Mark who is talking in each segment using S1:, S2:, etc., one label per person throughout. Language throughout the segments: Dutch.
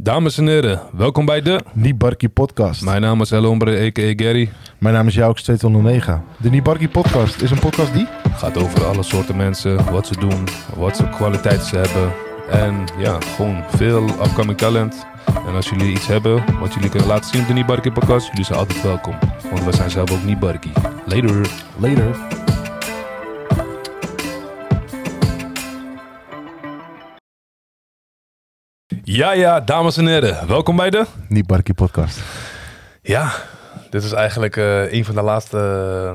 S1: Dames en heren, welkom bij de...
S2: Nibarki Podcast.
S1: Mijn naam is El Hombre, a.k.a. Gary.
S2: Mijn naam is Jauks 209. De Nibarki Podcast is een podcast die...
S1: Gaat over alle soorten mensen, wat ze doen, wat voor kwaliteit ze hebben. En ja, gewoon veel upcoming talent. En als jullie iets hebben wat jullie kunnen laten zien op de Nibarki podcast, jullie zijn altijd welkom. Want we zijn zelf ook Nibarki. Later.
S2: Later.
S1: Ja, ja, dames en heren, welkom bij de...
S2: Nibarki Podcast.
S1: Ja, dit is eigenlijk eh, een van de laatste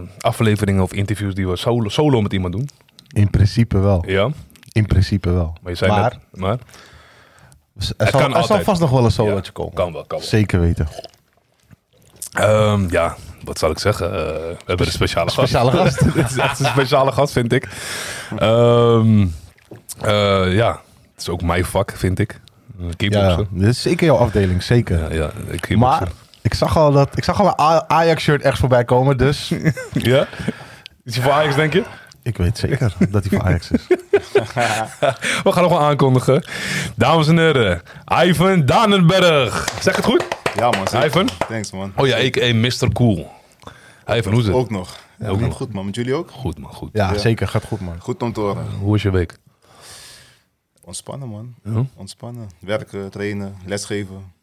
S1: eh, afleveringen of interviews die we solo, solo met iemand doen.
S2: In principe wel.
S1: Ja,
S2: In principe wel.
S1: maar je zei
S2: Maar
S1: net- maar kan
S2: er, zal, er zal
S1: altijd.
S2: vast nog wel een solootje
S1: Ja,
S2: komen.
S1: Kan wel, kan wel.
S2: Zeker weten.
S1: Ehm, ja, wat zal ik zeggen? Eh, we hebben een speciale gast.
S2: Speciale gast.
S1: Dit is echt een speciale gast, vind ik. Ehm, eh, ja, het is ook mijn vak, vind ik. Eh,
S2: ja,
S1: Kickboksen.
S2: dit is zeker jouw afdeling. Zeker.
S1: Ja, ja, ik kickboksen.
S2: maar ik zag al, dat, ik zag al een A- Ajax-shirt echt voorbij komen. Dus
S1: Ja? Is je voor Ajax, denk je?
S2: ik weet zeker dat hij van Ajax is.
S1: We gaan nog wel aankondigen. Dames en heren, Ivan Danenberg. Zeg het goed?
S3: Ja, man. zeker.
S1: Ivan?
S3: Thanks, man.
S1: Oh ja, ik een Mr. Cool. Ivan, hoe is het?
S3: Ook nog. Ja,
S1: Ook
S3: ook
S1: nog.
S3: goed, man. Met jullie ook?
S1: Goed man, goed.
S2: Ja, zeker. Gaat goed, man.
S3: Goed om te horen.
S1: Hoe is je week?
S3: Ontspannen, man.
S1: Ja.
S3: Ontspannen. Werken, trainen, lesgeven.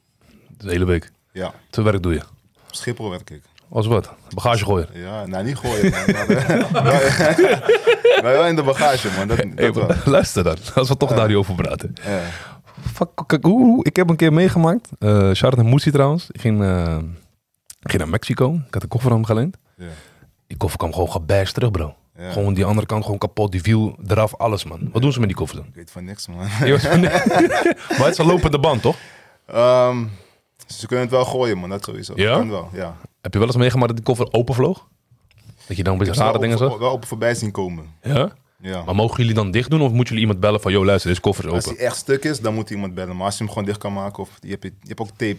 S1: De hele week.
S3: Ja,
S1: Te werk doe je.
S3: op Schiphol werk ik.
S1: Als wat? Bagage gooien.
S3: Ja, nou niet gooien, man. Maar, eh, maar wel in de bagage, man. Dat,
S1: Hey,
S3: dat wel.
S1: maar luister dan, als we toch daar niet over praten.
S3: Ja.
S1: Fuck, kijk, oeh, oeh, ik heb een keer meegemaakt. eh shout en Moesie trouwens. Ik ging, eh, ik ging naar Mexico. Ik had een koffer aan hem geleend.
S3: Ja.
S1: Die koffer kwam gewoon gebaasd terug, bro.
S3: Ja.
S1: Gewoon die andere kant gewoon kapot. Die viel eraf, alles, man. Wat doen ze met die koffer dan?
S3: Ik weet van niks, man.
S1: Die was van- maar het is een lopende band, toch?
S3: Ehm, ze kunnen het wel gooien, man. Dat sowieso.
S1: Ja?
S3: Kan wel, ja.
S1: Heb je wel eens meegemaakt dat die koffer openvloog? Dat je dan een beetje rare dingen
S3: wel,
S1: zag?
S3: op, wel op voorbij zien komen.
S1: Ja?
S3: Ja.
S1: Maar mogen jullie dan dicht doen of moeten jullie iemand bellen van... ...joh, luister, deze koffer is
S3: Als
S1: open.
S3: hij echt stuk is, dan moet iemand bellen. Maar als je hem gewoon dicht kan maken, of je hebt, je hebt ook tape.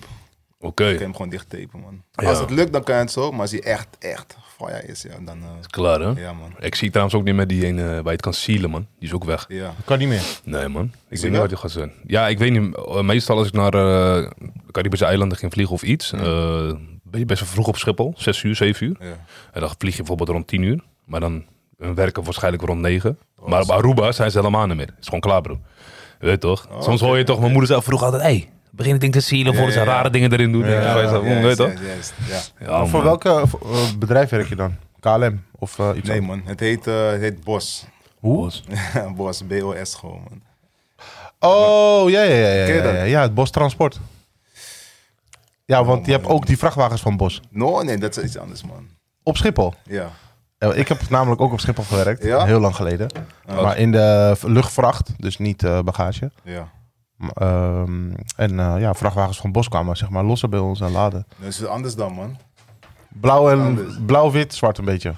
S1: Oké.
S3: kan je hem gewoon dicht tapen, man.
S1: Ja.
S3: Als het lukt, dan kan je het zo. Maar als hij echt, echt fire is, ja, dan... eh,
S1: Klaar, hè?
S3: ja, man.
S1: Ik zie trouwens ook niet meer die ene eh, waar je het kan sealen, man. Die is ook weg.
S3: Ja.
S2: Kan niet meer.
S1: Nee, man. Ik weet
S3: je
S1: niet
S3: wel?
S1: wat die gaat zijn. Ja, ik weet niet. Eh, Meestal als ik naar eh, Caribische eilanden ging vliegen of iets, eh, ben je best wel vroeg op Schiphol. 6 uur, 7 uur.
S3: ja.
S1: En dan vlieg je bijvoorbeeld rond 10 uur. Maar dan hun werken waarschijnlijk rond 9.
S3: Oh,
S1: Maar op Aruba zijn ze helemaal niet meer. Het is gewoon klaar, bro. Je weet toch? Soms hoor je toch, mijn moeder zelf vroeg altijd, hey, begin het ding te sealen voor
S3: Oh, Ja,
S1: ze
S3: ja, ja.
S1: rare dingen erin doen. Ja,
S3: Ja,
S1: weet
S3: juist,
S1: je toch?
S3: juist, juist, ja.
S1: Ja, Oh, man.
S2: Voor welk eh, voor, eh, bedrijf werk je dan? KLM of eh, iets
S3: Nee,
S2: anders?
S3: man. Het heet, eh, het heet Bos.
S1: Hoe?
S3: Bos, B-O-S gewoon, man.
S2: Oh, ja, ja, ja. Ja,
S3: Ken je
S2: ja,
S3: dat? Oh,
S2: ja, ja, het Bos Transport. Ja, want je hebt ook die vrachtwagens van Bos.
S3: No, nee, dat is iets anders, man.
S2: Op Schiphol.
S3: Ja.
S2: Ja, Ik heb namelijk ook op Schiphol gewerkt,
S3: Ja? Oh,
S2: heel lang geleden. Maar in de v- luchtvracht, dus niet eh, bagage.
S3: Ja.
S2: M- ehm, en eh, ja, vrachtwagens van Bos kwamen zeg maar lossen bij ons en laden.
S3: Dat is het anders dan, man.
S2: Blauw,
S3: Anders.
S2: en, blauw wit, zwart een beetje.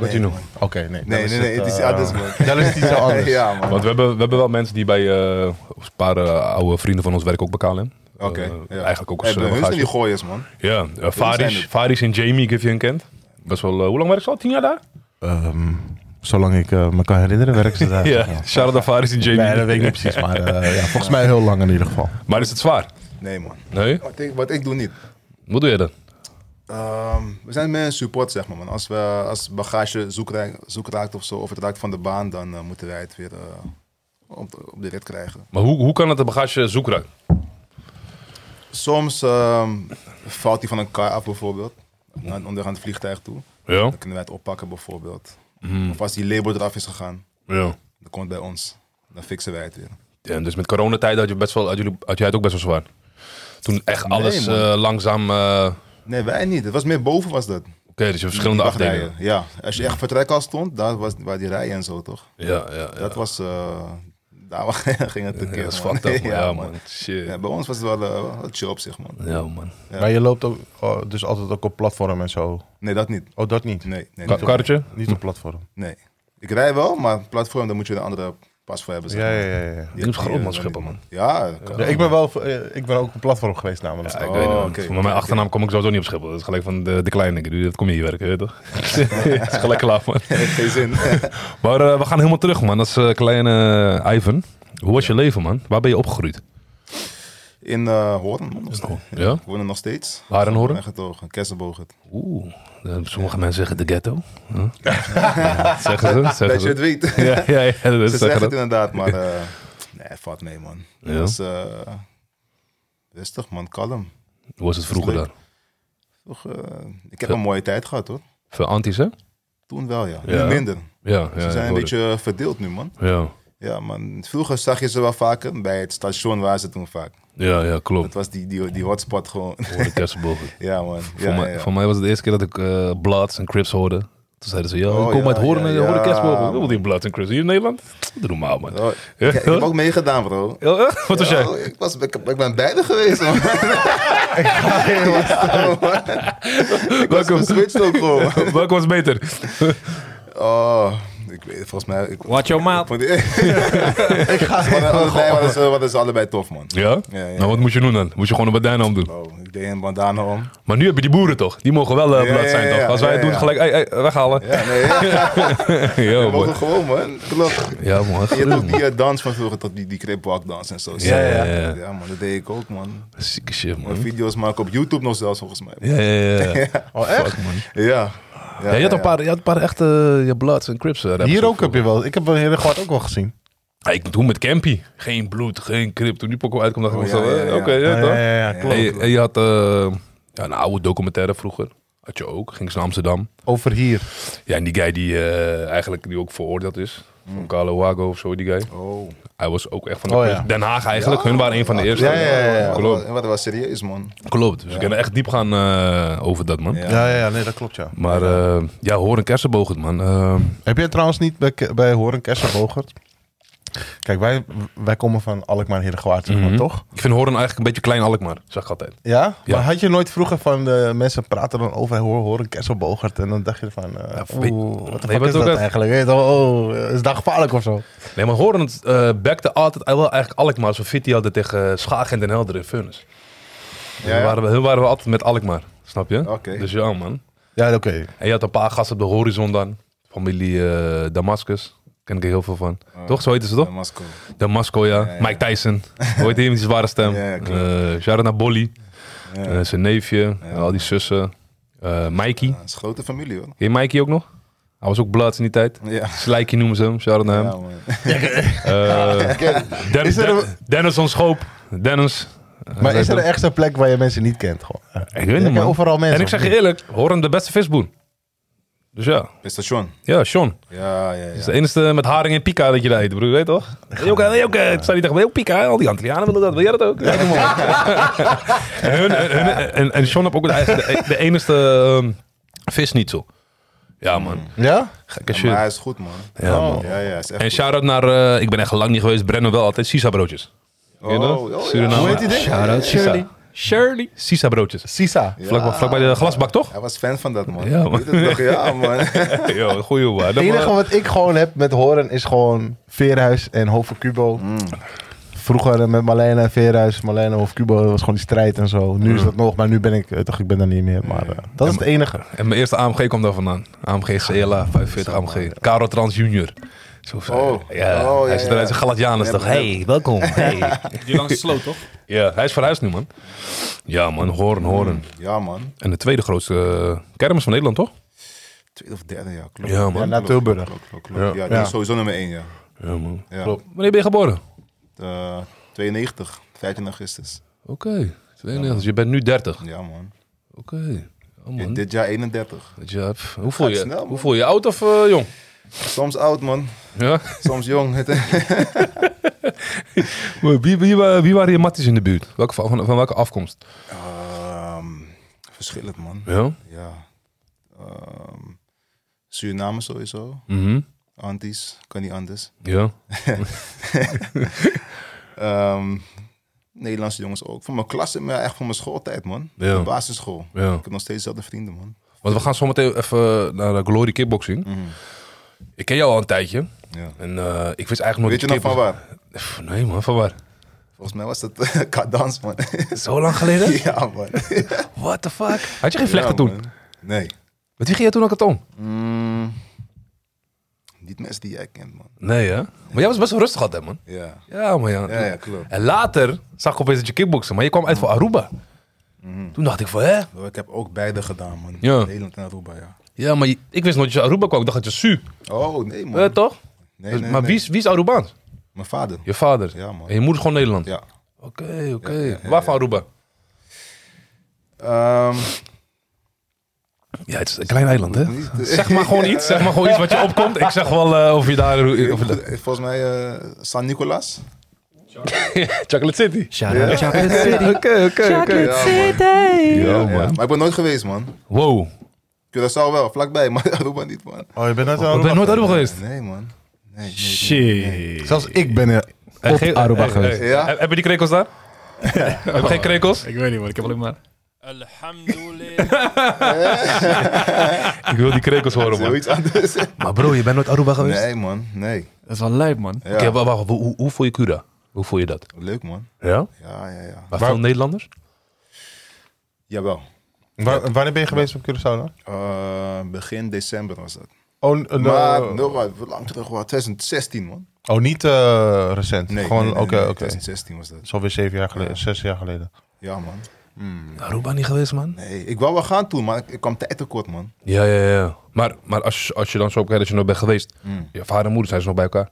S1: Wat je noemt.
S2: Oké, nee.
S3: Nee, nee, nee. Het is anders, man.
S2: eh, Dat is het iets anders.
S3: ja, man.
S1: Want we hebben, we hebben wel mensen die bij eh, een paar eh, oude vrienden van ons werken ook bij KLM.
S3: Oké.
S1: Eh,
S3: ja.
S1: Eigenlijk ook
S3: Hey,
S1: als
S3: bij
S1: eh,
S3: hun zijn die
S1: bagage.
S3: gooiers, man.
S1: Ja, eh,
S3: zijn
S1: Faris,
S3: het.
S1: Faris en Jamie, ik heb je een kent. Best wel, eh, hoe lang werk ze al? Tien jaar daar?
S2: Ehm, zolang ik eh, me kan herinneren, werken ze daar.
S1: Ja, shout-out aan Faris en Jamie.
S2: Nee, dat weet ik niet precies, maar eh, ja, volgens mij heel lang in ieder geval.
S1: Maar is het zwaar?
S3: Nee, man.
S1: Nee?
S3: Wat ik, wat ik doe niet.
S1: Wat doe je dan?
S3: Ehm, we zijn meer een support, zeg maar. Man. Als, we, als bagage zoek, raak- zoek raakt of zo, of het raakt van de baan, dan eh, moeten wij het weer eh, op, de- op de rit krijgen.
S1: Maar hoe, hoe kan het de bagage zoekruim?
S3: Soms ehm, valt hij van een kar af, bijvoorbeeld, naar, onder aan het vliegtuig toe.
S1: Ja?
S3: Dan kunnen wij het oppakken, bijvoorbeeld.
S1: Mhm.
S3: Of als die label eraf is gegaan,
S1: Ja.
S3: dan komt het bij ons. Dan fixen wij het weer.
S1: En dus met coronatijd had je, best wel, had, jullie, had jij het ook best wel zwaar? Toen echt alles
S3: man.
S1: eh, langzaam... eh, Oké,
S3: Nee, wij niet. Het was meer boven, was dat.
S1: dus je hebt verschillende
S3: Die wachtrijen.
S1: afdelingen.
S3: Ja, als je echt vertrek al stond, daar was waar die rijen en zo, toch?
S1: Ja, ja, ja.
S3: Dat was. eh, daar ging het een
S1: Ja,
S3: keer.
S1: dat is fucked up, man. Ja, man.
S3: Ja,
S1: Shit.
S3: bij ons was het wel eh, wel chill op zich, man.
S1: Ja, man.
S2: Maar je loopt ook, oh, dus altijd ook op platform en zo.
S3: Nee, dat niet.
S2: Oh, dat niet?
S3: Nee, nee,
S1: Ka-
S3: niet.
S1: Karretje?
S2: Niet op platform.
S3: nee. Ik rij wel, maar platform, daar moet je een andere pas voor hebben. zeg
S2: Ja,
S3: maar.
S2: ja, ja. ja.
S3: Die-
S1: is groot,
S3: die-
S1: man,
S3: die-
S1: Schiphol, man.
S3: Ja, kan-
S2: Ja, ik, ben wel, eh, ik ben ook op een platform geweest namelijk.
S1: Ja, ik
S3: Oh,
S1: weet niet. man.
S3: oké.
S1: Maar mijn achternaam kom ik sowieso niet op Schiphol. Dat is gelijk van de, de kleine. Ik bedoel, Dat kom je hier werken, weet je toch? Het is gelijk klaar, man.
S3: heeft geen zin.
S1: Maar eh, we gaan helemaal eh, terug, man. Dat is eh, kleine Ivan. Hoe was je leven, man? Waar ben je opgegroeid?
S3: In eh Hoorn. nog steeds.
S1: Ja?
S3: Ik woon er nog steeds.
S1: Waar in Hoorn?
S3: Echt getogen. Kersenbogen.
S1: Oeh, eh, sommige mensen zeggen de ghetto. Huh? Ja, zeggen ze, zeggen
S3: Dat je
S1: ze.
S3: het weet.
S1: Ja, ja, ja, dat
S3: Ze zeggen het
S1: zeggen ze.
S3: inderdaad, maar eh nee, valt mee man.
S1: Ja?
S3: Dat is eh, rustig man, kalm.
S1: Hoe was het vroeger
S3: leuk.
S1: dan?
S3: Toch, eh, ik heb een mooie tijd gehad hoor.
S1: Veel antis, hè?
S3: Toen wel ja, nu
S1: Ja.
S3: minder.
S1: Ja,
S3: Ze
S1: ja.
S3: zijn
S1: ik
S3: een
S1: hoor het.
S3: beetje verdeeld nu man.
S1: Ja,
S3: Ja man, vroeger zag je ze wel vaker. Bij het station waren ze toen vaak.
S1: ja, ja klopt.
S3: Het was die, die, die hotspot gewoon.
S1: Voor de kersenbogen.
S3: ja man.
S1: voor,
S3: Ja,
S1: mij,
S3: ja, ja.
S1: voor mij was het de eerste keer dat ik eh Bloods en Crips hoorde. Toen zeiden ze, ja,
S3: Oh,
S1: ik kom
S3: ja,
S1: uit Horen
S3: ja,
S1: en hoor de
S3: ja.
S1: kerstboven. Wat die Bloods en Crips hier in Nederland? Doe normaal, man.
S3: Oh, ik, ik heb ook meegedaan bro.
S1: Ja, eh, Wat was
S3: Ja,
S1: jij?
S3: oh, ik, was, ik, ik ben beide geweest man. Ja, man. Ik was
S1: Welkom.
S3: geswitcht ook gewoon. man.
S1: Welke was beter?
S3: Oh, ik weet het, volgens mij... Ik,
S4: Watch your mouth.
S3: ik ga allebei, wat, is, eh, wat is allebei tof, man.
S1: Ja?
S3: Ja, ja.
S1: Nou, wat moest je doen dan? Moest je gewoon een badijn om doen.
S3: Oh, ik deed een bandana om.
S1: Maar nu heb je die boeren toch? Die mogen wel eh
S3: Ja,
S1: Bloods zijn
S3: ja,
S1: toch?
S3: ja,
S1: Als wij
S3: ja,
S1: het doen,
S3: ja.
S1: gelijk hey, hey, weghalen.
S3: Ja, nee, ja,
S1: Ja,
S3: we mogen
S1: man.
S3: gewoon, man. Klopt.
S1: Ja, man.
S3: Je hebt ook
S1: gruwelijk.
S3: die eh, dans van vroeger, tot die, die cripwalkdans en zo.
S1: Ja, ja, ja. Mhm.
S3: Ja, man, dat deed ik ook, man.
S1: Zieke shit,
S3: Mijn
S1: man.
S3: video's maken op YouTube nog zelfs, volgens mij.
S1: Ja, ja, ja.
S2: Oh, echt?
S3: Ja. ja.
S1: Ja, je, had een
S3: ja.
S1: paar, je had een paar echte je Bloods en Crips. eh, rappers
S2: Hier ook
S1: vroeger.
S2: heb je wel. Ik heb wel heel Gort ook wel gezien.
S1: Ja, ik toen met Campy. Geen bloed, geen krip. Toen die pokoe uitkwam, dacht ik
S3: Oh,
S1: van
S3: ja,
S1: zo,
S3: ja,
S1: eh,
S3: ja.
S1: oké, ja,
S2: Ja,
S1: toch?
S2: ja, ja, ja, klopt.
S1: En je, en je had eh, ja, een oude documentaire vroeger. Had je ook. Ging ze naar Amsterdam.
S2: Over hier.
S1: Ja, en die guy die eh, eigenlijk die ook veroordeeld is. Van Carlo Wago of zo, die guy.
S3: Oh.
S1: Hij was ook echt van de
S2: Oh, ja.
S1: Den Haag eigenlijk. Hun waren een van de eerste.
S2: Ja, ja, ja, ja.
S1: Klopt.
S3: Klopt. Wat was serieus, man.
S1: Klopt. Dus we kunnen echt diep gaan eh, over dat, man.
S3: Ja.
S2: Ja, ja, nee, dat klopt, ja.
S1: Maar eh, ja, hoor een kersenbogend, man. Eh,
S2: Heb jij trouwens niet bij, Ke- bij Horen Kersenbogert? Kijk, wij, wij komen van Alkmaar Herengewaard, zeg maar,
S1: Mhm.
S2: toch?
S1: ik vind Horen eigenlijk een beetje klein Alkmaar, zeg ik altijd.
S2: Ja?
S1: Ja.
S2: Maar had je nooit vroeger van de mensen praten dan over hoor, hoor een kerselbogert en dan dacht je van, eh,
S1: Ja, weet-
S2: oeh, wat de
S1: weet
S2: fuck
S1: wat
S2: is
S1: ook
S2: dat
S1: dat-
S2: eigenlijk? Weet je wel, oh, is dat gevaarlijk of zo?
S1: Nee, maar Horen eh bekte altijd wel eigenlijk Alkmaar. Zo fit die hadden tegen Schaag en Den Helder in Furnace.
S3: Ja,
S1: Hun,
S3: ja.
S1: waren we, hun waren we altijd met Alkmaar, snap je?
S3: Oké.
S1: Dus ja, man.
S2: Ja, oké.
S1: En je had een paar gasten op de horizon dan. Familie eh Damascus. Ken ik er heel veel van.
S2: Oh.
S1: Toch? Zo heten ze toch?
S3: Ja, Masco.
S1: Damasco, ja.
S3: Ja, ja.
S1: Mike Tyson. Hoe heet die met die zware stem?
S3: Ja,
S1: Eh
S3: klopt.
S1: shout-out naar Bolly.
S3: Ja.
S1: Eh, zijn neefje.
S3: Ja.
S1: en al die zussen. Eh, Mikey.
S3: Ja, het is een grote familie, hoor.
S1: Ken je Mikey ook nog? Hij was ook Bloods in die tijd.
S3: Ja.
S1: Slijky noemen ze hem. Shout-out naar hem.
S3: Ja, man.
S1: Eh, Den-
S2: Is er
S1: Den-
S2: een-
S1: Dennis van Schoop. Dennis. Eh,
S2: Maar is er
S1: weet
S2: echt een plek waar je mensen niet kent? Gewoon?
S1: Ik weet
S2: Je
S1: niet,
S2: kent
S1: man.
S2: overal mensen.
S1: En ik zeg
S2: of
S1: je
S2: niet?
S1: eerlijk, Horen de beste visboer. Dus ja,
S3: Het station.
S1: ja, Sean.
S3: Ja, ja, ja.
S1: Dat is de enige met haring en pika dat je daar eet, broer. Weet toch? Hey, oké, hey, oké. Het staat eh, niet tegen heel pika. Al die Antillianen willen dat. Wil jij dat ook? Ja, kom op. en, hun, en, en, en, en Sean heeft ook de, eigen- de, de enigste ehm, visnietsel. Ja, man.
S2: Ja?
S1: Gekke
S3: Maar hij
S1: shit.
S3: is goed, man.
S1: Ja,
S2: Oh.
S1: man.
S3: Ja, ja, is echt
S1: En
S3: goed.
S1: shout-out naar... eh, ik ben echt lang niet geweest. Brenno wel altijd. Sisa-broodjes. Ken je dat?
S3: Oh, oh, ja.
S1: Suriname.
S2: Hoe heet die ding?
S1: Shout-out
S4: Shirley.
S1: Sisa.
S4: Shirley.
S1: Sisa-broodjes.
S2: Sisa.
S1: Vlak, bij- vlak bij de glasbak, toch?
S3: Hij was fan van dat, man.
S1: Ja, man.
S3: Niet dat ik dacht, ja, man.
S1: Ja, goeie hoor.
S2: Het enige wat ik gewoon heb met horen is gewoon Veerhuis en Hoven Cubo. Vroeger eh, met Marlene en Veerhuis, Marlene en Hoven Cubo, dat was gewoon die strijd en zo. Nu is dat nog, maar nu ben ik, eh, toch, ik ben daar niet meer. Maar eh, dat is het enige.
S1: En mijn eerste AMG kwam daar vandaan. AMG CLA 45 AMG. Caro Trans Junior. Zo zei
S3: Ah, Oh.
S1: hij. Ja,
S3: Oh,
S1: hij
S3: ja,
S1: zit eruit
S3: ja.
S1: zijn Galatianus
S3: Ja,
S1: toch.
S3: begrijp
S1: Hey, welkom. Hey.
S4: Die langs de sloot, toch?
S1: ja, hij is verhuisd nu, man. Ja, man. Horen, horen.
S3: Ja, man.
S1: En de tweede grootste eh, kermis van Nederland, toch?
S3: Tweede of derde, ja, klopt.
S1: Ja, man.
S2: Ja, naar Tilburg.
S3: Klopt, klopt, klopt. Ja, die
S2: Ja.
S3: is sowieso nummer 1, ja.
S1: Ja, man.
S3: ja.
S2: Klopt.
S1: Wanneer ben je geboren?
S3: Eh, 92, 15 augustus.
S1: Oké. 92. Dus je bent nu 30.
S3: Ja, man.
S1: Oké. Ja, man.
S3: Dit jaar 31.
S1: Dat je- pff, hoe, voel je,
S3: snel, man.
S1: hoe voel je? Oud of eh, jong?
S3: Soms oud, man.
S1: Ja.
S3: Soms jong.
S1: Wie, wie, wa- wie waren je matties in de buurt? Welke, van, van welke afkomst?
S3: Ehm, verschillend, man.
S1: Ja.
S3: Ja. Ehm, Suriname sowieso.
S1: Mhm.
S3: Anties. Kan niet anders.
S1: Ja.
S3: Ehm, Nederlandse jongens ook. Van mijn klas, maar echt van mijn schooltijd, man.
S1: Ja.
S3: De basisschool.
S1: Ja.
S3: Ik heb nog steeds dezelfde vrienden, man.
S1: Want we gaan zometeen even naar de Glory Kickboxing.
S3: Mhm.
S1: Ik ken jou al een tijdje.
S3: Ja.
S1: En eh, ik wist eigenlijk nog
S3: Weet je nog van waar?
S1: waar? Nee man, van waar?
S3: Volgens mij was dat eh, Kadans, man.
S1: Zo lang geleden?
S3: ja, man.
S1: What the fuck? Had je geen vlechten
S3: Ja,
S1: toen?
S3: man. Nee.
S1: Mm. Met wie ging je toen ook het om?
S3: Mm, niet mensen die jij kent, man.
S1: Nee, hè? Maar jij was best wel rustig altijd, man.
S3: Ja.
S1: Ja, maar ja.
S3: Ja, ja, klopt. Eh,
S1: En later zag ik opeens dat je kickboksen, maar je kwam uit voor Aruba.
S3: Mhm.
S1: Toen dacht ik van, hè?
S3: Bro, Ik heb ook beide gedaan, man.
S1: Ja.
S3: Nederland en Aruba, ja.
S1: Ja, maar je- ik wist nooit dat je uit Aruba kwam. Ik dacht dat je Su.
S3: Oh, nee, man.
S1: Eh, toch?
S3: nee,
S1: Dus-
S3: nee,
S1: maar
S3: nee.
S1: Wie, is, wie is Arubaans?
S3: Mijn vader.
S1: Je vader.
S3: Ja, man.
S1: En je moeder is gewoon Nederland.
S3: Ja.
S1: Oké, oké. Waar van Aruba?
S3: Ehm,
S1: Ja, het is een klein eiland, hè?
S3: niet, eh,
S1: Zeg maar gewoon iets. Zeg maar gewoon iets wat je opkomt. Ik zeg wel eh, of je daar... Of,
S3: volgens mij eh, San Nicolas.
S1: Chocolate City.
S5: Shout-out Chocolate City.
S1: Oké, oké, oké.
S3: Ja, man.
S1: Ja,
S3: Ja,
S1: man.
S3: Maar ik ben nooit geweest, man.
S1: Wow.
S3: Curaçao wel, vlakbij, maar Aruba niet, man.
S2: Oh, je bent net
S1: Ik ben nooit Aruba geweest.
S3: Nee, man. Nee, nee, nee.
S5: Shit.
S2: Zelfs ik ben er.
S1: Hey, geen-
S5: Aruba
S1: hey,
S5: geweest.
S1: hey,
S3: Ja?
S1: eh, Heb- Hebben die krekels daar? Heb je geen krekels?
S5: Ik weet niet, man. Ik heb alleen maar...
S4: Alhamdulillah.
S1: Ik wil die krekels horen, man.
S3: Zoiets anders.
S1: Maar bro, je bent nooit Aruba geweest?
S3: Nee, man. Nee.
S5: Dat is wel lijp, man.
S3: Ja.
S1: Oké, wa- wacht, hoe, hoe- hoe voel je Cura? Hoe voel je dat?
S3: Leuk, man.
S1: Ja?
S3: Ja, ja, ja.
S1: Maar veel Nederlanders?
S3: Jawel.
S2: Wa- wanneer ben je geweest op Curaçao dan?
S3: Eh, begin december was dat.
S2: Oh, n- n-
S3: Maar, no, wat, hoe lang terug was 2016, man.
S2: oh niet eh, recent.
S3: Nee,
S2: Gewoon,
S3: nee,
S2: oké,
S3: nee, nee,
S2: oké. Het
S3: 2016 was dat.
S2: is alweer zeven jaar geleden, zes jaar geleden.
S3: Ja, man.
S1: Aruba niet geweest, man?
S3: Nee, ik wou wel gaan toen, maar ik, ik kwam tijd tekort, man.
S1: Ja, ja, ja. Maar, maar als, als je dan zo kijkt dat je nog bent geweest, je vader en moeder zijn ze nog bij elkaar?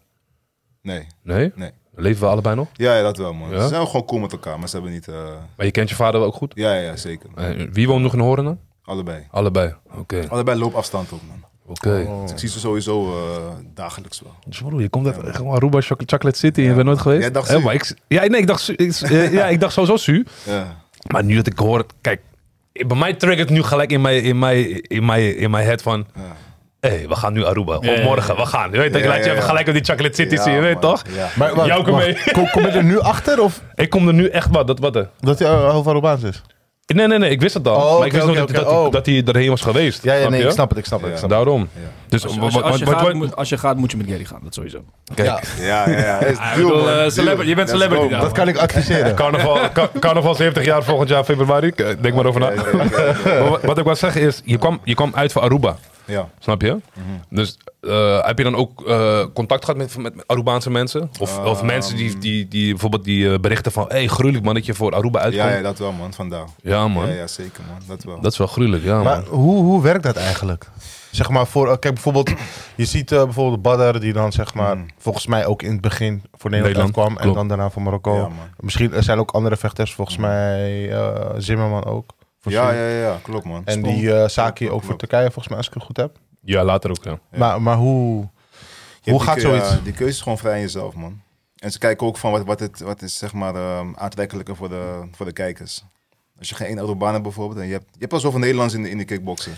S3: Nee,
S1: Nee?
S3: nee.
S1: Leven we allebei nog?
S3: Ja, ja, dat wel, man.
S1: Ja?
S3: Ze zijn gewoon cool met elkaar, maar ze hebben niet... eh,
S1: Maar je kent je vader wel ook goed?
S3: Ja, ja, ja, zeker.
S1: Eh, Wie woont nog in Horen dan?
S3: Allebei.
S1: Allebei. Oké,
S3: Allebei loopafstand ook, man.
S1: oké.
S3: Dus ik zie ze sowieso eh, dagelijks wel.
S1: Dus broer, Oh, je komt uit gewoon Aruba, Choc- Chocolate City, je bent nooit geweest?
S3: Jij dacht
S1: Hè,
S3: Su.
S1: maar ik, ja, nee, ik dacht, Su- ik, eh, ja, ik dacht sowieso Su.
S3: Ja,
S1: Maar nu dat ik hoor, kijk, bij mij triggert nu gelijk in mijn, in mijn, in mijn, in mijn head van...
S3: ja.
S1: Hé, hey, we gaan nu Aruba. Of
S5: Ja, ja, ja.
S1: morgen, we gaan. Je weet, ik
S3: Ja,
S1: laat je
S3: ja,
S1: even
S3: ja.
S1: gelijk op die Chocolate City
S3: Ja,
S1: zien, je weet
S3: man.
S1: toch?
S3: Ja.
S2: Maar, wacht,
S1: Jouke
S2: wacht.
S1: mee.
S2: Kom, kom je er nu achter of
S1: Ik kom er nu echt, wat, dat, wat er?
S2: dat hij uh, Robaans is?
S1: Nee, nee, nee, ik wist het al.
S2: Oh,
S1: maar ik
S2: oké,
S1: wist nog
S2: oké,
S1: dat,
S2: oké,
S1: dat,
S2: oh.
S1: dat hij erheen was geweest.
S2: Ja, ja
S1: Snap
S2: nee,
S1: je?
S2: ik snap het, ik snap het. Ik snap het.
S1: Daarom. Dus
S5: Als je, als je- als je gaat, moet- als je gaat, moet je met Gary gaan. Dat sowieso.
S1: Kijk,
S3: Ja, ja, ja. Is
S5: Ah, ik
S3: duur,
S5: bedoel,
S3: man.
S5: eh,
S3: Duur.
S5: celebrity- je bent
S3: Let's
S5: celebrity
S3: go,
S5: daar.
S3: man.
S2: Dat kan ik adviseren.
S1: carnaval, ka- carnaval 70 jaar volgend jaar februari. K- Denk maar over na. Maar wat, wat ik wil zeggen is, je kwam, je kwam uit voor Aruba.
S3: Ja.
S1: Snap je?
S3: Mhm.
S1: Dus eh, heb je dan ook eh, contact gehad met, met Arubaanse mensen?
S3: Ehm.
S1: Of, of mensen die, die, die bijvoorbeeld die eh, berichten van... hey, gruwelijk man dat je voor Aruba uitkomt.
S3: Ja,
S1: Ja,
S3: ja, dat wel, man. Vandaar.
S1: man.
S3: Ja, ja, zeker, man. Dat wel.
S1: Dat is wel gruwelijk, ja
S2: Maar
S1: man.
S2: hoe, hoe werkt dat eigenlijk? Zeg maar voor, eh, kijk bijvoorbeeld, je ziet eh, bijvoorbeeld Badar die dan zeg maar, volgens mij ook in het begin voor Nederland,
S1: Nederland,
S2: kwam en
S1: klopt.
S2: dan daarna voor Marokko.
S3: Ja, man.
S2: Misschien er zijn ook andere vechters, volgens mij eh Zimmerman ook. voor
S3: ja,
S2: Syrië.
S3: ja, ja, klopt, man.
S2: En
S3: Spon-
S2: die eh Saki
S3: Klopt,
S2: ook voor
S3: klopt.
S2: Turkije, volgens mij, als ik het goed heb.
S1: Ja, later ook, ja.
S2: Maar, maar hoe,
S3: Je
S2: hoe
S3: hebt
S2: gaat
S3: die keu-
S2: zoiets?
S3: ja, die keuze is gewoon vrij in jezelf, man. En ze kijken ook van wat, wat, het, wat is zeg maar ehm, aantrekkelijker voor de, voor de kijkers. Als je geen één Arubanen hebt bijvoorbeeld, en je hebt, je hebt al zoveel Nederlands in de, in de kickboksen.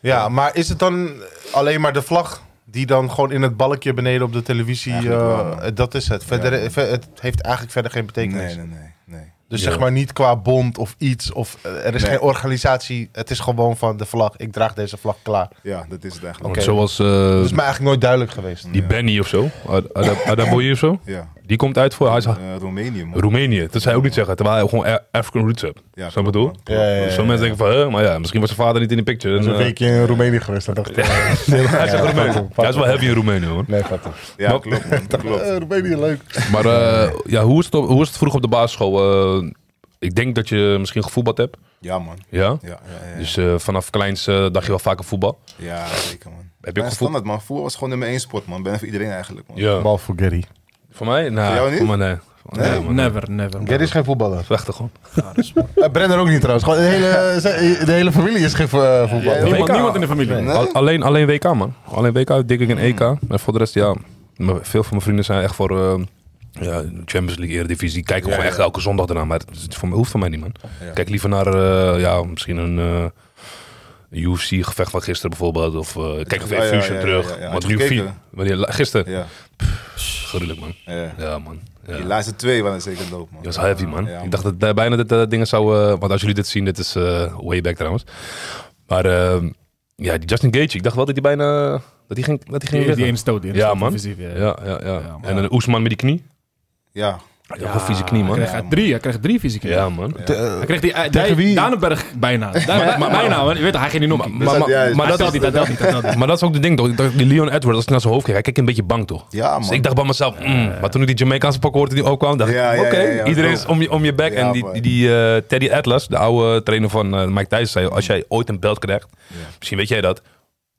S2: Ja, maar is het dan alleen maar de vlag die dan gewoon in het balkje beneden op de televisie...
S3: Eigenlijk wel,
S2: eh, dat is het. Verder, ver- het heeft eigenlijk verder geen betekenis.
S3: Nee, nee, nee. nee.
S2: Dus
S1: Ja.
S2: zeg maar niet qua bond of iets. Of, eh, er is
S3: Nee.
S2: geen organisatie. Het is gewoon van de vlag. Ik draag deze vlag klaar.
S3: Ja, dat is het
S1: Want
S3: eigenlijk.
S2: Oké.
S1: zoals eh,
S3: Dus
S2: Dat is mij eigenlijk nooit duidelijk geweest.
S1: die Benny of zo, Ad- Ada- Adaboye of zo,
S3: Ja,
S1: die komt uit voor hij is
S3: Eh, Roemenië, man.
S1: Roemenië. Dat zou je ook niet zeggen, terwijl hij gewoon A- African roots hebt.
S3: Ja,
S1: Snap je
S3: klopt,
S1: bedoel?
S3: man.
S2: Ja, ja, ja,
S1: Zo'n mensen denken van, hè, maar ja, misschien was zijn vader niet in de picture. En,
S2: een
S1: eh,
S2: weekje in Roemenië geweest. Dat dacht ik.
S1: hij is echt Roemeen. Hij is wel heavy in Roemenië hoor.
S2: Nee, gaat
S3: Ja, klopt, man. Klopt.
S2: Roemenië, leuk.
S1: Maar eh, ja, hoe, is het, op- hoe is het vroeg op de basisschool? Eh, ik denk dat je misschien gevoetbald hebt.
S3: Ja, man.
S1: Ja?
S3: Ja, ja, ja, ja.
S1: Dus eh, vanaf kleins eh, dacht je wel vaker voetbal.
S3: ja zeker, man.
S1: Heb je ook
S3: Mijn
S1: gevoel?
S3: standaard, man. Voetbal was gewoon nummer één sport, man. Bijna voor iedereen eigenlijk, man.
S1: Ja.
S2: Bal voor Gary.
S1: Voor mij? Nou,
S3: Voor jou niet?
S1: mij nee. Nee, man.
S5: Never, never.
S2: Gary is geen voetballer.
S1: Prachtig gewoon.
S2: Eh, Brendan ook niet trouwens. Gewoon de, hele, ze- de hele familie is geen vo- eh, voetballer.
S5: Niemand, niemand in de familie.
S3: Nee?
S1: Al- alleen, alleen WK, man. Alleen WK, denk ik, en EK. En voor de rest, ja. m- Veel van mijn vrienden zijn echt voor eh, ja, Champions League, Eredivisie. Die Kijken gewoon echt elke zondag ernaar. Maar het, het voor mij, hoeft van mij niet, man. Kijk liever naar, eh, ja, misschien een... eh, UFC-gevecht van gisteren bijvoorbeeld. Of eh, kijk even
S3: Ja, ja,
S1: Fusion
S3: ja,
S1: terug.
S3: ja, ja.
S1: Want
S3: Heb je
S1: UFC...
S3: gekeken?
S1: wanneer- la- Gisteren.
S3: Ja.
S1: Gruwelijk, man.
S3: ja.
S1: Ja, man. Ja.
S3: Die laatste twee waren zeker dope, man.
S1: Die was heavy, man.
S3: Ja,
S1: ik dacht dat eh, bijna dat eh, dingen zou... eh, want als jullie dit zien, dit is eh, way back trouwens. Maar eh, ja, die Justin Gage, ik dacht wel dat hij bijna... Dat hij ging, dat hij ging
S5: Die, die
S1: winnen.
S5: ene stoot. die ene
S1: Ja,
S5: stoot
S1: man.
S5: offensief, ja.
S1: Ja, ja, ja.
S5: man.
S1: En een Oesman met die knie.
S3: Ja,
S1: Hij had ook een vieze knie, man.
S5: Hij
S1: Ja,
S3: krijgt-
S5: kreeg drie, hij kreeg drie vieze knieën.
S1: man.
S5: Hij kreeg die, eh,
S2: Tegen
S5: die
S2: wie?
S5: Danenberg bijna. Daar- bijna, man. Je weet, hij ging niet noemen.
S1: Maar, maar,
S3: ja,
S1: maar,
S3: is-
S1: dat,
S5: telt niet, hij telt niet, hij telt niet.
S1: maar dat is ook de ding, toch? Dat Die Leon Edwards, als ik naar zijn hoofd kijk, hij kijkt een beetje bang, toch?
S3: Ja, man.
S1: Dus ik dacht bij mezelf, mm, maar toen ik die Jamaicaanse pak hoorde die ook kwam, dacht ik,
S3: Ja, ja,
S1: oké,
S3: ja, ja,
S1: iedereen
S3: klopt.
S1: is om je, om je bek.
S3: Ja,
S1: en die,
S3: man.
S1: die, die, eh, Teddy Atlas, de oude trainer van eh, Mike Tyson, zei, als jij ooit een belt krijgt, misschien weet jij dat,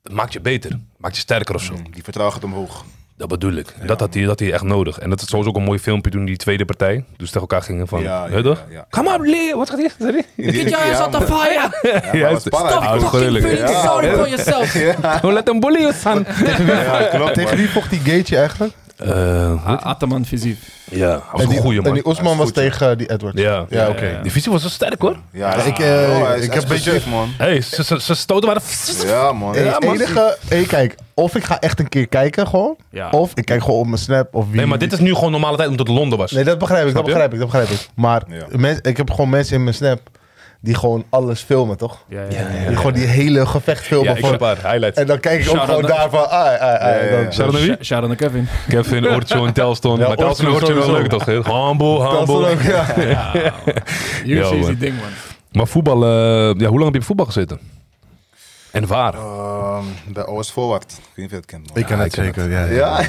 S1: dat maakt je beter, maakt je sterker of zo.
S3: Mm, Die vertrouwen gaat omhoog.
S1: Dat bedoel ik. En dat, had hij, dat had hij echt nodig. En dat is sowieso ook een mooi filmpje toen die tweede partij, dus tegen elkaar gingen van,
S3: Ja, ja,
S1: hè toch?
S3: ja, ja.
S1: Kom op, Leon, wat gaat hier? Zei hij?
S3: Dit jaar is altijd
S5: fire!
S3: Ja, maar het was spannend.
S1: Stop.
S3: Ja, Ja.
S5: sorry for yourself.
S1: Don't let them bully you, son.
S3: Ja, klopt.
S2: Tegen
S3: man.
S2: wie vocht die Gaethje eigenlijk?
S1: Eh,
S5: Ataman fysiek.
S1: ja, hij was
S2: en die,
S1: een goeie
S2: en
S1: man.
S2: die Osman
S3: Hij is
S2: was
S3: goed, ja.
S2: tegen eh, die Edwards.
S1: Ja.
S2: Ja, oké.
S1: Die visie was zo sterk hoor.
S3: Ja, hij is-
S2: Ik, eh,
S3: oh, hij is
S2: ik heb een beetje-
S3: explosief, man.
S1: hey, ze, ze, ze stoten waren...
S3: Ja, man.
S2: Hey,
S3: Ja,
S2: het
S3: man.
S2: enige, hey, kijk, of ik ga echt een keer kijken gewoon,
S5: Ja.
S2: of ik kijk gewoon op mijn snap of wie.
S1: Nee, maar dit is nu gewoon normale tijd omdat het Londen was.
S2: Nee, dat begrijp ik, dat
S1: Snap je?
S2: begrijp ik, dat begrijp ik. Maar
S3: Ja.
S2: mens- ik heb gewoon mensen in mijn snap die gewoon alles filmen, toch?
S5: Ja, ja, ja.
S2: Die gewoon die hele gevecht
S1: ja,
S2: filmen
S1: ik
S2: van...
S1: heb haar highlights.
S2: En dan kijk ik ook
S5: Shout-out
S2: gewoon ah,
S5: naar-
S2: daarvan, ai, ai, ai.
S3: Ja, ja,
S2: dan-
S3: ja.
S1: Shout out naar wie?
S5: Sh- Shout-out naar Kevin.
S1: Kevin, Orcho en Telston.
S2: Ja,
S1: maar Telston en
S2: Orcho
S1: Orcho is wel leuk
S2: sowieso.
S1: toch? hè? Humble,
S2: Dat is dan ook,
S1: humble.
S2: ja.
S5: Hier
S1: Yo,
S5: is
S1: man.
S5: die ding, man.
S1: Maar voetbal, eh, ja, hoe lang heb je op voetbal gezeten? En waar?
S3: Ehm, Bij OS Forward. Ik weet niet of je dat kent, man.
S2: Ik ken het zeker, ja. ja.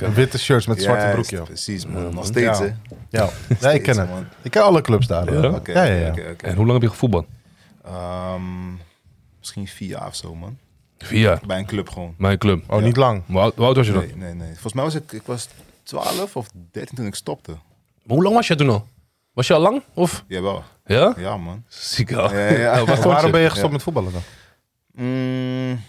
S3: Ja,
S2: Witte shirts met zwarte
S3: Juist,
S2: broekje. joh.
S3: Precies, man. Nog steeds,
S2: Ja.
S3: hè.
S2: Ja, ja ik ken het.
S3: man.
S2: Ik ken alle clubs daar. hoor.
S1: Ja?
S3: Oké,
S2: ja, ja.
S3: oké, oké.
S1: En hoe lang heb je gevoetbald?
S3: Ehm, Misschien vier jaar of zo, man.
S1: Vier jaar.
S3: Bij een club gewoon.
S1: Mijn club.
S2: Oh, niet lang.
S1: Maar hoe hoe oud was je dan?
S3: Nee, nee, nee. Volgens mij was ik, ik was 12 of 13 toen ik stopte.
S1: Maar hoe lang was je toen al? Was je al lang? Of?
S3: Jawel.
S1: Ja?
S3: Ja, man.
S1: Ziek al.
S3: Ja, ja.
S1: Nou, waar
S2: Maar
S1: stond
S2: waarom
S1: je?
S2: ben je gestopt met voetballen dan?
S3: Mm, op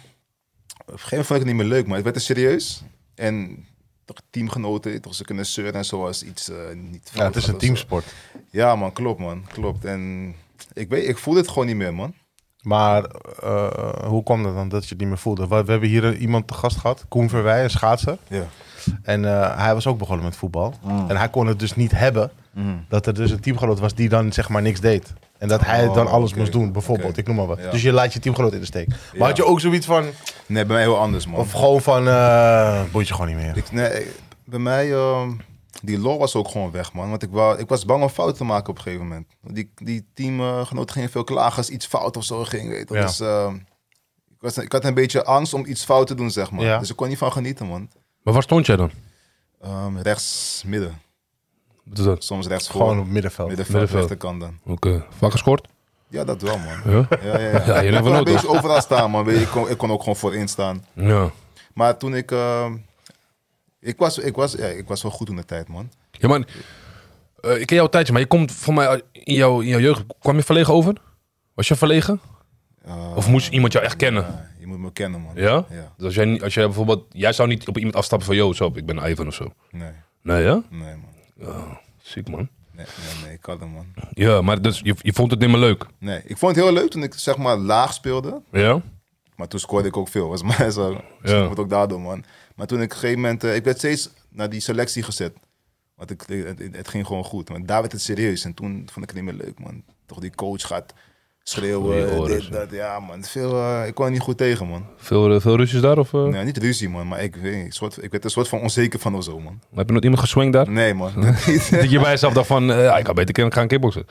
S3: een gegeven moment vond ik het niet meer leuk, maar het werd er serieus. En toch teamgenoten, toch ze kunnen zeuren en zo als iets eh, niet
S2: Ja,
S3: fout
S2: het is
S3: gaat
S2: een
S3: of zo.
S2: teamsport.
S3: Ja, man, klopt, man. Klopt. En ik, weet, ik voel het gewoon niet meer, man.
S2: Maar eh, hoe kwam dat dan dat je het niet meer voelde? We, we hebben hier eh, iemand te gast gehad, Koen Verwij, een schaatser.
S3: Ja.
S2: En eh, hij was ook begonnen met voetbal.
S3: Ah.
S2: En hij kon het dus niet hebben
S3: Mm.
S2: dat er dus een teamgenoot was die dan zeg maar niks deed. En dat hij
S3: Oh,
S2: dan alles
S3: oké.
S2: moest doen, bijvoorbeeld.
S3: Oké.
S2: Ik noem maar wat.
S3: Ja.
S2: Dus je laat je teamgenoot in de steek. Maar
S3: Ja.
S2: had je ook zoiets van,
S3: Nee, bij mij heel anders, man.
S2: of gewoon van, eh boeit je gewoon niet meer.
S3: Ik, nee, ik- bij mij, ehm, die lol was ook gewoon weg, man. Want ik, wou, ik was bang om fouten te maken op een gegeven moment. Die, die teamgenoten gingen veel klagen als iets fout of zo ging. Weet je.
S2: Ja.
S3: Dus ehm, ik, was, ik had een beetje angst om iets fout te doen, zeg maar.
S2: Ja.
S3: Dus ik kon niet van genieten, man.
S1: Maar waar stond jij dan?
S3: Ehm, rechts, midden.
S1: Wat is dat?
S3: Soms rechts voor.
S2: Gewoon op het middenveld.
S3: middenveld,
S1: Middenveld.
S3: rechterkant dan.
S1: Oké. Vaak gescoord?
S3: Ja, dat wel, man.
S1: Ja.
S3: Ja, ja, ja.
S1: Ja, je never
S3: ik kon
S1: know,
S3: een beetje overal staan, man. Weet je, Ik kon, ik kon ook gewoon voorin staan.
S1: Ja.
S3: Maar toen ik... ehm, ik, was, ik, was, ja, ik was wel goed in de tijd, man.
S1: Ja, maar eh, ik ken jou een tijdje, maar je komt voor mij uit- in jouw, in jouw jeugd. Kwam je verlegen over? Was je verlegen?
S3: Eh,
S1: Of moest iemand jou echt kennen?
S3: ja, je moet me kennen, man.
S1: Ja?
S3: Ja.
S1: Dus als jij, niet- als jij bijvoorbeeld, jij zou niet op iemand afstappen van, yo, zo, ik ben Ivan of zo.
S3: Nee,
S1: Nee, ja?
S3: nee, man.
S1: Ziek man.
S3: Nee, nee, nee, ik had hem, man.
S1: Ja, maar dus, je, je vond het niet meer leuk.
S3: Nee, ik vond het heel leuk toen ik zeg maar laag speelde.
S1: Ja?
S3: Maar toen scoorde ik ook veel. Was maar zo. Dus
S1: Ja.
S3: ik moet ook daardoor, man. Maar toen ik op een gegeven moment... eh, ik werd steeds naar die selectie gezet. Want ik, het, het- het ging gewoon goed. Maar daar werd het serieus. En toen vond ik het niet meer leuk, man. Toch die coach gaat
S1: Goeie
S3: schreeuwen.
S1: oren,
S3: dit,
S1: zo.
S3: dat. Ja, man. Veel, eh, ik kon er niet goed tegen, man.
S1: Veel, eh, veel ruzies daar? Of eh,
S3: Nee, niet ruzie, man. Maar ik, weet, niet, soort, ik werd er soort van onzeker van of zo, man.
S1: heb je nog iemand geswingd daar?
S3: Nee, man. dat niet.
S1: Dat je bij jezelf dacht van, eh, ik kan beter kunnen gaan kickboksen.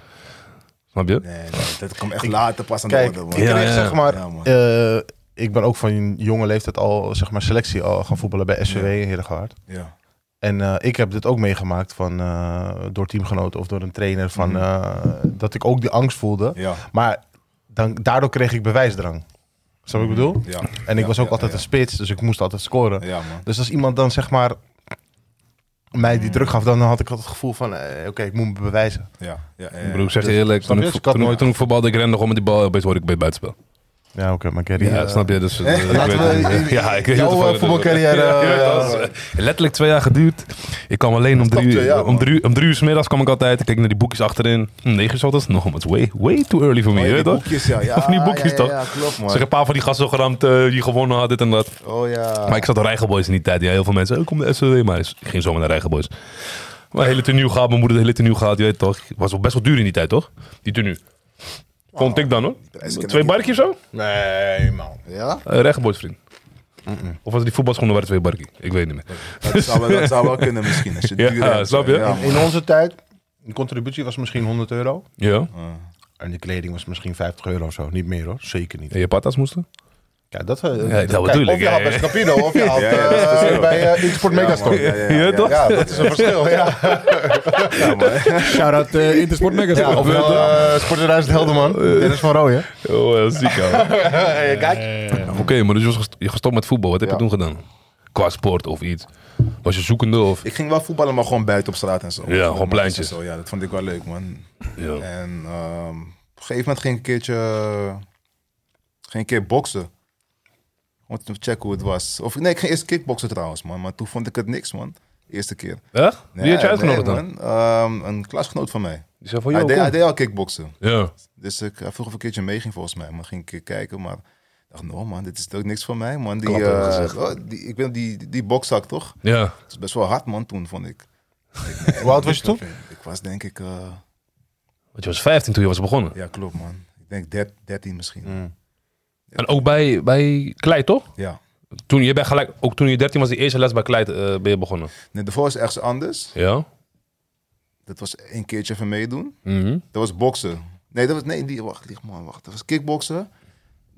S1: Snap je?
S3: Nee, nee, dat kwam echt later pas aan de
S2: Kijk,
S3: orde,
S2: ik
S3: man.
S1: Ja,
S2: kreeg
S1: ja.
S2: zeg maar...
S3: Ja, man.
S2: eh, ik ben ook van jonge leeftijd al, zeg maar, selectie al gaan voetballen bij SCW in Heerdegaard.
S3: Ja.
S2: En eh, ik heb dit ook meegemaakt van, eh, door teamgenoten of door een trainer. Van, eh, dat ik ook die angst voelde.
S3: Ja.
S2: Maar dan, daardoor kreeg ik bewijsdrang. Snap wat ik bedoel?
S3: Ja.
S2: En ik
S3: Ja,
S2: was ook
S3: ja,
S2: altijd
S3: ja.
S2: een spits, dus ik moest altijd scoren.
S3: Ja, man.
S2: Dus als iemand dan zeg maar mij die druk gaf, dan had ik altijd het gevoel van... eh, Oké, ik moet me bewijzen.
S3: Ja, ja, ja,
S1: Ik
S3: ja.
S1: bedoel, ik zeg je eerlijk,
S2: snap
S1: toen
S2: je?
S1: ik,
S2: Dus ik had
S1: toen,
S2: nog-
S1: toen ik voetbalde, ik rende gewoon met die bal, opeens hoorde ik bij het buitenspel.
S2: Ja, oké, maar Gary...
S1: Ja,
S2: eh,
S1: snap je? Dus, eh, ik
S2: Laten
S1: weet
S2: we-
S1: het niet. ja, ik weet
S2: jouw,
S1: het wel.
S2: eh, voetbalcarrière,
S1: Ja,
S2: eh,
S1: dat was, eh, letterlijk twee jaar geduurd. Ik kwam alleen om
S3: is
S1: drie,
S3: toch
S1: uur,
S3: twee jaar,
S1: om,
S3: man.
S1: drie, uur- om drie uur 's middags kwam ik altijd. Ik keek naar die boekjes achterin. Hm, Negen uur 's ochtends. Nog het is way, way too early voor me.
S3: Oh,
S1: je
S3: ja, die
S1: weet toch?
S3: boekjes, ja. Ja,
S1: Of die boekjes,
S3: ja,
S1: toch?
S3: Ja, ja, klopt,
S1: Dus ik heb
S3: man.
S1: een paar van die gasten geramd eh, die gewonnen hadden, dit en dat.
S3: Oh ja.
S1: Maar ik zat op Rijgenboys in die tijd. Ja, heel veel mensen, oh, kom de SOW, maar ik ging zomaar naar Rijgenboys. Maar hele tenue gehad, mijn moeder de hele tenue gehad, je weet toch. Was wel best wel duur in die tijd, toch? Die tenue. Vond ik dan, hoor.
S3: prijs ken ik
S1: Twee
S3: niet.
S1: barkjes zo?
S2: Nee, man.
S3: Ja?
S1: Eh Rijgenboys, vriend. Of was die voetbalschoenen waren twee barkie? Ik weet niet meer.
S3: Dat zou, wel, dat zou wel kunnen misschien. Als je
S1: Ja,
S3: duur hebt.
S1: snap je?
S3: Ja,
S2: In onze tijd, de contributie was misschien 100 euro.
S1: Ja.
S3: man.
S2: En de kleding was misschien 50 euro of zo. Niet meer hoor, zeker niet.
S1: En je patas moesten?
S2: Ja, dat, eh,
S1: dat
S2: kijk,
S1: bedoel ik,
S2: Of je
S1: ja,
S2: haalt
S1: ja.
S2: bij Scapino of je haalt
S3: Ja, ja, dat is
S2: eh,
S3: verschil.
S2: bij eh, X-Sport
S3: Ja,
S2: Megastore.
S3: man. Ja, ja, ja,
S1: toch?
S2: Ja, dat is een verschil. Ja,
S3: Ja, man.
S5: Shout-out eh, Intersport Magazine.
S2: ja
S5: Ja,
S2: of uh, Sport 2000 Helderman. Dennis van Rooyen.
S1: Oh, dat is ziek, ouwe.
S2: Kijk.
S1: Oké, maar dus je was gest- je gestopt met voetbal. Wat heb
S3: Ja.
S1: je toen gedaan? Qua sport of iets? Was je zoekende of?
S3: Ik ging wel voetballen, maar gewoon buiten op straat en zo.
S1: Ja, gewoon
S3: Met
S1: pleintjes.
S3: matjes en Zo. Ja, dat vond ik wel leuk, man.
S1: Ja.
S3: En ehm, op een gegeven moment ging ik een keertje, ging een keer boksen. Om te checken hoe het was. Of nee, ik ging eerst kickboksen trouwens, man. Maar toen vond ik het niks, man. Eerste keer.
S1: Echt? Wie
S3: Nee,
S1: had je uitgenodigd
S3: nee,
S1: dan?
S3: man. Ehm, een klasgenoot van mij.
S1: Die zei van,
S3: hij,
S1: joh,
S3: deed, hij
S1: kom.
S3: deed al kickboksen.
S1: Ja.
S3: Dus ik hij vroeg of ik een keertje mee ging volgens mij. Maar ging ik een keer kijken, maar ik dacht, no man, dit is ook niks voor mij, man. Die,
S1: Klap in het
S3: eh,
S1: gezicht.
S3: oh, die, ik ben die, die, die bokzak, toch?
S1: Ja.
S3: Dat is best wel hard, man, toen, vond ik.
S2: Hoe oud was je toen?
S3: Ik was denk ik... eh,
S1: Want je was 15 toen je was begonnen.
S3: Ja, klopt man. Ik denk dert- 13 misschien.
S2: Mm.
S1: En ook bij, bij Klei, toch?
S3: Ja.
S1: Toen, je bent gelijk, ook toen je 13 was, die eerste les bij Klei eh, ben je begonnen.
S3: Nee, daarvoor was ergens anders.
S1: Ja.
S3: Dat was één keertje even meedoen.
S1: Mhm.
S3: Dat was boksen. Nee, dat was, nee die, wacht, licht man, wacht. Dat was kickboksen.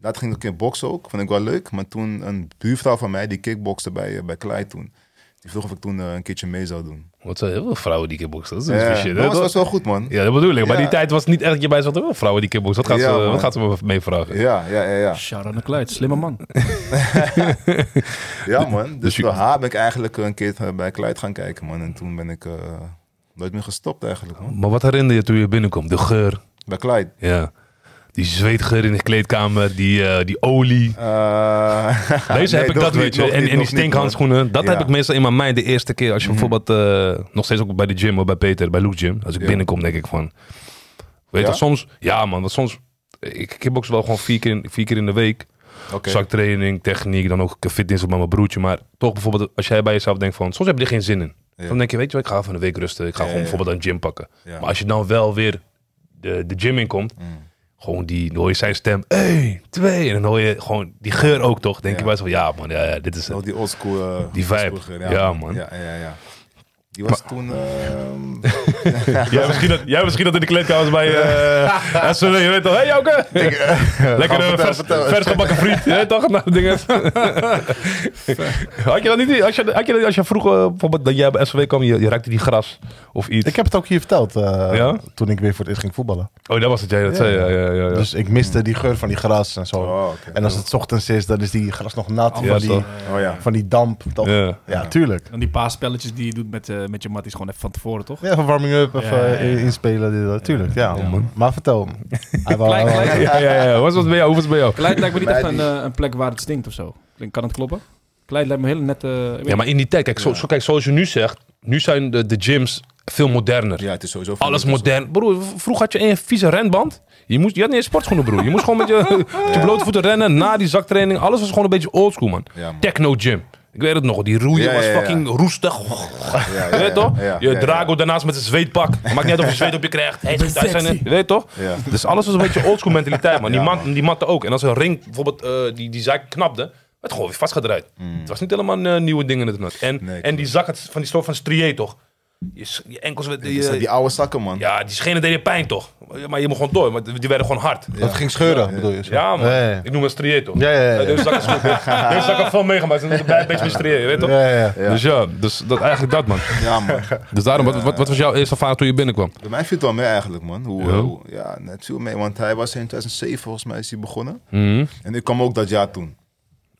S3: Dat ging ik een keer boksen ook. Vond ik wel leuk. Maar toen een buurvrouw van mij, die kickbokste bij, eh, bij Klei toen. Die vroeg of ik toen eh, een keertje mee zou doen.
S1: Wat zijn heel veel vrouwen die kickboxen. Dat is
S3: Ja,
S1: een shit, hè,
S3: dat was,
S1: toch?
S3: was wel goed man.
S1: Ja, dat bedoel ik. Maar
S3: Ja.
S1: die tijd was niet echt dat je bij zat. Oh, vrouwen die kickboxen. Wat gaat,
S3: Ja,
S1: ze,
S3: man.
S1: wat gaat ze me mee vragen?
S3: Ja, ja, ja,
S1: Dus
S3: ja.
S5: Shout-out naar Kluit, slimme man.
S3: Ja, man. Dus
S1: je-
S3: door haar ben ik eigenlijk een keer eh, bij Kluit gaan kijken, man. En toen ben ik eh, nooit meer gestopt eigenlijk, man.
S1: Maar wat herinner je toen je binnenkwam? De geur.
S3: Bij Kluit.
S1: Ja. Die zweetgeur in de kleedkamer, die, eh, die olie.
S3: Eh,
S1: Deze
S3: nee,
S1: heb ik
S3: nog
S1: dat,
S3: niet,
S1: weet je.
S3: nog
S1: En,
S3: niet,
S1: en die
S3: nog niet,
S1: stinkhandschoenen. Dat
S3: Ja. Mhm.
S1: heb ik meestal in mijn mind de eerste keer. Als je bijvoorbeeld, eh, nog steeds ook bij de gym, of bij Peter, bij Luke Gym. Als ik
S3: Ja.
S1: binnenkom, denk ik van... Weet je,
S3: Ja?
S1: dat soms... Ja man, want soms... Ik kickbox wel gewoon vier keer in, vier keer in de week.
S3: man. Oké.
S1: Zaktraining, techniek, dan ook fitness bij mijn broertje. Maar toch bijvoorbeeld, als jij bij jezelf denkt van... Soms heb je er geen zin in.
S3: Ja.
S1: Dan denk je, weet je wel, ik ga even een week rusten. Ik ga
S3: Ja,
S1: gewoon
S3: ja, ja.
S1: bijvoorbeeld een gym pakken.
S3: Ja.
S1: Maar als je dan wel weer de, de gym inkomt...
S3: Mm.
S1: Gewoon die, dan hoor je zijn stem, 1, twee. En dan hoor je gewoon die geur ook toch. Denk
S3: Ja.
S1: je bij jezelf, ja man, ja, ja, dit is het.
S3: Nog die oldschool. eh,
S1: Die vibe.
S3: oldschool,
S1: Ja, man.
S3: Ja, ja, ja. Die was toen. ehm,
S1: Jij misschien, dat, jij misschien dat in de kleedkamer bij eh SW, je weet toch? Hé hey, Jouke! Lekker
S2: vertel,
S1: eh, vers,
S2: vertel.
S1: vers gebakken friet, hè, toch? Nou, dingen. had je dat niet, als je, had je, dat- als je vroeg, eh, bijvoorbeeld dat jij bij SW kwam, je, je raakte die gras of iets.
S2: Ik heb het ook hier verteld eh,
S1: Ja?
S2: toen ik weer voor het eerst ging voetballen.
S1: Oh, dat was het, jij dat zei, ja, ja, ja. ja.
S2: Dus ik miste die geur van die gras en zo.
S3: Oh, oké.
S2: En als het 's ochtends is, dan is die gras nog nat
S1: Ja,
S2: van,
S1: toch.
S2: die,
S3: oh ja.
S2: van die damp. Toch? Ja.
S1: ja.
S2: tuurlijk.
S5: Dan die paar spelletjes die je doet met, eh, met je matties gewoon even van tevoren, toch?
S2: Ja, van warming up of
S5: Ja,
S2: eh,
S5: ja, ja.
S2: inspelen. Dit, dat. Tuurlijk, ja.
S5: Ja, man.
S2: Maar vertel. Hij wou-
S5: Klein, klein.
S1: Ja, ja, ja. Hoe was het bij jou? Hoe was het bij jou?
S5: Kleid lijkt me niet
S3: Mij
S5: echt een,
S3: niet.
S5: eh, een plek waar het stinkt of zo. Klink- Kan het kloppen? Kleid lijkt me heel net...
S1: Ja, maar in die tijd, kijk, zo, zo- kijk zoals je nu zegt, nu zijn de, de gyms veel moderner.
S3: ja, het is sowieso. veel
S1: Alles
S3: leuker zo.
S1: modern. Broer, v- vroeger had je een vieze renband. Je, moest, je had niet eens sportschoenen, broer. Je moest gewoon met je, met je blote voeten rennen na die zaktraining. Alles was gewoon een beetje oldschool, man.
S3: Ja, man.
S1: Techno gym. Ik weet het nog. Die roeien
S3: Ja,
S1: was
S3: ja, ja.
S1: fucking roestig.
S3: Ja,
S1: Je
S3: ja,
S1: weet
S3: ja,
S1: toch?
S3: ja,
S1: je
S3: ja,
S1: Drago daarnaast met zijn zweetpak. Maakt niet uit of je zweet op je krijgt. Hey, daar zijn er- je weet toch?
S3: Ja.
S1: Dus alles was een beetje oldschool mentaliteit, man. Die,
S3: Ja,
S1: man,
S3: man.
S1: die matte ook. En als een ring bijvoorbeeld eh, die, die zaak knapte, werd gewoon weer vastgedraaid. Het was niet helemaal eh, nieuwe dingen. in het En,
S3: Mm. Nee,
S1: en die zak had van die soort van strié, toch? Je, s- je enkels... werd-
S3: Ja,
S1: je-
S3: Die oude zakken, man.
S1: ja, die schenen deden pijn toch? Maar je mocht gewoon door, want die werden gewoon hard. Ja,
S2: Dat ging scheuren, bedoel je? zo?
S1: man.
S2: Ja, ja.
S1: Ik noem het strié toch?
S2: Ja, ja, ja, ja.
S1: Deze zak is goed. Deze zak heeft veel meegemaakt. Dus ik blijf een beetje met strié, je weet toch?
S2: Ja, ja, ja.
S1: Dus ja, dus dat, eigenlijk dat man.
S3: Ja, man.
S1: Dus daarom, wat, wat, wat was jouw eerste ervaring toen je binnenkwam?
S3: Bij mij viel het wel mee eigenlijk, man. Hoe,
S1: Ja.
S3: ja. Hoe, ja, net viel mee. Want hij was in 2007 volgens mij is hij begonnen.
S1: Mhm.
S3: En ik kwam ook dat jaar toen.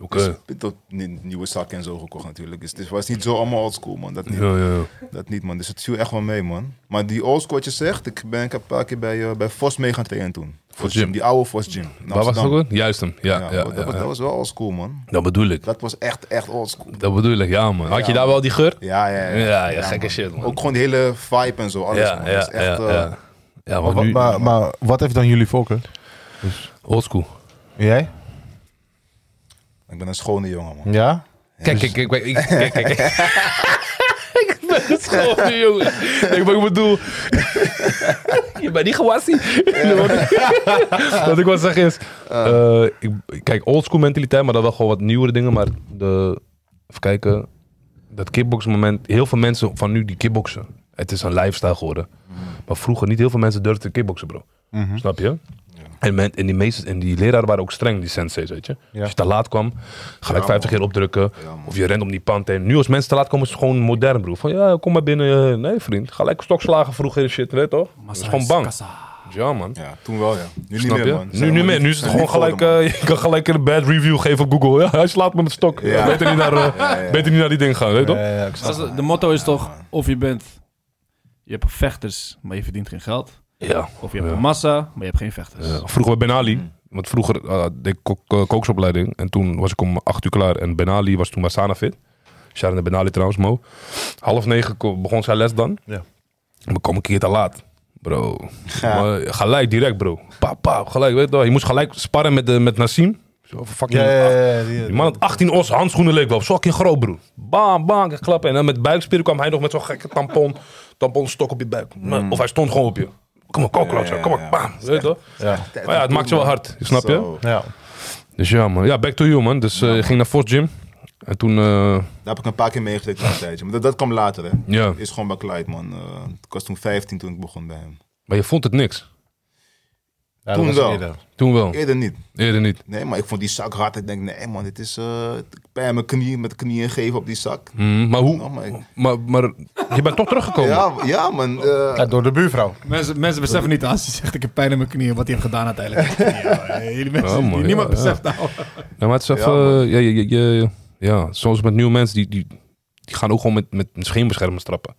S1: Oké.
S3: Dus ik heb tot nie- nieuwe zakken en zo gekocht natuurlijk. Dus het was niet zo allemaal oldschool, man. Dat niet.
S1: Ja, ja, ja.
S3: Dat niet, man. Dus het viel echt wel mee, man. Maar die oldschool wat je zegt, ik ben ik heb een paar keer bij, eh, bij Vos mee gaan trainen toen. Vos
S1: Gym.
S3: Die oude Vos Gym. in
S1: Waar was het
S3: Amsterdam.
S1: ook weer? Juist hem, ja. ja,
S3: Ja,
S1: ja,
S3: dat, was,
S1: ja.
S3: dat was wel oldschool, man.
S1: Dat bedoel ik.
S3: Dat was echt, echt oldschool.
S1: Dat bedoel ik, ja man. Had je
S3: Ja,
S1: daar wel die geur?
S3: Ja, ja, ja.
S1: Ja, ja, gekke
S3: man.
S1: shit, man.
S3: Ook gewoon de hele vibe en zo, alles,
S1: Ja,
S3: man.
S1: ja,
S3: Dat is
S1: ja.
S3: echt, eh,
S1: ja. Ja,
S2: Maar,
S1: maar
S2: wat-
S1: nu,
S2: maar, maar wat heeft dan jullie voorkeur?
S1: oldschool.
S2: Jij?
S3: Ik ben een schone jongen, man.
S2: Ja?
S1: Kijk, kijk, kijk, kijk, ik- kijk, kijk. Ik ben geschoten, jongen. Ik, maar ik bedoel... je bent niet gewassie. wat ik wil zeggen is...
S3: Ah.
S1: eh, ik, kijk, oldschool mentaliteit, maar dan wel gewoon wat nieuwere dingen. Maar de... Even kijken. Dat kickboxmoment. Heel veel mensen van nu die kickboxen. Het is een lifestyle geworden.
S3: Mm-hmm.
S1: Maar vroeger niet heel veel mensen durfden te kickboxen, bro. Snap je? En, men, en, die meesters, en die leraren waren ook streng, die senseis, weet je.
S2: Ja.
S1: Als je te laat kwam, gelijk
S3: Ja,
S1: 50 keer opdrukken.
S3: Ja, man.
S1: of je rent om die pand heen. Nu als mensen te laat komen, is het gewoon modern, broer. Van ja, kom maar binnen. eh, Nee, vriend. Gelijk stokslagen vroeger en shit, weet je toch? Dat is gewoon bang. Ja, man.
S3: Ja, toen wel, ja. Nu niet
S1: Snap
S3: meer,
S1: je?
S3: man.
S1: Nu, nu, meer. nu is het gewoon gelijk, eh, je kan gelijk een bad review geven op Google. Ja, hij slaat me met stok.
S3: Ja.
S1: Beter, niet naar, eh,
S3: Ja, ja.
S1: beter niet naar die ding gaan, weet je toch?
S2: Eh, ik snap
S5: Dat is- De motto is toch, of je bent... Je hebt vechters, maar je verdient geen geld.
S1: Ja.
S5: Of je hebt
S1: Ja.
S5: een massa, maar je hebt geen vechters.
S1: Ja, Vroeger bij Ben Ali.
S3: Mm.
S1: Want vroeger eh, deed ik kok- eh, koksopleiding. En toen was ik om acht uur klaar. En Ben Ali was toen bij Sana fit. Sharon de Ben Ali trouwens, Mo. Half negen ko- begon zijn les dan.
S2: Ja.
S1: Maar kom een keer te laat. Bro. Maar gelijk, direct bro. Pa, pa, gelijk. Weet je, wel. je moest gelijk sparren met, de met Nassim. Zo fucking
S2: Ja, ja, ja, ja, die-
S1: die man had 18 os handschoenen leek wel. Fucking groot, broer. Bam, bam, ik klappen. En dan met buikspieren kwam hij nog met zo'n gekke tampon. Tamponstok op je buik. Of hij stond gewoon op je. Kom op, kom, klootzak,
S3: Mm. ja,
S1: kom op,
S3: ja.
S1: bam. Weet je toch?
S2: Ja.
S1: Maar ja, het maakt je wel hard. Snap je?
S3: Zo.
S2: Ja.
S1: Dus ja, man. Ja, back to you, man. Dus eh, je ging naar Force Gym. En toen, eh,
S3: Daar heb ik een paar keer meegezeten een tijdje. Maar dat, dat kwam later, hè.
S1: ja.
S3: Is gewoon bij Clyde, man. Eh, ik was toen 15 toen ik begon bij hem.
S1: Maar je vond het niks.
S2: Ja, dat
S3: Toen
S2: was
S3: wel.
S2: eerder.
S1: Toen wel.
S3: Eerder niet.
S1: Eerder niet.
S3: Nee, maar ik vond die zak hard. Ik denk, nee man, dit is eh pijn mijn knieën met de knieën geven op die zak.
S1: Mm, maar hoe?
S3: Oh my.
S1: Maar, maar je bent toch teruggekomen?
S3: Ja, ja man. eh,
S2: Ja, door de buurvrouw.
S6: Mensen, mensen beseffen niet als je zegt ik heb pijn in mijn knieën wat hij heeft gedaan uiteindelijk. Ja, Jullie mensen,
S1: Ja, man,
S6: die niemand
S1: ja, ja.
S6: beseft nou.
S1: Ja, maar het is even...
S3: Ja,
S1: eh, Ja, ja, ja, ja, ja, soms met nieuwe mensen, die, die, die gaan ook gewoon met, met een scheenbeschermers trappen.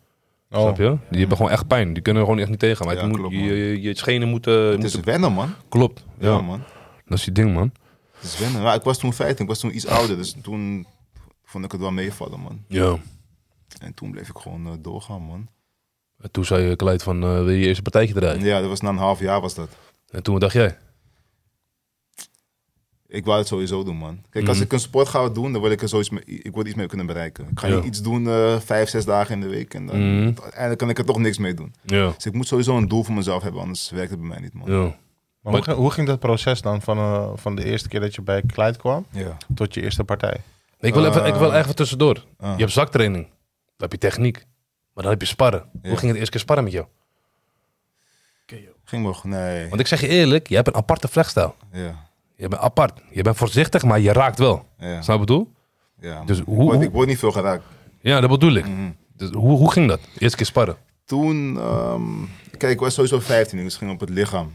S2: Oh.
S1: Snap je? Die hebben gewoon echt pijn. Die kunnen er gewoon echt niet tegen. Maar
S3: Ja,
S1: het moet,
S3: klopt,
S1: je,
S3: man.
S1: je, je schenen moeten...
S3: het is
S1: moeten-
S3: wennen man.
S1: Klopt.
S3: Ja,
S1: Ja.
S3: man.
S1: Dat is die ding, man.
S3: Het is wennen. Maar ik was toen 15, ik was toen iets ouder. Dus toen vond ik het wel meevallen man.
S1: Ja.
S3: En toen bleef ik gewoon eh, doorgaan man.
S1: En toen zei je Kleid van, eh, wil je eerst een partijtje draaien?
S3: Ja, dat was na een half jaar was dat.
S1: En toen dacht jij?
S3: Ik wou het sowieso doen man. Kijk, als
S1: Mhm.
S3: ik een sport ga doen, dan wil ik er zoiets mee, ik wil iets mee kunnen bereiken. Ik ga
S1: Ja.
S3: niet iets doen eh, vijf, zes dagen in de week. En dan
S1: Mhm.
S3: uiteindelijk kan ik er toch niks mee doen.
S1: Ja.
S3: Dus ik moet sowieso een doel voor mezelf hebben, anders werkt het bij mij niet man.
S1: Ja.
S2: Maar hoe, ging- hoe ging dat proces dan van, eh, van de eerste keer dat je bij Clyde kwam
S3: Ja.
S2: tot je eerste partij?
S1: Ik wil, even, ik wil
S3: Eh.
S1: even tussendoor.
S3: Ah.
S1: Je hebt zaktraining. Dan heb je techniek. Maar dan heb je sparren. Hoe
S3: Ja.
S1: ging het eerst keer sparren met jou?
S3: Ging nog, nee.
S1: Want ik zeg je eerlijk, je hebt een aparte vlechtstijl.
S3: Ja,
S1: Je bent apart. Je bent voorzichtig, maar je raakt wel.
S3: ja.
S1: Snap je wat ik bedoel?
S3: ja.
S1: Dus
S3: Ik
S1: hoe-
S3: word-
S1: hoe-
S3: Ik word niet veel geraakt.
S1: Ja, dat bedoel ik.
S3: Mhm.
S1: Dus hoe, hoe ging dat? Eerst keer sparren.
S3: Toen, ehm, kijk, ik was sowieso 15, dus het ging op het lichaam.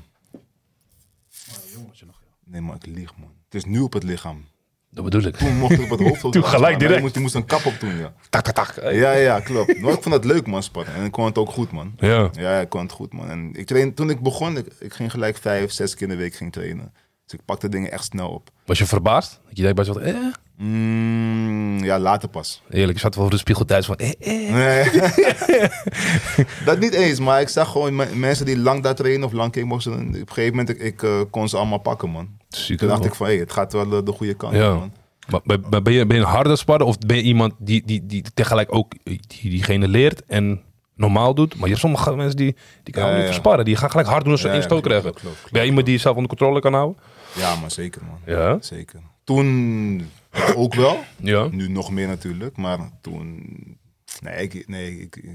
S3: Nee, maar ik lieg, man. Het is nu op het lichaam.
S1: Dat bedoel ik.
S3: Toen mocht ik op het hoofd. ook
S1: Toen
S3: wel,
S1: gelijk
S3: maar je
S1: direct.
S3: moest- Je moest, een kap op doen, ja.
S1: Tak, tak, tak. Ja.
S3: Ja, ja, klopt. Maar ik vond dat leuk, man, sparren. En ik kon het ook goed, man.
S1: Ja.
S3: Ja, ik kon het goed, man. En ik train, toen ik begon, ik, ik ging gelijk vijf, zes keer in de week ging trainen. Dus ik pakte dingen echt snel op.
S1: Was je verbaasd? Dat je dacht bij jezelf, eh?
S3: Mm, ja, later pas.
S1: Eerlijk, je zat wel voor de spiegel thuis van, eh, eh.
S3: Nee. dat niet eens, maar ik zag gewoon me- mensen die lang daar trainen of lang kickboxen. en Op een gegeven moment, ik, ik eh, kon ze allemaal pakken, man.
S1: Ziek,
S3: Toen dacht
S1: hoor.
S3: ik van, hé, het gaat wel eh, de goede kant
S1: Ja.
S3: op, man.
S1: Maar, maar- maar ben, je, ben je een harde sparren of ben je iemand die, die, die tegelijk ook die, diegene leert en normaal doet? Maar je hebt sommige mensen die, die kan
S3: Ja,
S1: niet
S3: ja.
S1: versparren. Die gaan gelijk hard doen als ze
S3: Ja,
S1: één
S3: ja,
S1: stoot
S3: klopt,
S1: krijgen.
S3: klopt, klopt,
S1: ben je iemand die jezelf onder controle kan houden?
S3: Ja, maar zeker, man.
S1: Ja.
S3: Zeker. Toen ook wel.
S1: Ja.
S3: Nu nog meer natuurlijk, maar toen... Nee, ik, nee, ik, ik,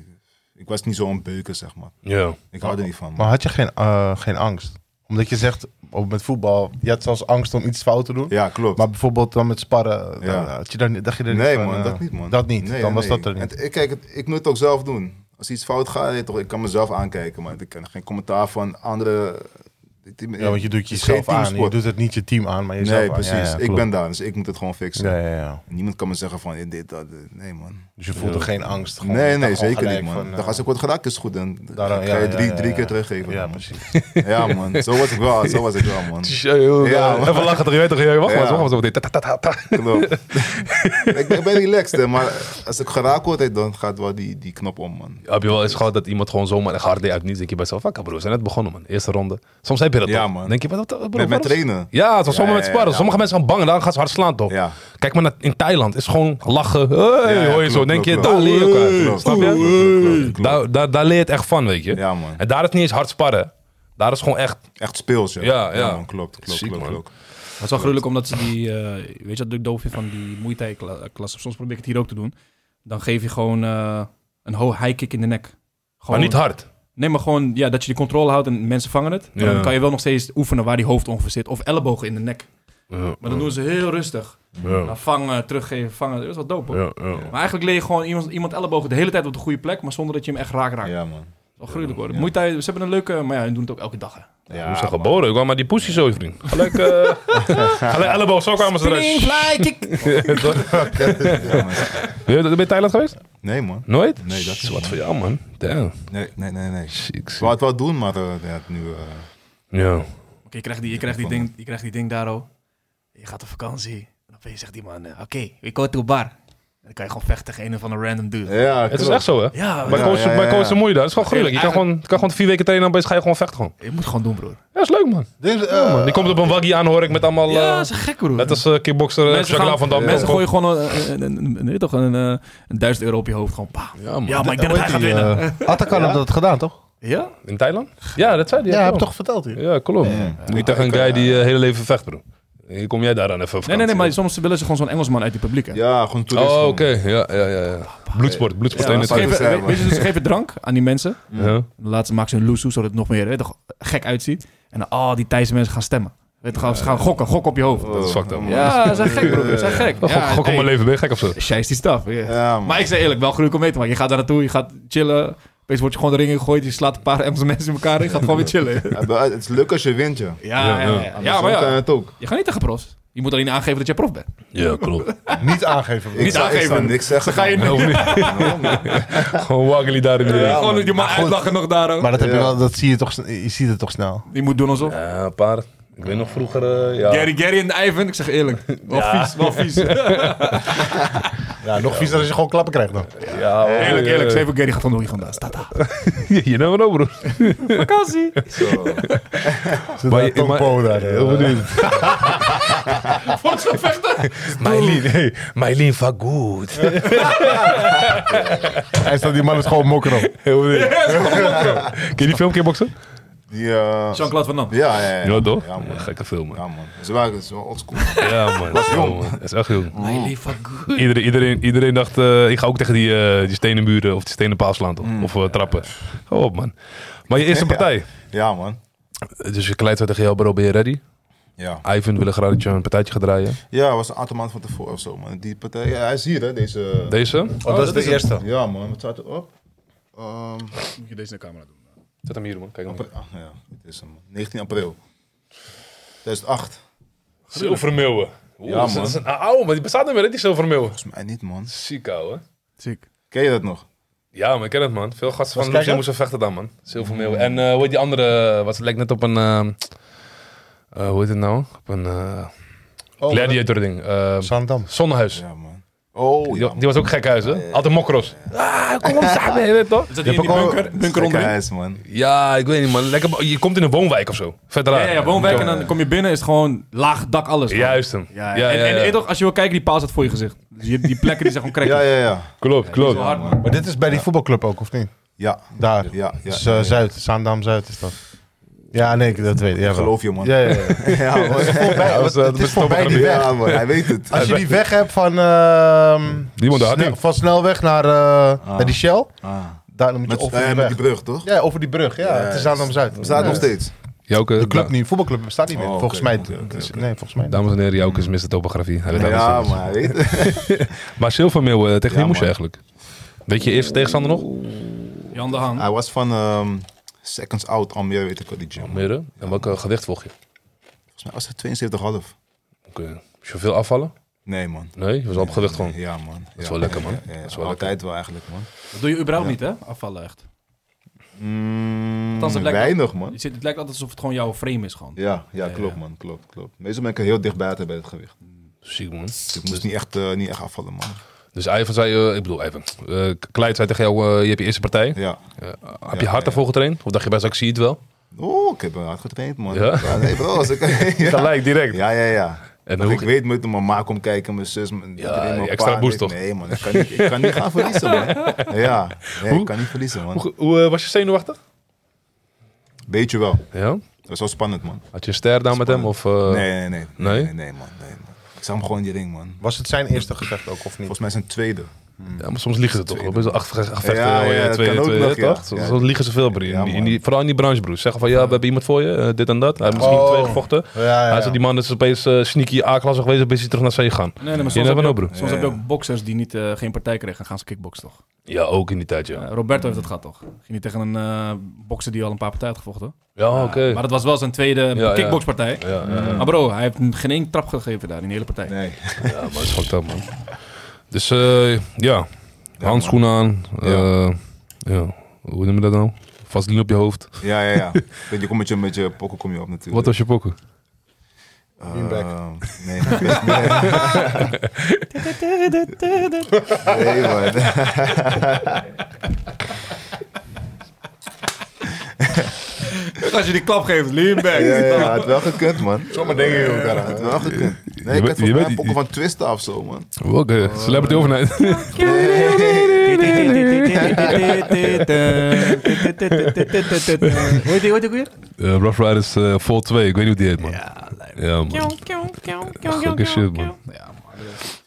S3: ik was niet zo'n beuken, zeg maar.
S1: Ja.
S3: Ik hou er niet van. man.
S2: Maar had je geen, eh, geen angst? Omdat je zegt, ook met voetbal, je had zelfs angst om iets fout te doen.
S3: Ja, klopt.
S2: Maar bijvoorbeeld dan met sparren,
S3: Ja.
S2: dan had je daar niet- dacht je er niet
S3: Nee,
S2: van,
S3: man,
S2: eh,
S3: dat niet, man.
S2: Dat niet,
S3: Nee,
S2: dan was
S3: nee.
S2: dat er niet.
S3: En t- eh, kijk, het- ik moet het ook zelf doen. Als iets fout gaat, weet je toch, ik kan mezelf aankijken, maar ik kan geen commentaar van andere.
S2: Ja, want je doet
S3: Het is
S2: jezelf
S3: geen
S2: aan. Je
S3: teamsport.
S2: doet het niet je team aan, maar jezelf
S3: Nee,
S2: aan.
S3: precies.
S2: Ja, ja,
S3: ik
S2: klopt.
S3: ben daar, dus ik moet het gewoon fixen.
S2: Ja, ja, ja.
S3: Niemand kan me zeggen van eh, dit, dat. eh, Nee, man.
S2: Dus je voelde geen angst. gewoon. Je
S3: nee,
S2: dacht
S3: nee,
S2: gewoon
S3: zeker niet,
S2: gelijk
S3: man.
S2: van, eh,
S3: Dan als ik word geraakt, is het goed. Dan dan
S2: daarom,
S3: ga
S2: ja,
S3: je
S2: ja,
S3: drie,
S2: ja,
S3: drie
S2: ja.
S3: keer teruggeven.
S2: Ja,
S3: man.
S2: precies.
S3: Ja, man. Zo was ik wel, zo was ik wel, man. Ja,
S1: Ja,
S3: man.
S1: Even lachen toch, je weet toch, je- wacht
S3: Ja.
S1: maar, wacht maar, wacht maar. Ta, ta, ta, ta, ta.
S3: Klopt. ik, ben, ik ben relaxed, hè, maar als ik geraakt word, dan gaat wel die, die knop om, man.
S1: Heb je wel eens gehad dat iemand gewoon zomaar echt hard deed uit niets? Denk je bij jezelf, wakker bro, we zijn net begonnen man. Eerste ronde. Soms heb heb je dat
S3: Ja,
S1: toch?
S3: man.
S1: Denk je, wat, wat, bro,
S3: Met, met
S1: waarom-
S3: trainen.
S1: Ja, het was
S3: Ja,
S1: allemaal met
S3: ja,
S1: sparren.
S3: ja,
S1: Sommige mensen zijn bang en daarom gaan ze hard slaan, toch?
S3: Ja.
S1: Kijk maar naar, in Thailand. is gewoon lachen. Hey,
S3: Ja, ja,
S1: hoor je
S3: klopt,
S1: zo. Denk
S3: klopt,
S1: je, daar
S3: klopt.
S1: leer je elkaar.
S3: Klopt,
S1: Snap
S3: klopt, klopt,
S1: je?
S3: klopt, klopt, klopt.
S1: Daar, daar, daar leer je het echt van, weet je.
S3: Ja, man.
S1: En daar is het niet eens hard sparren. Daar is gewoon echt...
S3: Echt speels, ja.
S1: Ja, ja.
S3: man, klopt, klopt,
S1: Ziek,
S3: klopt,
S1: man.
S3: klopt.
S5: Maar het is wel gruwelijk omdat ze die, eh, weet je wat ik doof vind van die Muay Thai kla- klasse? Soms probeer ik het hier ook te doen. Dan geef je gewoon eh, een ho- high kick in de nek.
S1: Maar
S5: Gewoon,
S1: niet hard.
S5: Nee, maar gewoon ja, dat je die controle houdt en mensen vangen het. Maar
S1: Ja.
S5: dan kan je wel nog steeds oefenen waar die hoofd ongeveer zit. Of ellebogen in de nek.
S1: Ja,
S5: Maar dan doen ze heel rustig.
S1: ja,
S5: Dan vangen, teruggeven, vangen. Dat is wel dope hoor.
S1: ja, ja.
S5: Maar eigenlijk leer je gewoon iemand, iemand ellebogen de hele tijd op de goede plek. Maar zonder dat je hem echt raak raakt.
S3: Ja, man.
S5: Dat is wel gruwelijk hoor.
S3: Ja.
S5: Muay Thai, ze hebben een leuke... Maar ja, ze doen het ook elke dag hè.
S3: Ja,
S1: Hoe is dat
S3: man.
S1: geboren? Ik wou maar die pussy zo, vriend. Gelijk, eh gelijk elleboog, zo kwamen ze
S5: Pling,
S1: eruit.
S5: fly, kick.
S3: Ja,
S1: Ben
S3: man.
S1: je ben je in Thailand geweest?
S3: Nee, man.
S1: Nooit?
S3: Nee, dat is-
S1: wat voor jou, man. Damn.
S3: Nee, nee, nee, nee.
S1: Ziek,
S3: Ik
S1: ziek.
S3: wou het wel doen, maar eh, ja, nu... eh,
S1: Ja.
S5: Oké, je krijgt die, je krijgt die, ding, je krijgt die ding daar, oh. Je gaat op vakantie. En opeens zegt die man, eh, oké, we go to a bar. En dan kan je gewoon vechten tegen een van de random dude.
S3: ja,
S1: Het is
S3: klopt.
S1: echt zo, hè?
S5: Ja,
S1: Bij
S5: maar
S3: Ja,
S1: Koos
S3: ja, ja,
S1: bij
S3: ja.
S1: Koos de moeite, dat is gewoon gruwelijk. Je kan
S5: Eigenlijk-
S1: gewoon, kan gewoon vier weken trainen en opeens ga je gewoon vechten gewoon.
S5: je moet het gewoon doen, broer.
S1: Ja, is leuk, man.
S2: Dus, eh,
S1: Die komt op een waggie aan, hoor ik, met allemaal...
S5: ja,
S1: eh,
S5: dat is gek, broer.
S1: net als eh, kickboxer eh,
S5: mensen,
S1: Jacques
S5: gaan,
S1: van Dam.
S5: mensen
S1: Kom,
S5: gooien gewoon eh, een, een, een, een- weet je toch, een, eh, een duizend euro op je hoofd. Gewoon, pa.
S1: kom. Ja, man.
S5: Ja, maar ik denk
S2: hoe
S5: dat hij
S2: heet
S5: gaat
S2: die,
S5: winnen.
S2: eh, Atakan had dat gedaan, toch?
S5: Ja?
S1: In Thailand? Ja, dat zei hij.
S2: Ja, heb
S1: klopt.
S2: toch verteld hier.
S1: Ja, klopt.
S3: Ja.
S1: Niet tegen een guy die eh, hele leven vecht, bro. Hier kom jij daar dan even op
S5: Nee, nee, nee, maar
S1: vakantie.
S5: soms willen ze gewoon zo'n Engelsman uit die publiek, hè.
S3: eh, Ja, gewoon toeristen.
S1: Oh,
S3: man.
S1: oké. Ja, ja, ja, ja. Bloedsport, bloedsport. in
S5: Ja, ze
S1: het
S3: zou je
S5: geven,
S3: zeggen,
S5: weet-
S3: man.
S5: weet je, dus ze geven drank aan die mensen.
S1: Ja.
S5: Dan laten ze maken ze een loesoe, zodat het nog meer weet je toch, gek uitziet. En dan, oh, die Thaise mensen gaan stemmen. Weet je, toch, ze gaan gokken, gokken op je hoofd.
S1: Dat is fucked up, man.
S5: Ja, ze zijn gek, broer. Ze zijn gek.
S1: Gok-
S5: Ja,
S1: Gok om mijn leven, ben je gek of zo?
S5: Scheiß die staf. ja.
S3: Ja, man.
S5: Maar ik zei eerlijk, wel gruwelijk om mee te maken. Je gaat daar naartoe, je gaat chillen. Opeens word je gewoon de ring gegooid. Je slaat een paar Engelse mensen in elkaar en je gaat gewoon weer chillen.
S3: Ja, maar Het is leuk als je wint, ja.
S5: Ja, ja, ja.
S3: Andersom
S5: Ja, maar
S3: kan je
S5: ja.
S3: het ook.
S5: Je gaat niet tegen pros. Je moet alleen aangeven dat je prof bent.
S1: Ja, klopt.
S2: Niet aangeven. broer.
S3: Ik zou- Ik zou
S5: aangeven.
S3: niks zeggen.
S5: Dan ga je
S3: man.
S1: Of niet? Gewoon waggely daar in de ring.
S5: gewoon je maar uitlachen nog daar ook.
S2: Maar dat, heb je
S3: Ja.
S2: wel, dat zie je toch, sn- je ziet het toch snel.
S5: Die moet doen alsof.
S1: Ja, Eh, een paar. Ik weet nog vroeger... eh, ja.
S5: Gary, Gary en Ivan, ik zeg eerlijk. Wel vies, wel vies.
S2: Ja, nog viezer als je gewoon klappen krijgt dan.
S1: Ja, hoor,
S5: Eerlijk,
S1: eh,
S5: eerlijk. Zeven Gary gaat gewoon door je gaan daar. Tata.
S1: You never know, broer.
S5: Vakantie.
S2: Zit
S1: Maar
S2: daar
S1: je- maar-
S2: Tongpo daar, eh.
S1: Heel benieuwd.
S5: Voor zo'n vechten.
S1: Mylene, hey. Mylene, fuck good.
S2: Hij staat die man is gewoon mokker op.
S1: Heel benieuwd. Ken je die film Kickboxen?
S3: Die, eh,
S5: Jean-Claude Van Damme.
S3: Ja, ja, ja.
S1: Ja, toch?
S3: Ja, man.
S1: Gekke film, man.
S3: Ja, man. Ze waren zo oldschool.
S1: Ja, man. Dat is jong. Dat is echt jong.
S5: My lief, wat goed.
S1: Iedereen, iedereen, iedereen dacht, eh, ik ga ook tegen die, eh, die stenen muren of die stenen paal slaan, toch? Of eh, trappen. Ga op, man. Maar je eerste partij.
S3: Ja, man.
S1: Dus je kleit tegen jou, bro, ben je ready?
S3: Ja.
S1: Ivan wil graag dat je een partijtje gaat draaien.
S3: Ja, was een aantal maanden van tevoren of zo, man. Die partij, ja, hij is hier, hè, deze.
S1: Deze?
S2: dat, is de eerste.
S3: Ja, man. Wat staat erop? Ehm
S5: Moet je deze naar de camera doen.
S1: Zet hem hier, man. Kijk
S3: apri- ah, ja, dit is hem, man. 19 april 2008.
S1: Zilvermeeuwen. Oeh,
S3: Ja,
S1: dat is-
S3: man.
S1: Dat is een oude, maar die bestaat niet meer, hè, die zilvermeeuwen.
S3: Volgens mij niet, man.
S1: Ziek, ouwe.
S5: Ziek.
S3: Ken je dat nog?
S1: Ja, maar ik ken het, man. Veel gasten van de
S2: Was
S1: Luxe
S2: kijken?
S1: moesten vechten dan, man. Zilvermeeuwen. En eh hoe heet die andere, eh, wat het lijkt net op een... eh, eh, hoe heet het nou? Op een eh gladiator ding. Eh,
S2: Zandam.
S1: Zonnehuis.
S3: Ja, man. Oh, ja.
S1: Die, die was ook gek huis, hè? Altijd mokros. Ah, kom op, samen, je weet toch?
S5: Is dat die in die bunker? Bunker onderin?
S3: Gekhuis, man.
S1: Ja, ik weet niet, man. Lekker, bo- je komt in een woonwijk of zo. Verder
S5: Ja, ja, ja, woonwijk en dan kom je binnen, is het gewoon laag dak alles. man.
S1: Juist hem. Ja,
S5: Ja,
S1: ja,
S5: en, en
S1: ja.
S5: weet je toch, als je wil kijken, die paal staat voor je gezicht. Dus je, die plekken die zijn gewoon
S3: Ja,
S5: krekken.
S3: ja, ja.
S1: Klopt, klopt.
S5: Zo hard, man.
S2: Maar dit is bij die voetbalclub ook, of niet?
S3: Ja,
S2: Daar.
S3: ja, ja.
S2: Dus, eh, Zuid, Zaandam Zuid is dat. Ja, nee, ik- dat weet ik.
S3: Geloof je, man.
S2: Ja, ja, ja.
S3: Ja, man.
S1: Ja, dat is, eh,
S2: het
S1: dat
S2: is
S1: is toch
S2: voorbij
S1: wel
S2: die
S1: een-
S2: weg.
S3: Ja, man. Hij weet het.
S2: Als je die weg hebt van, ehm
S1: Die moet daar
S2: snel-
S1: niet.
S2: van snelweg naar, eh, naar die Shell,
S3: Ah.
S2: daar dan moet je
S3: Met,
S2: over
S3: eh,
S2: die
S3: met
S2: weg.
S3: die brug, toch?
S2: ja, over die brug. Ja, het is Zaandam Zuid.
S3: Bestaat nog steeds.
S1: Jouke,
S2: De club
S1: da-
S2: niet, voetbalclub bestaat niet meer.
S3: Oh,
S2: volgens
S3: oké,
S2: mij.
S3: oké, oké, oké.
S2: Nee, volgens mij. niet.
S1: Dames en heren, Jouke is Mr. Topografie. Hij weet alles.
S3: Ja, maar hij weet het.
S1: Maar Zilvermeeuw, eh, tegen wie
S3: Ja,
S1: moest je
S3: man.
S1: eigenlijk? Weet je eerste tegenstander nog?
S5: Jan de Haan.
S1: Ah.
S3: Hij was van ehm, Seconds Out, Almere, weet ik wel, die gym.
S1: Midden. En welk eh, gewicht volg je?
S3: Volgens mij was hij 72,5.
S1: Oké. Moest je veel afvallen?
S3: Nee, man.
S1: Nee, je was op gewicht gewoon.
S3: Ja, man. Dat
S1: is wel lekker, man.
S3: Ja, ja,
S1: Dat is wel
S3: Altijd wel eigenlijk, man.
S5: Dat doe je überhaupt niet, hè? Afvallen echt.
S3: Mm,
S5: Althans, het lijkt-
S3: weinig,
S5: Je
S3: man.
S5: zit, het lijkt altijd alsof het gewoon jouw frame is gewoon.
S3: Ja, ja, klopt, man. Klopt, klopt. Meestal ben ik er heel dicht buiten bij het gewicht.
S1: Ziek, man.
S3: Dus ik moest niet echt, eh, niet echt afvallen, man.
S1: Dus Ivan zei, eh, ik bedoel Ivan, eh Kleit zei tegen jou, eh, je hebt je eerste partij.
S3: Ja.
S1: heb je hard daarvoor getraind? Of dacht je best, ik zie het wel?
S3: Oeh, ik heb eh, hard getraind, man.
S1: Ja?
S3: nee, bro. Als ik, ja.
S1: Gelijk, direct.
S3: ja, ja, ja.
S1: En
S3: Want
S1: hoe-
S3: ik weet, moet mijn ma komt kijken, mijn zus, mijn,
S1: Ja,
S3: iedereen, mijn
S1: die extra
S3: pa.
S1: boost
S3: Ik-
S1: toch?
S3: Nee, man. Ik kan niet, ik kan niet gaan verliezen, man. Ja, nee,
S1: Hoe-
S3: ik kan niet verliezen, man.
S1: Hoe, hoe, eh, was je zenuwachtig?
S3: Weet je wel.
S1: Ja.
S3: Dat was wel spannend, man.
S1: Had je een ster daar met hem? Of, eh,
S3: Nee, nee, nee.
S1: nee?
S3: Nee, nee, man. Nee, man. Ik zag hem gewoon in die ring, man.
S2: Was het zijn eerste gevecht ook, of niet?
S3: Volgens mij zijn tweede.
S1: Ja, maar soms liegen ze toch. Best wel acht gevechten.
S3: Ja,
S1: eh,
S3: ja, dat
S1: twee,
S3: kan ook
S1: twee,
S3: nog, ja.
S1: toch? Soms
S3: Ja.
S1: soms liegen ze veel, broer.
S3: Ja,
S1: In die- in
S3: man.
S1: die, vooral in die branche, broer. Zeggen van, ja, we hebben iemand voor je, eh, dit en dat. Hij heeft misschien
S2: Oh.
S1: twee gevochten.
S2: Ja, ja,
S1: Hij
S2: ja.
S1: is die man dat is opeens eh, sneaky A-klasse geweest, een beetje terug naar C gaan.
S5: Nee, nee, maar
S1: Je
S5: soms,
S1: never
S5: heb je,
S1: know,
S5: ook,
S1: bro.
S5: soms heb je ook boxers die niet, eh, geen partij kregen en gaan ze kickboxen toch?
S1: Ja, ook in die tijd, ja.
S5: Eh, Roberto heeft dat gehad toch? Ging hij tegen een eh bokser die al een paar partijen had gevochten?
S1: Ja, Ah, oké.
S5: Maar dat was wel zijn tweede
S1: ja.
S5: kickboxpartij.
S1: Ja, ja, ja.
S5: Maar bro, hij heeft hem geen één trap gegeven daar in de hele partij.
S3: Nee.
S1: Ja, maar dat is fucked up, man. Dus, eh, ja. Handschoenen aan. eh, Ja. Hoe noem je dat nou? Vaseline op je hoofd.
S3: Ja, ja, ja. Weet je, kom met je, met je pokken kom je op natuurlijk.
S1: Wat was je pokken?
S3: Eh,
S2: Beanbag.
S3: nee, man. nee, man.
S5: Als je die klap geeft, lean back.
S3: Ja, ja, ja, had wel gekund, man.
S2: Sommige dingen doen
S3: Had wel gekund. Nee,
S1: Je
S3: ik
S1: bent-
S3: had
S1: je
S3: volgens mij
S1: bent-
S3: een pokken van Twista of zo, man.
S1: Oké, eh, celebrity overnight. Eh,
S5: Hoe heet die- hoe heet die ook weer?
S1: Eh, Rough Riders eh, Fall 2, ik weet niet hoe die heet, man.
S5: Ja,
S1: Ja, man. Gekke shit, man.
S5: Ja,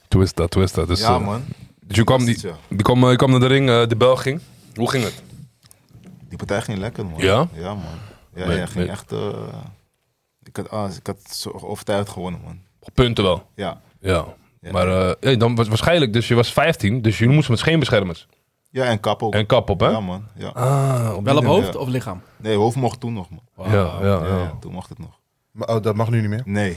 S1: Twista, twista. Dus,
S3: Ja,
S1: eh,
S3: man.
S1: Dus je kwam, die,
S3: Is het
S1: die kwam, eh, je kwam naar de ring, eh, de bel ging. Hoe ging het?
S3: Die partij ging lekker, man.
S1: Ja?
S3: Ja, man. Ja,
S1: Nee,
S3: ja, ging
S1: nee.
S3: echt... eh, ik, had, ah, ik had zo overtuigd gewonnen, man.
S1: Op punten wel.
S3: Ja.
S1: Ja.
S3: Ja.
S1: Maar eh, ja, dan was waarschijnlijk, dus je was 15, dus jullie moesten met scheenbeschermers.
S3: Ja, en kap ook.
S1: En kap op, hè?
S3: Ja, man. Ja.
S1: Ah, op die
S5: Wel op
S1: manier.
S5: hoofd of lichaam?
S3: Nee, hoofd mocht toen nog, man.
S1: Ja, ja,
S3: Ja,
S1: ja.
S3: ja, toen mocht het nog.
S2: Maar, oh, dat mag nu niet meer.
S3: Nee,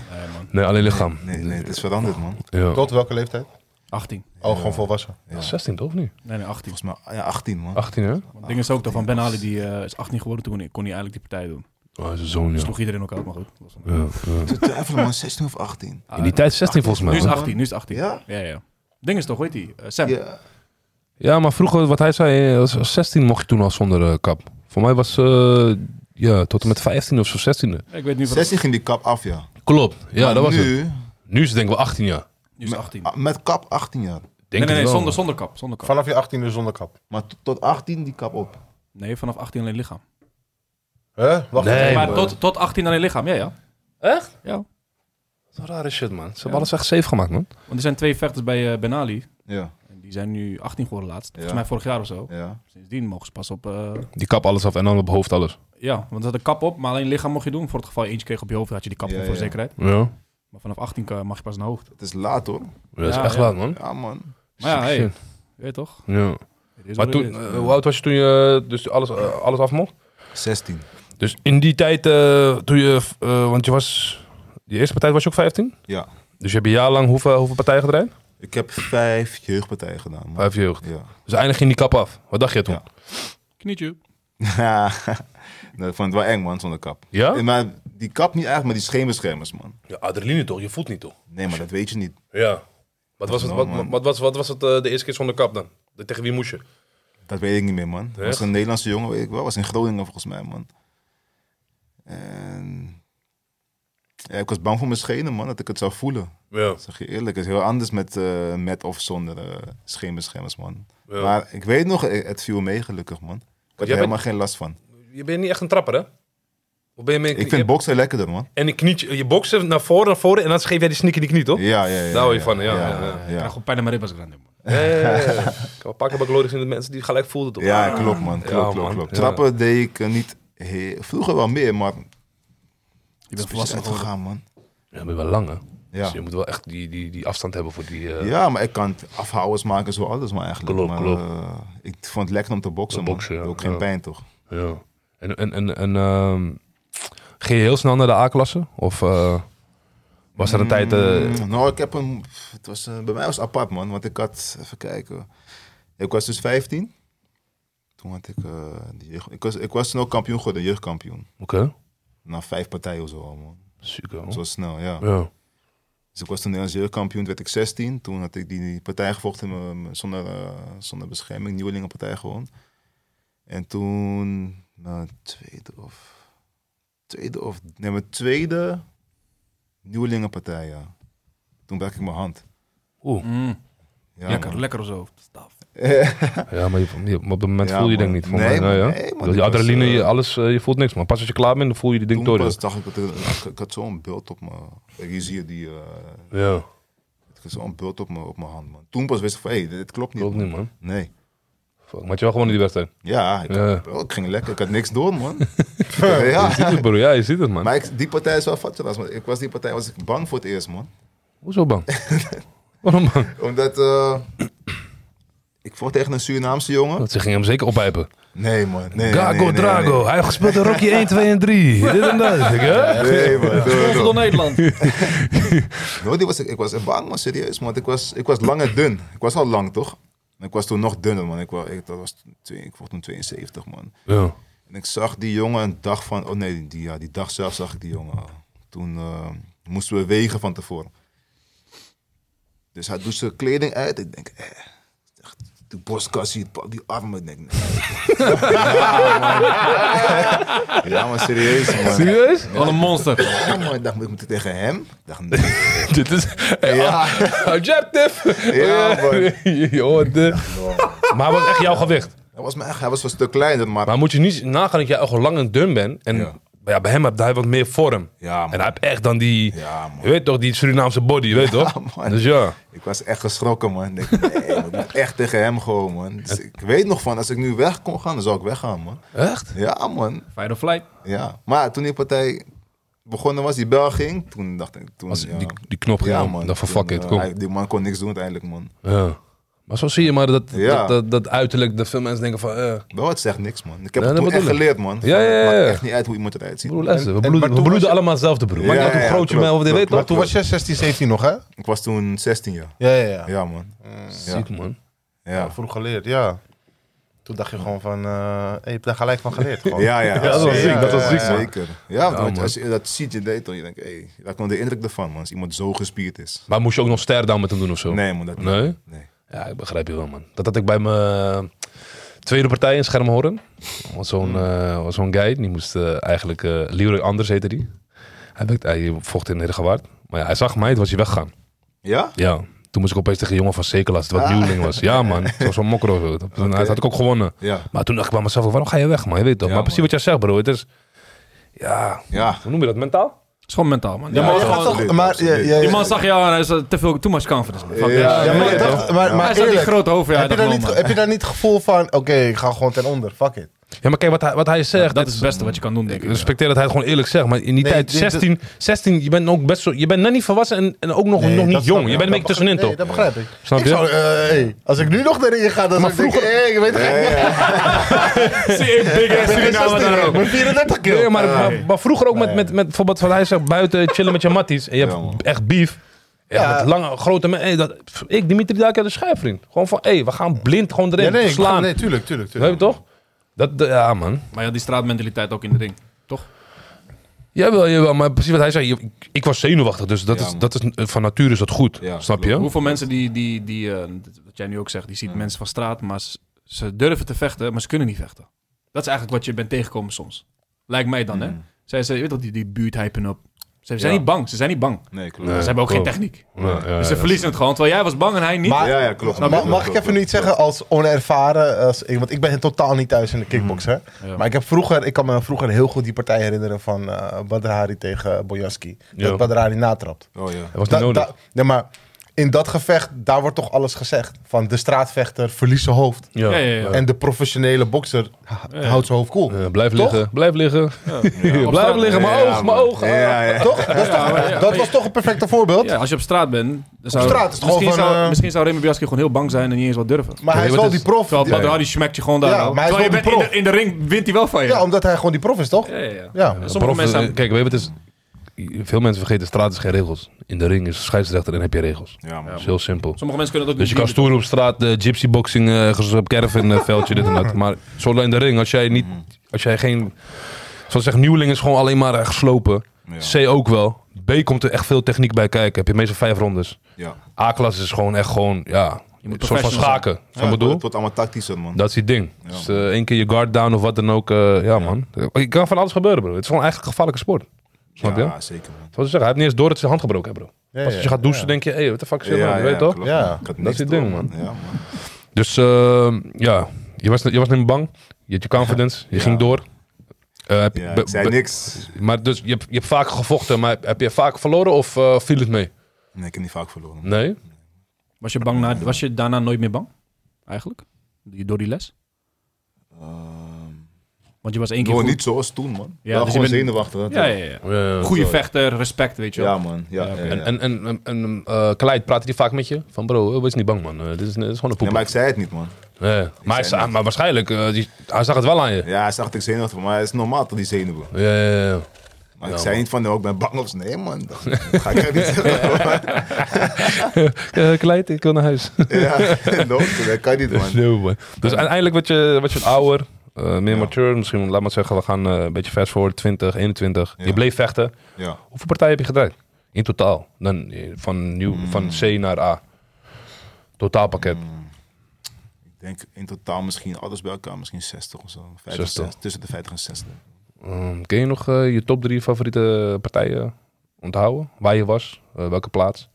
S1: Nee, alleen lichaam.
S3: nee, nee, het is veranderd, man.
S1: Ja.
S2: Tot welke leeftijd?
S5: 18.
S2: Oh, gewoon volwassen.
S1: Ja. 16 toch of niet?
S5: Nee, nee, 18.
S3: Volgens mij ja, 18, man.
S1: 18, hè?
S5: Want Het ding is ook toch van Ben Ali, die eh, is 18 geworden toen kon hij eigenlijk die partij doen.
S1: Oh, zijn zoon, ja.
S5: Sloeg iedereen ook uit, maar goed. Dat was een- Ah,
S1: Ja, ja.
S3: Te twijfelen, man. 16 of 18.
S1: In die tijd 16 volgens
S5: Nu
S1: mij.
S5: is
S1: hoor.
S5: 18, nu is 18.
S3: Ja?
S5: Ja, ja. Ding is toch, hoe heet die? Eh, Sam.
S3: Ja.
S1: Ja, maar vroeger, wat hij zei, eh, als als 16 mocht je toen al zonder eh, kap. Voor mij was, eh, ja, tot en met 15 of zo, 16e.
S5: Ik weet nu wat
S3: 16 ging die kap af, ja.
S1: Klopt, ja,
S3: Maar
S1: dat was het.
S3: nu,
S1: Nu is het denk ik wel 18 jaar.
S5: Nu is 18.
S3: ah, Met kap 18 jaar.
S1: Denk
S5: nee, nee,
S1: het
S5: nee
S1: wel,
S5: zonder,
S1: man.
S5: zonder kap. Zonder kap.
S2: Vanaf je 18e zonder kap.
S3: Maar t- tot 18 die kap op.
S5: Nee, vanaf 18 alleen lichaam.
S2: Huh? Wacht
S1: Nee,
S2: even.
S5: maar tot, tot 18 alleen lichaam, ja, ja.
S1: Echt?
S5: ja.
S1: Zo'n rare shit, man. Ze hebben
S5: Ja.
S1: alles echt safe gemaakt, man.
S5: Want er zijn twee vechters bij eh, Ben Ali.
S3: Ja,
S5: En Die zijn nu 18 geworden laatst. Volgens
S3: Ja.
S5: mij vorig jaar of zo.
S3: ja.
S5: Sindsdien mogen ze pas op... eh,
S1: Die kap alles af en dan op hoofd alles.
S5: ja, want ze hadden kap op, maar alleen lichaam mocht je doen. Voor het geval je eentje kreeg op je hoofd, had je die kap
S3: Ja,
S5: op voor
S3: ja.
S5: zekerheid.
S1: Ja.
S5: Maar vanaf 18 kan- mag je pas een hoofd.
S3: Het is laat, hoor.
S1: Dat is
S5: Ja,
S1: echt
S5: ja.
S1: laat, man.
S3: Ja, man.
S5: Maar ja,
S1: Sick
S5: hey,
S1: shit.
S5: weet je toch?
S1: Ja.
S5: Het is
S1: Maar
S5: wat het
S1: toen,
S5: is.
S1: eh, hoe oud was je toen je dus alles, eh, alles af mocht?
S3: 16.
S1: Dus in die tijd, eh, toen je, eh, want je was, die eerste partij was je ook 15?
S3: Ja.
S1: Dus je hebt een jaar lang hoeveel, hoeveel partijen gedraaid?
S3: Ik heb vijf jeugdpartijen gedaan, man.
S1: Vijf jeugd.
S3: Ja.
S1: Dus eindelijk ging die kap af. Wat dacht je toen?
S3: Ja.
S5: Knietje.
S3: Nee, ik vond het wel eng, man, zonder kap.
S1: Ja?
S3: Eh, Maar die kap niet eigenlijk, maar die scheenbeschermers, man.
S1: Ja, adrenaline toch? Je voelt niet toch?
S3: Nee, maar dat weet je niet.
S1: Ja. Wat was het, wat,
S3: man.
S1: wat, wat was, wat was het eh, de eerste keer zonder kap dan? Tegen wie moest je?
S3: Dat weet ik niet meer, man. Dat was
S1: Echt?
S3: een Nederlandse jongen, weet ik wel. Was in Groningen volgens mij, man. En... Ja, ik was bang voor mijn schenen, man. Dat ik het zou voelen.
S1: Ja.
S3: Zeg je eerlijk, het is heel anders met, eh, met of zonder eh scheenbeschermers, man.
S1: Ja.
S3: Maar ik weet nog, eh, het viel mee gelukkig, man. Ik
S1: jij
S3: had
S1: bent-
S3: er helemaal geen last van.
S1: Je bent niet echt een trapper, hè? Of ben je meer...
S3: Ik vind boksen lekkerder, man.
S1: En een knietje, je boksen naar voren, naar voren en dan geef jij die sneaker die knie, toch?
S3: Ja, ja, ja.
S1: Daar hou je
S3: ja,
S1: van, ja, ja,
S3: Ja,
S1: ja.
S5: Ik krijg
S3: ja.
S5: gewoon pijn aan mijn ribben als ik aan denk, man.
S1: Ja, ja, ja, ja. Eh, Ik kan pakken bij Glorious in de mensen die gelijk voelden, toch?
S3: Ja, klopt, man. Klopt,
S1: Ja,
S3: klopt,
S1: man.
S3: klopt.
S1: Ja.
S3: Trappen deed ik eh, niet... heel- Vroeger wel meer, maar...
S5: Je
S3: Ik
S5: bent volwassen geworden.
S3: gegaan, man.
S1: Ja, maar je bent wel lang, hè? Dus
S3: Ja.
S1: je moet wel echt die, die, die afstand hebben voor die... eh,
S3: Ja, maar ik kan afhouders maken, zo alles maar eigenlijk.
S1: Klopt,
S3: maar,
S1: klopt.
S3: eh, ik vond het lekker om te boksen,
S1: Te
S3: man.
S1: boksen, ja.
S3: Ook geen
S1: Ja.
S3: pijn, toch?
S1: ja. En, en, en, en ehm, ging je heel snel naar de A-klasse? Of eh, was er een tijd... eh,
S3: Mm, nou, ik heb een... Het was, eh, bij mij was het apart, man. Want ik had... Even kijken. Ik was dus 15. Toen had ik... eh, de jeugd- ik, was, ik was toen ook kampioen geworden, jeugdkampioen.
S1: Oké.
S3: Na vijf partijen of zo, al, man.
S1: Ziek, hoor.
S3: Zo snel, ja.
S1: Oh. Ja.
S3: Dus ik was toen Nederlands jeugdkampioen, toen werd ik 16. Toen had ik die partij gevochten eh, zonder, eh, zonder bescherming, nieuwelingenpartij gewoon. En toen, na een tweede of tweede of nee, mijn tweede nieuwelingenpartij, ja. Toen brak ik mijn hand.
S1: Oeh.
S5: Mm,
S3: Ja,
S5: lekker,
S3: man.
S5: lekker of zo. Staf.
S1: Ja, maar je, je- op dat moment
S3: Ja,
S1: voel je
S3: man.
S1: denk niet. Voor
S3: Nee,
S1: mij, nou
S3: man,
S1: ja.
S3: nee, man,
S1: Dat je
S3: dit was,
S1: adrenaline,
S3: eh,
S1: je, alles, eh, je voelt niks, man. Pas als je klaar bent, dan voel je die ding
S3: Toen
S1: door.
S3: pas dacht ik, dat er- ik, ik had zo'n bult op me. Kijk, hier zie je die, eh,
S1: Ja,
S3: ik had zo'n bult op me, op mijn hand, man. Toen pas wist ik van, hé, dit, dit klopt niet.
S1: klopt
S3: man.
S1: niet, man.
S3: Nee.
S1: Fuck, maar je wel gewonnen die wedstrijd.
S3: Ja, ik,
S1: Ja.
S3: bro, ik ging lekker. Ik had niks door, man. ja.
S1: Je ziet het, bro. Ja, je ziet het, man.
S3: Maar ik, die partij is wel fatsoenlijk. man. Ik was die partij was ik bang voor het eerst, man.
S1: Hoezo bang? Waarom bang?
S3: Omdat eh, ik vocht tegen een Surinaamse jongen.
S1: Want ze gingen hem zeker ophijpen.
S3: Nee, man. Nee,
S1: Gago,
S3: nee, nee,
S1: Drago. Hij heeft gespeeld in Rocky 1, 2 en 3. Dit en dat. Ik, hè?
S3: Nee, nee man. Doe,
S5: Tot
S3: doe.
S5: door Nederland.
S3: No, die was, ik was echt bang, man. Serieus, man. Ik was, ik was lang en dun. Ik was al lang, toch? Maar Ik was toen nog dunner, man. Ik, was, ik, dat was twee, ik vocht toen 72, man.
S1: Ja.
S3: En ik zag die jongen een dag van... Oh nee, die, ja, die dag zelf zag ik die jongen. al. Toen eh, moesten we wegen van tevoren. Dus hij doet zijn kleding uit. Ik denk, eh, echt, die borstkas ziet, pak die armen. Ik denk, nee. ja, man. ja, maar serieus, man.
S1: Serieus?
S5: Wat een monster.
S3: Ja, man. Ik dacht, moet ik moeten tegen hem? Ik dacht, nee.
S1: Dit is... Hey, oh,
S3: Ja.
S1: Objective! Oh,
S3: Ja, man.
S1: Je hoort de- Maar het was echt jouw gewicht.
S3: Hij was, maar echt, hij was een stuk kleiner, maar...
S1: Maar moet je niet nagaan dat jij al lang en dun bent. En
S3: Ja.
S1: ja, bij hem heb hij wat meer vorm.
S3: Ja, man.
S1: en hij heeft echt dan die...
S3: Ja, man.
S1: Je weet toch, die Surinaamse body, je weet toch?
S3: man.
S1: Dus ja.
S3: Ik was echt geschrokken, man. Ik denk, nee, ik moet echt tegen hem gewoon, man. Dus ik weet nog van, als ik nu weg kon gaan, dan zou ik weggaan, man.
S1: Echt?
S3: Ja, man.
S5: Fight or flight.
S3: Ja. Maar toen die partij begonnen was, die bel ging, toen dacht ik... Toen,
S1: Als
S3: ja.
S1: die, die knop ging
S3: Ja,
S1: om, dan van fuck
S3: Toen,
S1: it,
S3: eh,
S1: kom.
S3: hij- die man kon niks doen uiteindelijk, man.
S1: Ja. Maar zo zie je maar dat,
S3: Ja.
S1: dat, dat, dat uiterlijk, dat veel mensen denken van... eh
S3: Wel, het zegt niks, man. Ik heb
S1: Ja,
S3: het
S1: dat
S3: toen echt
S1: bedoel ik.
S3: geleerd, man.
S1: Ja, ja, ja,
S3: Het
S1: ja.
S3: maakt echt niet uit hoe iemand eruit ziet.
S1: broer, luister, we
S2: en- maar
S1: bloeden, we
S2: toen
S1: bloeden
S2: was-
S1: allemaal hetzelfde, broer. Maakt niet
S3: Ja,
S1: uit hoe
S3: ja,
S1: groot je
S3: klopt,
S1: bent of dit
S3: klopt,
S1: weet
S2: Maar
S1: toch?
S2: toen was je 16, 17 nog, hè?
S3: Ik was toen 16 jaar.
S2: Ja, ja, ja.
S3: Ja, man. Ja,
S1: Ziek, man.
S3: ja.
S2: Vroeg geleerd, ja. Toen dacht je gewoon van, eh hey, je hebt daar gelijk van geleerd. Gewoon.
S3: Ja, ja.
S1: dat was ziek, dat was ziek, man.
S3: Zeker. Ja, want
S1: man.
S3: als je dat ziet, je deed dan, je denkt, hé, dat komt de indruk ervan, man. Als iemand zo gespierd is.
S1: Maar moest je ook nog ster down met hem doen of zo?
S3: Nee, man, dat niet.
S1: Nee?
S3: Nee.
S1: Ja, ik begrijp je wel, man. Dat had ik bij mijn eh, tweede partij in Schermhoorn. Was
S3: Mm.
S1: zo'n eh, was zo'n guy, die moest eh, eigenlijk... eh Leroy Anders heette die. Hij, werkte, hij vocht in Herengewaard. Maar ja, hij zag mij, toen was hij weggegaan.
S3: Ja?
S1: Ja. Toen moest ik opeens tegen een jongen van Sekelas, wat
S3: Ah.
S1: nieuweling was. Ja, man. Zoals zo'n mokro. zo. Dat- Hij had ik ook gewonnen.
S3: Ja.
S1: Maar toen dacht ik bij mezelf, waarom ga je weg, man? Je weet toch?
S3: Ja,
S1: maar precies
S3: man.
S1: wat jij zegt, bro. Het is... Ja,
S3: Ja.
S1: hoe noem je dat? Mentaal?
S5: Het is gewoon mentaal, man.
S2: Ja, maar,
S5: Ja,
S2: je gaat
S5: gewoon-
S2: toch, maar, ja, ja,
S5: Die man zag jou en hij is eh, te veel, too much confidence. man. Fuck this.
S3: Ja,
S2: ja, maar, ik dacht- maar, maar
S5: Hij staat die
S2: eerlijk,
S5: grote hoofd, ja.
S2: heb, je
S5: dat
S2: daar
S5: wel,
S2: niet,
S5: man.
S2: heb je daar niet het gevoel van, oké, ik ga gewoon ten onder, fuck it.
S1: Ja, maar kijk, wat hij, wat hij zegt...
S5: Dat is het beste wat je kan doen, denk
S1: Ik
S5: ik. ja.
S1: respecteer dat hij het gewoon eerlijk zegt, maar in die
S2: Nee,
S1: tijd,
S2: dit- dit-
S1: 16, 16, je bent nog best zo, je bent net niet volwassen en, en ook nog,
S2: Nee,
S1: nog
S2: dat
S1: niet
S2: snap
S1: jong.
S2: ik.
S1: Je bent een beetje
S2: Dat
S1: tussenin
S2: begrijp- nee,
S1: toch?
S2: dat begrijp ik.
S1: Snap
S2: ik
S1: je?
S2: zou, eh, hey, als ik nu nog erin ga, dan zou ik denken, hey, ik weet het niet.
S5: Zie ik big ass
S2: Ik ben
S5: Suriname
S2: 16,
S5: daar ook.
S2: ik ben 34
S1: Nee,
S2: kilo.
S1: maar, maar, maar vroeger ook met, met, met bijvoorbeeld van hij zegt buiten chillen met je matties en je hebt
S3: Ja, man.
S1: echt beef. Ja, met lange, grote mensen. Hey, dat- pff, ik, Dimitri Daak, de schijfvriend. Gewoon van, hé, hey, we gaan blind gewoon erin
S2: Ja, nee, ik-
S1: slaan.
S2: nee, tuurlijk, tuurlijk,
S1: Weet je
S2: tuurlijk.
S1: toch? Dat, de- ja, man.
S5: Maar ja, die straatmentaliteit ook in de ring. Toch?
S1: Jawel, jawel, maar precies wat hij zei. je- Ik, ik was zenuwachtig, dus dat
S3: Ja,
S1: is,
S3: man.
S1: dat is, van nature is dat goed.
S3: Ja,
S1: snap je?
S5: Hoeveel mensen die, die, die eh, wat jij nu ook zegt, die ziet mensen van straat, maar ze, ze durven te vechten, maar ze kunnen niet vechten. Dat is eigenlijk wat je bent tegengekomen soms. Lijkt mij dan,
S2: Hmm.
S5: hè? Zij, ze, je weet dat die, die buurt hypen op. Ze zijn
S3: Ja.
S5: niet bang, ze zijn niet bang.
S3: Nee, klopt.
S1: Nee.
S5: ze hebben ook geen
S1: klopt.
S5: techniek.
S1: Ja, ja,
S5: dus ze
S1: ja.
S5: verliezen het gewoon, terwijl jij was bang en hij niet.
S2: Maar-
S3: Ja, ja, klopt.
S2: Ah, nou, Ma- mag ik even nu iets zeggen als onervaren? Als ik, want ik ben totaal niet thuis in de kickbox.
S1: Hmm.
S2: Hè?
S5: Ja.
S2: Maar ik, heb vroeger, ik kan me vroeger heel goed die partij herinneren van eh Badrari tegen Bojaski.
S1: Ja.
S2: Dat Badrari natrapt.
S3: Oh ja.
S1: Dat was niet
S2: Da-
S1: nodig.
S2: da- nee, maar in dat gevecht, daar wordt toch alles gezegd. Van de straatvechter verliest zijn hoofd.
S1: Ja.
S5: Ja, ja, ja.
S2: En de professionele bokser ha- houdt zijn hoofd koel.
S1: Eh, blijf
S2: Toch?
S1: liggen, blijf liggen. blijf
S5: straat.
S1: liggen, mijn
S3: Ja,
S1: oog, mijn
S3: man.
S1: oog. Ah.
S3: Ja, ja.
S2: Toch? Dat, is toch-
S5: maar ja,
S2: dat
S5: maar
S2: was
S5: je-
S2: toch een perfecte voorbeeld.
S5: Ja, als je op straat bent, dan zou,
S2: straat is het
S5: misschien,
S2: gewoon van,
S5: zou,
S2: eh,
S5: misschien zou Remy Biaski gewoon heel bang zijn en niet eens wat durven.
S2: Maar hij
S1: Nee,
S2: is
S1: wat
S2: wel
S1: is-
S2: die prof.
S5: Terwijl
S2: Ja,
S5: Badrari smekt je gewoon daar.
S2: Ja,
S5: al.
S2: maar hij is
S5: Terwijl je
S2: wel
S5: bent
S2: de
S5: in de,
S2: prof.
S5: in de ring, wint hij wel van je.
S2: Ja, omdat hij gewoon die prof is, toch?
S5: ja, ja, ja.
S2: Ja.
S5: Sommige
S1: Prof,
S5: mensen
S1: eh,
S5: zijn-
S1: Kijk, weet je, wat het is, veel mensen vergeten, straat is geen regels. In de ring is scheidsrechter en heb je regels.
S3: Ja, man.
S1: Dat is heel simpel.
S5: Sommige mensen kunnen dat ook
S1: Dus je kan
S5: niet.
S1: stoer op straat, eh, gypsy boxing, eh, op caravan eh, veldje, dit en dat. Maar zolang in de ring, als jij niet, als jij geen... Zoals ik zeg, nieuweling is gewoon alleen maar eh, geslopen.
S3: Ja.
S1: C ook wel. B komt er echt veel techniek bij kijken. Heb je meestal vijf rondes.
S3: Ja.
S1: A-klasse is gewoon echt gewoon, ja... Je
S5: moet
S1: Een soort van
S5: professional zijn.
S1: schaken. Zo
S3: het wordt-
S1: bedoel?
S3: Het wordt allemaal tactischer, man.
S1: Dat is die ding.
S3: Ja.
S1: Dus eh, één keer je guard down of wat dan ook. eh, ja, man. Je kan van alles gebeuren, bro. Het is gewoon eigenlijk een gevaarlijke sport. Snap je?
S3: ja, zeker, man.
S1: Zoals je zegt, hij heeft niet eens door dat zijn hand gebroken heeft, bro.
S2: Ja,
S1: Pas als je
S2: ja,
S1: gaat douchen,
S2: ja.
S1: denk je, hé, hey, wat de fuck is dit, man?
S3: ja,
S1: Je weet toch?
S3: klopt.
S2: Ja.
S3: Ik had
S1: is
S3: niks
S1: het
S3: door,
S1: ding, man.
S3: Ja, man.
S1: Dus eh, ja, je was, je was niet meer bang. Je had je confidence. Je
S3: Ja.
S1: ging door. Eh, heb je-
S3: Ja,
S1: be-
S3: ik zei
S1: be-
S3: niks.
S1: Maar dus, je hebt, je hebt vaak gevochten, maar heb je vaak verloren of eh, viel het mee?
S3: Nee, ik heb niet vaak verloren. man.
S1: Nee?
S5: Was je, bang na, was je daarna nooit meer bang? Eigenlijk? Die- Door die les?
S3: Ehm,
S5: Want je was één keer
S3: Gewoon
S5: goed.
S3: niet zoals toen, man.
S5: Ja,
S3: Ja,
S5: dus je
S3: gewoon
S5: bent-
S3: zenuwachtig. dat
S5: Ja,
S3: toch?
S5: ja, ja.
S1: Eh,
S5: Goede
S3: Zo.
S5: vechter, respect, weet je wel.
S3: Ja, man. Ja,
S5: Ja,
S3: ja,
S5: oké.
S3: ja.
S1: En, en, en, en, en eh, Kaleid, praatte die vaak met je? Van bro, eh, wees niet bang man, Eh, dit, is, dit is gewoon een poep.
S3: Ja, maar ik zei het niet, man.
S1: maar, hij
S3: zei
S1: za-
S3: net-
S1: maar waarschijnlijk, eh, die, hij zag het wel aan je.
S3: Ja, hij zag dat ik zenuwachtig was, maar het is normaal dat die zenuwen.
S1: Ja, ja, ja, ja.
S3: Maar
S1: Ja,
S3: ik zei niet van, oh, ik ben bang of zo. Nee, man. Dat dat ga ik echt niet zeggen.
S1: Eh, Clyde, ik wil naar huis.
S3: ja, no, dat kan niet, man.
S1: Zo, man. Dus uiteindelijk word je, word je wat ouder, eh, meer mature. Misschien, laat maar zeggen, we gaan eh, een beetje fast forward, 20, 21. Je
S3: Ja.
S1: bleef vechten.
S3: Ja.
S1: Hoeveel partijen heb je gedraaid? In totaal. Dan, eh, van, nieuw,
S3: Hmm.
S1: van C naar A. Totaalpakket.
S3: Ik denk in totaal misschien, alles bij elkaar, misschien 60 of zo. 50,
S1: 60.
S3: 60. Tussen de 50 en 60.
S1: Ehm, ken je nog eh, je top drie favoriete partijen onthouden? Waar je was? eh, welke plaats?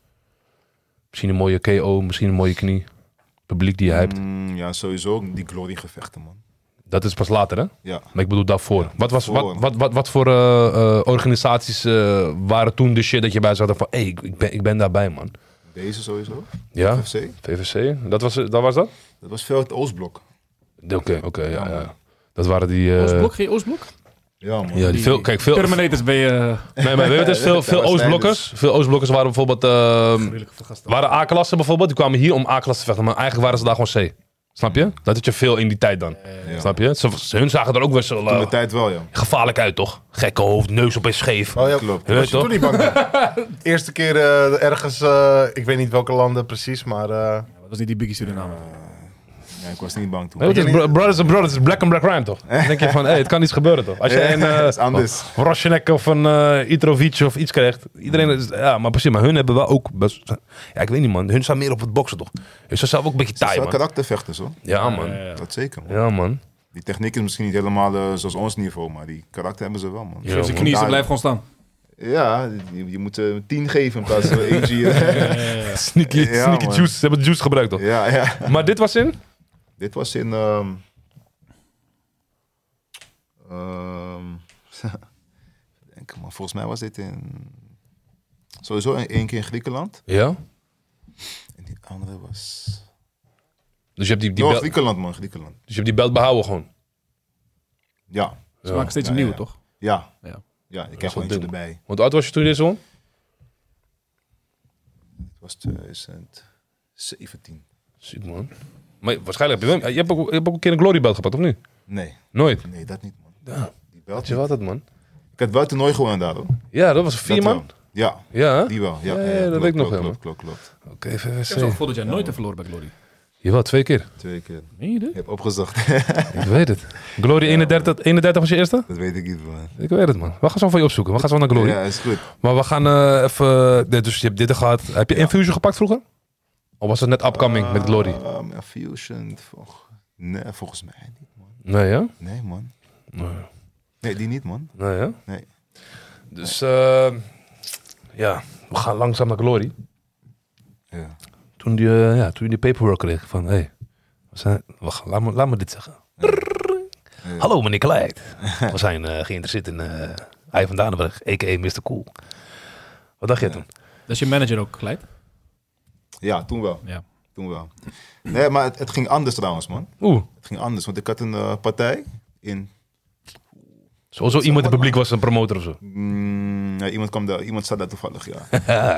S1: Misschien een mooie KO, misschien een mooie knie. Publiek die je hebt.
S3: Mm, ja, sowieso ook die glory-gevechten, man.
S1: Dat is pas later, hè?
S3: Ja.
S1: Maar ik bedoel daarvoor. wat, was, wat,
S3: daarvoor.
S1: wat, wat, wat voor eh, eh, organisaties eh, waren toen de shit dat je bij zat? Van, hé, hey, ik, ik ben, ik ben daarbij, man.
S3: Deze sowieso.
S1: Ja?
S3: FC.
S1: VVC? Dat was, dat was dat?
S3: Dat was veel het Oostblok.
S1: Oké, oké, ja, ja. Dat waren die... eh,
S5: Oostblok, geen Oostblok?
S3: Ja, man.
S1: Ja, die veel, kijk, veel,
S5: Terminators ben je... eh,
S1: nee, maar weet je wat het is? Veel, veel
S3: was
S1: Oostblokkers. Veel Oostblokkers waren bijvoorbeeld... ehm, waren A-klassen bijvoorbeeld. Die kwamen hier om A-klassen te vechten. Maar eigenlijk waren ze daar gewoon C. Snap je? Dat had je veel in die tijd dan.
S3: ja.
S1: Snap je? Ze, ze- hun zagen er ook best wel
S3: Toen
S1: eh,
S3: de tijd wel, ja.
S1: gevaarlijk uit, toch? Gekke hoofd, neus op een scheef.
S2: Oh, ja.
S3: Klopt.
S1: Je weet toch?
S2: Toen niet bang. bent. Eerste keer eh, ergens, eh, ik weet niet welke landen precies, maar eh,
S5: Dat was niet die Biggie Suriname. Dus
S3: Ja, ik was niet bang toen.
S1: Nee, want het is bro- brothers and brothers, black and black rhyme toch? Dan denk je van, hé, het kan iets gebeuren toch? Als je
S3: Ja,
S1: een
S3: dat
S2: Oh,
S3: is
S1: eh
S3: anders.
S1: Roschenek of een eh Itrovic of iets krijgt. Iedereen is, ja, maar precies, maar hun hebben wel ook best, ja, ik weet niet man, hun staan meer op het boksen toch? Hun zijn zelf ook een beetje
S3: Het is
S1: taai
S3: wel
S1: man.
S3: karaktervechters, hoor.
S1: Ja man,
S3: Dat zeker, man.
S1: ja man.
S3: Die techniek is misschien niet helemaal eh, zoals ons niveau, maar die karakter hebben ze wel, man.
S1: Ja,
S5: Dus de
S1: man.
S5: knieën, ze
S3: Daar-
S5: blijven gewoon staan.
S3: Ja, je, je moet eh, tien geven in plaats van eentje.
S1: Sneaky,
S3: Ja,
S1: sneaky
S3: man.
S1: juice, ze hebben juice gebruikt toch?
S3: ja, ja.
S1: Maar dit was in?
S3: Dit was in... ehm, ehm, denk, maar volgens mij was dit in... Sowieso in- één keer in Griekenland.
S1: Ja.
S3: En die andere was...
S1: Dus je hebt die, die
S3: Die
S1: belt, dus
S3: Griekenland, man. Griekenland.
S1: je hebt die belt behouden gewoon.
S3: Ja.
S5: Ze maken steeds
S3: Ja,
S5: een nieuwe,
S3: ja.
S5: toch?
S3: Ja.
S5: Ja.
S3: Ja. Ja, ik
S1: is
S3: heb gewoon
S1: wel ding.
S3: eentje erbij.
S1: Want hoe oud was je toen je dit won?
S3: Het was 2017.
S1: Ziek man. Maar waarschijnlijk heb je, wel- je, hebt ook, je hebt ook een keer een glory belt gepakt of niet?
S3: Nee.
S1: Nooit.
S3: Nee, dat niet, man.
S1: Ja.
S3: Die belt
S1: Weet je wat dat man?
S3: Ik had wel toernooi gewonnen daar, hoor.
S1: Ja, dat was vier
S3: Dat
S1: man.
S3: wel. Ja,
S1: Ja. hè?
S3: die wel. Ja,
S1: Ja,
S3: ja,
S1: ja, dat
S3: klopt,
S1: weet ik nog
S3: klopt,
S1: wel,
S3: klopt, klopt, klopt.
S1: Oké,
S5: Ik heb zo'n
S1: VVC.
S5: gevoel dat jij nooit hebt verloren bij Glory.
S1: Jawel, twee keer.
S3: Twee keer.
S5: Meen je dit?
S3: Je hebt opgezocht.
S1: Ik weet het. Glory 31, 31 was je eerste?
S3: dat weet ik niet, man.
S1: Ik weet het, man. We gaan zo van je opzoeken. We gaan zo naar Glory.
S3: Ja, is goed.
S1: Maar we gaan eh, even... nee, Dus je hebt dit er gehad. Heb je Infusion gepakt vroeger? Of was het net upcoming met Glory?
S3: Ehm, ja, Fusion, volg- nee, volgens mij niet.
S1: Nee, ja?
S3: Nee, man.
S1: Nee.
S3: Nee, die niet, man.
S1: Nee, ja?
S3: Nee.
S1: Dus, eh, ja. We gaan langzaam naar Glory.
S3: Ja.
S1: Toen die, eh, ja, toen je die paperwork kreeg van... Hé, hey, we zijn- wacht, laat me, laat me dit zeggen.
S3: Ja.
S1: Hallo meneer Kleid. We zijn eh, geïnteresseerd in eh Hij van Danenburg, a.k.a. Mr. Cool. Wat dacht jij toen?
S5: Dat is je manager ook, Glijdt.
S3: Ja, toen wel.
S5: Ja.
S3: Toen wel. Nee, maar het, het ging anders trouwens, man.
S1: Oeh,
S3: Het ging anders, want ik had een eh, partij in...
S1: sowieso iemand in het publiek was een promotor of zo.
S3: Mm, ja, iemand, kwam daar, iemand zat daar toevallig, ja.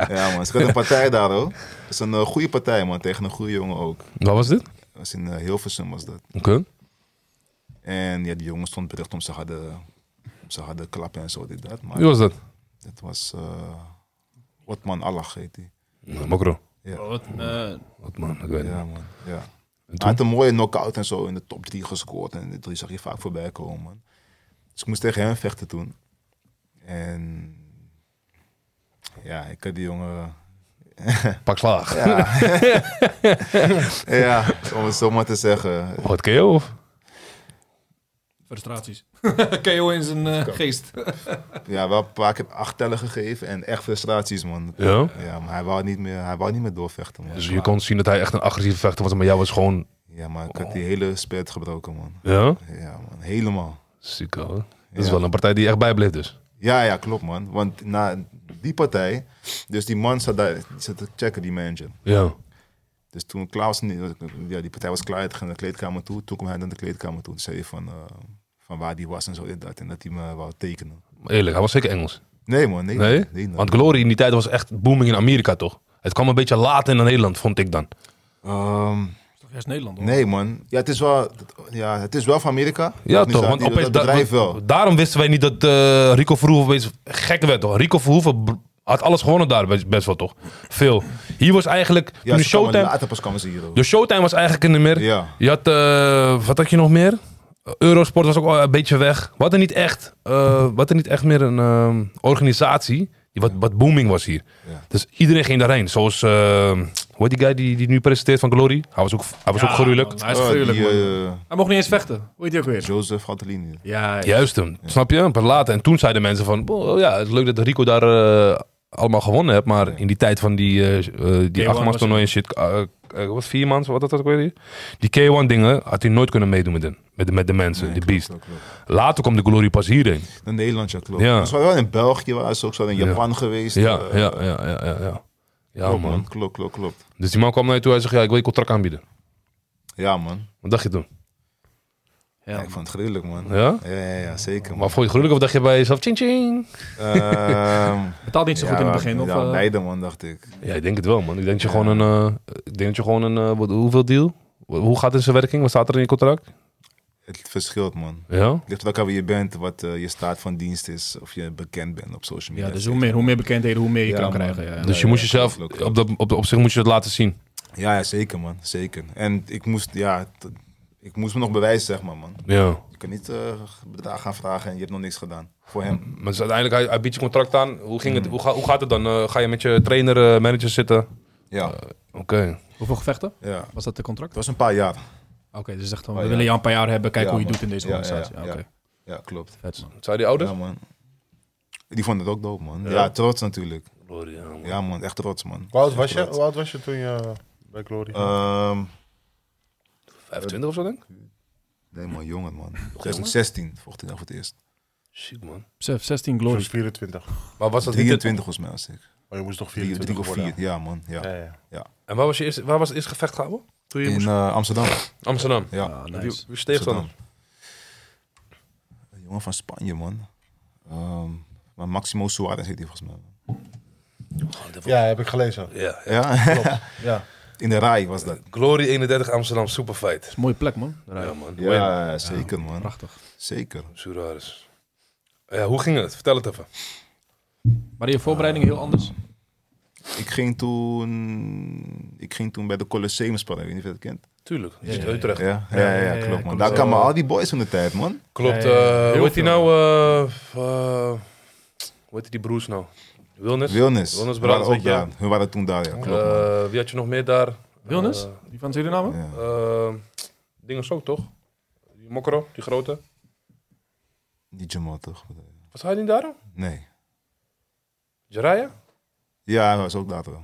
S3: ja, man. Dus ik had een partij daar, hoor. Dat is een eh, goede partij, man. Tegen een goede jongen ook.
S1: Wat was dit?
S3: Dat was in eh, Hilversum, was dat.
S1: Oké.
S3: En ja, die jongen stond bericht om ze hadden, ze hadden klappen en zo, dit, dat. Maar
S1: Wie was dat?
S3: dat was eh Otman Allah heet die.
S1: Nou, Mokro.
S3: Ja.
S5: Oh, wat, eh,
S1: Wat man, ik weet het.
S3: Ja, man. Ja.
S1: toen?
S3: Hij had een mooie knockout en zo in de top 3 gescoord. En die drie zag je vaak voorbij komen. man. Dus ik moest tegen hem vechten toen. En ja, ik had die jongen
S1: Pak slaag.
S3: Ja. ja, om het zo maar te zeggen.
S1: Wat KO of?
S5: Frustraties. KO in zijn eh, geest.
S3: Ja, wel een paar keer acht tellen gegeven en echt frustraties, man.
S1: Ja.
S3: Ja, maar hij wou niet meer, hij wou niet meer doorvechten, man.
S1: Dus je kon zien dat hij echt een agressieve vechter was, maar jou was gewoon...
S3: Ja, maar ik had die hele spet gebroken, man.
S1: Ja?
S3: Ja, man, helemaal.
S1: Ziek hoor. Dat is
S3: Ja.
S1: wel een partij die echt bijbleef dus.
S3: Ja, ja, klopt, man. Want na die partij, dus die man zat daar, die zat te checken, die manager.
S1: Ja.
S3: Dus toen Klaus, ja, die partij was klaar, hij ging naar de kleedkamer toe. Toen kwam hij naar de kleedkamer toe. Toen zei hij van, eh, van waar die was en zo en dat. En dat hij me wou tekenen.
S1: Maar eerlijk, hij was zeker Engels.
S3: Nee, man, nee.
S1: Nee?
S3: nee,
S1: Want Glory in die tijd was echt booming in Amerika toch? Het kwam een beetje later in Nederland, vond ik dan.
S3: Ehm,
S5: Toch juist Nederland, hoor.
S3: nee, man. Ja, het is wel, ja, het is wel van Amerika.
S1: Ja
S3: Die-
S1: toch, want
S3: die-
S1: opeens...
S3: dat
S1: da-
S3: bedrijf
S1: want
S3: wel.
S1: Daarom wisten wij niet dat eh, Rico Verhoeven opeens gek werd toch? Rico Verhoeven br- had alles gewonnen daar best, best wel toch? Veel. Hier was eigenlijk...
S3: Ja,
S1: toen de
S3: ze kwamen
S1: Showtime...
S3: Later pas kwamen ze hier. hoor.
S1: De Showtime was eigenlijk in de meer.
S3: Ja.
S1: Je had, eh, wat had je nog meer? Eurosport was ook al een beetje weg. Wat er niet echt, eh, wat er niet echt meer een ehm, organisatie die wat, wat booming was hier.
S3: Ja.
S1: Dus iedereen ging daarheen. Zoals, eh, hoe heet die guy die, die nu presenteert van Glory? Hij was ook, hij was ook gruwelijk.
S5: man, Hij is
S3: Oh,
S5: gruwelijk,
S3: die,
S5: man.
S3: eh,
S5: Hij mocht niet eens vechten. Hoe heet die ook weer?
S3: Joseph Hattelini.
S5: Ja,
S1: Juist hem, snap je? Een paar later. En toen zeiden mensen van, "Oh, ja, het is leuk dat Rico daar eh, allemaal gewonnen heeft. Maar in die tijd van die, eh eh, die
S5: K1
S1: achtmans
S5: was
S1: toernooi en shit, eh, eh, wat viermans, wat dat was ook weer? Die K1 dingen had hij nooit kunnen meedoen met, hen, met, de- met de mensen, de beast.
S3: Klopt, klopt.
S1: Later kwam de Glory pas hierheen.
S3: Naar Nederland, ja, klopt.
S1: Ja.
S3: Ze waren wel in België, waren ze ook zo in Japan geweest.
S1: Ja,
S3: eh,
S1: ja, ja, ja, ja. ja. Ja,
S3: klopt,
S1: man.
S3: Klopt, klopt, klopt.
S1: Dus die man kwam naar je toe en zei, ja, ik wil je contract aanbieden.
S3: Ja, man.
S1: Wat dacht je toen?
S3: Ja, ik vond het gruwelijk, man.
S1: Ja?
S3: Ja, ja, ja, zeker. man.
S1: Maar vond je het gruwelijk of dacht je bij jezelf, ching ching?
S3: Ehm,
S5: Betaalt niet zo goed in het
S3: ja,
S5: begin. Of,
S3: Ja,
S5: eh,
S3: beide, man, dacht ik.
S1: Ja, ik denk het wel, man. Ik denk dat je gewoon een, eh, ik denk dat je gewoon een eh, wat, hoeveel deal? Hoe- Hoe gaat het in zijn werking? Wat staat er in je contract?
S3: Het verschilt, man.
S1: Ja?
S3: Het ligt welke wie je bent, wat eh, je staat van dienst is, of je bekend bent op social media.
S5: ja, dus hoe meer, hoe meer bekendheden, hoe meer je
S3: Ja,
S5: kan
S3: man.
S5: krijgen. Ja.
S1: Dus je moest jezelf,
S3: klopt,
S1: op, dat, op, de- op zich moest je het laten zien.
S3: Ja, ja, zeker, man. Zeker. En ik moest, ja, t- ik moest me nog bewijzen, zeg maar, man.
S1: Ja.
S3: Je kan niet eh bedrag gaan vragen en je hebt nog niks gedaan. Voor hem.
S1: Maar dus uiteindelijk, hij, hij biedt je contract aan. Hoe, ging het,
S3: Mm.
S1: hoe, ga, hoe gaat het dan? Eh, ga je met je trainer, eh, manager zitten?
S3: Ja,
S5: Eh.
S1: Oké.
S5: Hoeveel gevechten?
S3: ja.
S5: Was dat de contract?
S3: Het was een paar jaar.
S5: Oké, dus echt van,
S3: Oh,
S5: we
S3: ja.
S5: willen jou een paar jaar hebben, kijken
S3: Ja,
S5: hoe
S3: man.
S5: je doet in deze
S3: Ja, ja,
S5: organisatie. Ja,
S3: ja.
S5: oké.
S3: Ja, klopt.
S5: Vet, man.
S1: Zijn die ouders?
S3: Ja, man. Die vonden het ook dope, man. Ja, trots natuurlijk. Ja, man. Echt trots, man.
S2: Hoe oud was je, hoe oud was je toen je bij Glory
S3: Ehm,
S1: 25 of zo denk ik?
S3: nee, man. Jongen, man. 2016 vocht ik daar voor het eerst.
S1: Ziek man.
S5: Besef, 16
S2: Zo'n
S5: glories.
S2: 24.
S1: Maar was dat niet het-
S3: 23 volgens mij was ik.
S2: Maar Oh, je moest toch
S3: 3
S2: 24
S3: of
S2: worden.
S3: 4. Ja, man. Ja.
S2: Ja, ja.
S1: En waar was, je eerste, waar was het eerste gevecht gehouden? Toen je
S3: In
S1: moest...
S3: eh, Amsterdam.
S1: Amsterdam.
S3: Ja.
S5: Ah,
S1: Wie,
S5: nice.
S1: wie steeg dan?
S3: Amsterdam. Een jongen van Spanje, man. Ehm, maar Maximo Suarez heet hij volgens mij.
S2: Ja, heb ik gelezen.
S1: Ja.
S3: Ja,
S2: Ja.
S3: in de rij was dat.
S1: Glory 31 Amsterdam, superfight.
S5: Mooie plek, man.
S1: Ja man. Wayne,
S3: Ja, zeker, man.
S5: Prachtig.
S3: Zeker.
S1: Suarez. Ja, hoe ging het? Vertel het even.
S5: Maar je voorbereiding heel anders?
S3: Ik ging toen, ik ging toen bij de Colosseum spelen. Ik weet niet of je dat kent.
S1: Tuurlijk. Je zit Utrecht.
S3: Ja, ja, ja,
S5: ja, ja,
S3: klopt, man.
S5: klopt.
S3: Daar kwamen al die boys van de tijd, man.
S1: Klopt.
S5: Ja, ja, ja.
S1: eh,
S5: Heel
S1: hoe heet die
S5: veel.
S1: nou? eh, f- eh, hoe heet die broers nou? Wilnis?
S3: Wilnis.
S1: Wilnis
S3: We waren
S1: Brandt,
S3: ook
S1: weet je.
S3: daar. Hun waren toen daar, ja. Klopt, man.
S1: Eh, wie had je nog meer daar?
S5: Wilnis?
S1: Eh,
S5: Die van Suriname?
S3: Ja.
S1: eh, Dinges ook toch? Die Mokro, die grote.
S3: Niet Jamal, toch?
S1: Was hij niet daar?
S3: Nee.
S1: Jiraya?
S3: Ja, hij was ook daar, toch?
S1: Ja,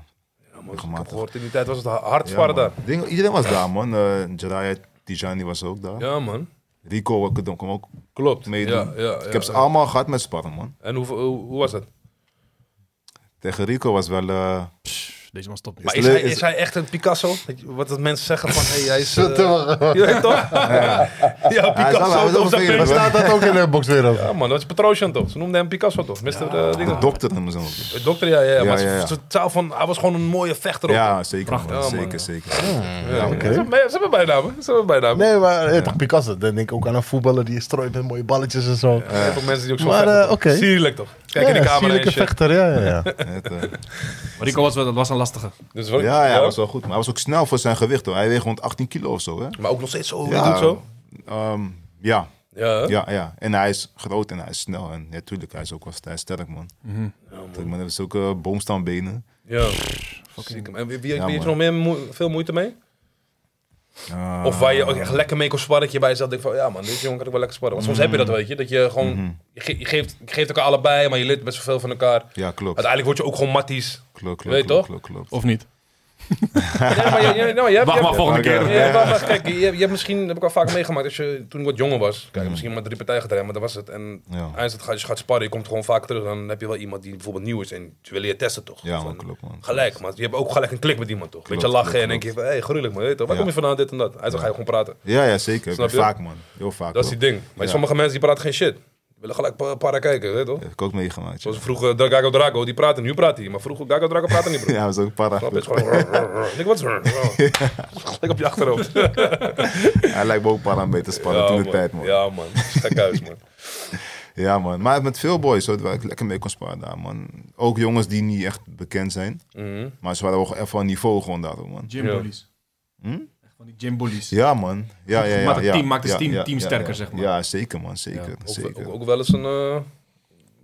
S1: man, ik heb
S3: Regelmatig.
S1: gehoord in die tijd was het hard
S3: Ja,
S1: zwaren
S3: man.
S1: daar.
S3: Ding- Iedereen was daar, man. Eh Jiraya Tijani was ook daar.
S1: Ja, man.
S3: Rico ik kwam ook.
S1: Klopt.
S3: Meedoen.
S1: Ja, ja, ja.
S3: Ik heb ze allemaal gehad met sparren, man.
S1: En hoe, hoe, hoe was het?
S3: Tegen Rico was wel... eh,
S5: Psh, deze man stopt niet.
S1: Maar
S3: is
S1: is hij,
S3: leuk, is-
S1: is hij echt een Picasso? Weet je, Wat dat mensen zeggen van, hey, hij is... eh,
S2: Zit er wel-
S1: ja, toch? Ja,
S3: hij is al- hij is
S1: Picasso.
S3: al
S1: op zijn
S3: vervelend,
S1: punt.
S3: hoor.
S2: Staat dat ook in de boxwereld?
S1: Ja, man, dat is Petrosian toch? Ze noemden hem Picasso toch? Mr. eh, dingen.
S3: De dokter noemen ze hem ook.
S1: De dokter, ja, ja. ja,
S3: Ja,
S1: maar
S3: ja,
S1: ze-
S3: ja.
S1: ze- taal van, hij was gewoon een mooie vechter. ook.
S3: Ja, zeker. man.
S1: Ja, man.
S3: Zeker, zeker. zeker.
S1: Ja, Ze hebben bij- ze hebben bijnamen. Ze hebben bijnamen.
S2: Nee, maar eh, toch Picasso. Dan denk ik ook aan een voetballer die strooit met mooie balletjes en zo.
S1: Er zijn ook mensen die ook zo
S2: Maar,
S1: vechten.
S2: eh, oké.
S1: Sierlijk toch? Kijk in
S2: Ja,
S1: de camera en
S2: sierlijke
S1: shit.
S2: vechter, ja, ja, ja.
S3: Het, eh,
S5: Maar Rico was, wel- dat was een lastige.
S1: Dus wat-
S3: ja, ja, was wel goed. Maar hij was ook snel voor zijn gewicht, hoor. Hij weegt rond 18 kilo of zo, hè?
S1: Maar ook nog steeds zo
S3: Ja.
S1: goed zo.
S3: Ehm, ja,
S1: Ja, hè?
S3: ja, ja. En hij is groot en hij is snel. En
S1: Mhm.
S3: eh, natuurlijk, hij is ook wel st- hij is sterk, man. Kijk, man, hij heeft zulke boomstambenen.
S1: ja. Ziek, man. En wie, wie,
S3: Ja,
S1: wie heeft er nog
S3: man.
S1: meer moe- veel moeite mee?
S3: Ah.
S1: Of waar je ook echt lekker mee kon sparren, dat je bij jezelf denkt van, ja man, dit jongen kan ik wel lekker sparren. Want soms heb je
S3: Mm.
S1: dat, weet je, dat je gewoon, je, ge- je geeft, je geeft elkaar allebei, maar je leert best wel veel van elkaar.
S3: Ja, Mm-hmm. klopt.
S1: Uiteindelijk word je ook gewoon matties.
S3: Klopt, klopt,
S1: Weet je toch?
S3: klopt, klopt, klopt.
S5: Of niet?
S1: Ja, maar je, je- nou, je hebt, je
S5: Wacht maar
S1: hebt-
S5: volgende
S3: Oké.
S5: keer.
S1: Ja, maar, maar kijk, je, je hebt misschien, dat heb ik al vaak meegemaakt, als je, toen ik wat jonger was, kijk, misschien maar drie partijen gedraaid, maar dat was het. En
S3: Ja.
S1: eindelijk gaat je gaat sparren, je komt gewoon vaak terug, dan heb je wel iemand die bijvoorbeeld nieuw is en je wil je testen toch?
S3: Ja,
S1: Van,
S3: man, klopt, man.
S1: Gelijk, maar je hebt ook gelijk een klik met iemand toch? Weet je
S3: Klopt,
S1: lachen
S3: klopt,
S1: en denk je van, hé, hey, gruwelijk man, weet je toch? Waar
S3: Ja.
S1: kom je vandaan, dit en dat? Hij ga je gewoon praten.
S3: Ja, ja, zeker.
S1: Snap je?
S3: Vaak, man. Heel vaak.
S1: Dat is
S3: hoor.
S1: die ding. Maar
S3: Ja.
S1: sommige mensen die praten geen shit. Die willen gelijk pa- para kijken, weet je toch?
S3: Dat heb ik ook meegemaakt. Ja,
S1: Zoals vroeger Dra- Gago Drago, die praten, nu praat hij. Maar vroeger Gago Drago praatte niet, bro.
S3: ja dat is ook een para.
S1: Snap je? Het is gewoon... Ik denk, wat is er? Gelijk op je achterhoofd.
S3: Hij lijkt me ook para mee te spannen toen de tijd, man. Ja.
S1: Ja, man. Gek huis, man.
S3: man. Maar met veel boys, hoor, waar ik lekker mee kon sparen daar, man. Ook jongens die niet echt bekend zijn.
S1: Mhm.
S3: Maar ze waren wel echt van niveau gewoon daar, hoor, man.
S5: Gym
S1: Ja.
S5: bullies.
S3: Hm?
S5: Echt van die gym bullies.
S3: Ja, man. Ja, ja, ja.
S5: Maakt het
S3: ja,
S5: team- maakt het
S3: ja,
S5: team-
S3: ja,
S5: team
S3: ja,
S5: sterker,
S3: ja.
S5: zeg maar.
S3: Ja, zeker, man. Zeker,
S1: Ook,
S3: zeker.
S1: ook- ook wel eens een... eh,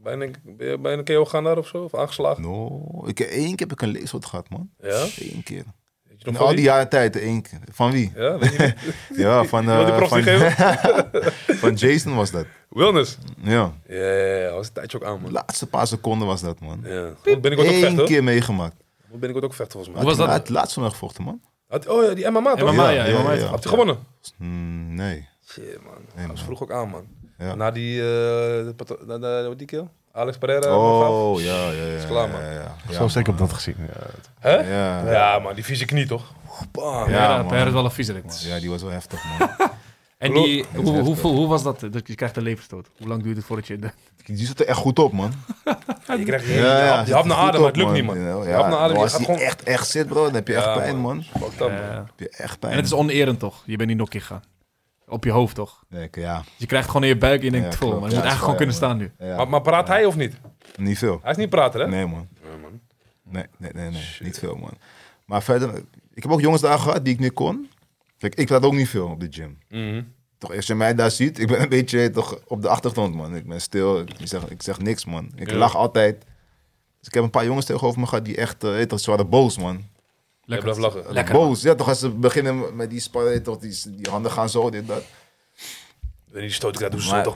S1: bijna, ben je bijna een KO gaan daar of zo? Of aangeslagen?
S3: No. Ik, één keer heb ik een leeswoord gehad, man.
S1: Ja?
S3: Eén keer.
S1: Weet je nog
S3: In Nou, al
S1: van
S3: die
S1: wie?
S3: jaren tijd, één keer. Van wie?
S1: Ja, weet je wie?
S3: Ja, van...
S1: wil die
S3: eh,
S1: props
S3: van,
S1: niet
S3: van Jason was dat.
S1: Wilnis.
S3: Ja.
S1: Ja, ja, ja. was een tijdje ook aan,
S3: De
S1: man.
S3: laatste paar seconden was dat, man.
S1: Ja. Moet binnenkort ook
S3: Eén
S1: vechten, hoor.
S3: keer meegemaakt.
S1: Moet binnenkort ook vechten, volgens mij.
S5: Hoe was
S3: Hij
S5: dat?
S3: had laatst van mij gevochten, man.
S1: Had- Oh ja, die MMA, toch?
S5: MMA, ja, ja, ja.
S1: Had hij gewonnen?
S3: Mm, nee.
S1: Shit, man.
S3: Nee,
S1: Dat
S3: man.
S1: vroeg ook aan, man.
S3: Ja.
S1: Na die... eh pato- na- na- hoe die kill? Alex Pereira. Gaaf.
S3: Oh, ja, ja, ja.
S1: Is klaar, man.
S3: Ja, ja, ja.
S2: Zo zeker op dat gezien. Ja.
S1: Hè?
S3: Ja, ja.
S1: Ja. man. Die vieze knie, toch? Bam.
S3: Ja,
S5: Ja,
S3: man.
S5: Pereira is wel een viezerik, man.
S3: Ja, die was wel heftig, man.
S5: En
S1: Klopt.
S5: die, hoe, hoe, hoe, hoe was dat? dat? Je krijgt een leverstoot. Hoe lang duurt het voordat je... de-
S3: Die zit er echt goed op, man.
S1: Je krijgt je,
S3: Ja, ja,
S1: hap- je hapt naar
S3: zit
S1: adem, maar
S3: er goed op,
S1: het lukt niet, man.
S3: Ja,
S1: je hapt naar adem, je
S3: als
S1: gaat
S3: die
S1: gewoon...
S3: echt, echt zit, bro, dan heb je echt
S1: Ja,
S3: pijn, man.
S1: Fuck dat, man.
S5: Eh,
S3: Heb je echt
S5: en
S3: pijn.
S5: het is onerend, toch? Je bent niet nog keer gegaan. Op je hoofd, toch?
S3: Nee, ja.
S5: Je krijgt gewoon in je buik en je denkt,
S3: Ja,
S5: vol,
S3: klopt.
S5: maar je
S3: Ja,
S5: moet
S3: dat
S5: eigenlijk
S3: is
S5: gewoon kunnen
S3: waar,
S5: staan nu.
S3: ja.
S1: Maar, maar praat hij of niet?
S3: Niet veel.
S1: Hij is niet praten, hè?
S3: Nee, man.
S1: man.
S3: Nee, nee, nee, nee. Niet veel, man. Maar verder, ik heb ook jongens daar gehad die ik niet kon. Kijk, ik praat ook niet veel op de gym.
S1: Mhm.
S3: Toch, als je mij daar ziet, ik ben een beetje toch op de achtergrond, man. Ik ben stil, ik zeg, ik zeg niks, man. Ik
S1: Ja.
S3: lach altijd. Dus ik heb een paar jongens tegenover me gehad die echt, eh, weet toch, ze waren boos, man.
S1: Jij blijft lachen.
S5: Lekker.
S3: Boos, ja, toch, als ze beginnen met die sparren, weet toch, die, die handen gaan zo, dit, dat.
S1: En die stoot ik uit, doe ze
S3: Maar-
S1: toch?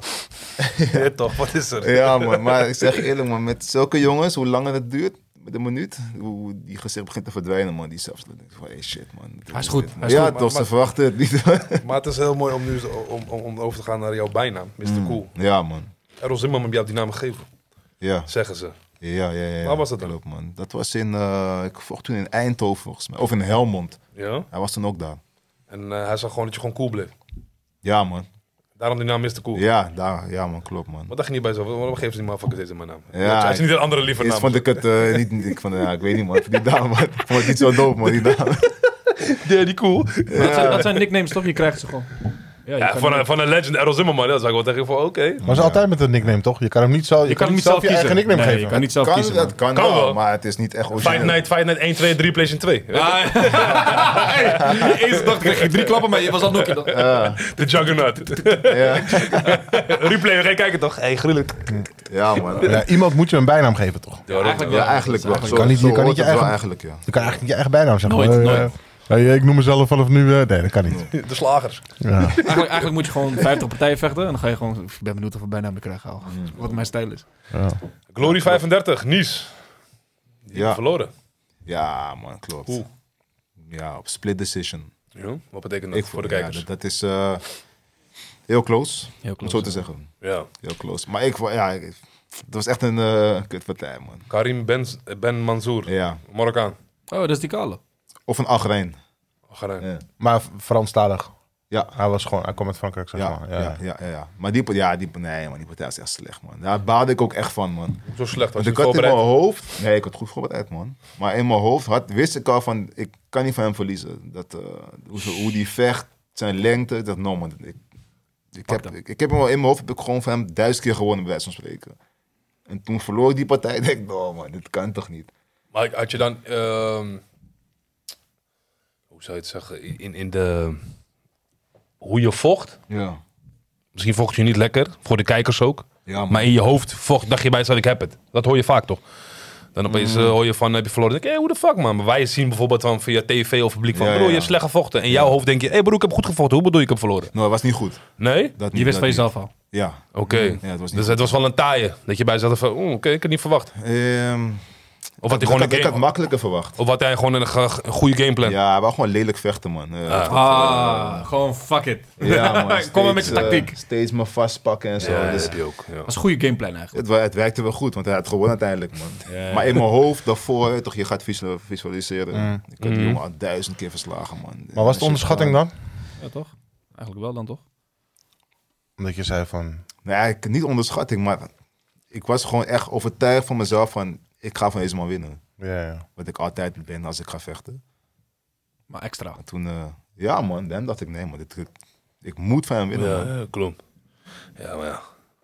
S1: Ja, toch, wat is er?
S3: Ja, man, maar ik zeg je eerlijk, man, met zulke jongens, hoe langer het duurt, met een minuut, hoe die gezicht begint te verdwijnen, man. Die zelfs, dan denk ik van, hey, shit, man.
S5: Hij is goed, hij is
S3: ja,
S5: goed,
S1: maar-
S3: toch, ze
S1: maar-
S3: verwachten het niet.
S1: Maar het is heel mooi om nu eens- om, om, om over te gaan naar jouw bijnaam, Mr.
S3: Mm.
S1: Cool.
S3: Ja, man.
S1: Errol Zimmerman heeft jou die naam gegeven,
S3: Ja.
S1: zeggen ze.
S3: Ja, ja, ja. ja.
S1: Waar was dat dan?
S3: Klopt, man. Dat was in, eh, ik vocht toen in Eindhoven, volgens mij. Of in Helmond.
S1: Ja?
S3: Hij was toen ook daar.
S1: En eh, hij zag gewoon dat je gewoon cool bleef.
S3: Ja, man.
S1: Daarom die naam Mr. Cool.
S3: Ja, daar, ja man, klopt, man.
S1: Maar dat ging niet bij zo. Waarom geven ze die motherfuckers deze mijn naam?
S3: Ja,
S1: hij is niet een andere lieve
S3: Eerst
S1: naam.
S3: vond ik het eh, niet, niet- ik, vond, ja, ik weet niet, man. Ik vond Die dame, man. Ik vond het niet zo dope, man. Die dame.
S1: Daddy Cool.
S5: Dat, zijn, dat zijn nicknames, toch? Je krijgt ze gewoon. Ja, je
S1: Ja,
S5: kan
S1: van,
S5: niet-
S1: een, van een legend, Errol Zimmerman. Dat zou ik wel tegen je van, oké.
S2: Maar ze altijd met een nickname, toch? Je kan hem niet, zo, je
S5: Je
S2: kan
S5: kan hem
S2: niet zelf je eigen nickname
S5: Nee,
S2: geven.
S5: Je kan niet zelf
S3: Kan,
S5: kiezen.
S3: dat
S5: man.
S3: kan,
S1: Kan
S3: wel,
S1: wel.
S3: maar het is niet echt
S1: Fight
S3: origineel.
S1: Night, Fight Night 1, 2, 3, PlayStation 2.
S5: Ah, hey, de eerste dag kreeg je drie klappen, maar je was al nog.
S1: De Juggernaut.
S3: Ja.
S1: Replay, we gaan kijken toch? hey, gruwelijk.
S3: ja, man. Ja,
S2: Ja, Eh, iemand moet je een bijnaam geven, toch?
S1: Ja, dat-
S5: Eigenlijk wel.
S3: eigenlijk wel. Zo,
S2: Je kan niet-
S3: zo
S2: je kan
S3: hoort
S2: niet je
S3: het wel
S2: eigen-
S3: eigenlijk, ja.
S2: Je kan eigenlijk niet je eigen bijnaam zeggen.
S5: Nooit,
S2: Eh,
S5: nooit.
S2: eh, hey, ik noem mezelf vanaf nu... eh, nee, dat kan niet.
S1: De slagers.
S2: Ja.
S5: Eigenlijk, eigenlijk moet je gewoon 50 partijen vechten en dan ga je gewoon. Ik ben benieuwd of we bijnaam krijgen. al.
S3: Hmm.
S5: Wat mijn stijl is.
S2: Ja.
S1: Glory 35, Nice. Die
S3: Ja.
S1: verloren.
S3: Ja, man, klopt.
S1: Hoe?
S3: Ja, op split decision.
S1: Ja, wat betekent dat voor de
S3: ja,
S1: kijkers? Ja,
S3: dat, dat is eh, heel close,
S5: Heel
S3: om
S5: close,
S3: zo te
S5: ja.
S3: zeggen. Heel close. Maar ik, vond- ja, ik- het was echt een eh, kutpartij, man.
S1: Karim Ben, ben Mansour,
S3: Ja.
S1: Marokkaan.
S5: Oh, dat is die kale.
S3: Of een Algerijn.
S1: Algerijn.
S3: Ja.
S2: Maar Franstalig.
S3: Ja.
S2: Hij, was gewoon, hij kwam uit Frankrijk, zeg
S3: Ja,
S2: maar.
S3: ja, ja, ja, ja. Maar die, ja, die, nee, man, die partij is echt slecht, man. Daar baalde ik ook echt van, man.
S1: Zo slecht als
S3: Want
S1: je
S3: ik had in mijn
S1: voorbereid.
S3: hoofd... Nee, ik had goed voorbereid, man. Maar in mijn hoofd had, wist ik al van... Ik kan niet van hem verliezen. Dat, eh, hoe, ze- hoe die vecht, zijn lengte. Dat, no, man. Ik, ik, heb, ik, ik heb hem al in mijn hoofd... heb ik gewoon van hem duizend keer gewonnen, bij wijze van spreken. En toen verloor ik die partij. Ik denk, no, man, dit kan toch niet?
S1: Maar had je dan, ehm, hoe zou je het zeggen, in, in de, hoe je vocht.
S3: Ja.
S1: Misschien vocht je niet lekker, voor de kijkers ook.
S3: Ja, man.
S1: Maar in je hoofd vocht, dacht je bij jezelf, ik heb het. Dat hoor je vaak toch? Dan
S3: Mm.
S1: opeens eh, hoor je van, heb je verloren. Dan denk je, hey, hoe de fuck man? Maar wij zien bijvoorbeeld van via tv of publiek van,
S3: Ja,
S1: bro,
S3: ja.
S1: je hebt slecht gevochten. En in jouw hoofd denk je, hé hey, bro, ik heb goed gevochten. Hoe bedoel je, ik heb verloren?
S3: Nou, het was niet goed.
S1: Nee?
S3: Dat niet,
S5: Je wist
S3: dat
S5: van
S3: niet.
S5: jezelf Oh. al.
S3: Ja.
S1: Oké.
S3: ja, het was niet
S1: Dus het was wel een taaie. Dat je bij jezelf van, oeh, oké, ik had het niet verwacht.
S3: Ehm,
S1: Of had hij
S3: ik,
S1: gewoon
S3: had,
S1: een
S3: ik had
S1: game,
S3: makkelijker verwacht.
S1: of had hij gewoon een, ge- een goede gameplan.
S3: Ja, maar gewoon lelijk vechten, man. Eh, dat, eh,
S5: Ah, gewoon fuck it.
S3: ja, man,
S5: Kom maar met je
S3: steeds, eh,
S5: tactiek.
S3: steeds me vastpakken en zo.
S1: Ja,
S3: Dus
S1: dat heb je ook. Ja.
S5: Dat is een goede gameplan eigenlijk.
S3: het, wa- het werkte wel goed, want hij had gewonnen uiteindelijk, man. Maar in mijn hoofd daarvoor, toch, je gaat visual- visualiseren. Ik had die
S1: Mm.
S3: jongen al duizend keer verslagen, man.
S2: Maar was het onderschatting dan?
S5: Ja, toch? Eigenlijk wel dan, toch?
S2: Omdat je zei van...
S3: Nee, ik, niet onderschatting, maar ik was gewoon echt overtuigd van mezelf van... Ik ga van deze man winnen.
S2: Ja, ja.
S3: Wat ik altijd ben als ik ga vechten.
S5: Maar extra.
S3: En toen, eh, ja man, dan dacht ik, nee man, dit, ik moet van hem winnen. man.
S1: Ja, klopt. Ja, maar ja.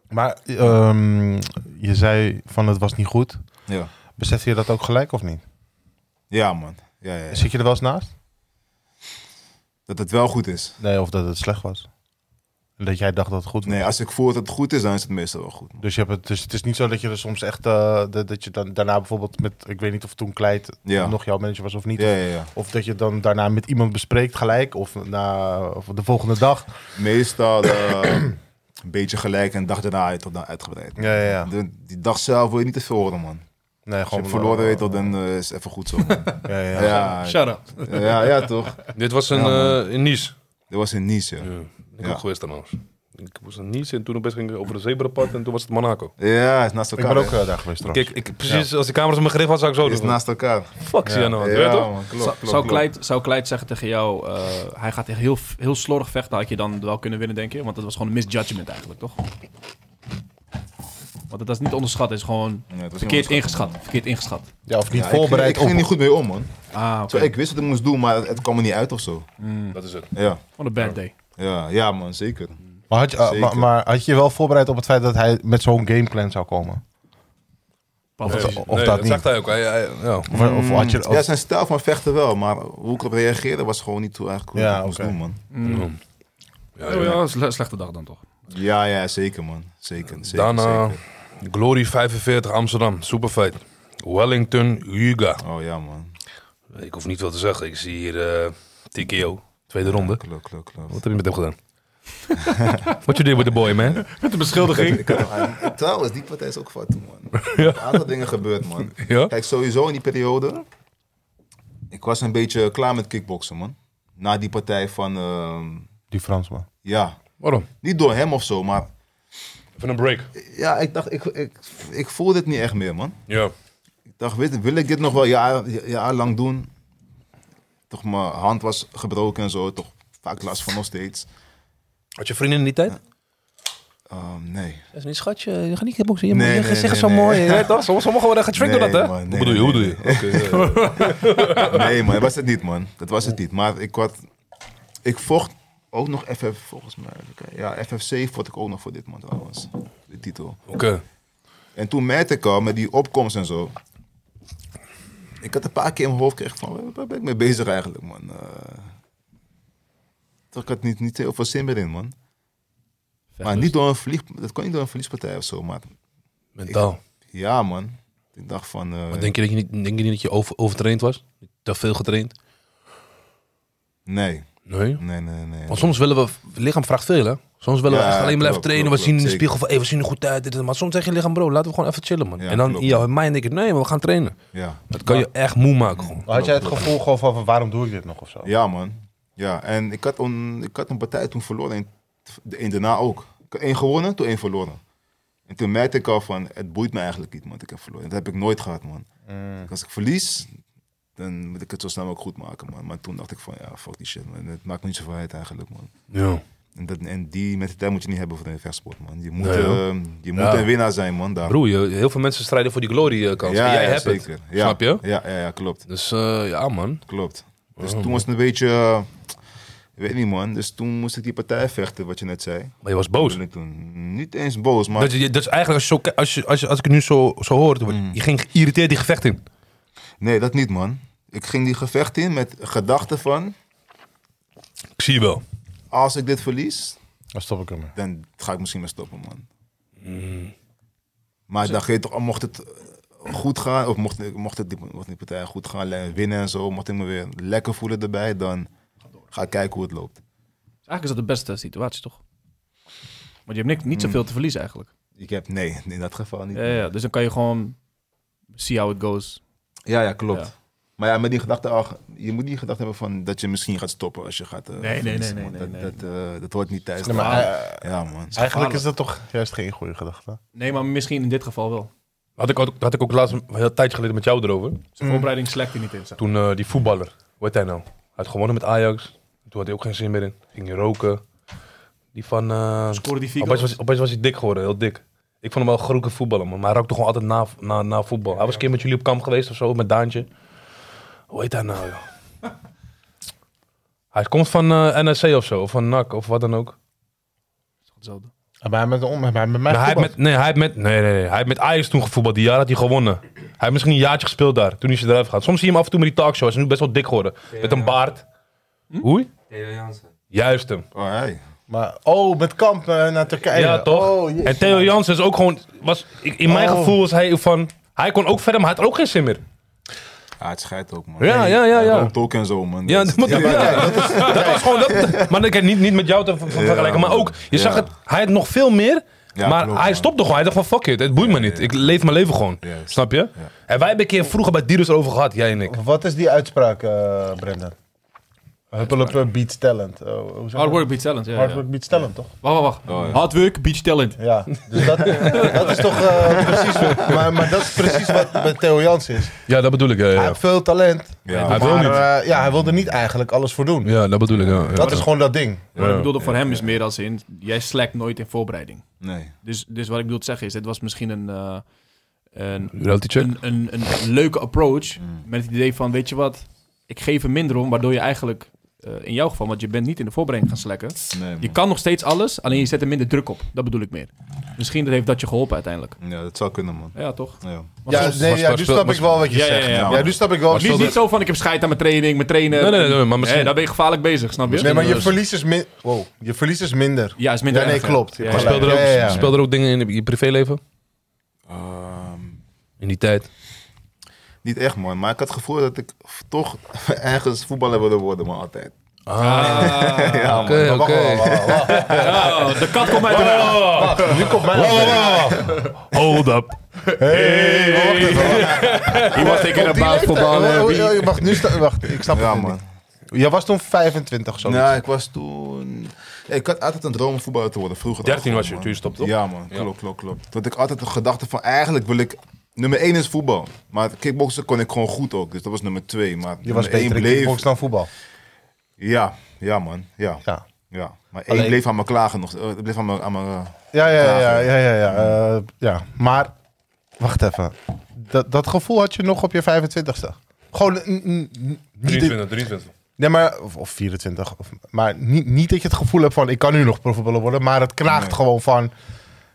S2: Maar ehm, je zei van het was niet goed.
S3: Ja.
S2: Besef je dat ook gelijk of niet?
S3: Ja, man. Ja, ja, ja.
S2: Zit je er wel eens naast?
S3: Dat het wel goed is.
S2: Nee, of dat het slecht was. En Dat jij dacht dat het goed was.
S3: Nee, als ik voel dat het goed is, dan is het meestal wel goed. man.
S2: Dus, je hebt het, dus het is niet zo dat je er soms echt... eh, dat, dat je dan daarna bijvoorbeeld met... Ik weet niet of toen Kleit
S3: Ja.
S2: nog jouw manager was of niet.
S3: Ja, ja, ja.
S2: Of dat je dan daarna met iemand bespreekt gelijk. Of, na, of de volgende dag.
S3: Meestal eh, een beetje gelijk en dag daarna je tot dan uitgebreid.
S2: Ja, ja, ja.
S3: De- die dag zelf wil je niet te veel horen, man.
S2: Nee,
S3: Als je
S2: gewoon...
S3: hebt verloren
S2: eh,
S3: weet, dat, dan eh, is het even goed zo. man.
S2: Ja, ja.
S3: ja, ja,
S5: Shut up.
S3: ja, ja, toch?
S1: Dit was een,
S3: Ja,
S1: eh, in Nice.
S3: Dat was in Nice, ja.
S1: Ik
S3: Ja.
S1: ook geweest trouwens. Ik was in Nice en toen opeens ging ik over de zebrapad en toen was het Monaco.
S3: Ja, is naast
S2: Ik
S3: elkaar.
S2: ben ook
S3: hè.
S2: eh, daar geweest trouwens.
S1: Kijk, ik, precies als de camera's op mijn gericht was, zou ik zo
S3: is
S1: doen.
S3: naast elkaar.
S1: Fuck, zie je nou.
S3: ja,
S1: weet je toch?
S3: man, klopt,
S5: Zou-
S3: klopt,
S5: zou,
S3: klopt.
S5: Kleid, zou Kleid zeggen tegen jou, eh, hij gaat echt heel, heel slordig vechten, had je dan wel kunnen winnen, denk je? Want dat was gewoon een misjudgment eigenlijk, toch? Want dat is niet onderschat, het is gewoon
S3: Ja, het was niet
S5: verkeerd
S3: onderschat.
S5: ingeschat. Verkeerd ingeschat.
S2: Ja, of niet
S3: Ja, ik ging-
S2: voorbereid
S3: Ik ging er
S2: op.
S3: niet goed mee om, man.
S5: Ah, oké.
S3: Zo, ik wist wat ik moest doen, maar het, het kwam er niet uit of zo.
S1: Dat is het.
S3: Ja,
S5: What a bad day.
S3: ja, ja man, zeker.
S2: Maar had, je, eh,
S3: Zeker.
S2: maar, maar had je je wel voorbereid op het feit dat hij met zo'n gameplan zou komen?
S5: Pavel.
S2: Of- of dat niet?
S1: zegt hij ook. Hij, hij- ja.
S2: Of, of had je... of-
S3: Mm. Ja, zijn stijl van vechten wel, maar hoe ik op reageerde was gewoon niet hoe eigenlijk hoe
S2: Ja,
S3: ik het moest
S2: oké.
S3: doen, man.
S1: Ja,
S5: Oh
S1: ja.
S5: ja, sle- slechte dag dan toch.
S3: Ja, ja, zeker, man. Zeker, zeker,
S1: Daarna
S3: zeker.
S1: Glory 45 Amsterdam, superfight. Wellington Yuga.
S3: Oh ja, man.
S1: Ik hoef niet veel te zeggen. Ik zie hier eh, TKO, tweede ronde.
S3: Klopt, klopt, klopt.
S1: Wat heb je met hem gedaan? What you did with the boy, man?
S5: Met de beschuldiging.
S3: Ik had hem aan- Ah, Trouwens, die partij is ook fout, man. Een aantal dingen gebeurd, man.
S1: Ja?
S3: Kijk, sowieso in die periode... Ik was een beetje klaar met kickboksen, man. Na die partij van... ehm,
S2: Die Fransman.
S3: ja,
S1: Waarom?
S3: niet door hem of zo, maar...
S1: Even een break.
S3: Ja, ik dacht, ik, ik, ik voel dit niet echt meer, man.
S1: Ja.
S3: Ik dacht, weet, je, wil ik dit nog wel jaar, jaar lang doen? Toch, mijn hand was gebroken en zo. Toch vaak last van nog steeds.
S1: Had je vrienden in die tijd?
S3: Ehm, nee.
S1: Dat is niet schatje, je gaat niet kickboksen. Je,
S3: Nee,
S1: je
S3: nee,
S1: gezicht
S3: nee,
S1: is zo
S3: nee.
S1: mooi. eh, Je weet toch? Somm- Sommigen worden getriggerd door
S3: Nee,
S1: dat, hè?
S3: man, nee,
S1: hoe bedoel je? Hoe bedoel
S3: nee,
S1: je? Oké, eh, ja, ja.
S3: Nee, man, dat was het niet, man. Dat was het niet. Maar ik had... Ik vocht ook nog FF, volgens mij. even kijken. Ja, FFC vocht ik ook nog voor dit, man, trouwens. De titel.
S1: Oké.
S3: En toen merkte ik al, met die opkomst en zo... Ik had een paar keer in mijn hoofd gekregen van... Waar ben ik mee bezig eigenlijk, man? Eh, toch, ik had niet, niet heel veel zin meer in, man. Maar niet door een verlies, dat kon niet door een verliespartij of zo, maar
S1: Mentaal.
S3: ja, man. Ik dacht van, eh,
S1: Maar denk je, dat je niet, denk je niet dat je over, overtraind was? Te veel getraind?
S3: nee,
S1: Nee.
S3: nee, nee, nee.
S1: Want soms willen we, lichaam vraagt veel hè. Soms willen we
S3: Ja,
S1: echt alleen blijven
S3: klopt,
S1: trainen.
S3: klopt,
S1: we zien in de
S3: klopt,
S1: spiegel van, hey, we zien er goed uit. Dit, en dat. maar soms zeg je lichaam, bro, laten we gewoon even chillen man.
S3: Ja,
S1: en dan
S3: klopt.
S1: in jouw mind denk je, nee, maar we gaan trainen.
S3: Ja,
S1: Dat kan je echt moe maken gewoon.
S2: Had jij het gevoel gewoon van, van waarom doe ik dit nog of zo?
S3: ja man. Ja, en ik had, een, ik had een partij toen verloren en de één daarna ook. Ik had één gewonnen, toen één verloren. En toen merkte ik al van, het boeit me eigenlijk niet, man, dat ik heb verloren. Dat heb ik nooit gehad, man.
S1: Mm.
S3: Dus Als ik verlies, dan moet ik het zo snel ook goed maken, man. Maar toen dacht ik van, ja, fuck die shit, man. Het maakt me niet zoveel uit eigenlijk, man.
S1: Ja.
S3: En, dat, en die mentaliteit moet je niet hebben voor een vechtsport, man. Je moet,
S1: Nee, hoor.
S3: eh, je moet
S1: Ja.
S3: een winnaar zijn, man, daar.
S1: Broer, je- heel veel mensen strijden voor die glory eh, kans. en jij hebt het.
S3: Ja,
S1: Snap je?
S3: Ja, ja, ja, klopt.
S1: Dus eh, ja man.
S3: klopt. Dus toen was het een beetje... eh, ik weet niet, man. Dus toen moest ik die partij vechten, wat je net zei.
S1: Maar je was boos.
S3: Toen ik toen niet eens boos, maar...
S1: Dat, je, dat is eigenlijk, als, je zo, ki- als, je, als, je, als ik het nu zo, zo hoor, dan word
S3: Mm.
S1: je- je ging geïrriteerd die gevecht in.
S3: Nee, dat niet, man. Ik ging die gevecht in met gedachten van...
S1: Ik zie je wel.
S3: Als ik dit verlies,
S2: Dan stop ik ermee.
S3: dan ga ik misschien maar stoppen, man. Maar ik dacht, weet je toch, mocht het... eh, goed gaan, of mocht, mocht, het, die- mocht die partij goed gaan le- winnen en zo, mocht ik me weer lekker voelen erbij, dan ga ik kijken hoe het loopt.
S5: Eigenlijk is dat de beste situatie, toch? Want je hebt niks,
S3: Hmm.
S5: niet zoveel te verliezen eigenlijk.
S3: Ik heb, nee, in dat geval niet.
S5: Ja, ja, dus dan kan je gewoon see how it goes.
S3: Ja, ja, klopt.
S5: Ja.
S3: Maar ja, met die gedachte, ach, je moet die gedachte hebben van dat je misschien gaat stoppen als je gaat. eh,
S5: nee, nee,
S3: verliezen,
S5: nee,
S3: want
S5: nee, nee,
S3: Dat, dat, eh, dat hoort niet thuis.
S2: Nee, maar, eh,
S3: ja, man.
S2: eigenlijk is dat toch juist geen goede gedachte.
S5: Nee, maar misschien in dit geval wel.
S1: Had ik, ook- had ik ook laatst een heel tijd geleden met jou erover.
S5: Zijn voorbereiding slecht er niet in. zeg.
S1: Toen eh, die voetballer, hoe heet hij nou? Hij had gewonnen met Ajax. Toen had hij ook geen zin meer in. Ging hij roken. Die van... eh,
S5: Scoorde die vier
S1: opeens,
S5: goals?
S1: was, opeens was hij dik geworden, heel dik. Ik vond hem wel een grote voetballer, man. Maar hij rookte gewoon altijd na, na, na voetbal. Hij was een keer met jullie op kamp geweest of zo, met Daantje. Hoe heet hij nou, joh? hij komt van eh NSC of zo, of van NAC, of wat dan ook.
S5: Hetzelfde.
S2: Maar met, om, maar met mij
S1: Maar hij heeft
S2: voetbal-
S1: met, nee, hij heeft met, nee, nee, nee, hij heeft met Ajax toen gevoetbald. Die jaar had hij gewonnen. Hij heeft misschien een jaartje gespeeld daar. Toen is hij eruit gegaan. Soms zie je hem af en toe met die talkshows. Hij is nu best wel dik geworden. Met een baard. Oei?
S7: Theo Jansen.
S1: Juist hem.
S3: Oh, hey.
S2: maar, oh, met kamp eh, naar Turkije.
S1: Ja, toch?
S2: Oh, jee.
S1: en Theo Jansen is ook gewoon... Was, ik- in mijn
S2: Oh.
S1: gevoel was hij van... Hij kon ook verder, maar hij had er ook geen zin meer.
S3: Ah, het scheidt ook, man.
S1: Ja, ja, ja, ja.
S3: Rookt ook en zo, man.
S1: Ja,
S3: Dat is-
S1: dat, moet- ja, dat, is- dat was gewoon... Dat, maar ik heb niet, niet met jou te ver- vergelijken. Maar ook, je
S3: Ja.
S1: zag het... Hij had nog veel meer...
S3: Ja,
S1: maar
S3: klopt,
S1: hij
S3: man.
S1: stopte gewoon. Hij dacht van fuck it, het boeit me niet. Ik leef mijn leven gewoon.
S3: Juist.
S1: Snap je? En wij hebben een keer vroeger bij Dierus over gehad, jij en ik.
S2: Wat is die uitspraak, eh Brendan? Huppelepup beats talent. Oh, hoe zeg je
S5: Hard
S2: dat?
S5: work Oh, beats talent, ja.
S2: Hard
S5: ja.
S2: work beats talent, toch?
S5: Wacht, wacht, wacht. Hard work beats talent.
S2: Ja, dus dat, dat is toch eh, precies... Maar, maar dat is precies wat met Theo Jans is.
S1: Ja, dat bedoel ik. Ja,
S2: Hij heeft veel talent,
S3: Ja,
S1: Hij wil
S2: maar
S1: niet.
S2: eh, ja, hij wil er niet eigenlijk alles voor doen.
S1: dat bedoel ik. Ja,
S2: Dat is gewoon dat ding.
S5: Wat ik bedoelde voor hem is meer als in, jij slackt nooit in voorbereiding.
S3: Nee.
S5: Dus, dus wat ik bedoel te zeggen is, dit was misschien een, eh, een,
S1: Reality check.
S5: een, een, een leuke approach met het idee van, weet je wat, ik geef er minder om, waardoor je eigenlijk, eh, in jouw geval, want je bent niet in de voorbereiding gaan slacken.
S3: nee
S5: Je
S3: man.
S5: kan nog steeds alles, alleen je zet er minder druk op. Dat bedoel ik meer. Misschien dat heeft dat je geholpen uiteindelijk.
S3: Ja, dat zou kunnen, man.
S5: Ja, toch?
S3: Ja.
S5: Want
S2: Ja,
S5: soms-
S2: nee,
S1: was-
S2: ja,
S1: was-
S2: nu
S1: was-
S2: snap ik wel wat je
S5: Ja, ja,
S2: zegt.
S5: ja,
S2: Ja,
S5: ja.
S2: nu snap ik wel wat
S5: niet,
S2: je
S5: niet
S2: zegt.
S5: zo van, ik heb scheid aan mijn training, mijn trainen.
S1: Nee, nee, nee, maar misschien-
S5: daar ben je gevaarlijk bezig, snap je?
S2: Nee, maar je verlies is, min wow, je verlies is minder.
S5: Ja, is minder
S2: Ja, nee,
S5: erg, hè?
S2: klopt. Je
S5: Ja,
S2: hebt
S5: ja,
S2: gelijk.
S1: Speel, er ook,
S2: Ja, ja, ja.
S1: speel er ook dingen in je privéleven?
S3: Ehm,
S1: In die tijd?
S3: niet echt, man. Maar ik had het gevoel dat ik toch ergens voetballer wilde worden, man. Altijd.
S1: Ah, oké,
S2: Maar wacht, wacht,
S1: oké.
S2: wacht, wacht, wacht.
S5: Ja, Oh, de kat komt uit de weg.
S2: Nu komt mijn...
S1: Hold up.
S2: Hey, wacht even, wacht even.
S5: He was thinking
S2: Op die
S5: about
S2: leeftijd-
S5: voetbal.
S2: Oh,
S5: eh,
S2: oh,
S5: wie-
S2: oh, Wacht, nu sta- wacht, ik snap
S3: Ja,
S2: het
S3: man.
S2: niet. Jij was toen 25 zo.
S3: Nou, ik was toen... Ja, ik had altijd een droom om voetballer te worden, vroeger.
S1: 13 was je,
S3: man.
S1: toen je stopte, toch?
S3: Ja, man. Klopt, klopt, klopt. Dat ik altijd de gedachte van, eigenlijk wil ik... Nummer 1 is voetbal. Maar kickboksen kon ik gewoon goed ook. Dus dat was nummer 2. Maar
S2: Je was
S3: nummer één
S2: beter in
S3: bleef-
S2: kickbox dan voetbal.
S3: Ja, ja, man. Ja.
S2: Ja.
S3: Ja, maar één
S2: Alleen-
S3: bleef aan me klagen nog. eh, Het bleef aan me... Aan me eh,
S2: Ja, ja, ja, ja,
S3: klagen.
S2: ja, ja, ja, eh, ja. Maar, wacht even. Dat, dat gevoel had je nog op je 25ste. Gewoon, n- n- n- niet, dat-
S1: 23, 23.
S2: nee, maar, of, of 24. Of, maar niet, niet dat je het gevoel hebt van, ik kan nu nog profvoetballer worden. Maar het knaagt
S3: Nee.
S2: gewoon van,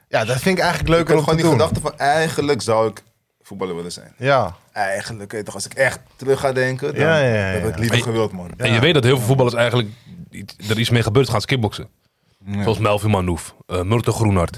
S2: ja, dat vind ik eigenlijk
S3: Ik had
S2: leuker om
S3: gewoon
S2: te
S3: die
S2: doen.
S3: gedachte van, eigenlijk zou ik voetballer willen zijn.
S2: Ja,
S3: Eigenlijk, weet je toch, als ik echt terug ga denken, dan
S2: Ja, ja, ja,
S3: heb ik
S2: ja.
S3: liever gewild, man.
S1: En je weet dat heel veel voetballers eigenlijk iets- er iets mee gebeurt. Gaan ze kickboksen. Zoals Melvin Manouf, eh Murten Groenhart.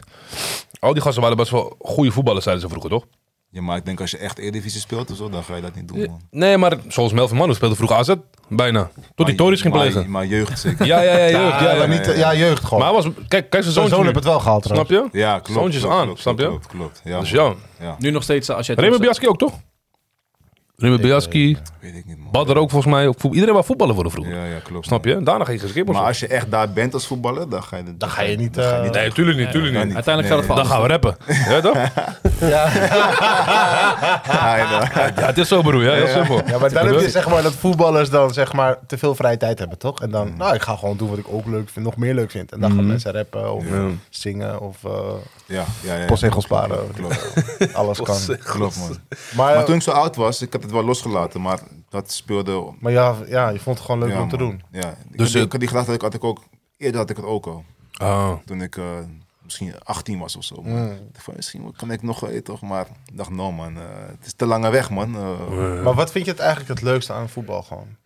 S1: Al die gasten waren best wel goede voetballers, zeiden ze vroeger, toch?
S3: Ja, maar ik denk als je echt Eredivisie speelt of zo, dan ga je dat niet doen, man.
S1: Nee, maar zoals Melvin Manouf speelde vroeger AZ. Bijna. Tot die Tories ging
S3: Maar-
S1: plegen.
S3: Maar jeugd zeker.
S1: Ja, ja, ja.
S2: ja,
S1: ja, ja, ja.
S2: maar niet, ja jeugd gewoon.
S1: Maar hij was, kijk, kijk zijn
S2: Zo'n
S1: zoontje
S2: zoon
S1: nu.
S2: heb het wel gehaald
S1: Snap
S2: trouwens.
S1: je?
S3: Ja, klopt.
S1: Zoontjes
S3: klopt,
S1: aan,
S3: klopt,
S1: snap je?
S3: Klopt, klopt. Ja,
S1: Dus
S3: man.
S1: ja.
S3: Ja,
S5: Nu nog steeds, eh, als jij...
S1: Remy Biaski ook, toch? Remy Biaski,
S3: weet ik niet, man.
S1: Badder ook volgens mij. Ook voet- Iedereen wou voetballen worden vroeger.
S3: Ja, ja, klopt.
S1: Snap je? Daarna ging je skippen.
S3: Maar als je echt daar bent als voetballer, dan ga je...
S2: Dan ga je niet... eh,
S1: Nee, tuurlijk niet, tuurlijk niet.
S5: Uiteindelijk gaat het
S1: Dan
S5: fout.
S1: gaan we rappen. Ja, toch?
S3: ga je daar-
S1: Ja, het is zo, broer. Ja, heel simpel.
S2: Ja, maar dan
S1: Ik
S2: heb je
S1: bedoel-
S2: zeg maar dat voetballers dan zeg maar te veel vrije tijd hebben, toch? En
S3: Mm.
S2: dan, nou, ik ga gewoon doen wat ik ook leuk vind, nog meer leuk vind. En dan gaan mensen rappen of zingen of eh
S3: Ja, ja, ja.
S2: postzegels sparen.
S3: Klopt,
S2: Alles kan.
S3: klopt, man.
S2: Maar,
S3: Maar toen ik zo oud was, ik had het wel losgelaten, maar dat speelde
S2: maar ja, ja, je vond het gewoon leuk
S3: Ja,
S2: om te
S3: man.
S2: doen.
S3: Ja, ik,
S1: Dus
S3: had, die-
S1: het-
S3: ik had die gedachte, dat ik had ik ook, eerder had ik het ook al.
S1: Ah.
S3: Toen ik eh, misschien 18 was of zo. Maar
S2: Mm.
S3: ik dacht van, misschien kan ik nog, eh, toch, maar ik dacht, no man, eh, het is te lange weg man. Eh,
S2: Maar wat vind je het eigenlijk het leukste aan voetbal gewoon?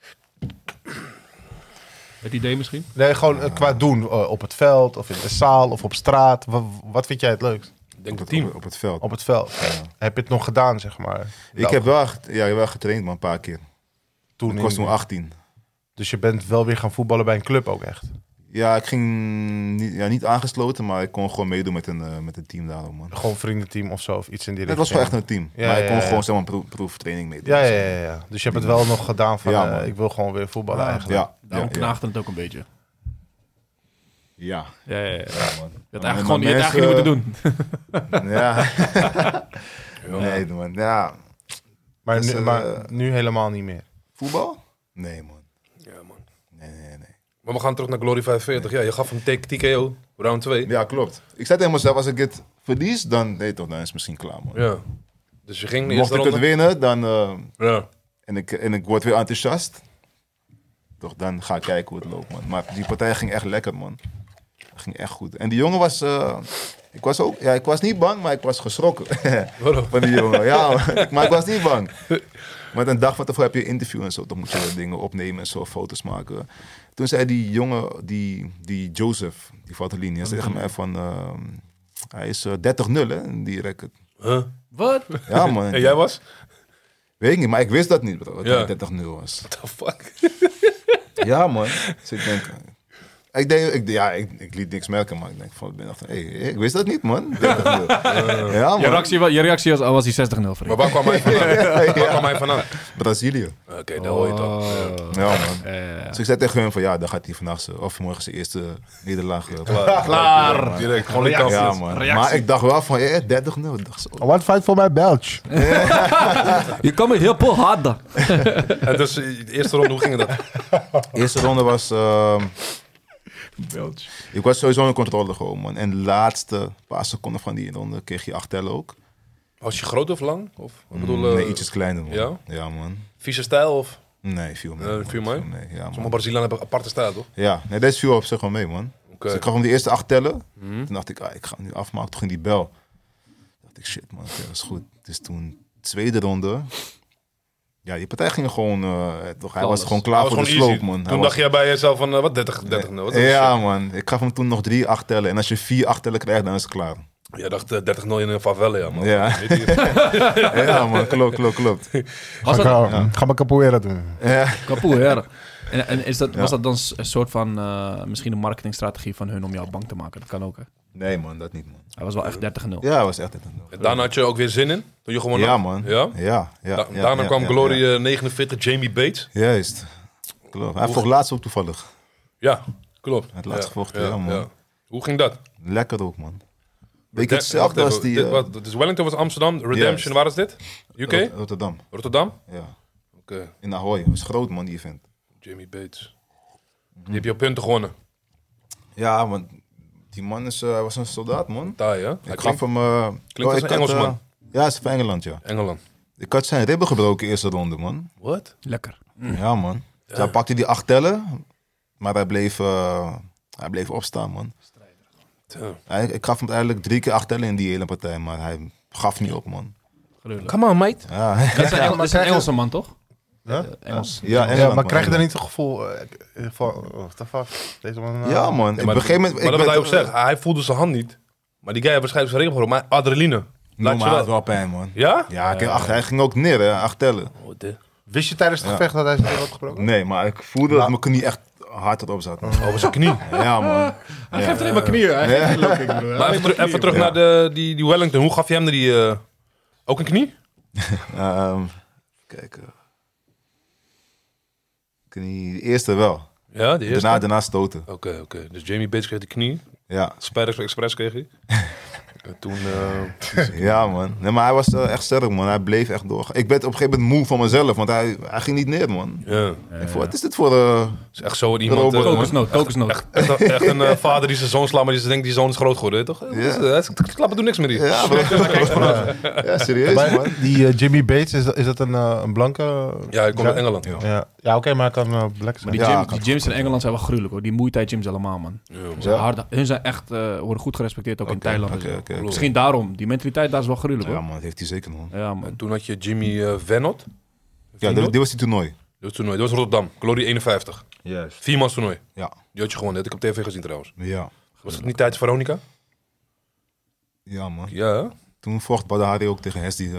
S5: Het idee misschien?
S2: Nee, gewoon eh, qua doen eh, op het veld of in de zaal of op straat. Wa- Wat, vind jij het leukst?
S1: denk het
S3: het,
S1: team.
S3: op, op het veld.
S2: op het veld. Heb je het nog gedaan, zeg maar?
S5: Nou.
S2: Nou,
S3: ik heb wel, echt- ja, wel getraind, maar een paar keer.
S2: toen
S3: ik was toen
S2: in-
S3: 18.
S2: Dus je bent wel weer gaan voetballen bij een club ook echt.
S3: Ja, ik ging niet, ja, niet aangesloten, maar ik kon gewoon meedoen met een, eh, met een team daarom, man.
S2: Gewoon vriendenteam of zo, of iets in die
S3: Het
S2: richting.
S3: was wel echt een team.
S2: Ja,
S3: maar ik
S2: ja,
S3: kon
S2: ja.
S3: gewoon zeg maar, pro- proeftraining meedoen.
S2: Ja, ja, ja, ja. Dus je hebt het wel nog gedaan van,
S3: Ja,
S2: eh,
S3: man.
S2: ik wil gewoon weer voetballen eigenlijk.
S3: Ja, ja,
S5: Daarom knaagde het ook een beetje.
S3: ja.
S5: Ja, ja, ja.
S3: Ja, man.
S5: Je had
S3: Maar-
S5: eigenlijk gewoon
S3: maar
S5: je had eigenlijk niet moeten doen.
S3: mensen- Ja. nee, man. Ja.
S2: Maar,
S3: Dus,
S2: nu,
S3: eh,
S2: maar nu helemaal niet meer.
S3: Voetbal? Nee, man.
S1: Ja, man.
S3: Nee, nee, nee.
S1: Maar we gaan terug naar Glory 45. Ja, je gaf hem take TKO, round 2. Ja.
S3: Ja, klopt. Ik zei tegen mezelf, als ik dit verlies, dan, nee, toch, dan is het misschien klaar, man.
S1: Dus je ging de
S3: Mocht
S1: eerste
S3: ik het
S1: ronde...
S3: winnen, dan... eh,
S1: Ja.
S3: en, ik, en ik word weer enthousiast. Toch, dan ga ik kijken hoe het loopt, man. Maar die partij ging echt lekker, man. Dat ging echt goed. En die jongen was... eh, ik was ook... Ja, ik was niet bang, maar ik was geschrokken.
S1: Waarom?
S3: van die jongen. Ja, man. maar ik was niet bang. Maar een dag van tevoren heb je een interview en zo. Dan moet je wat dingen opnemen en zo, foto's maken. Toen zei die jongen, die, die Joseph, die Vatellini,
S1: Mhm.
S3: hij zei tegen mij van... ehm, hij is eh, 30-0, hè, die record.
S1: Huh?
S5: Wat?
S3: Ja, man.
S1: En jij was?
S3: Weet ik niet, maar ik wist dat niet, bro, dat
S1: Ja.
S3: hij 30-0 was.
S1: What the fuck?
S3: Ja, man. Dus ik denk... eh, Ik, denk, ik, ja, ik, ik liet niks merken, maar ik denk van, ik ben echt- hey, ik wist dat niet, man. 30-0. Ja,
S5: Je
S3: man.
S5: reactie, wa- je reactie was, al was hij 60-0 voor
S1: Maar waar kwam hij vandaan? Waar kwam hij vandaan?
S3: Brazilië.
S1: Oké, dat hoor je toch.
S3: Ja, man.
S5: Eh,
S3: Dus ik zei tegen hem van ja, dan gaat hij vandaag zijn- of morgen zijn eerste nederlaag. eh,
S1: Klaar.
S3: Klaar.
S1: Direct. Gewoon de kans.
S3: Ja, man. Maar ik dacht wel van eh, 30-0. Ik dacht zo.
S2: One fight for my Belch.
S5: Je kan me heel veel harder.
S1: En dus eh, de eerste ronde, hoe ging dat?
S3: Eerste ronde was. ehm, ik was sowieso in controle gewoon, man. En de laatste paar seconden van die ronde kreeg je acht tellen ook.
S1: Was je groot of lang? Of, ik bedoel, eh,
S3: Mm, nee, ietsjes kleiner, man.
S1: ja?
S3: man.
S1: vieze stijl? Of?
S3: Nee, viel mee.
S1: Eh,
S3: man.
S1: viel mee?
S3: mee, ja, man.
S1: Sommige Brazilianen hebben aparte stijl, toch?
S3: Ja, nee, deze viel op zich wel mee, man.
S1: Oké. Mhm.
S3: Dus ik gaf hem die eerste acht tellen. Toen dacht ik, ah, ik ga hem nu afmaken. Toen ging die bel. Toen dacht ik, shit man, oké, dat is goed. Dus toen, tweede ronde. Ja, die partij ging gewoon... eh, toch, hij was gewoon klaar
S1: Dat was
S3: voor de
S1: gewoon
S3: sloop,
S1: easy.
S3: man. Hij
S1: Toen
S3: was-
S1: dacht jij bij jezelf van, eh, wat, 30, 30 0 Wat is dat
S3: Ja man, ik gaf hem toen nog drie acht tellen. En als je vier acht tellen krijgt, dan is het klaar.
S1: shit? Jij dacht eh, 30 0 in een favela, ja, man.
S3: Ja,
S1: Weet je?
S3: ja man, klopt, klopt, klopt.
S5: Was
S2: Ga,
S5: dat
S2: ik- ga maar capoeira doen.
S3: Ja.
S5: Kapoeira. En, en is dat, was dat dan s- een soort van, eh, misschien een marketingstrategie van hun om jou bang te maken? Dat kan ook, hè?
S3: Nee man, dat niet man.
S5: Hij was wel echt 30-0.
S3: Ja, hij was echt...
S1: En Daarna had je ook weer zin in? Toen je gewoon
S3: Ja
S1: had-
S3: man.
S1: Ja?
S3: Ja, ja,
S1: Da-
S3: ja,
S1: daarna
S3: ja,
S1: kwam
S3: ja,
S1: Glory
S3: ja.
S1: eh, 49, Jamie Bates.
S3: Juist. Klopt. Hij vroeg laatst ook toevallig.
S1: Ja, klopt.
S3: Het laatste
S1: ja.
S3: gevochten, ja, man.
S1: Hoe ging dat?
S3: Lekker ook, man. Weet je
S1: De-
S3: hetzelfde
S1: wacht
S3: als
S1: even,
S3: die
S1: dit
S3: eh,
S1: was- dus Wellington was Amsterdam, Redemption,
S3: Juist.
S1: waar is dit? UK?
S3: Rot- Rotterdam.
S1: Rotterdam?
S3: Ja.
S1: Oké,
S3: In Ahoy. Dat is groot, man, die event.
S1: Jamie Bates. Die heb je op punten gewonnen.
S3: Ja, want die man is, eh, hij was een soldaat, man.
S1: Taai, hè? Hij
S3: Ik gaf hem... eh,
S1: als een
S3: ik had,
S1: Engelsman.
S3: eh, ja, hij is van Engeland, ja.
S1: Engeland.
S3: Ik had zijn ribben gebroken eerste ronde, man.
S1: Wat?
S5: Lekker.
S3: Ja, man. Dus hij pakte die acht tellen, maar hij bleef, eh, hij bleef opstaan, man. Hij, ik gaf hem eigenlijk drie keer acht tellen in die hele partij, maar hij gaf niet op, man.
S5: Gruwelijk.
S1: Come on, mate.
S3: Ja,
S5: Dat is een, Engel- dat is een
S2: krijg je-
S5: Engelse man, toch?
S2: Huh?
S5: Eh, Engels.
S3: ja, Engeland,
S2: Ja, maar
S3: man,
S2: krijg je dan
S3: Engeland.
S2: niet het gevoel eh, eh, van, oh, what the fuck? Deze man, eh,
S3: Ja, man. Ik- op
S1: maar
S3: een gegeven moment...
S1: maar dat wat
S3: ik ben
S1: hij ook
S3: toch-
S1: zegt, hij voelde zijn hand niet. Maar die guy heeft waarschijnlijk zijn regel gebroken. Maar adrenaline.
S3: No,
S1: Laat
S3: maar
S1: je
S3: hij had
S1: wel.
S3: wel pijn, man.
S1: Ja?
S3: Ja, ik, acht, hij ging ook neer, hè, acht tellen.
S2: Wist je tijdens het gevecht dat hij zijn had gebroken?
S3: Nee, maar ik voelde dat mijn knie echt hard erop zat. man.
S1: Over zijn knie.
S3: Ja, man.
S8: Hij geeft alleen maar knieën. Hij geeft geen looking, broer.
S1: Maar even, teru- even terug naar de, die, die Wellington. Hoe gaf je hem die... eh, ook een knie?
S3: Ehm kijk. eh, knie, de eerste wel.
S1: Ja, die eerste.
S3: Daarna, daarna stoten.
S1: Oké, oké. Dus Jamie Bates kreeg de knie.
S3: Ja,
S1: Spiders Express kreeg hij. En toen... eh,
S3: ja man. Nee, maar hij was eh, echt sterk, man. Hij bleef echt door. Ik werd op een gegeven moment moe van mezelf, want hij, hij ging niet neer, man.
S1: ja.
S3: Ik vond, wat is dit voor... eh,
S1: Het is echt zo dat iemand... eh,
S5: Kokosnoot, kokosnoot.
S1: echt, een- echt een eh, vader die zijn zoon slaat, maar die denkt die zoon is groot geworden. Toch? Dat is- dat is- Klappen doen niks meer hier.
S3: ja, bro. ja, serieus, man.
S2: Maar die eh, Jimmy Bates, is, dat- is dat een, eh, een blanke?
S1: Ja, hij komt uit Engeland.
S2: Ja, ja oké, maar hij kan eh, black zijn.
S5: Maar die,
S3: Ja,
S5: gym-
S3: kan
S5: die gyms in Engeland zijn wel gruwelijk, hoor. Die Muay Thai gyms allemaal, man. Ze zijn
S3: Ja.
S5: harde- hun zijn echt, eh, worden goed gerespecteerd, ook in Thailand. en
S3: oké,
S5: zo.
S3: oké, oké.
S5: Misschien daarom. Die mentaliteit daar is wel gruwelijk,
S3: Ja,
S5: hoor.
S3: man, dat heeft hij zeker, man.
S5: Ja, man.
S1: En toen had je Jimmy eh Venot.
S3: Ja, dat- dit was die toernooi.
S1: Dat was toernooi. Dat was Rotterdam. Glory 51.
S3: Juist.
S1: Viermans toernooi.
S3: Ja.
S1: Die had je gewonnen. Dat heb ik op tv gezien trouwens.
S3: Ja.
S1: Was het niet tijdens Veronica?
S3: Ja, man.
S1: Ja,
S3: Toen vocht Badahari E ook tegen Hesdi. eh,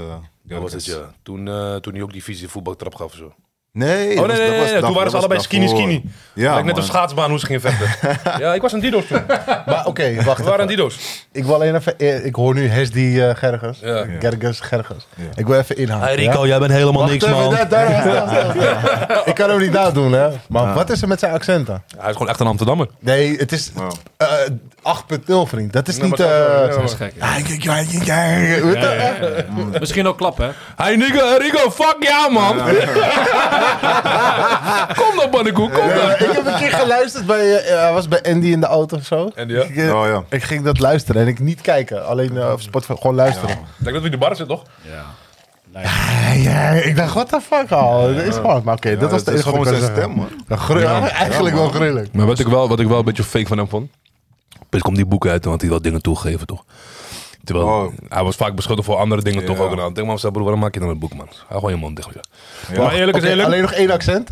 S1: dat was het,
S3: Jarkes.
S1: ja. Toen, eh, toen hij ook die vieze voetbaltrap gaf of zo.
S3: Nee,
S1: Oh,
S3: dat
S1: nee,
S3: was-
S1: nee,
S3: dat
S1: nee,
S3: was
S1: nee, toen
S3: daarvoor,
S1: waren ze
S3: dat
S1: allebei
S3: was
S1: skinny,
S3: daarvoor.
S1: skinny.
S3: Ja,
S1: Lijkt net op
S3: man.
S1: schaatsbaan hoe ze gingen vechten. ja, ik was een dido's toen. We
S2: Maar oké, wacht even.
S1: waren een dido's.
S2: Ik wil alleen even... eh, Ik hoor nu Hesdi eh, Gerges.
S1: Ja.
S2: Gerges, Gerges.
S3: Ja.
S2: Ik wil even inhalen. ja?
S1: jij bent helemaal
S2: Wacht even, daar- daar- daar- daar- Ik kan hem niet nadoen, doen, hè. Maar wat is er met zijn accenten?
S1: Hij is gewoon echt een Amsterdammer.
S2: Nee, het is
S3: Ja.
S2: eh, 8.0, vriend. Dat is
S1: Nee,
S2: niet...
S1: maar het gaat
S2: eh,
S1: wel,
S5: Dat is gek.
S2: Ja, ik- ik- ja, ik- ja, ik- weet je?
S5: Misschien ook klap, hè?
S1: Hey Nico, eh, Rico, fuck ja man. kom dan pannenkoek, kom dan.
S2: Eh, Ik heb een keer geluisterd bij... eh, hij was bij Andy in de auto of zo.
S1: En ja,
S2: Ik,
S1: ik
S2: eh,
S3: Oh, ja.
S2: ik ging dat luisteren en ik niet kijken. Alleen eh, op Spotify gewoon luisteren.
S1: denk dat we in de bar zitten toch?
S2: Ja, ja, eh, ik dacht, what the fuck al. Dat is gewoon... Maar oké,
S3: Ja,
S2: dat was de
S3: is
S2: enige
S3: gewoon
S2: wat ik
S3: zijn
S2: kon
S1: eh,
S3: stem,
S2: zeggen.
S3: man.
S2: Een gru- Eigenlijk wel grillig.
S1: Maar wat ik wel, wat ik wel een beetje fake van hem vond. Pis komt die boeken uit, want hij wil dingen toegeven toch. Terwijl
S3: Oh.
S1: hij was vaak beschuldigd voor andere dingen toch
S3: Ja.
S1: ook. En dan denk maar, broer, waarom maak je dan een boek man? Hou gewoon je mond dicht. joh.
S3: Ja.
S1: Maar eerlijk is
S2: Oké,
S1: eerlijk.
S2: Alleen nog één accent.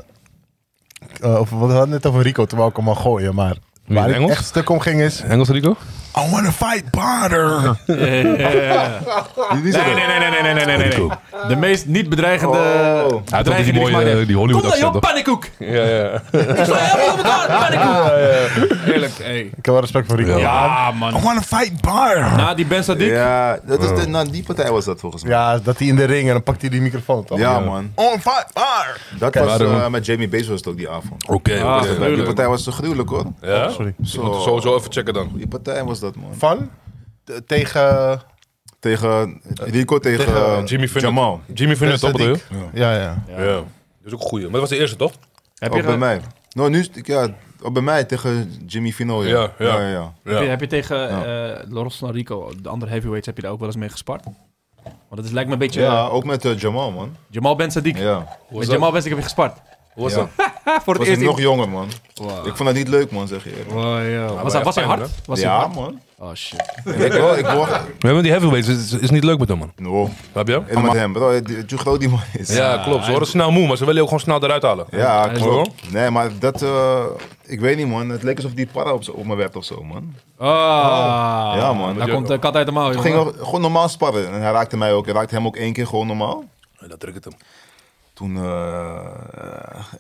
S2: Eh, of, we hadden net over Rico, terwijl ik hem al gooien, maar...
S1: in
S2: Waar ik
S1: Engels?
S2: echt stuk om ging is...
S1: Engels Rico?
S2: I wanna fight Bader.
S5: Nee, nee, nee, nee, nee, nee, nee, nee, nee. De meest niet bedreigende.
S3: Oh.
S1: Hij had ook die
S5: bedreiging ik
S1: mooie
S5: maar
S1: eh,
S5: heb.
S1: die
S5: Kom
S1: Hollywood
S5: dan,
S1: accent
S5: joh,
S1: toch?
S5: pannenkoek!
S1: Ja, ja.
S5: Ik sla helemaal op elkaar, pannenkoek! Eerlijk, hey.
S2: Ik heb wel respect voor Rico.
S5: Ja, man.
S2: wanna fight Bader.
S5: Na die Ben Sadiq.
S3: Ja, dat is de,
S1: Oh.
S3: nou, die partij was dat volgens mij.
S2: Ja, dat hij in de ring en dan pakt hij die microfoon, toch?
S3: Ja, man.
S2: On fire! fire.
S3: Dat was
S1: waarom?
S3: eh, met Jamie Bezos was het ook die avond.
S1: Oké.
S5: Ah,
S1: oké.
S3: Die
S5: gruwelijk.
S3: partij was zo gruwelijk, hoor.
S1: Ja?
S2: Sorry.
S3: Zo,
S1: Sowieso even checken dan.
S3: Die partij was dat, man.
S2: Van? T- tegen...
S3: Tegen Rico, tegen, eh,
S1: Jimmy Finn.
S3: Jamal.
S1: Jimmy vindt het
S2: Sadiq.
S1: top, joh.
S2: Ja, ja.
S1: Ja. Dat is ook een goeie. Maar dat was de eerste, toch?
S5: Heb, je,
S3: Ook bij
S5: ge-
S3: mij. Nou, nu, is het- ja, ook bij mij tegen Jimmy Fino. Ja,
S1: Ja,
S3: ja,
S1: ja.
S3: ja.
S5: heb, je, heb je tegen eh Lorenzo Rico, de andere heavyweights, heb je daar ook wel eens mee gespart? Want dat is, lijkt me een beetje.
S3: Ja, ook met eh, Jamal, man.
S5: Jamal Ben Sadiq.
S3: Ja.
S1: is
S5: Met
S1: dat?
S5: Jamal Ben Sadiq heb je gespart.
S1: Hoe was
S3: Ja.
S1: dat?
S5: Ah, voor het
S3: Was ik
S5: eerst.
S3: nog jonger, man.
S5: Wow.
S3: Ik vond dat niet leuk, man, zeg je eerlijk.
S5: Oh, ja.
S1: echt
S5: Was, hij, was hij
S1: pijn,
S5: hard? Was hij
S3: Ja,
S5: hard?
S3: man.
S5: Oh shit.
S3: Ik wel, ik word...
S1: We hebben die heavyweights. Het is, is niet leuk met hem, man.
S3: No.
S1: Heb je?
S5: Ah,
S3: En met hem, bro. die- Hoe groot die man is.
S1: Ja, klopt. Ze worden snel moe, maar ze willen je ook gewoon snel eruit halen.
S3: Ja,
S5: is
S3: klopt. Nee, maar dat... eh, ik weet niet, man. Het leek alsof die para op, z'n- op me werd of zo, man.
S5: Ah.
S3: Ja, man.
S5: Daar komt de kat uit de mouw.
S3: Ik
S5: jongen.
S3: ging ook gewoon normaal sparren. En hij raakte mij ook. Hij raakte hem ook één keer gewoon normaal.
S1: Ja, Dat drukt het hem.
S3: Toen eh,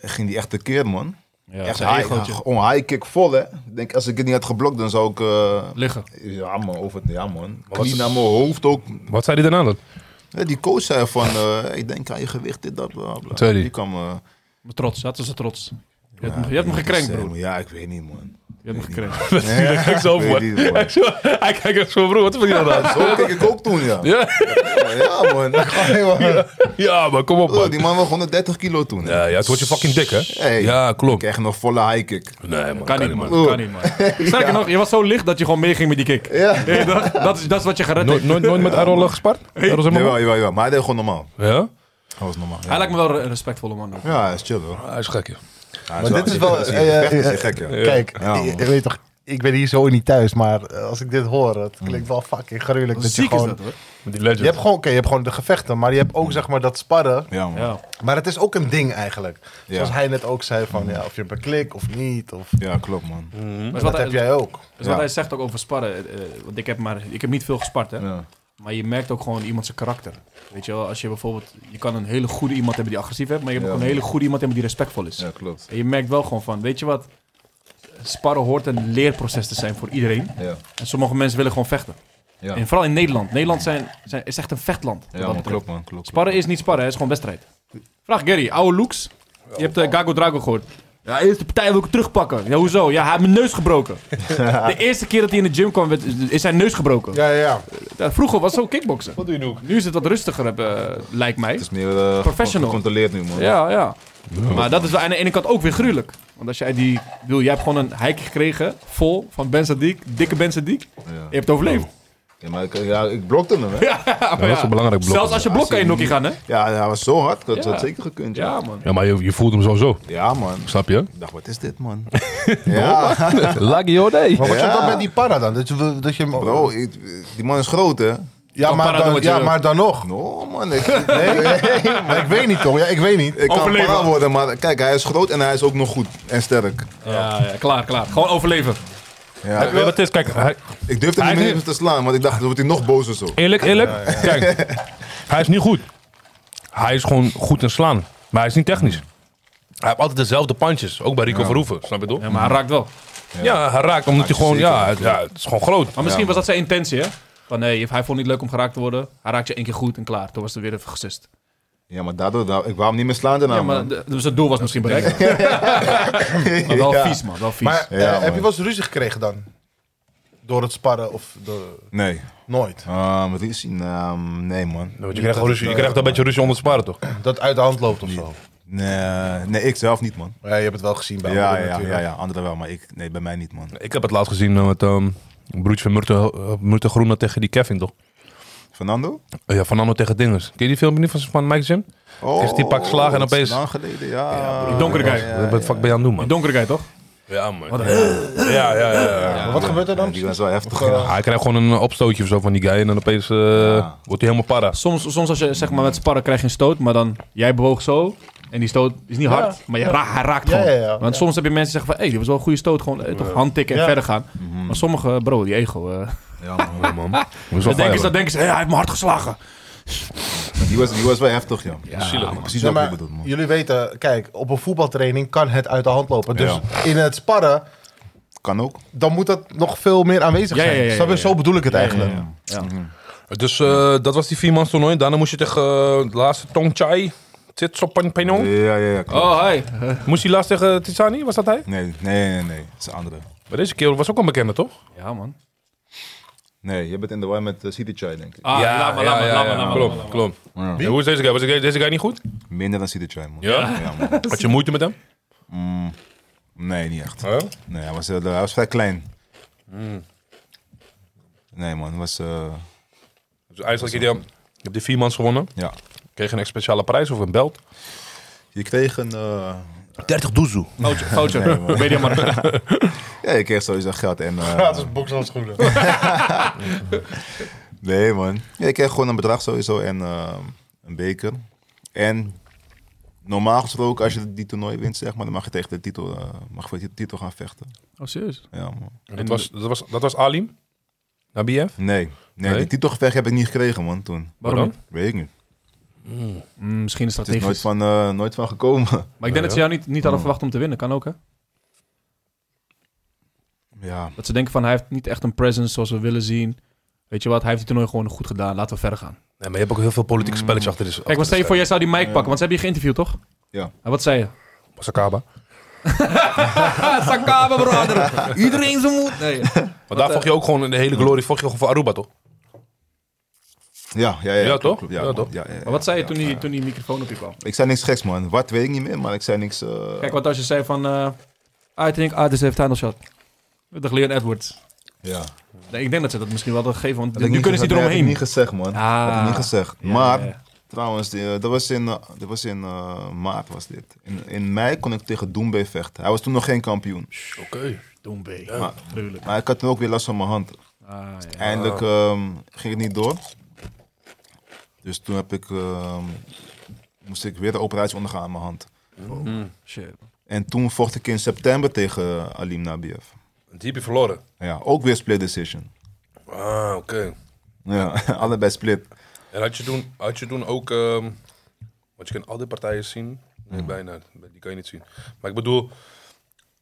S3: ging die echt tekeer, man.
S5: Ja,
S3: echt
S5: zijn
S3: high,
S5: egootje.
S3: gewoon high kick vol, hè. Ik denk, als ik het niet had geblokt, dan zou ik... eh,
S5: Liggen.
S3: ja, man. Over, ja, man.
S1: was-
S3: Knie naar mijn hoofd ook.
S1: Wat zei hij daarna dan?
S3: Ja, die coach zei van, eh, ik denk aan je gewicht, dit, dat, bla, bla.
S1: Zei die?
S3: Die kwam... eh,
S5: Trots, dat is ze trots. Je hebt, hem- je hebt hem gekrenkt, broer.
S3: Ja, ik weet niet, man.
S5: Je hebt hem gekrenkt.
S1: Ik kijk zo
S3: Ik
S1: voor.
S3: weet niet, man.
S1: Hij kijkt echt zo, broer. Wat is dat dan?
S3: Zo keek ik ook toen, ja.
S1: Ja.
S3: Ja, man.
S1: Ja, maar kom op,
S3: Bro,
S1: man.
S3: die man was 130 kilo toen. hè.
S1: Ja, ja, het wordt je fucking dik, hè?
S3: Hey.
S1: Ja,
S3: Ik
S1: klopt.
S3: kreeg nog volle high kick.
S1: Nee, man.
S5: Kan niet, man.
S3: man.
S5: Kan niet, man. Sterker nog, je was zo licht dat je gewoon meeging met die kick.
S3: Ja.
S5: Je dacht, dat, is, dat is wat je gered
S1: Nooit,
S5: hebt.
S1: nooit, nooit met Errol eh, gespart? Errol Zimmerman?
S3: Jawel, jawel, jawel. Maar hij deed gewoon normaal.
S1: Ja?
S3: Hij was normaal.
S5: Hij
S3: Ja,
S5: lijkt me wel een respectvolle man. broer.
S3: Ja, hij is chill, hoor.
S1: Hij is gek, joh.
S3: Maar
S2: dit is wel-
S3: Is
S2: eh, eh,
S3: hij is hij
S2: eh,
S3: gek, ja.
S2: Kijk,
S3: Ja,
S2: ik-
S3: man.
S2: ik weet toch... Ik ben hier zo niet thuis, maar eh, als ik dit hoor, het klinkt wel fucking gruwelijk. Dat je,
S5: Ziek is
S2: gewoon,
S5: dat, hoor.
S1: Met die legend.
S2: je hebt gewoon, oké, je hebt gewoon de gevechten, maar je hebt ook zeg maar dat sparren.
S3: Ja, man.
S5: Ja.
S2: Maar het is ook een ding eigenlijk.
S3: Ja.
S2: Zoals hij net ook zei van, ja, of je hebt een klik of niet. Of,
S3: Ja, klopt, man.
S5: Maar is
S2: dat
S5: Dus wat,
S2: heb
S5: hij,
S2: jij ook.
S5: is wat
S3: Ja.
S5: hij zegt ook over sparren. eh, want ik heb, maar, ik heb niet veel gespart, hè.
S3: Ja.
S5: Maar je merkt ook gewoon iemand zijn karakter. Weet je wel, als je bijvoorbeeld... Je kan een hele goede iemand hebben die agressief is, maar je hebt
S3: Ja.
S5: ook een hele goede iemand hebben die respectvol is.
S3: Ja, klopt.
S5: En je merkt wel gewoon van, weet je wat? Sparren hoort een leerproces te zijn voor iedereen.
S3: Ja,
S5: En sommige mensen willen gewoon vechten.
S3: Ja.
S5: En vooral in Nederland. Nederland zijn, zijn, is echt een vechtland. wat dat
S3: ja man,
S5: betreft.
S3: klopt, man. Klopt.
S5: Sparren is niet sparren, het is gewoon wedstrijd. Vraag Gary, oude looks. Je hebt eh, Gago Drago gehoord. Ja, eerste partij wil ik hem terugpakken. Ja, hoezo? Ja, hij heeft mijn neus gebroken. De eerste keer dat hij in de gym kwam, werd, is zijn neus gebroken.
S2: Ja, ja, ja.
S5: Ja, vroeger was het zo kickboksen. Wat doe je nu? Nu is het wat rustiger, eh, lijkt mij.
S3: Het is meer eh,
S5: Professional.
S3: gecontroleerd nu, man.
S5: Ja, ja. Maar dat is wel aan de ene kant ook weer gruwelijk. Want als jij die... ik Bedoel, jij hebt gewoon een hike gekregen, vol, van Ben Sadiq. Dikke Ben Sadiq.
S3: Ja.
S5: Je hebt het overleefd.
S3: Ja, maar ik, ja, ik blokte hem, hè.
S5: Ja, maar
S1: dat is een belangrijk blok.
S5: Zelfs als je blok kan je nokkie gaan, hè?
S3: Ja, hij was zo hard. Dat
S5: Ja.
S3: had zeker gekund, ja.
S5: Ja, man.
S1: Ja, maar je, je voelt hem sowieso.
S3: Ja, man.
S1: Snap je?
S3: Ik dacht, wat is dit, man? ja,
S1: Lucky your day.
S2: Maar wat je
S3: Ja.
S2: dan met die para dan? Dat je, dat je hem-
S3: bro. ik- die man is groot, hè.
S2: Oh. ja,
S5: Kan
S2: maar
S5: para doen
S2: dan,
S5: wat je
S2: ja,
S5: wil.
S2: maar dan nog.
S3: No, man. Ik, nee,
S2: Maar ik weet niet, toch? Ja, ik weet niet.
S3: ik kan
S5: Overleven.
S3: para worden, maar kijk, hij is groot en hij is ook nog goed en sterk.
S5: Ja, ja, klaar, klaar. Gewoon overleven.
S3: Ja.
S1: Weet je wat het is? Kijk, hij,
S3: Ik durfde hem
S1: Hij
S3: niet meer
S1: heeft-
S3: te slaan, want ik dacht, dan wordt hij nog bozer zo.
S1: eerlijk, eerlijk. Kijk, hij is niet goed. Hij is gewoon goed in slaan. Maar hij is niet technisch. Hij heeft altijd dezelfde pandjes. Ook bij Rico Verhoeven, snap je toch?
S5: Ja, maar hij raakt wel.
S1: Ja, hij raakt omdat hij gewoon...
S3: zeker.
S1: Ja, het- ja, het is gewoon groot.
S5: Maar misschien was dat zijn intentie, hè? Van nee, hij vond het niet leuk om geraakt te worden. Hij raakte je één keer goed en klaar. Toen was het weer even gesust.
S3: Ja, maar daardoor, daar- ik wou hem niet meer slaan daarna,
S5: Ja, maar
S3: man.
S5: de- dus het doel was misschien bereikt. Maar wel vies, man. Wel vies.
S2: Maar eh,
S3: Ja,
S2: heb
S3: man.
S2: je wel eens ruzie gekregen dan? Door het sparren of door...
S3: Nee.
S2: Nooit.
S3: Ah, wat is hij? Nou, nee, man.
S1: Want je krijgt, gewoon ruzie, je krijgt een beetje ruzie onder het sparen, toch?
S2: Dat uit de hand loopt of zo.
S3: Nee, nee, ik zelf niet, man.
S2: Ja, je hebt het wel gezien bij
S3: Ja,
S2: anderen
S3: ja, ja,
S2: natuurlijk.
S3: ja, anderen wel, maar ik, nee, bij mij niet, man.
S1: Ik heb het laatst gezien eh, met ehm broertje van Murte, eh, Murte Groene tegen die Kevin, toch?
S3: Fernando?
S1: Eh, ja, Fernando tegen Dinges. Ken je die filmpje niet van, van Mike Jim?
S3: Oh,
S1: Heeft die pak slagen en
S3: dat is
S1: opeens-
S3: Lang geleden, ja.
S5: Die donkere guy.
S1: Wat ben je fuck ben je aan het doen,
S5: Die
S1: man?
S5: donkere guy, toch?
S1: Ja, man. Ja, ja, ja. ja.
S2: Maar wat gebeurt er dan?
S3: Die was wel heftig.
S2: Of, eh,
S1: Hij krijgt gewoon een eh, opstootje of zo van die guy en dan opeens eh, wordt hij helemaal para.
S5: Soms, soms als je zeg maar, met sparren krijg je een stoot, maar dan jij bewoog zo. En die stoot is niet hard, maar je ra- hij raakt
S2: Ja,
S5: gewoon.
S2: ja, ja.
S5: Want soms heb je mensen die zeggen van, hé, hey, dit was wel een goede stoot. Gewoon eh, toch handtikken en
S2: Ja.
S5: verder gaan. Maar sommige, bro, die ego. eh
S3: Ja, man.
S1: Ja, man. Dat is wel
S5: dan, denken ze,
S1: fijn,
S5: dan denken ze, hé, hij heeft me hard geslagen.
S3: Die was, die was wel heftig, ja.
S1: zielig.
S3: Precies
S2: Nee,
S3: wat
S2: maar
S3: ik bedoel, man.
S2: jullie weten, kijk, op een voetbaltraining kan het uit de hand lopen. Dus
S3: Ja.
S2: in het sparren,
S3: Kan ook.
S2: dan moet dat nog veel meer aanwezig
S5: Ja,
S2: zijn.
S5: ja, ja, ja,
S2: Snap je?
S5: ja.
S2: Zo bedoel ik het eigenlijk.
S1: hoor. Dus eh, dat was die viermans toernooi. Daarna moest je tegen eh, de laatste Tong Chai. Titsopan
S3: Ja,
S1: Penong.
S3: ja, ja. klopt.
S5: Oh, hi.
S1: Moest hij laatst tegen Tizani? Was dat hij?
S3: Nee, nee, nee, nee. Het is een andere.
S1: Maar deze kerel was ook een bekende, toch?
S5: Ja, man.
S3: Nee, je bent in de war met uh, City Chai, denk ik.
S5: Ah, laat maar, laat maar, laat maar, laat maar.
S1: Klopt, klopt. En Hoe is deze guy? Was deze- deze guy niet goed?
S3: Minder dan City Chai, man.
S1: Ja?
S3: Ja, man.
S1: Had je moeite met hem?
S3: Nee, niet echt.
S1: Huh?
S3: Nee, hij was, eh, hij was vrij klein. Nee, man. Hij was... eh,
S1: Dus eigenlijk, heb je hebt die viermans gewonnen.
S3: ja.
S1: Kreeg een speciale prijs of een belt.
S3: Je kreeg een... eh,
S1: 30 doezoe.
S5: Foutje, foutje. Mediamarkt.
S3: ja, je kreeg sowieso geld en... eh,
S2: Gratis bokshandschoenen.
S3: Nee, man. Ja, ik kreeg gewoon een bedrag sowieso en ehm, een beker. En normaal gesproken, als je die toernooi wint, zeg maar, dan mag je tegen de titel, eh, mag je voor de titel gaan vechten.
S5: Oh, serieus?
S3: Ja, man.
S1: Dat was, dat, was, dat was Alim? Nabiev?
S3: Nee, nee,
S1: Nee?
S3: die titelgevecht heb ik niet gekregen, man, toen.
S5: Waarom
S1: niet?
S3: Weet ik niet.
S5: Mm, misschien
S3: Het is
S5: strategisch.
S3: nooit van, eh, nooit van gekomen.
S5: Maar ik denk dat ze jou niet, niet
S3: Mm.
S5: hadden verwacht om te winnen. Kan ook, hè?
S3: Ja,
S5: Dat ze denken van, hij heeft niet echt een presence zoals we willen zien. Weet je wat, hij heeft die toernooi gewoon goed gedaan. Laten we verder gaan.
S1: Nee, maar je hebt ook heel veel politieke spelletjes achter de
S5: Mm. Kijk, wat stel je voor, jij zou die mic pakken, want ze hebben je geïnterviewd, toch?
S3: Ja.
S5: En wat zei je?
S1: Sakaba.
S5: Sakaba, brother. Iedereen zijn moed. Nee.
S1: Maar daar vocht je ook gewoon in de hele glorie, vocht je gewoon voor Aruba, toch?
S3: ja, ja, ja.
S1: Ja,
S3: klopt,
S1: toch?
S3: klopt.
S1: Ja,
S3: man.
S1: toch?
S3: Ja, ja, ja.
S5: Maar wat zei je toen die, toen die microfoon op je kwam?
S3: Ik zei niks geks, man. Wat weet ik niet meer, maar ik zei niks... eh,
S5: Kijk, wat als je zei van... eh I think Artis dus heeft title shot. De Leon Edwards.
S3: ja.
S5: Nee, ik denk dat ze dat misschien wel hadden gegeven, want
S3: Had ik
S5: nu
S3: niet
S5: kunnen ze
S3: gezegd,
S5: niet
S3: nee, had ik
S5: eromheen.
S3: niet gezegd, man. Had ik
S5: Ah.
S3: niet gezegd.
S5: Ja,
S3: maar,
S5: ja, ja.
S3: trouwens, die, eh, dat was in, eh, dat was in eh, maart was dit. In, in mei kon ik tegen Doembe vechten. Hij was toen nog geen kampioen.
S1: Oké.
S5: Doen B.
S3: Maar,
S5: Gruwelijk.
S3: maar ik had toen ook weer last van mijn hand.
S5: Ah, ja.
S3: Eindelijk ehm, ging het niet door. Dus toen heb ik, ehm, moest ik weer de operatie ondergaan aan mijn hand.
S5: Shit.
S3: En toen vocht ik in september tegen eh, Alim Nabiev.
S1: Die heb je verloren.
S3: Ja, ook weer split decision.
S1: Ah, oké.
S3: Ja, allebei split.
S1: En had je toen, had je toen ook... ehm, want je kan al die partijen zien. Nee, bijna. Die kan je niet zien. Maar ik bedoel,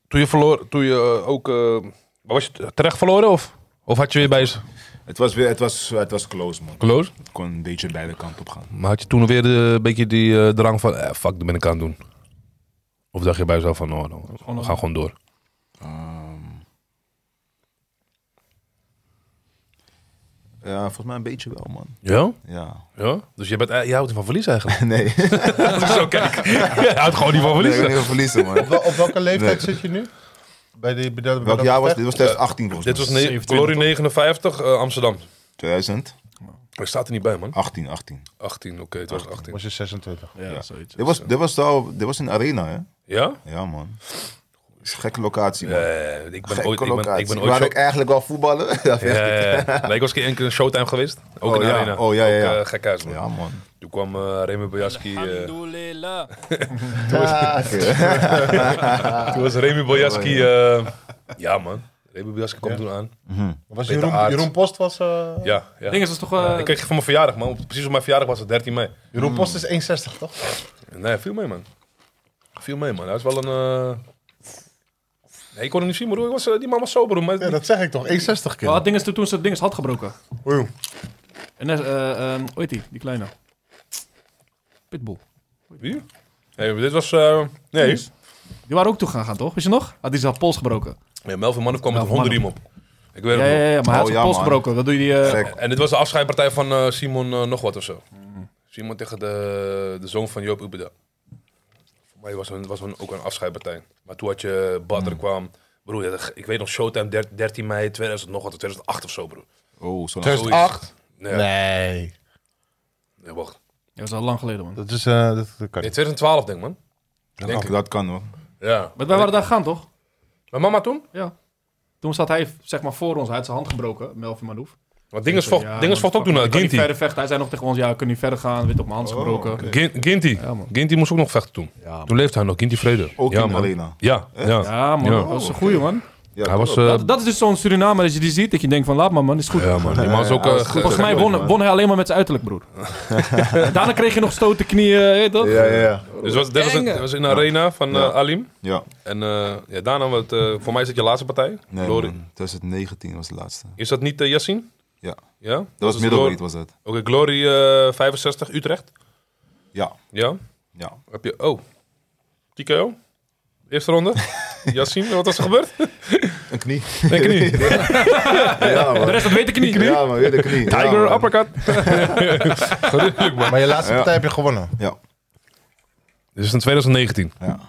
S1: toen je verloor, toen je eh, ook... eh, maar was je terecht verloren of, of had je weer bij je...
S3: Het was, weer, het was, het was close, man.
S1: Close?
S3: Het kon een beetje beide kanten op gaan.
S1: Maar had je toen weer eh, een beetje die eh, drang van, eh, fuck, dat ben ik aan het doen? Of dacht je bij jezelf van, oh, no, we gaan gewoon door?
S3: Ja, volgens mij een beetje wel, man.
S1: Ja?
S3: Ja.
S1: ja? Dus je, bent, eh, je houdt niet van verlies eigenlijk?
S3: Nee,
S1: Als ik zo kijk. je houdt gewoon niet van
S3: nee ik
S1: verliezen.
S3: ben niet verliezen, man.
S2: Op welke leeftijd zit je nu? Bij die, bij dat- bij
S3: Welk
S2: dat
S3: jaar was dit?
S2: gevecht?
S3: was 2018 volgens mij.
S1: Dit was ne- Glory 59, eh, Amsterdam.
S3: 2000?
S1: Ik staat er niet bij, man.
S3: 18, 18.
S1: 18, oké, het Ah, was 18.
S2: Was je 26.
S5: Ja, zoiets.
S3: Dit was, dit was, wel- dit was een arena, hè?
S1: Ja?
S3: Ja, man. Is een Gekke locatie, man.
S1: Eh, ik ben
S3: Gekke
S1: ooit... Ik ben,
S3: locatie.
S1: ik ben ooit
S3: Waar
S1: zo-
S3: ik eigenlijk wel voetballen. Ja,
S1: Ja, ja, ja. Nee, ik was een keer één keer in Showtime geweest. Ook
S3: Oh,
S1: in de
S3: ja.
S1: arena.
S3: Oh, ja, ja,
S1: Ook,
S3: ja.
S1: eh, gek huis, man.
S3: Ja, man.
S1: Toen kwam eh Remy Bojaski... eh,
S9: Alhamdulillah.
S3: Ja, oké.
S1: Toen was Remy Bojaski... eh, ja, man. Babybedaske kwam
S2: Ja.
S1: toen aan.
S2: Was
S1: Peter
S2: Jeroen,
S1: Aerts.
S2: Jeroen Post was... eh,
S1: Ja, ja.
S5: Ding is, dat is toch... eh,
S1: Ik kreeg je voor mijn verjaardag, man. Op- Precies op mijn verjaardag was het 13 mei.
S2: Jeroen Post is 1,60, toch?
S1: Nee, viel mee, man. Viel mee, man. Hij is wel een... eh, Nee, ik kon hem niet zien, maar broer. Ik was, eh, die man was sober, maar...
S2: Ja, dat zeg ik toch. 1,60 keer.
S5: Maar het ding is, toen- toen ze het ding is had gebroken.
S1: Oeh.
S5: En eh eh, ehm, hoe heet die? Die kleine. Pitbull.
S1: Wie? Nee, maar dit was... eh, Nee.
S5: Die waren ook toe gaan gaan, toch? Wist je nog? Had die zijn pols gebroken.
S1: Ja, Melvin Manhoef kwam met een
S5: Melvin
S1: hondenriem op. Ik weet
S5: Ja,
S1: het nog.
S5: ja, ja, maar hij had
S3: Oh,
S5: zijn
S3: ja,
S5: pols
S3: man.
S5: gebroken. Dat doe je die... eh,
S3: Gek.
S1: En dit was de afscheidpartij van eh, Simon eh, nog wat of zo.
S2: Mm.
S1: Simon tegen de, de zoon van Joop Ubeda. Voor mij was het was een, ook een afscheidpartij. Maar toen had je Badr
S2: Mm.
S1: kwam. Broer, je had- ik weet nog Showtime der- 13 mei 2000, nog wat, 2008 of zo, broer.
S3: Oh, zo
S1: Zoiets.
S2: 2008?
S1: Nee, nee.
S2: Nee.
S1: wacht.
S5: Dat was al lang geleden, man.
S2: Dat is... eh dat, dat kan
S1: Nee,
S2: niet.
S1: 2012 denk ik, man.
S3: Dat, kan- dat kan hoor.
S1: Ja.
S5: Maar wij waren daar gaan, toch?
S1: Mijn mama toen?
S5: Ja. Toen zat hij, zeg maar, voor ons. Hij had zijn hand gebroken, Melvin Manouf.
S1: Want Dinges vocht, Dinges vocht ook eh, toen naar
S5: Kan niet
S1: Ginty.
S5: verder vechten. Hij zei nog tegen ons, ja, ik kan niet verder gaan. Weet op mijn
S3: Oh,
S5: hand is gebroken.
S1: Gin- Ginty.
S5: Ja, man.
S1: Ginty moest ook nog vechten toen. Toen leefde hij nog, Ginty Vrede.
S3: Ook
S1: ja,
S3: in de
S1: man.
S3: arena.
S1: Ja, ja.
S5: Ja, man.
S1: Ja.
S5: Dat was een goeie, man.
S3: Ja,
S1: Hij was...
S3: klopt.
S1: eh,
S5: Dat, dat is dus zo'n Suriname dat je die ziet. Dat je denkt van, laat maar, man. Is goed.
S1: ja, man. Die man is ook...
S3: Hij
S1: eh,
S3: was
S1: ge-
S3: goed.
S5: Volgens mij won, won hij alleen maar met zijn uiterlijk, broer. En Daarna kreeg je nog stoten knieën, weet je toch?
S3: ja, ja, ja.
S1: Dus was, dit was, een- was in de arena van eh, Alim.
S3: ja.
S1: En eh, ja, daarna, wat, eh, voor mij is dat je laatste partij.
S3: Nee,
S1: Glory.
S3: man. 2019 was de laatste.
S1: Is dat niet eh, Yassin?
S3: Ja.
S1: Ja? Dat,
S3: Dat was
S1: is
S3: middelweight
S1: Glory-
S3: was dat.
S1: Oké, Glory eh, 65, Utrecht.
S3: Ja,
S1: Ja.
S3: ja.
S1: Heb je... Oh. TKO. Eerste ronde. Yassin, wat was er gebeurd?
S3: Een knie.
S1: Nee, knie.
S3: ja,
S5: De
S3: man.
S5: rest, dat weet ik niet.
S3: Ja, man, weer de knie.
S1: Tiger,
S3: ja, man.
S1: uppercut. Gruwelijk, man.
S2: Maar je laatste
S3: Ja.
S2: partij heb je gewonnen.
S3: Ja,
S1: Dit is in 2019.
S3: Ja.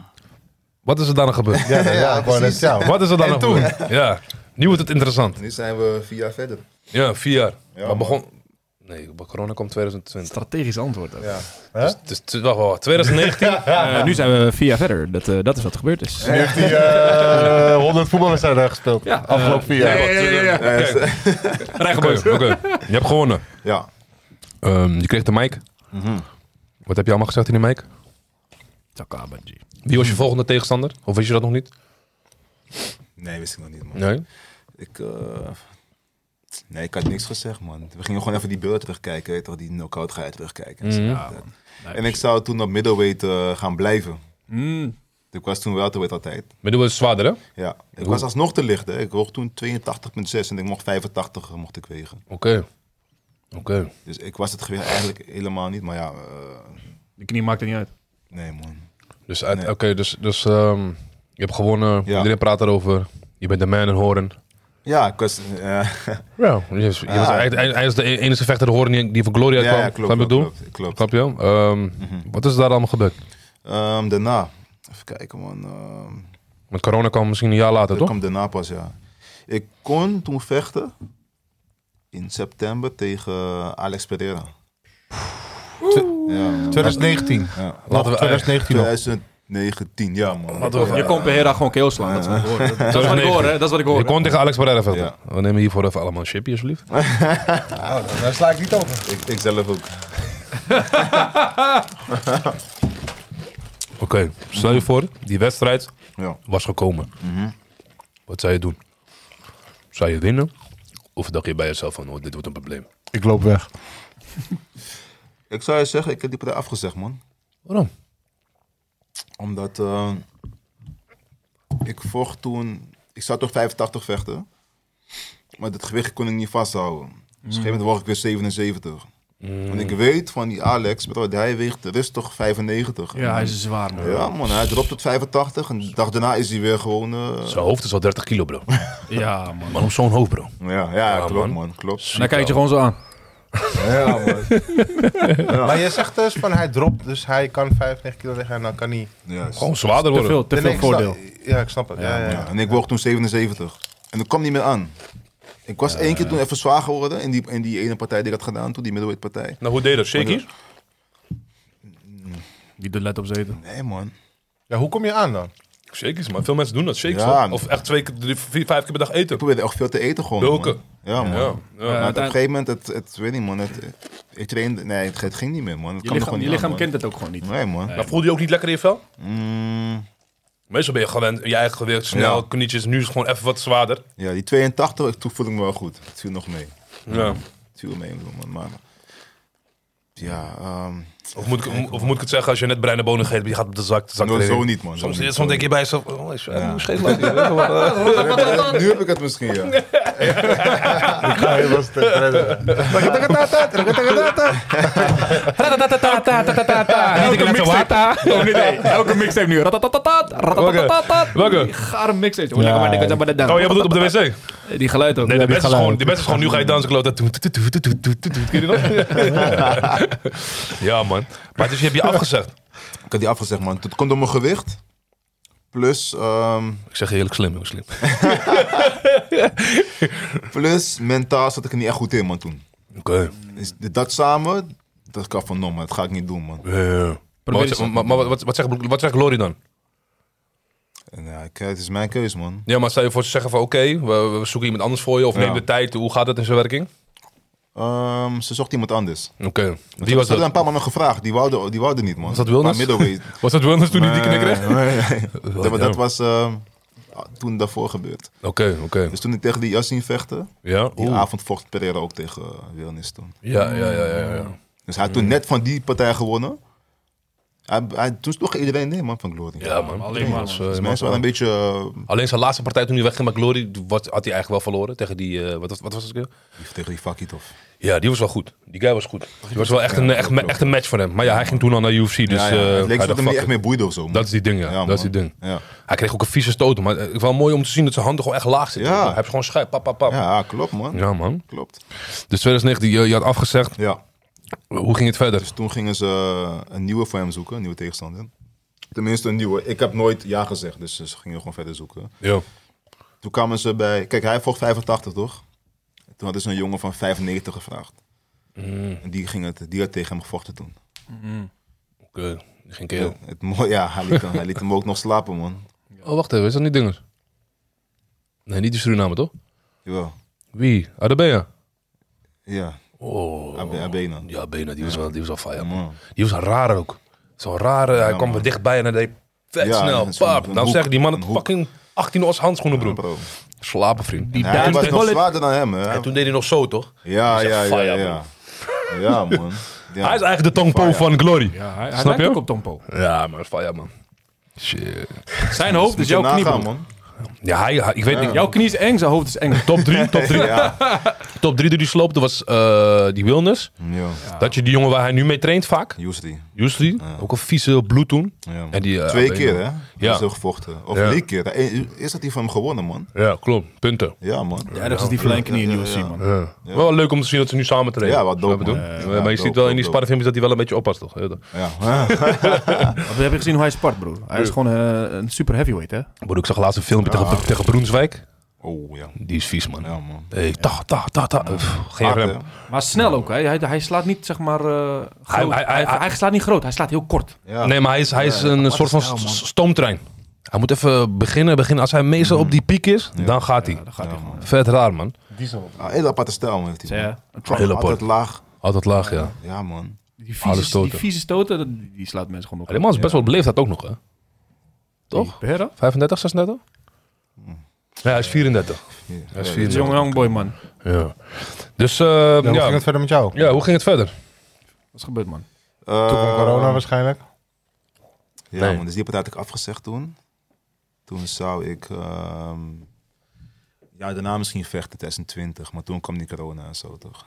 S1: Wat is er daarna gebeurd?
S2: Ja, ja, ik wou net zeggen.
S1: Wat is er daarna gebeurd? Ja. Nu wordt het interessant.
S3: nu zijn we vier jaar verder.
S1: Ja, vier jaar. maar
S3: man.
S1: begon... Nee, corona kwam 2020.
S5: Strategisch antwoord. dat.
S1: Het is, wacht, wacht, wacht. 2019.
S5: Eh, nu zijn we vier jaar verder. Dat, eh, dat is wat gebeurd is.
S2: Nu heeft hij eh 100 voetbalwedstrijden gespeeld.
S5: Ja.
S2: Afgelopen vier jaar.
S1: ja, ja, ja.
S5: Rijgebeuk.
S1: Je hebt gewonnen.
S3: Ja.
S1: Ehm, je kreeg de mic. Wat heb je allemaal gezegd in die mic?
S5: Takabanji.
S1: Wie was je volgende tegenstander? Of wist je dat nog niet?
S3: Nee, wist ik nog niet, man.
S1: Nee.
S3: Ik, eh, nee, ik had niks gezegd, man. We gingen gewoon even die beeld terugkijken, weet je toch? Die knockout ga je terugkijken. en zo.
S5: Ja, man.
S3: En ik zou toen op middleweight eh, gaan blijven.
S5: Mm.
S3: Ik was toen welterweight altijd.
S1: Maar doen we het zwaarder, hè? Oké.
S3: Ja, ik was alsnog te licht. Hè. Ik woog toen 82,6 en ik mocht 85 mocht ik wegen.
S1: Oké.
S3: Dus ik was het gewicht eigenlijk helemaal niet. Maar ja, eh,
S5: De knie maakt er niet uit.
S3: nee man.
S1: Dus, uit,
S3: Nee.
S1: oké, dus, dus ehm, je hebt gewonnen.
S3: Ja.
S1: Iedereen praat erover. Je bent de man in Horen.
S3: Ja, ik was... eh,
S1: Ja. Je, je was eigenlijk de en- en- de e- enige vechter in Horen die- die van Gloria
S3: Ah. ja,
S1: kwam.
S3: ja, klopt,
S1: Snap je
S3: klopt,
S1: wat ik bedoel?
S3: klopt, klopt. Mhm.
S1: Snap je? Ehm, Wat is daar allemaal gebeurd?
S3: Ehm, daarna, even kijken man. Ehm,
S1: Want corona kwam misschien een jaar later,
S3: dat
S1: toch?
S3: kwam daarna pas, ja. Ik kon toen vechten in september tegen Alex Pereira. Ja, man.
S2: 2019.
S3: Ja.
S1: Laten we,
S2: 2019 nog.
S3: 2019, ja man.
S5: Je kon Pereira gewoon KO slaan. Dat is wat ik hoor. Dat is wat ik hoor, hè. Dat is wat ik hoor.
S1: Je kon tegen Alex Pereira vechten.
S3: Ja.
S1: We nemen hiervoor even allemaal een chipje, alsjeblieft.
S2: Nou, daar sla ik niet over.
S3: Ik, ik zelf ook.
S1: Oké, stel je voor, die wedstrijd
S3: Ja.
S1: was gekomen.
S3: Mhm.
S1: Wat zou je doen? Zou je winnen? Of dacht je bij jezelf van, oh, dit wordt een probleem?
S2: Ik loop weg.
S3: Ik zou je zeggen, ik heb die partij afgezegd man.
S1: Waarom?
S3: Omdat eh, ik vocht toen. Ik zou toch 85 vechten. Maar dat gewicht kon ik niet vasthouden. Dus op een gegeven moment woog ik weer 77. Want ik weet van die Alex, bedoel, hij weegt rustig 95.
S5: Ja, hij is zwaar, man.
S3: Ja, man, hij dropt tot 85 en de dag daarna is hij weer gewoon. eh,
S1: Zijn hoofd is al 30 kilo, bro.
S5: Ja, man.
S1: Waarom zo'n hoofd, bro?
S3: Ja, ja,
S1: Ja,
S3: klopt,
S1: man.
S3: man. klopt.
S5: En dan kijk je gewoon zo aan.
S3: Ja, man.
S2: Maar je zegt dus van hij dropt, dus hij kan 95 kilo liggen en dan kan hij...
S3: Ja,
S1: Gewoon zwaarder
S5: Te
S1: worden.
S5: veel, te
S2: Nee,
S5: veel
S2: nee, ik snap-
S5: voordeel.
S2: Ja, ik snap het. Ja, ja, ja.
S3: Ja, en ik woog toen 77. En dat kwam niet meer aan. Ik was één keer toen even zwaar geworden in die, in die ene partij die ik had gedaan, toen die middleweight partij.
S1: Nou, hoe deed je dat? Shaky?
S5: Die Mm. de let op zeten.
S3: Nee, man.
S2: Ja, hoe kom je aan dan?
S1: Shakies, man. Veel mensen doen dat. Shakies,
S3: Ja.
S1: hoor. Of echt twee keer, drie, vier, vijf keer per dag eten.
S3: Ik probeerde echt veel te eten gewoon.
S1: Bulken.
S3: man. Ja, man.
S1: Ja, ja.
S3: Maar
S5: Ja,
S3: op een
S5: uiteindelijk-
S3: gegeven moment, het, het weet niet, man. Het, ik trainde, nee, het, het ging niet meer, man. Het
S5: Je
S3: kwam er
S5: lichaam,
S3: gewoon
S5: je
S3: niet
S5: lichaam
S3: aan,
S5: kent het ook gewoon niet.
S3: man. Nee, man.
S1: Maar voelde je ook niet lekker in je vel?
S3: Mm,
S1: Meestal ben je gewend, je eigen gewicht, snel,
S3: Ja.
S1: knietjes. Nu is het gewoon even wat zwaarder.
S3: Ja, die 82, toen voelde ik me wel goed. Het viel nog mee.
S1: Ja.
S3: Het viel mee, bedoel, man. Maar, ja, ehm
S1: Of, moet ik, of moet ik het zeggen, als je net bruine bonen geeft, je gaat op de zak. De zak
S3: No,
S1: erin.
S3: zo niet, man. Zo
S1: Soms,
S3: niet,
S1: soms
S3: zo
S1: denk je bij jezelf, oh, is,
S3: Ja.
S1: hoe scheef laat je? Weet je wel, eh.
S3: nu heb ik het misschien, ja.
S2: Hij was te redden.
S5: Elke mixtape. Oh, nee, nee. Elke mixtape nu. Ratatatatat, ratatatatat.
S1: Welke?
S5: Gare mixtape. Oh, lekker maar, lekker maar, lekker maar.
S1: Oh, jij bedoelt op de wc?
S5: Die geluid ook.
S1: Nee, de
S5: Ja,
S1: beste is gewoon, de beste is gewoon, nu ga je dansen, kloot. Ken je die nog? Ja, man. Maar dus je hebt je afgezegd.
S3: Ik had die afgezegd, man. Het komt door mijn gewicht. Plus, ehm,
S1: Ik zeg je eerlijk, slim, heel slim.
S3: plus mentaal zat ik er niet echt goed in, man, toen.
S1: Oké.
S3: Dus dat samen, dat kan van, no, man, dat ga ik niet doen, man.
S1: Eh, Maar
S5: eens.
S1: wat- Maar maar wat- wat zegt- wat zegt Lori dan?
S3: En, ja, ik- het is mijn keus, man.
S1: Ja, maar stel je voor te zeggen van oké, we, we zoeken iemand anders voor je of
S3: Ja.
S1: neem de tijd. Hoe gaat dat in zijn werking?
S3: Ehm, ze zocht iemand anders.
S1: Oké. Wie was
S3: Ze hadden
S1: dat?
S3: een paar mannen gevraagd, die wouden, die wouden niet, man. Was
S1: dat Wilnis?
S3: middleweight.
S1: Was dat Wilners toen die die knik kreeg?
S3: Nee, nee, nee.
S1: Wel,
S3: Dat,
S1: ja.
S3: dat was ehm, toen daarvoor gebeurd.
S1: Oké, oké.
S3: Dus toen ik tegen die Yassin vechtte,
S1: Ja,
S3: die
S1: oeh.
S3: avond vocht Pereira ook tegen eh, Wilnis toen.
S1: ja, ja, ja, ja, ja.
S3: Dus hij had toen net van die partij gewonnen. Hij, hij, toen sloeg iedereen nee, man, van Glory.
S1: Ja, man.
S5: Alleen maar.
S1: Dus, eh,
S3: Dus mensen waren een beetje... eh,
S1: Alleen zijn laatste partij toen hij wegging, maar Glory wat, had hij eigenlijk wel verloren tegen die. eh, wat, wat was het? ook weer?
S3: die- tegen die Fakitov.
S1: Ja, die was wel goed. Die guy was goed. Die was wel echt een, echt, echt een match voor hem. Maar ja, hij ging toen al naar UFC. Dus,
S3: ja, ja.
S1: eh,
S3: het leek
S1: hij
S3: alsof
S1: dacht,
S3: het hem niet
S1: fuck
S3: echt
S1: it.
S3: meer boeide of zo. man.
S1: Dat is die ding, ja.
S3: Ja,
S1: dat is die
S3: man.
S1: ding.
S3: Ja.
S1: Hij kreeg ook een vieze stoot, maar eh, het was wel mooi om te zien dat zijn handen gewoon echt laag zitten.
S3: Ja.
S1: Hij heeft gewoon schuif, pap, pap, pap. Ja.
S3: ja, klopt, man.
S1: man.
S3: Klopt.
S1: Dus 2019, je, je had afgezegd.
S3: Ja.
S1: Hoe ging het verder?
S3: Dus toen gingen ze eh, een nieuwe voor hem zoeken, een nieuwe tegenstander. Tenminste, een nieuwe. Ik heb nooit ja gezegd, dus ze gingen gewoon verder zoeken.
S1: Ja.
S3: Toen kwamen ze bij... Kijk, hij vocht 85, toch? Toen hadden ze een jongen van 95 gevraagd.
S1: Mm.
S3: En die, ging het, die had tegen hem gevochten toen.
S1: Oké, die ging eh, kerel.
S3: Het, mooie- ja, hij liet, hem, hij liet hem ook nog slapen, man.
S1: Oh, wacht even. Is dat niet Dingers? Nee, niet de Suriname, toch?
S3: Jawel.
S1: Wie? Ah, Adabea.
S3: Ja,
S1: Oh.
S3: Abe- Abena.
S1: Ja, Bena, die was wel, die was wel fire, man.
S3: Man.
S1: Die was raar ook. Zo'n rare, hij kwam er dichtbij en hij deed vet
S3: Ja,
S1: snel.
S3: en zo'n-
S1: Pap,
S3: een
S1: dan
S3: hoek,
S1: zeggen die man
S3: een
S1: het
S3: hoek.
S1: fucking 18 os handschoenen, broer.
S3: Bro.
S1: Slapen, vriend.
S5: Die
S3: Ja, hij was nog
S5: duizend
S3: zwaarder dan hem, hè?
S1: En toen deed hij nog zo, toch?
S3: Ja,
S1: is
S3: ja,
S1: echt
S3: ja,
S1: fire,
S3: ja. Ja, man. Ja.
S1: Hij is eigenlijk de tongpo
S3: Fire.
S1: van Glory.
S5: Ja, hij, hij
S1: Snap
S5: lijkt
S1: je?
S5: ook op Tompo.
S1: Ja, maar fire, man. Shit.
S5: Zijn hoofd
S3: Moet
S5: is
S3: je
S5: jouw
S3: nagaan,
S5: knie, broer.
S3: man.
S1: Ja, hij, hij- ik weet niet.
S5: Jouw knie is eng, zijn hoofd is eng.
S1: Top 3, top 3.
S3: Ja.
S1: Top 3 die die sloopte was eh, die Wilness.
S3: Ja,
S1: Dat je die jongen waar hij nu mee traint vaak.
S3: Yusri.
S1: Jusli, ook een vieze bloed toen.
S3: Ja.
S1: En die, eh,
S3: Twee
S1: alleen
S3: keer,
S1: maar.
S3: hè?
S1: Ja.
S3: Ja. Zo gevochten. Of
S1: Ja.
S3: drie keer. Eh, Eén- Eerst had hij van hem gewonnen, man.
S1: Ja, klopt. Punten.
S3: Ja, man.
S5: Ja, dat is die flank knie in UFC, man.
S1: Ja. Wel leuk om te zien dat ze nu samen trainen.
S3: Ja, wat
S1: Snap je
S3: dope,
S1: wat ik
S3: man.
S1: bedoel?
S3: Ja,
S1: maar
S3: ja,
S1: je
S3: dope,
S1: ziet wel in die
S3: dope,
S1: sparrenfilmpjes dat hij wel een beetje oppast, toch? Ja, toch?
S3: Ja.
S5: Maar Heb je gezien hoe hij spart, broer? Hij is gewoon eh, een super heavyweight, hè?
S1: Broer, ik zag laatst een filmpje tegen, tegen Broenswijk.
S3: Oh, ja.
S1: Die is vies, man.
S3: Ja, man.
S1: Hey, ta, ta, ta, ta. Pff, geen
S3: Hard,
S1: rem.
S3: hè?
S5: Maar snel ook, hè? Hij, hij slaat niet, zeg maar, eh, groot.
S1: hij-
S5: Hij,
S1: hij-
S5: hij slaat niet groot, hij slaat heel kort.
S3: Ja. nou,
S1: Nee, maar hij is, hij is een soort van s- stoomtrein. Hij moet even beginnen, beginnen. Als hij meestal
S3: Mhm.
S1: op die piek is, dan gaat hij. Vet raar, man.
S3: Ah, heel aparte stijl, man. Heeft hij,
S5: Zeg
S3: man.
S5: je? Een
S1: Heel apart.
S3: Altijd laag.
S1: Altijd laag, ja.
S3: Ja, man.
S5: Die
S1: Harde
S5: vieze,
S1: stoten.
S5: die vieze stoten, dat- die slaat mensen gewoon
S1: Maar
S5: op.
S1: die man is best wel beleefd, dat ook nog, hè? Toch?
S5: Pereira?
S1: 35, 36? Nee, hij is 34. Hij is
S5: Die is een
S1: 34.
S5: jonge young boy, man.
S1: Ja. Dus, eh,
S2: Ja, hoe
S1: ja.
S2: ging het verder met jou?
S1: ja, hoe ging het verder?
S5: Wat is gebeurd, man?
S2: Toen kwam corona
S3: Eh,
S2: waarschijnlijk.
S3: Ja,
S1: Nee.
S3: man. Dus die partij had ik afgezegd toen. Toen zou ik... ehm, ja, daarna misschien vechten, 2020. Maar toen kwam die corona en zo, toch?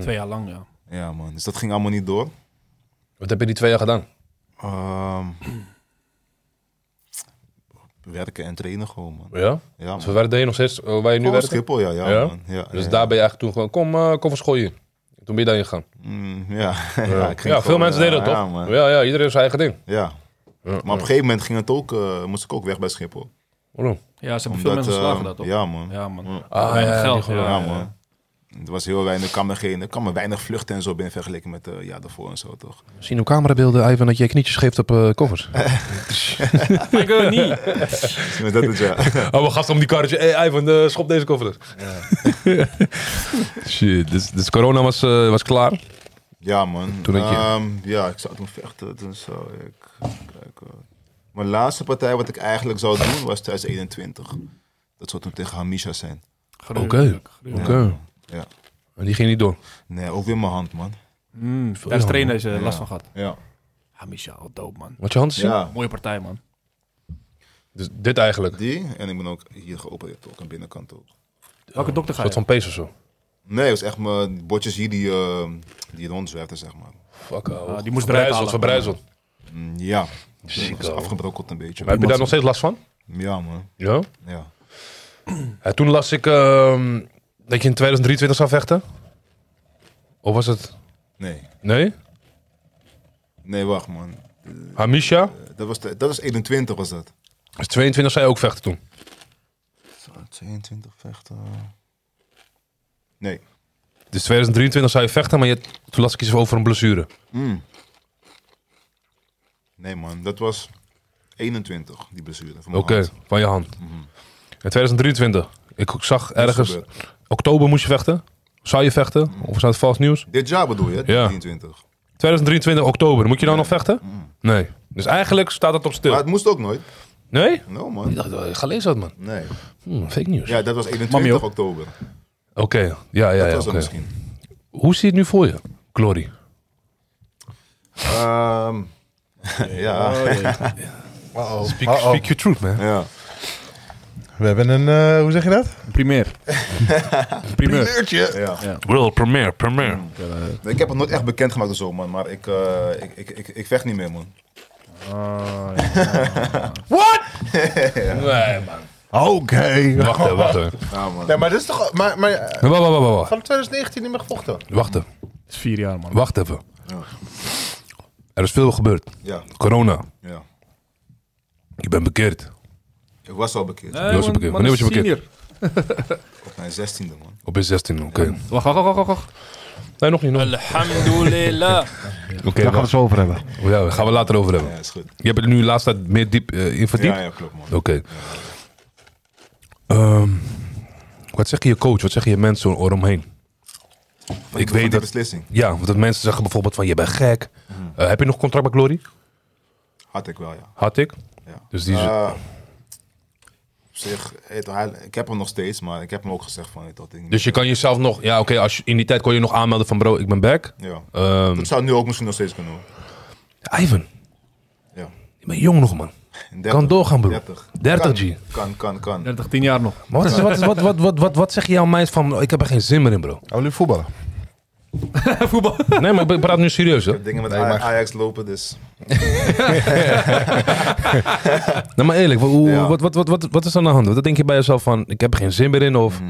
S5: Twee jaar lang, ja.
S3: Ja, man. Dus dat ging allemaal niet door.
S1: Wat heb je die twee jaar gedaan?
S3: Ehm, werken en trainen gewoon, man.
S1: Ja?
S3: Ja, man.
S1: Dus waar deed je nog steeds, eh, waar je nu
S3: Oh,
S1: werkt?
S3: Schiphol, ja. ja,
S1: Ja?
S3: Man. ja
S1: Dus
S3: ja.
S1: daar ben je eigenlijk toen gewoon, kom, eh, kom van school hier. Toen ben je daarin gegaan.
S3: Mm, ja. ja,
S1: Ja,
S3: ik ging
S1: veel
S3: gewoon,
S1: mensen
S3: ja,
S1: deden dat
S3: Ja,
S1: toch? Ja,
S3: man.
S1: ja, iedereen heeft zijn eigen ding.
S3: Ja.
S1: Ja,
S3: Maar op een gegeven moment ging het ook, eh, moest ik ook weg bij Schiphol.
S1: Waarom?
S5: Ja, ze hebben veel mensen
S3: eh,
S5: geslagen, dat, toch?
S3: Ja, man. Ja,
S5: Ja, man.
S1: Ah,
S5: Weinig
S1: ja,
S5: geld,
S1: die-
S5: ja.
S3: man. Er was heel weinig, er kwam er geen, er kwam er weinig vluchten en zo binnen vergeleken met eh ja, daarvoor en zo, toch?
S1: Zien hoe camerabeelden, Ivan, dat je knietjes geeft op eh, koffers.
S5: Ik wil het niet.
S3: Maar dat is ja.
S1: Oh, we gasten om die karretje. Hey, Ivan, eh, schop deze koffer. dus. Shit, dus, dus corona was, eh, was klaar.
S3: Ja, man.
S1: Toen had je-
S3: Ehm, ja, ik zou toen vechten, toen zou ik kijken. Mijn laatste partij wat ik eigenlijk zou doen was 2021. Dat zou toen tegen Hamisha zijn.
S1: Oké. Oké.
S3: Ja.
S1: En die ging niet door.
S3: Nee, ook weer mijn hand, man.
S5: Mm, daar is trainer deze last van gehad.
S3: Ja.
S5: Ja, Michel, dope man.
S1: Wat je handen zien?
S3: ja.
S5: Mooie partij man.
S1: Dus dit eigenlijk.
S3: Die. En ik ben ook hier geopereerd, ook aan de binnenkant ook.
S5: Welke dokter
S1: Een
S5: ga
S1: soort
S5: je?
S1: van pees of zo.
S3: Nee, het was echt mijn botjes hier die, eh die rondzwerfden, zeg maar.
S1: Fuck, oh. ouwe.
S5: Ah, die moest eruit
S1: verbrijzeld.
S5: halen.
S1: verbrijzeld.
S3: Mm, Ja. Dus
S1: Ziek,
S3: was
S1: ouwe.
S3: afgebrokkeld een beetje.
S1: Maar heb je daar nog steeds last van?
S3: Ja, man.
S1: Ja.
S3: Ja.
S1: Ja, toen las ik ehm, dat je in 2023 zou vechten. Of was het...
S3: Nee.
S1: Nee?
S3: Nee, wacht, man.
S1: Hamisha?
S3: Eh, Dat was, de- dat was 21, was dat.
S1: Dus 22 zou je ook vechten toen.
S3: 22 vechten. Nee.
S1: Dus 2023 zou je vechten, maar je, toen las ik iets over een blessure.
S3: Mm. Nee, man. Dat was 21, die blessure. van
S1: Oké,
S3: mijn hand.
S1: van je hand. En 2023, ik zag ergens...
S3: Mhm. gebeurd. Mhm.
S1: Oktober moest je vechten. Zou je vechten? Of is dat vals nieuws?
S3: Dit jaar bedoel je, hè?
S1: Ja.
S3: 23.
S1: 2023, oktober. Moet je dan nog vechten? Nee. Dus eigenlijk staat het op
S3: Mhm. Maar
S1: stil.
S3: het moest ook nooit.
S1: Nee?
S3: No,
S1: Ik
S3: man.
S1: dacht, eh, ga lezen dat, man.
S3: Nee.
S1: Hm, fake nieuws.
S3: Ja, dat was 21
S5: Mami ook.
S3: oktober. Dat
S1: Oké, ja, ja, ja.
S3: was dat
S1: oké.
S3: misschien.
S1: Hoe zie je het nu voor je, Glory?
S3: Ehm, ja. Oh.
S1: Speak, speak your truth, man.
S3: ja.
S2: We hebben een, eh, hoe zeg je dat?
S5: Primair. Primeur.
S3: ja.
S1: World premiere, premiere.
S3: Mhm. Nee, Ik heb het nooit echt bekendgemaakt of zo, man. Maar ik, eh, ik, ik, ik, ik vecht niet meer, man.
S1: Nee, man.
S2: Oké.
S1: Wacht even, wacht even.
S3: Ja, man.
S2: Nee, maar dat is toch... Maar, maar eh,
S1: Wacht, wacht, wacht, wacht.
S2: vanaf 2019 niet meer gevochten?
S1: Wacht even,
S5: is vier jaar man.
S1: wacht even. Er is veel gebeurd.
S3: Ja,
S1: Corona,
S3: ja.
S1: je bent bekeerd
S3: Ik was al bekeerd.
S5: Nee,
S1: was je bekeerd. Wanneer was je bekeerd?
S5: senior.
S3: Op mijn 16e, man.
S1: op je 16, oké.
S5: Wacht, wacht, wacht, wacht, wacht.
S1: Nee, nog niet, nog niet.
S4: Alhamdulillah.
S1: Oké,
S2: Daar gaan we
S1: wacht. Oh
S2: het zo over hebben.
S1: ja, daar gaan we later over hebben.
S3: Ja, is goed.
S1: Je hebt er nu laatst tijd meer diep eh, in verdiept?
S3: Ja, ja, klopt, man.
S1: Oké. Ehm, wat zeg je je coach? Wat zeg je je mensen eromheen?
S3: Van-
S1: Ik weet
S3: van die
S1: dat-
S3: beslissing
S1: Ja, want dat mensen zeggen bijvoorbeeld van je bent gek.
S3: Hmm.
S1: Eh, heb je nog contract bij Glory?
S3: had ik wel, ja.
S1: Had ik.
S3: ja.
S1: Dus die is-
S3: Eh, op zich, eh, toch, hij- ik heb hem nog steeds, maar ik heb hem ook gezegd van, eh, dat ding.
S1: Dus je kan jezelf nog... Ja, oké, als je- in die tijd kon je nog aanmelden van bro, ik ben back.
S3: Ja.
S1: Ehm
S3: Dat zou nu ook misschien nog steeds kunnen, hoor.
S1: Ivan,
S3: Ja.
S1: je bent jong nog man.
S3: 30,
S1: Kan doorgaan bro.
S3: 30.
S1: 30
S3: Kan,
S1: G.
S3: Kan, kan, kan.
S5: 30, 10 jaar nog.
S1: Maar wat, is, wat, is- wat, wat, wat, wat, wat zeg je aan mij van ik heb er geen zin meer in bro?
S2: Gaan we nu voetballen?
S5: Voetbal.
S1: Nee, maar ik praat nu serieus hè.
S3: Dingen met
S2: Nee, maar-
S3: Ajax lopen, dus...
S1: Nee, Nou, maar eerlijk, wat, hoe-
S3: Ja.
S1: wat, wat, wat, wat, wat is er aan de hand? Wat denk je bij jezelf van ik heb er geen zin meer in of...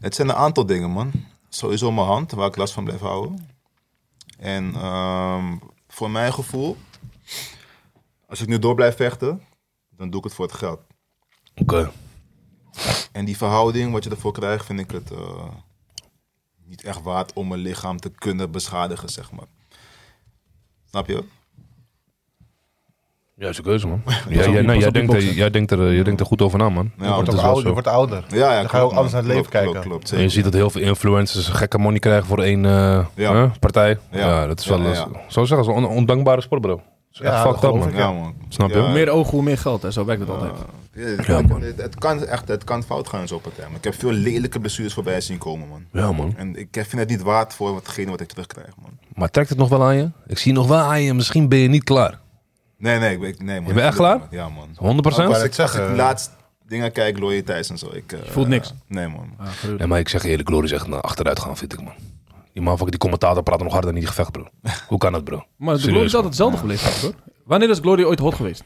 S3: Het zijn een aantal dingen, man. Sowieso mijn hand, waar ik last van blijf houden. En ehm, voor mijn gevoel, als ik nu door blijf vechten, dan doe ik het voor het geld.
S1: Oké.
S3: En die verhouding, wat je ervoor krijgt, vind ik het eh, niet echt waard om mijn lichaam te kunnen beschadigen, zeg maar. Snap je?
S1: Juiste keuze, man. Ja, jij,
S5: die-
S1: nee, jij,
S5: pas op die
S1: denkt,
S5: boksen.
S1: er- jij, denkt er, eh, jij denkt er goed over na, man.
S3: Ja,
S1: dat
S2: wordt ook
S1: is wel
S2: ouder,
S1: zo.
S2: je wordt ouder.
S3: Ja, ja
S2: Dan ga je ook
S3: klopt,
S2: anders naar het
S3: man.
S2: leven
S3: Klopt,
S2: kijken.
S3: Klopt, klopt,
S1: En je ziet dat heel veel influencers gekke money krijgen voor één eh,
S3: Ja.
S1: eh, partij. Ja.
S3: Ja.
S1: dat is wel...
S3: Ja,
S1: eh,
S3: ja.
S1: Zo zeggen ze, on- ondankbare sport, bro. Dat is echt
S2: Ja, dat
S1: fucked up,
S2: geloof
S1: man.
S2: ik.
S3: Ja, man.
S1: Snap je?
S3: Ja,
S5: Hoe meer ogen, hoe meer geld. Hè. Zo werkt het altijd.
S1: Ah.
S3: Ja, het,
S1: Ja, man.
S3: het- het kan echt het kan fout gaan in zo'n partij. Maar ik heb veel lelijke blessures voorbij zien komen, man.
S1: Ja, man.
S3: En ik vind het niet waard voor hetgene wat ik terugkrijg, man.
S1: Maar trekt het nog wel aan je? Ik zie nog wel aan je. Misschien ben je niet klaar. 100%?
S3: Nee, nee, ik ben, nee, man.
S1: Je bent echt klaar?
S3: Ja, man.
S2: Ook
S3: Als
S2: waar-
S3: ik, als ik laatst dingen kijk, loyaliteit en zo. Ik, eh,
S5: voelt niks.
S3: Nee, man.
S1: Nee, maar ik zeg je eerlijk, Glory is echt naar achteruit gaan, vind ik, man. Die man van die commentator praat nog harder dan die gevecht, bro. Hoe kan dat, bro?
S5: Maar de
S1: Serieus,
S5: Glory is
S1: man.
S5: altijd hetzelfde gebleven. Hoor. Wanneer is Glory ooit hot geweest?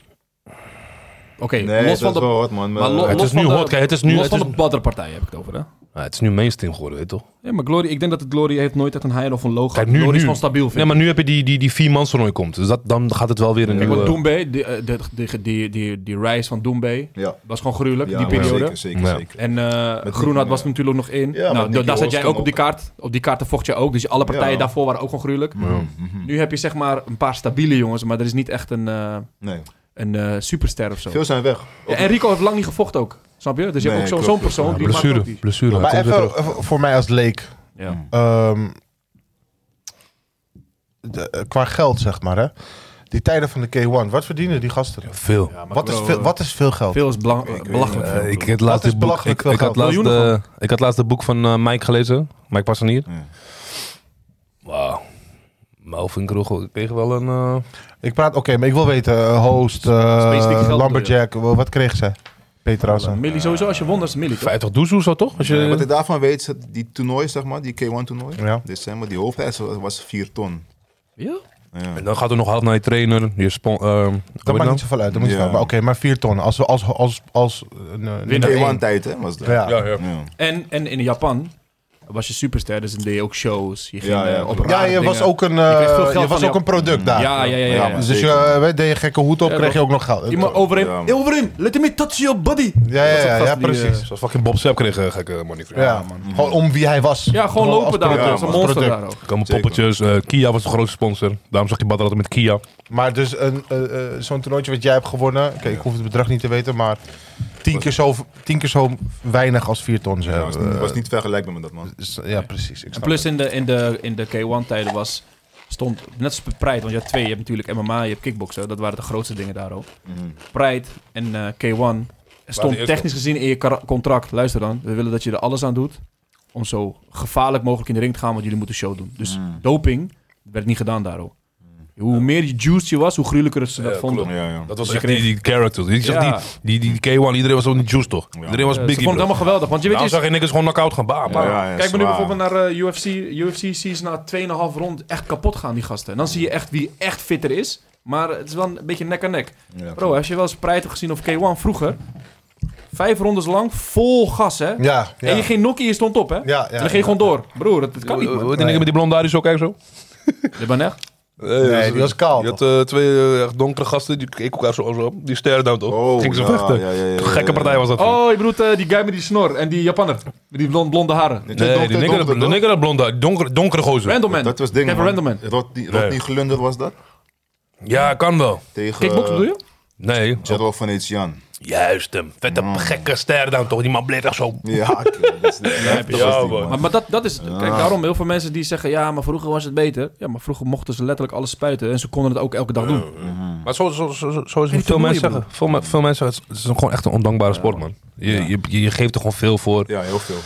S5: Oké,
S3: Nee,
S5: los
S3: dat
S5: van
S3: is
S5: de...
S3: wel hard, man.
S5: Maar lo-
S1: eh, Het
S5: los
S1: is
S5: van
S1: nu
S5: de-
S1: hot, kijk, het is nu-
S5: Los
S1: het
S5: van
S1: is-
S5: de badderpartij heb ik het over, hè?
S1: Ja, het is nu mainstream geworden, weet je toch?
S5: Ja, maar Glory, ik denk dat het Glory heeft nooit uit een high of een logo.
S1: Kijk, nu,
S5: Glory
S1: nu.
S5: is gewoon stabiel, vind
S1: Nee,
S5: ik.
S1: maar nu heb je die, die, die vier man toernooi komt. Dus dat, dan gaat het wel weer een
S5: Ja,
S1: nieuwe...
S5: maar Doombay, die, eh, de- die, die, die, die rise van Doombay,
S3: Ja.
S5: was gewoon gruwelijk,
S3: Ja,
S5: die
S3: man,
S5: periode.
S3: Zeker, zeker,
S1: Ja.
S3: zeker.
S5: En eh Groenhard was er natuurlijk nog in.
S3: Ja, maar
S5: nou,
S3: Nicky
S5: da- daar zat jij
S3: Holst
S5: ook op die kaart. Op die kaarten vocht je ook. Dus alle partijen
S3: Ja.
S5: daarvoor waren ook gewoon gruwelijk.
S3: Mm-hmm.
S5: Nu heb je zeg maar een paar stabiele jongens, maar er is niet echt een, eh,
S3: Nee.
S5: een eh, superster of zo.
S3: Veel zijn weg.
S5: Ja, en Rico heeft lang niet gevochten ook. Snap je? Dus je
S3: Nee,
S5: hebt ook zo-
S3: klopt,
S5: zo'n
S3: klopt.
S5: persoon.
S1: Ja,
S5: die maakt ook
S1: blessure,
S5: die-
S1: blessure.
S2: Maar
S1: Hij komt weer
S2: even
S1: terug.
S2: even voor mij als leek.
S5: Ja.
S2: ehm, de- eh, qua geld, zeg maar. Hè. Die tijden van de K1, wat verdienen die gasten?
S1: Veel.
S5: Ja, maar
S2: Wat is,
S5: bro,
S2: veel, wat is veel geld?
S5: Veel is belang-
S3: weet
S5: belachelijk
S1: Eh,
S5: veel.
S1: ik,
S5: bro.
S1: had laatst
S2: is
S1: het boek,
S2: belachelijk
S1: ik,
S2: veel
S1: ik, had
S2: geld?
S1: laatst,
S5: Miljoenen
S1: de, ik had laatst het boek van eh, Mike gelezen. Mike Passanier.
S3: Ja.
S1: Wauw. Melvin Kroegel kreeg wel een... eh,
S2: Ik praat, oké, maar ik wil weten, eh, host, eh,
S5: Specifiek geld
S2: Lumberjack, wa- wat kreeg ze? Petrassen.
S5: Millie sowieso, als je won, dat is het millie, toch?
S1: 50 doezoe zo, toch? Als je,
S3: eh, wat ik daarvan weet, is dat die toernooi, zeg maar, die K1-toernooi,
S2: Ja.
S3: december, die hoofdprijs was- was 4 ton.
S5: Ja?
S3: Ja.
S1: En dan gaat er nog hard naar je trainer. Je spon, eh, hoe heet
S2: Dat maakt
S1: dat?
S2: niet zoveel uit. dat moet je
S3: Ja.
S2: wel- Maar oké, maar vier ton. Als, als, als, als, als eh, nee,
S5: Winnaar.
S2: nee,
S3: K1-tijd, hè, was dat.
S2: Ja.
S10: Ja, ja.
S3: Ja.
S5: En, en in Japan was je superster, dus dan deed je ook shows. Je ging
S3: Ja, ja,
S5: eh,
S3: klopt.
S5: op
S2: Ja,
S5: rare
S2: je was
S5: dingen.
S2: ook een,
S5: Je kreeg veel
S2: eh,
S5: geld
S2: je was
S5: van
S2: ook
S5: die-
S2: een product daar.
S5: Ja, ja, ja. ja,
S3: Ja,
S5: ja.
S3: man.
S2: Dus je
S3: Zeker.
S2: eh, weet, deed je gekke hoed op,
S5: Ja,
S2: kreeg je
S5: toch?
S2: ook nog geld.
S5: Iemand over
S3: Ja, man.
S5: hem. Over hem. Let me touch your body.
S2: Ja, ja,
S5: Dat soort
S2: ja,
S5: gasten
S2: ja,
S5: die, eh,
S2: precies.
S1: Zoals fucking Bob Sepp kreeg eh, gekke money.
S2: Ja, Gewoon om wie hij was.
S5: Ja, gewoon
S2: Als
S5: lopen daar.
S2: product,
S5: Dat is een
S3: man.
S5: monster
S2: product.
S5: daar ook.
S1: Er komen
S3: Zeker.
S1: poppetjes. eh, Kia was de grootste sponsor. Daarom zag je Bad altijd met Kia.
S2: Maar dus een, eh, eh, zo'n toernooitje wat jij hebt gewonnen. Kijk, ik hoef het bedrag niet te weten, maar tien keer zo, tien keer zo weinig als vier ton. Ze
S3: Ja, was,
S2: hebben,
S3: niet,
S2: eh,
S3: was niet vergelijkbaar met dat, man.
S2: is- ja, precies. Ik
S5: En
S2: snap
S5: plus
S2: het.
S5: in de, in de, in de K1-tijden was, stond net als Pride, want je had twee. Je hebt natuurlijk MMA, je hebt kickboksen. Dat waren de grootste dingen daar ook.
S3: Mhm.
S5: Pride en eh, K1 er
S10: de
S5: stond
S10: eerste.
S5: technisch gezien in je kara- contract. Luister dan, we willen dat je er alles aan doet om zo gevaarlijk mogelijk in de ring te gaan, want jullie moeten show doen. Dus doping werd niet gedaan daarom. Hoe meer je juice je was, hoe gruwelijker ze dat
S10: Ja,
S5: vonden.
S10: klopt.
S3: Ja, ja.
S1: Dat was
S5: Je
S1: echt
S5: kreeg-
S1: die, die character. Die, die-
S5: Ja.
S1: die, die, die K1, iedereen was ook niet juice toch? Iedereen was
S5: Eh, ze
S1: biggie. bro. Nou,
S5: vonden het helemaal geweldig, want je weet
S1: Daarom
S5: je...
S1: zag je niks gewoon knock-out gaan. Bah, bah.
S3: Ja, ja, ja,
S5: Kijk maar nu
S3: zwaar.
S5: bijvoorbeeld naar eh, UFC. UFC zie je na 2,5 rond echt kapot gaan, die gasten. En dan zie je echt wie echt fitter is. Maar het is wel een beetje nek aan nek.
S3: Ja,
S5: Bro, als je wel eens Pride hebt gezien of K1 vroeger... Vijf rondes lang, vol gas, hè?
S2: Ja, ja.
S5: En je ging Nokia, je stond op, hè?
S2: ja, ja,
S5: en dan ging je gewoon door. Broer, dat, dat kan niet,
S10: Eh,
S5: man.
S10: eh,
S1: Hoe denk ik met die blonde haar zo? Kijk zo.
S5: Dit ben echt.
S2: Nee, die was kaal.
S10: Je
S2: toch?
S10: had eh, twee eh, echt donkere gasten, die keken elkaar zo, zo op. Die sterren dan toch?
S3: Oh,
S10: Gingen ze
S3: ja,
S10: vechten.
S3: ja, ja, ja, ja,
S10: Gekke
S3: ja.
S10: partij was dat.
S5: Oh, je bedoelt eh, die guy met die snor en die Japanner. Met die blond- blonde haren.
S1: Nee, die nigger
S3: donker,
S1: die nigger had blonde haar. Donkere, donkere gozer.
S5: Random man.
S3: Dat was ding,
S5: Kevin
S3: man.
S5: Random man.
S3: Rodney,
S1: Nee.
S3: Rodney Glunder was dat?
S1: Ja, kan wel.
S3: Tegen
S5: Kickbox bedoel je?
S1: Nee.
S3: Gerald van Etienne.
S1: Juist hem. Vette
S3: Mm.
S1: gekke ster dan toch. Die man bleef echt zo.
S3: Ja, oké, dat is de heftig
S10: Ja,
S3: was die,
S10: man.
S3: man.
S5: Maar, maar dat, dat is... Kijk,
S3: Ah.
S5: daarom heel veel mensen die zeggen... Ja, maar vroeger was het beter. Ja, maar vroeger mochten ze letterlijk alles spuiten. En ze konden het ook elke dag doen.
S3: Oh.
S10: Maar zo, zo, zo, zo- zo is
S1: Veel,
S10: het
S1: veel mensen
S5: bedoel
S1: zeggen, veel, me- veel mensen zeggen, het is gewoon echt een ondankbare sport, man. Je, je, je je geeft er gewoon veel voor.
S3: Ja, heel veel.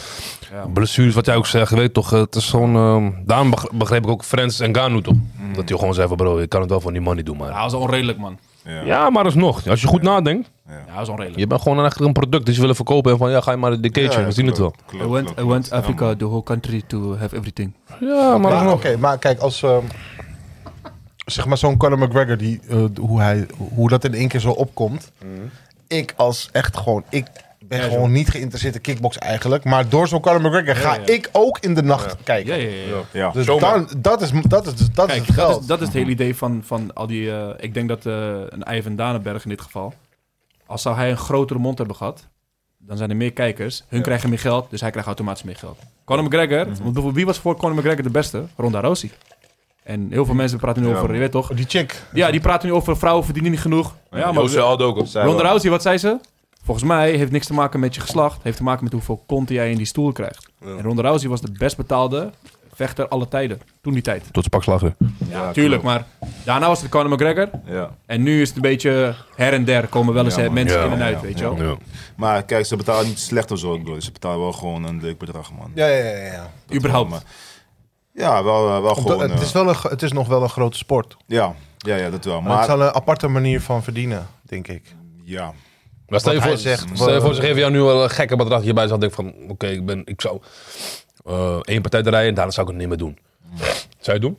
S1: Blessures, wat jij ook zegt, je weet toch, eh, het is gewoon... ehm, daarom begre- begreep ik ook Friends en Ganu, toch? Dat hij gewoon zei van, bro, je kan het wel voor die money doen, maar...
S5: Ja, dat Nou, is onredelijk, man.
S3: Ja.
S1: Ja, maar alsnog, als je goed nadenkt,
S5: Ja, dat is onredelijk.
S1: je bent gewoon echt een product dat ze willen verkopen. En van, ja, ga je maar de cage,
S3: Ja,
S1: in, we zien het wel.
S3: klopt, klopt, klopt.
S5: Africa, the whole country, to have everything.
S1: Ja, maar
S2: Maar,
S1: alsnog.
S2: oké, maar kijk, als... ehm, zeg maar zo'n Conor McGregor, die, eh, hoe, hij, hoe dat in één keer zo opkomt.
S3: Mhm.
S2: Ik als echt gewoon... Ik ben gewoon niet geïnteresseerd in kickbox eigenlijk. Maar door zo'n Conor McGregor ga ik ook in de nacht kijken.
S5: Ja, ja, ja. ja.
S3: Ja.
S2: Dus
S10: Zomaar.
S2: dan, dat, is, dat, is, dat is het
S5: Kijk, dat
S2: geld.
S5: is, dat is het hele idee van, van al die... eh, ik denk dat eh, een Ivan Danenberg in dit geval... Als zou hij een grotere mond hebben gehad... Dan zijn er meer kijkers. Hun krijgen meer geld, dus hij krijgt automatisch meer geld. Conor McGregor... want bijvoorbeeld, wie was voor Conor McGregor de beste? Ronda Rousey. En heel veel mensen praten nu
S3: Ja,
S5: over...
S3: man.
S5: Je weet toch?
S2: Die chick.
S5: Ja, die praten nu over vrouwen verdienen niet genoeg. Ja, maar
S10: Jose Aldo ook. hoor.
S3: Zij
S5: Ronda
S3: wel.
S5: Rousey, wat zei ze? Volgens mij heeft niks te maken met je geslacht. Heeft te maken met hoeveel konten jij in die stoel krijgt. En Ronda Rousey was de best betaalde vechter alle tijden. Toen die tijd.
S1: Tot spakslagen.
S5: Ja, tuurlijk. Maar daarna was het Conor McGregor.
S3: Ja.
S5: En nu is het een beetje her en der komen wel eens
S3: Ja,
S5: hè,
S3: man.
S5: mensen
S1: Ja,
S5: in en
S1: ja,
S5: uit, weet je wel.
S1: Ja.
S3: Maar kijk, ze betalen niet slecht of zo. ik bedoel, Ze betalen wel gewoon een leuk bedrag, man.
S2: Ja, ja, ja. ja.
S3: Dat
S5: überhaupt.
S3: wel, maar- Ja, wel, eh, wel
S2: Omdat-
S3: gewoon.
S2: het, is
S3: eh,
S2: wel een, ge- het is nog wel een grote sport.
S3: ja. Ja, ja, dat wel.
S2: Maar het
S3: Maar
S2: is wel een aparte manier van verdienen, denk ik.
S3: ja,
S1: Maar stel je
S2: Wat
S1: voor,
S2: hij zegt,
S1: stel je
S2: eh,
S1: voor, ze geven jou nu wel een gekke bedrag hierbij. Dan denk ik van, oké, ik ben, ik zou eh, één partij draaien en daarna zou ik het niet meer doen. Zou je het doen?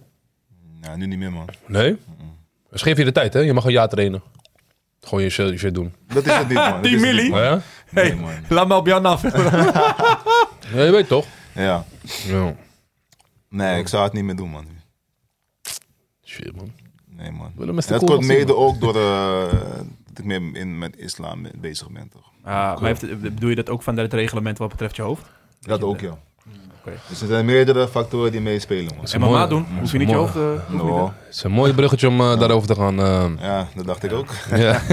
S3: nou, nu niet meer, man.
S1: Nee? Dus geef je de tijd, hè? Je mag een jaar trainen. Gewoon je shit, je shit doen. Oh
S3: Dat is het niet, man. Dat is het
S5: milli?
S3: niet, man.
S1: Ja?
S3: Nee, man.
S5: Laat me op jou af.
S1: Ja, je weet toch?
S3: Ja.
S1: Ja.
S3: Nee, ik zou het niet meer doen, man.
S1: Shit, man.
S3: Nee, man.
S1: Willen
S3: En
S1: Mr.
S3: dat
S1: Cool
S3: komt
S1: wat zien,
S3: mede
S1: man.
S3: ook door eh, dat ik meer in, met islam bezig ben, toch?
S5: maar heeft, bedoel je dat ook van het reglement wat betreft je hoofd?
S3: Dat ook, ja.
S5: Oké.
S3: Dus er zijn meerdere factoren die meespelen, man.
S1: is
S5: En
S1: mooi,
S5: mama
S1: hè?
S5: doen? Hoef je niet je
S1: mooi.
S5: hoofd... eh, hoef je niet, hè?
S3: Nou,
S1: Het is een mooi bruggetje om eh, daarover te gaan. eh,
S3: ja, dat dacht ik ook.
S1: ja.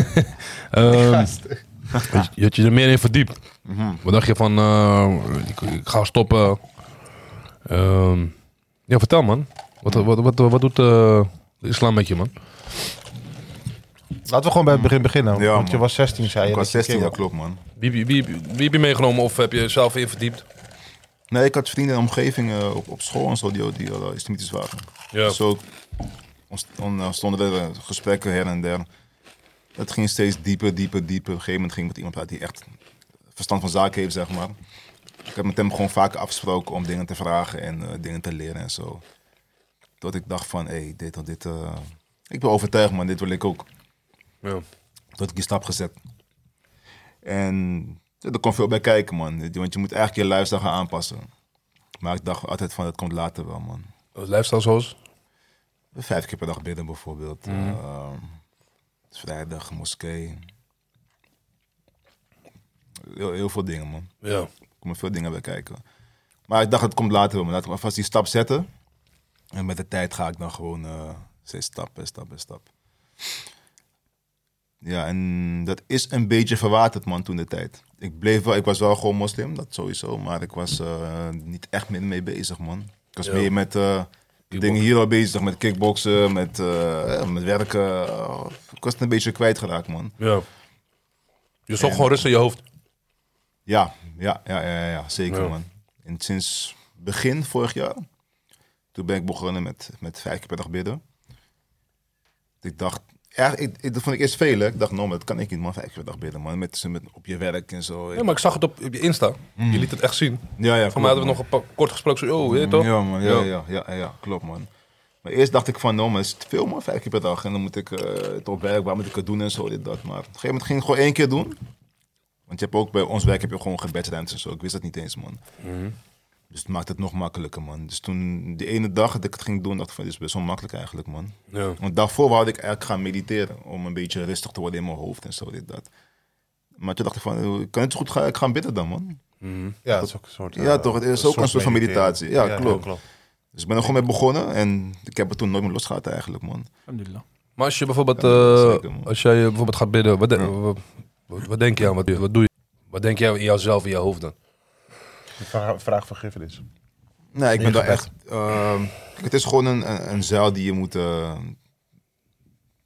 S1: Ehm, je had je er meer in verdiept.
S3: Mhm.
S1: Wat dacht je van, eh, ik, ik ga stoppen. Ehm, ja, vertel man. Wat, wat, wat, wat doet eh, de islam met je, man?
S2: Laten we gewoon bij het begin beginnen.
S3: Ja,
S2: want je
S3: man.
S2: was 16, zei je.
S3: Ik was
S2: dat je
S3: 16,
S2: keer
S3: dat klopt man.
S10: Wie, wie, wie, wie heb je meegenomen of heb je zelf in verdiept?
S3: Nee, ik had vrienden in de omgeving eh, op, op school en zo die, die al islamitisch waren.
S10: Ja.
S3: Zo ontst- ontstonden er eh, gesprekken her en der. Het ging steeds dieper, dieper, dieper. Op een gegeven moment ging ik met iemand uit die echt verstand van zaken heeft, zeg maar. Ik heb met hem gewoon vaak afgesproken om dingen te vragen en eh, dingen te leren en zo. Tot ik dacht van, hé, hey, dit of dit... eh, ik ben overtuigd, man, dit wil ik ook.
S10: Ja.
S3: Tot ik die stap gezet. En ja, er komt veel bij kijken, man. Want je moet eigenlijk je lifestyle gaan aanpassen. Maar ik dacht altijd van, dat komt later wel, man.
S10: Lifestyle zoals?
S3: Vijf keer per dag bidden bijvoorbeeld. Ehm, vrijdag, moskee. Heel, heel veel dingen, man.
S10: Ja.
S3: Er komen veel dingen bij kijken. Maar ik dacht, het komt later wel. Maar laat ik maar vast die stap zetten. En met de tijd ga ik dan gewoon eh, steeds stap bij stap bij stap. Ja, en dat is een beetje verwaterd, man, toen de tijd. Ik, bleef wel, ik was wel gewoon moslim, dat sowieso. Maar ik was eh, niet echt meer mee bezig, man. Ik was
S10: Ja.
S3: meer met eh, dingen hier al bezig. Met kickboksen, met, eh, met werken. Ik was het een beetje kwijtgeraakt, man.
S10: Ja. Je zocht gewoon rust in je hoofd.
S3: Ja, ja, ja, ja, ja, ja, zeker
S10: Ja.
S3: man. En sinds begin vorig jaar, toen ben ik begonnen met, met vijf keer per dag bidden. Ik dacht, ja, ik, ik- dat vond ik eerst veel. hè. Ik dacht, nou, maar dat kan ik niet man, vijf keer per dag bidden man. Met, met, op je werk en zo.
S10: Ja, maar ik zag het op, op je Insta.
S3: Mhm.
S10: Je liet het echt zien.
S3: ja, ja,
S10: Voor
S3: klopt,
S10: mij hadden we
S3: man.
S10: nog een paar, kort gesproken. Zo, oh, weet je toch?
S3: Ja, man, ja,
S10: Ja.
S3: ja. Ja, ja, ja, klopt, man. Maar eerst dacht ik van, nou, maar is het veel, man, vijf keer per dag. En dan moet ik eh, het op werk, waar moet ik het doen en zo, dit, dat. Maar op een gegeven moment ging ik het gewoon één keer doen. Want je hebt ook bij ons werk heb je gewoon gebedsruimtes en zo. Ik wist dat niet eens, man. Dus het maakt het nog makkelijker, man. Dus toen, die ene dag dat ik het ging doen, dacht ik van, dit is best wel makkelijk eigenlijk, man.
S10: Ja.
S3: Want daarvoor wou ik eigenlijk gaan mediteren. Om een beetje rustig te worden in mijn hoofd en zo, dit, dat. Maar toen dacht ik van, ik kan het zo goed gaan, ik ga bidden dan, man.
S2: Ja, dat is ook een soort... eh,
S3: Ja, toch, het is ook een soort van meditatie. Ja, klopt.
S2: klopt.
S3: Dus ik ben er gewoon mee begonnen en ik heb het toen nooit meer losgehad eigenlijk, man.
S5: Alhamdulillah.
S10: Maar als je bijvoorbeeld,
S3: Ja,
S10: eh,
S3: zeker, man.
S10: als jij eh, bijvoorbeeld gaat bidden, wat, de- wat, wat- wat denk je aan? Wat, doe je- wat doe je? Wat denk jij in jouzelf, in je hoofd dan?
S2: Vraag, vraag vergiffenis.
S3: Nee, ik ben daar
S2: Ingebed.
S3: echt... ehm, kijk, het is gewoon een, een, een zaal die je moet... eh,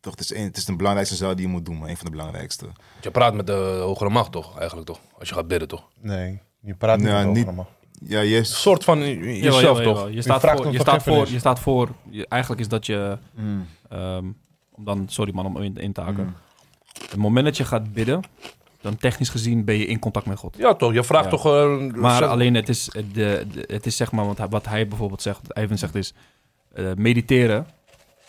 S3: toch, het is, een, het is de belangrijkste zaal die je moet doen, maar een van de belangrijkste.
S10: Want Je praat met de hogere macht toch, eigenlijk toch? Als je gaat bidden toch?
S2: Nee, je praat niet
S3: Ja,
S2: over
S3: niet-
S2: allemaal.
S3: Ja, je
S10: Een
S3: hebt-
S10: soort van i- i- jezelf
S5: Jawel, jawel,
S10: toch?
S5: jawel. Je staat,
S2: vraagt
S5: voor,
S2: om
S5: je staat voor,
S2: vergiffenis.
S5: je staat voor, je- eigenlijk is dat je, ehm, om dan, sorry man om in, in te haken. Het moment dat je gaat bidden, dan technisch gezien ben je in contact met God.
S10: Ja toch, je vraagt
S5: Ja.
S10: toch... eh,
S5: Maar
S10: zelf-
S5: alleen het is, eh, de, de- het is zeg maar, want hij- wat hij bijvoorbeeld zegt, wat Ivan zegt is eh, mediteren.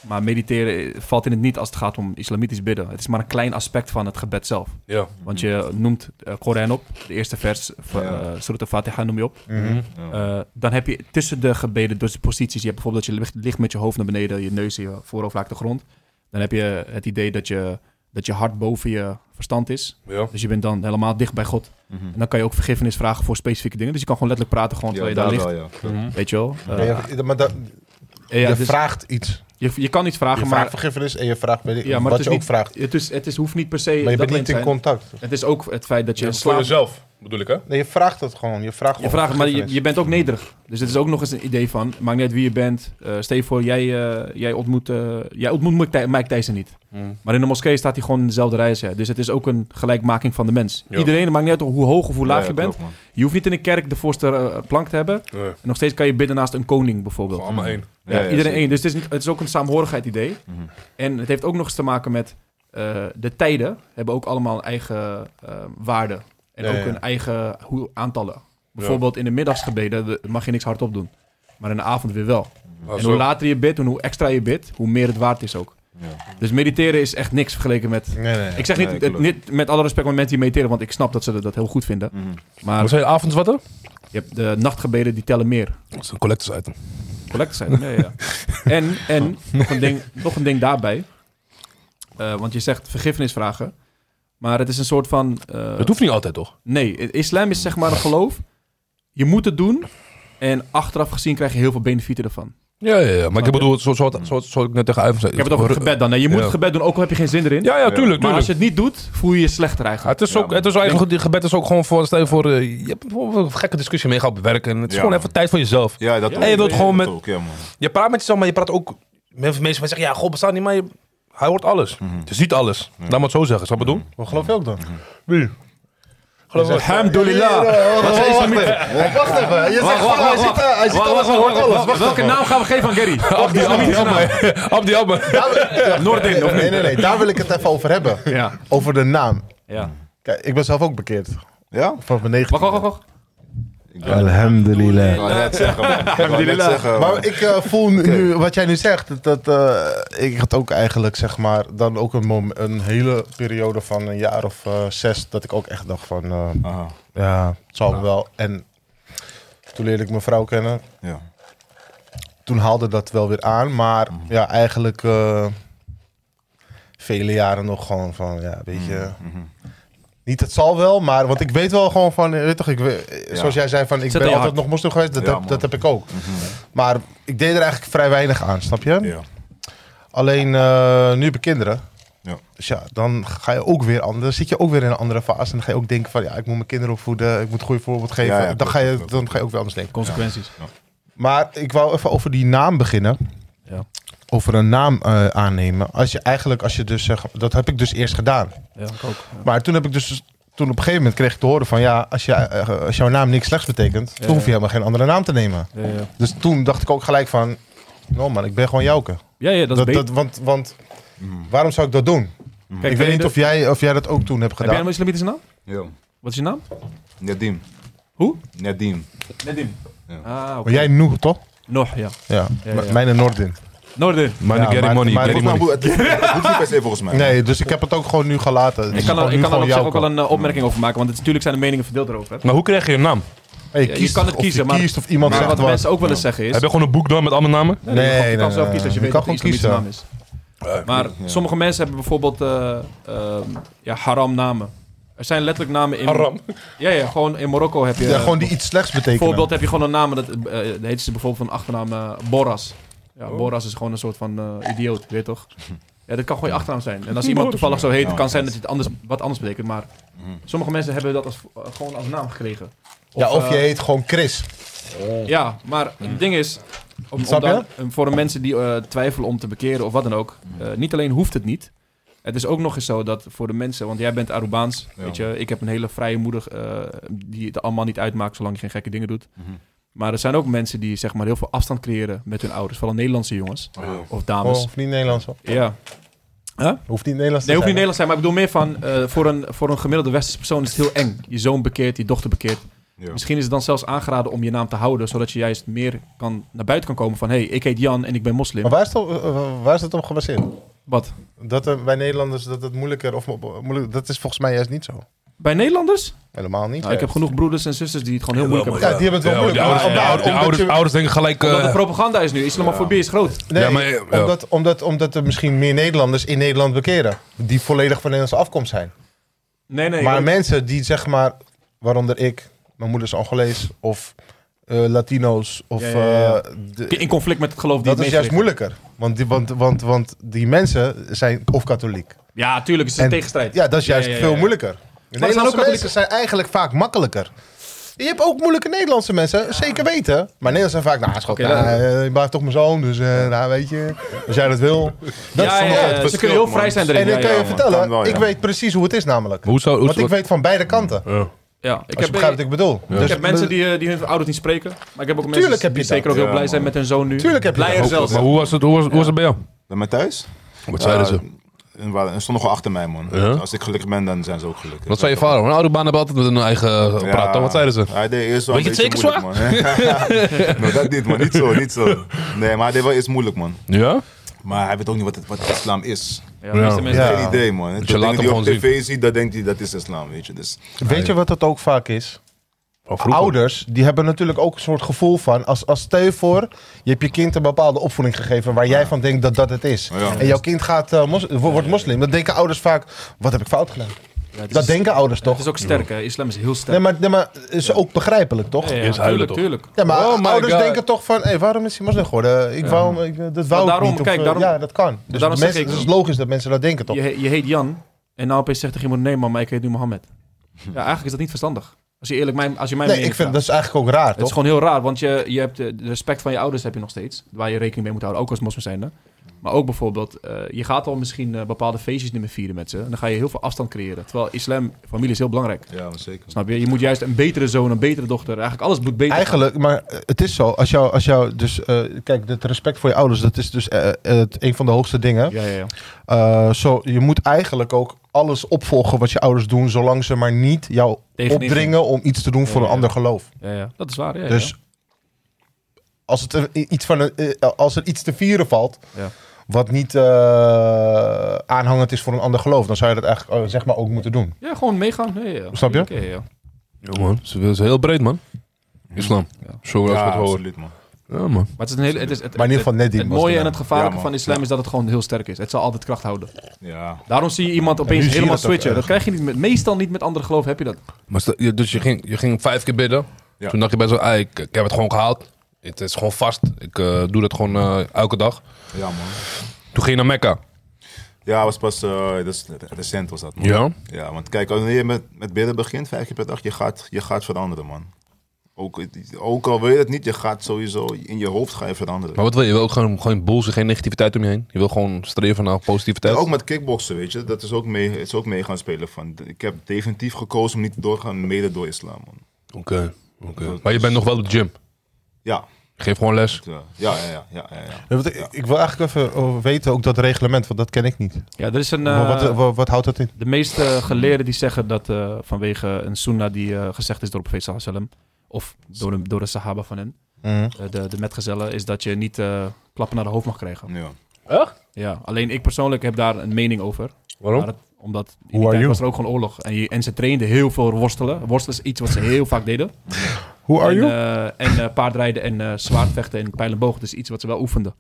S5: Maar mediteren eh, valt in het niet als het gaat om islamitisch bidden. Het is maar een klein aspect van het gebed zelf.
S10: Ja.
S5: Want je noemt eh, Koran op, de eerste vers, van
S3: Mhm. Ja. Mhm.
S5: eh Surat al-Fatiha noem je op.
S3: ja.
S5: Eh, dan heb je tussen de gebeden, dus de posities, je hebt bijvoorbeeld dat je ligt- ligt met je hoofd naar beneden, je neus en je voorhoofd raakt de grond. Dan heb je het idee dat je, dat je hart boven je verstand is.
S10: Ja.
S5: Dus je bent dan helemaal dicht bij God.
S3: Mhm.
S5: En dan kan je ook vergiffenis vragen voor specifieke dingen. Dus je kan gewoon letterlijk praten gewoon
S3: ja,
S5: terwijl je daar ligt.
S3: wel, ja.
S5: Weet je wel? Eh,
S2: Ja, je- maar dat-
S5: ja,
S2: je
S5: dus
S2: vraagt iets.
S5: je, je kan iets
S2: Je
S5: vragen,
S2: vraagt
S5: maar,
S2: vergiffenis en je vraagt weet ik
S5: ja, maar
S2: wat
S5: het is
S2: je ook
S5: niet,
S2: vraagt.
S5: Het, is, het is, hoeft niet per se
S2: Maar je
S5: dat
S2: bent
S5: link
S2: niet in
S5: zijn.
S2: contact.
S5: Het is ook het feit dat je
S10: Ja,
S5: in
S10: voor
S5: slaap...
S10: jezelf bedoel ik hè?
S2: Nee, je vraagt het gewoon. Je vraagt,
S5: Je
S2: gewoon
S5: vraagt, maar je,
S2: vergiffenis.
S5: je bent ook nederig. Dus het is ook nog eens een idee van, maakt niet uit wie je bent. Eh stel je voor, jij, eh, jij ontmoet, eh, jij ontmoet Mike, Ty- Mike Tyson niet. Maar in de moskee staat hij gewoon in dezelfde rij als jij. Dus het is ook een gelijkmaking van de mens.
S10: Ja.
S5: Iedereen, het maakt niet uit hoe hoog of hoe laag
S3: Ja,
S5: je bent.
S3: klopt, man.
S5: Je hoeft niet in een kerk de voorste eh, plank te hebben.
S10: Nee. Gewoon
S5: En nog steeds kan je bidden naast een koning bijvoorbeeld.
S10: allemaal één.
S5: Ja,
S3: ja,
S5: iedereen
S3: zeker.
S5: één. Dus het is, niet- het is ook een saamhorigheid idee.
S3: Mhm.
S5: En het heeft ook nog eens te maken met eh, de tijden hebben ook allemaal een eigen eh, waarde. En
S2: Ja,
S5: ook
S2: ja.
S5: hun eigen hoe, aantallen. Bijvoorbeeld in de middagsgebeden we- mag je niks hardop doen. Maar in de avond weer wel.
S10: Ah,
S5: en
S10: zo.
S5: hoe later je bidt en hoe extra je bidt, hoe meer het waard is ook.
S3: Ja.
S5: Dus mediteren is echt niks vergeleken met...
S2: Nee, nee.
S5: Ik zeg niet,
S3: Nee,
S5: het-
S3: klopt.
S5: niet met alle respect met mensen die mediteren, want ik snap dat ze dat heel goed vinden.
S3: Mhm.
S5: Maar
S10: Wat zei je, avonds wat hè?
S5: je hebt de nachtgebeden die tellen meer.
S10: Dat is een collectors item.
S5: Collectors item, ja, ja. ja. En, en nog, een ding, nog een ding daarbij. Eh, want je zegt vergiffenis vragen. Maar het is een soort van... eh,
S10: Dat hoeft niet altijd toch?
S5: nee, i- islam is zeg maar een geloof. Je moet het doen. En achteraf gezien krijg je heel veel benefieten ervan.
S10: Ja, ja, ja. Maar ik
S5: Snap je?
S10: bedoel, zoals zo, zo, zoals ik net tegen Ivan zei.
S5: Ik heb het over het gebed dan. hè. Je moet
S10: Ja.
S5: het gebed doen, ook al heb je geen zin erin.
S10: Ja, ja, tuurlijk,
S5: maar als
S10: tuurlijk.
S5: je het niet doet, voel je je slechter
S10: Ja,
S5: eigenlijk.
S10: het is
S3: Ja,
S10: ook, het is eigenlijk, die gebed is ook gewoon voor, stel je voor, eh, je hebt bijvoorbeeld een gekke discussie mee gehad op werk en het is
S3: Ja,
S10: gewoon
S3: man.
S10: even tijd voor jezelf.
S3: Ja, dat
S5: Ja,
S3: ook.
S5: je
S10: wilt
S3: Ja,
S10: gewoon
S3: dat
S10: met-
S3: ook, ja, man.
S10: Je praat met jezelf, maar je praat ook met mensen die zeggen, ja, God bestaat niet, maar je Hij hoort alles. Je ziet alles. Laat maar het zo zeggen. Snap je wat ik bedoel?
S2: Wat geloof je ook dan?
S10: Wie? Geloof me.
S2: Alhamdulillah. Wacht even. Wacht even. Je zegt gewoon, hij ziet, eh, hij ziet alles, hij hoort alles. Wacht
S5: Welke
S2: even.
S5: naam gaan we geven aan Gary?
S10: Abdi, Abdi, Abdi. Abdi, Abdi.
S5: Noordin, of
S2: Nee,
S5: niet?
S2: nee, nee. Daar wil ik het even over hebben.
S5: Ja.
S2: Over de naam.
S5: ja.
S2: Kijk, ik ben zelf ook bekeerd.
S3: Ja?
S2: Vanaf mijn 19.
S5: Wacht, wacht, wacht, wacht.
S2: Alhamdulillah.
S3: Ik wou net zeggen, man. Ik wou net zeggen, man.
S2: Maar ik eh, voel nu, nu wat jij nu zegt, dat, dat eh, ik had ook eigenlijk zeg maar dan ook een, mom- een hele periode van een jaar of eh, zes dat ik ook echt dacht van eh,
S3: Aha,
S2: ja, het zal
S3: Nou.
S2: wel. En toen leerde ik mijn vrouw kennen.
S3: ja.
S2: Toen haalde dat wel weer aan, maar
S3: Mm.
S2: ja, eigenlijk eh, vele jaren nog gewoon van ja, weet je.
S3: Mm. Mhm.
S2: Niet het zal wel, maar want ik weet wel gewoon van, eh, weet toch, ik, we-
S3: Ja.
S2: zoals jij zei van, ik
S5: Zet
S2: ben
S5: in je
S2: altijd
S5: hart.
S2: nog moslim geweest, dat,
S3: Ja,
S2: heb,
S3: man. Mhm.
S2: dat heb ik ook. Maar ik deed er eigenlijk vrij weinig aan, snap je?
S3: Ja.
S2: Alleen eh, nu heb ik kinderen.
S3: Ja.
S2: Dus ja, dan ga je ook weer anders. Dan zit je ook weer in een andere fase. En dan ga je ook denken van ja, ik moet mijn kinderen opvoeden, ik moet een goed voorbeeld geven.
S3: Ja, ja,
S2: dan,
S3: klopt,
S2: ga je,
S3: klopt, klopt.
S2: dan ga je ook weer anders denken.
S5: Consequenties.
S2: Maar ik wou even over die naam beginnen.
S5: Ja.
S2: Over een naam eh, aannemen. Als je eigenlijk, als je dus zegt, dat heb ik dus eerst gedaan.
S5: Ja, ik ook.
S2: Maar toen heb ik dus. Toen op een gegeven moment kreeg ik te horen van ja, als, je, eh, als jouw naam niks slechts betekent,
S5: Ja,
S2: dan hoef je
S5: ja.
S2: helemaal geen andere naam te nemen.
S5: Ja, ja.
S2: Dus toen dacht ik ook gelijk van, no man, ik ben gewoon Jouke.
S5: ja, ja, dat is
S2: Dat,
S5: beter.
S2: dat, want, want
S3: Hmm.
S2: waarom zou ik dat doen? ik
S5: Kijk, ben
S2: weet
S5: je
S2: niet
S5: de-
S2: of jij, of jij dat ook toen hebt
S5: Heb jij
S2: gedaan.
S5: een islamitische naam?
S3: Ja.
S5: Wat is je naam?
S3: Nadim.
S5: Hoe?
S3: Nadim.
S5: Nedim. Ah, oké.
S2: Maar jij Noe, toch?
S5: Nog, ja.
S2: Ja,
S5: Ja,
S2: M-
S5: ja.
S2: mijn en Nordin.
S5: Noordin.
S1: Money,
S2: Ja,
S1: getting
S2: maar-
S1: money,
S2: maar-
S1: getting money.
S3: Volgens mij moet het het hoeft niet per se volgens mij.
S2: Nee, dus ik heb het ook gewoon nu gelaten. Het
S5: Ik
S2: is
S5: kan,
S2: gewoon
S5: er- ik
S2: nu
S5: kan er op
S2: gewoon
S5: zich ook
S2: Jouke.
S5: wel een eh, opmerking over maken, want het, natuurlijk zijn de meningen verdeeld erover. Hè.
S10: Maar hoe kreeg je een naam?
S2: Hey,
S5: je
S2: kiest
S5: kan het
S2: of je
S5: kiezen, maar-
S2: kiest of iemand
S5: Maar
S2: zegt
S5: wat
S2: wat.
S5: mensen ook wel eens zeggen is...
S10: Heb je gewoon een boek dan met allemaal namen?
S5: Nee, je mag- je kan
S2: nee,
S5: zelf
S2: nee,
S5: kiezen als je
S2: nee.
S5: weet
S2: Je
S5: wat
S2: kan
S5: de islamitische naam
S2: gewoon
S5: is. Maar sommige mensen hebben bijvoorbeeld eh, ehm, ja, haram namen. Er zijn letterlijk namen in...
S10: Haram.
S5: Ja, ja, gewoon in Marokko heb je...
S2: ja, gewoon die iets slechts betekenen.
S5: Bijvoorbeeld heb je gewoon een naam, dat eh, eh, heet ze bijvoorbeeld van achternaam eh, Boras. Ja, Boras is gewoon een soort van eh, idioot, weet je toch? Ja, dat kan gewoon je achternaam zijn. En als iemand toevallig zo heet,
S3: Ja,
S5: kan zijn dat het anders, wat anders betekent. Maar sommige mensen hebben dat als, eh, gewoon als naam gekregen.
S2: Ja, of je
S5: eh,
S2: heet gewoon Chris.
S5: Ja, maar het ding is, om, om
S2: Snap je?
S5: dan, eh, voor de mensen die eh, twijfelen om te bekeren of wat dan ook, eh, niet alleen hoeft het niet. Het is ook nog eens zo dat voor de mensen, want jij bent Arubaans,
S3: Ja.
S5: weet je, ik heb een hele vrije moeder eh, die het allemaal niet uitmaakt zolang je geen gekke dingen doet.
S3: Mhm.
S5: Maar er zijn ook mensen die zeg maar heel veel afstand creëren met hun ouders, vooral Nederlandse jongens of
S2: Oh,
S5: dames.
S2: hoeft niet Nederlands hoor.
S5: Ja.
S2: Hoeft niet Nederlands te
S5: Nee, hoeft niet
S2: zijn,
S5: Nederlands te zijn, maar ik bedoel meer van, eh, voor, een, voor een gemiddelde westerse persoon is het heel eng. Je zoon bekeert, je dochter bekeert.
S3: Ja.
S5: Misschien is het dan zelfs aangeraden om je naam te houden, zodat je juist meer kan, naar buiten kan komen van, hé, hey, ik heet Jan en ik ben moslim.
S2: Maar waar is, dat, eh, waar is dat op gebaseerd?
S5: Wat?
S2: Dat er bij Nederlanders dat het moeilijker of mo- moeilijk, dat is volgens mij juist niet zo.
S5: Bij Nederlanders?
S2: Helemaal niet.
S5: Nou, ik heb genoeg broeders en zusters die het gewoon heel
S10: Jawel,
S5: moeilijk
S2: ja,
S5: hebben.
S2: die hebben het wel
S10: Ja,
S2: moeilijk.
S10: die ouders,
S2: maar op de oude-
S10: ja, die
S2: omdat
S10: ouders,
S2: je-
S10: ouders denken gelijk... eh,
S5: Omdat de propaganda is nu, islamofobie is groot.
S2: Nee,
S10: Ja, maar, eh, ja.
S2: Omdat, omdat, omdat er misschien meer Nederlanders in Nederland bekeren. Die volledig van Nederlandse afkomst zijn.
S5: Nee, nee.
S2: maar
S5: want-
S2: mensen die zeg maar, waaronder ik, mijn moeder is Angolees of eh, Latino's of...
S5: Ja, ja, ja.
S2: eh, de-
S5: in conflict met het geloof die
S2: dat
S5: het
S2: is juist
S5: meest
S2: moeilijker. Want die, want, want, want die mensen zijn of katholiek.
S5: ligt. Ja, tuurlijk, het is een
S2: En-
S5: tegenstrijd.
S2: Ja, dat is juist
S5: Ja, ja, ja,
S2: veel
S5: ja.
S2: moeilijker. Nederlandse
S5: ook
S2: mensen zijn eigenlijk vaak makkelijker. Je hebt ook moeilijke Nederlandse mensen, zeker weten. Maar Nederlanders zijn vaak, nou schat,
S5: Oké,
S2: nou,
S5: dan-
S2: eh, je blijft toch mijn zoon, dus eh, nou, weet je, als jij dat wil. Dat
S5: Ja,
S2: is dan
S5: ja,
S2: wel
S5: ja,
S2: het
S5: ze
S2: verschil.
S5: kunnen heel
S3: man.
S5: vrij zijn
S2: En
S5: erin.
S2: ik
S5: ja,
S2: kan
S5: ja,
S2: je
S5: man.
S2: vertellen,
S3: Kan wel, ja.
S2: ik weet precies hoe het is namelijk.
S10: Maar Hoe zou... Hoe,
S2: Want ik weet van beide kanten, als
S10: Ja.
S5: Ja, ik
S2: je
S5: heb,
S2: begrijpt wat ik bedoel.
S5: ik
S2: Dus
S5: heb mensen die, eh, die hun ouders niet spreken. Maar ik heb ook mensen
S2: Tuurlijk heb je
S5: die zeker
S2: dat.
S5: ook heel
S3: Ja,
S5: blij zijn
S3: man.
S5: met hun zoon nu.
S2: Tuurlijk heb je
S5: Blijer
S2: dat.
S5: zelfs.
S10: Maar hoe was het, hoe was, hoe was het bij jou?
S3: Bij mij thuis?
S10: Wat zeiden ze?
S3: En waren- en stonden gewoon achter mij, man.
S10: Ja?
S3: Als ik gelukkig ben, dan zijn ze ook gelukkig.
S10: Wat zei je vader? Een oude baan hebben altijd met een eigen eh,
S3: Ja.
S10: praat. toch? Wat zeiden ze?
S3: Hij deed eerst wel
S10: Weet je
S3: een
S10: het
S3: beetje
S10: zeker,
S3: moeilijk, man. nou, dat niet, man. Niet zo, niet zo. Nee, maar hij deed wel eerst moeilijk, man.
S10: Ja?
S3: Maar hij weet ook niet wat, het, wat islam is.
S5: Ja, de meeste
S10: Ja.
S5: mensen-
S2: Ja.
S3: Geen idee, man.
S10: je
S3: Toen
S10: laat
S3: dingen die
S10: hem
S3: je op
S10: gewoon
S3: tv ziet, dan denkt hij dat is islam, weet je. Dus,
S2: Weet je wat dat ook vaak is?
S10: Van vroeger.
S2: Ouders, die hebben natuurlijk ook een soort gevoel van... Als, als stel je voor, je hebt je kind een bepaalde opvoeding gegeven... waar jij van denkt dat dat het is.
S3: Ja.
S2: En jouw kind gaat, eh, mos- wo- wordt moslim. Dan denken ouders vaak, wat heb ik fout gedaan?
S5: Ja, het is-
S2: Dat denken ouders
S5: Het
S2: toch?
S5: is ook sterk, hè. Islam is heel
S2: Nee,
S5: sterk.
S2: maar, nee, maar is ook begrijpelijk toch?
S5: Ja, ja,
S10: Eerst huilen,
S5: tuurlijk, tuurlijk.
S10: toch?
S2: Ja, maar
S10: Oh my
S2: ouders
S10: God.
S2: denken toch van, hey, waarom is hij moslim geworden? Ik wou, hem- ik, eh, dat wou
S5: Nou, daarom-
S2: ik niet. Of,
S5: kijk,
S2: eh,
S5: daarom-
S2: ja, dat kan. Dus
S5: daarom zeg
S2: mensen,
S5: ik-
S2: het is logisch dat mensen dat denken toch?
S5: Je, he- je heet Jan en nou opeens zegt tegen iemand, nee man, maar ik heet nu Mohammed. Ja, eigenlijk is dat niet verstandig. Als je eerlijk mijn, als je mijn
S2: Nee, ik
S5: mening
S2: vind
S5: vraagt.
S2: dat is eigenlijk ook raar
S5: Het is
S2: toch?
S5: gewoon heel raar, want je, je hebt eh, de respect van je ouders heb je nog steeds. Waar je rekening mee moet houden, ook als moslim zijnde. Maar ook bijvoorbeeld, eh, je gaat al misschien eh, bepaalde feestjes niet meer vieren met ze. En dan ga je heel veel afstand creëren. Terwijl islam, familie is heel belangrijk.
S11: Ja, maar zeker.
S5: Snap je? Je moet juist een betere zoon, een betere dochter. Eigenlijk alles moet beter.
S2: Eigenlijk, maar eh, het is zo. Als jou, als jou dus, eh, kijk, het respect voor je ouders, dat is dus eh, eh, het, een van de hoogste dingen.
S5: Ja, ja, ja.
S2: Eh, zo, je moet eigenlijk ook alles opvolgen wat je ouders doen, zolang ze maar niet jou
S5: Tegenin gaan.
S2: opdringen om iets te doen voor
S5: Ja,
S2: een
S5: ja.
S2: ander geloof.
S5: ja, ja. Dat is waar. Ja, ja,
S2: dus
S5: ja.
S2: als, het er, i- iets van een, eh, als er iets te vieren valt,
S5: Ja.
S2: wat niet eh, aanhangend is voor een ander geloof, dan zou je dat eigenlijk eh, zeg maar ook moeten doen.
S5: Ja, gewoon meegaan. Ja, ja, ja.
S2: Snap je?
S5: Oké, ja, ja.
S1: Ja, man. Ze is heel breed, man. Islam.
S5: Ja.
S1: Zo als we het horen.
S3: absoluut man.
S1: Ja, man.
S5: Maar het is een hele. Het is, het,
S2: Maar in ieder geval net die
S5: Het mooie en
S2: moslim.
S5: het gevaarlijke
S3: Ja, man.
S5: van islam is dat het gewoon heel sterk is. Het zal altijd kracht houden.
S11: Ja.
S5: Daarom zie je iemand
S2: nu
S5: opeens
S2: zie je
S5: helemaal
S2: dat ook
S5: switchen.
S2: erg.
S5: Dat krijg je niet met, meestal niet met andere geloof heb je dat.
S1: Maar sta- je- dus je ging, je ging vijf keer bidden.
S3: Ja.
S1: Toen dacht je bij zo, ah, ik, ik heb het gewoon gehaald. Het is gewoon vast. Ik eh, doe dat gewoon eh, elke dag.
S3: Ja man.
S1: Toen ging je naar Mekka.
S3: Ja, was pas eh, dat is recent was dat man.
S1: Ja.
S3: Ja, want kijk, wanneer je met, met bidden begint, vijf keer per dag, je gaat, je gaat veranderen, man. Ook, ook al wil je het niet, je gaat sowieso, in je hoofd ga je veranderen.
S1: Maar wat wil je? Je wil ook gewoon, gewoon bullshit, geen negativiteit om je heen. Je wil gewoon streven naar positiviteit.
S3: En ook met kickboksen, weet je, dat is ook mee, is ook mee gaan spelen van, ik heb definitief gekozen om niet door te gaan, mede door islam, man.
S1: Oké. oké. Maar je bent nog wel op de gym.
S3: Ja,
S1: Geef gewoon les.
S3: ja, ja, ja, ja, ja, ja.
S2: Ja, want ik, ik wil eigenlijk even eh, weten ook dat reglement, want dat ken ik niet.
S5: Ja, er is een.
S2: Maar wat, eh, wat, wat houdt dat in?
S5: De meeste geleerden die zeggen dat eh, vanwege een sunnah die eh, gezegd is door de profeet sallallahu alaihi wasallam, of door de, door de sahaba van hen,
S2: Mhm.
S5: eh, de, de metgezellen, is dat je niet eh, klappen naar de hoofd mag krijgen.
S3: ja.
S5: Ja, alleen ik persoonlijk heb daar een mening over.
S1: Waarom?
S5: Maar het- omdat in
S2: Who
S5: die
S2: are
S5: tijd
S2: you?
S5: was er ook gewoon oorlog. En, je, en ze trainden heel veel worstelen. Worstelen is iets wat ze heel vaak deden.
S2: Who are
S5: en
S2: you?
S5: eh, en eh, paardrijden en eh, zwaardvechten en pijl en boog. Dat is iets wat ze wel oefenden.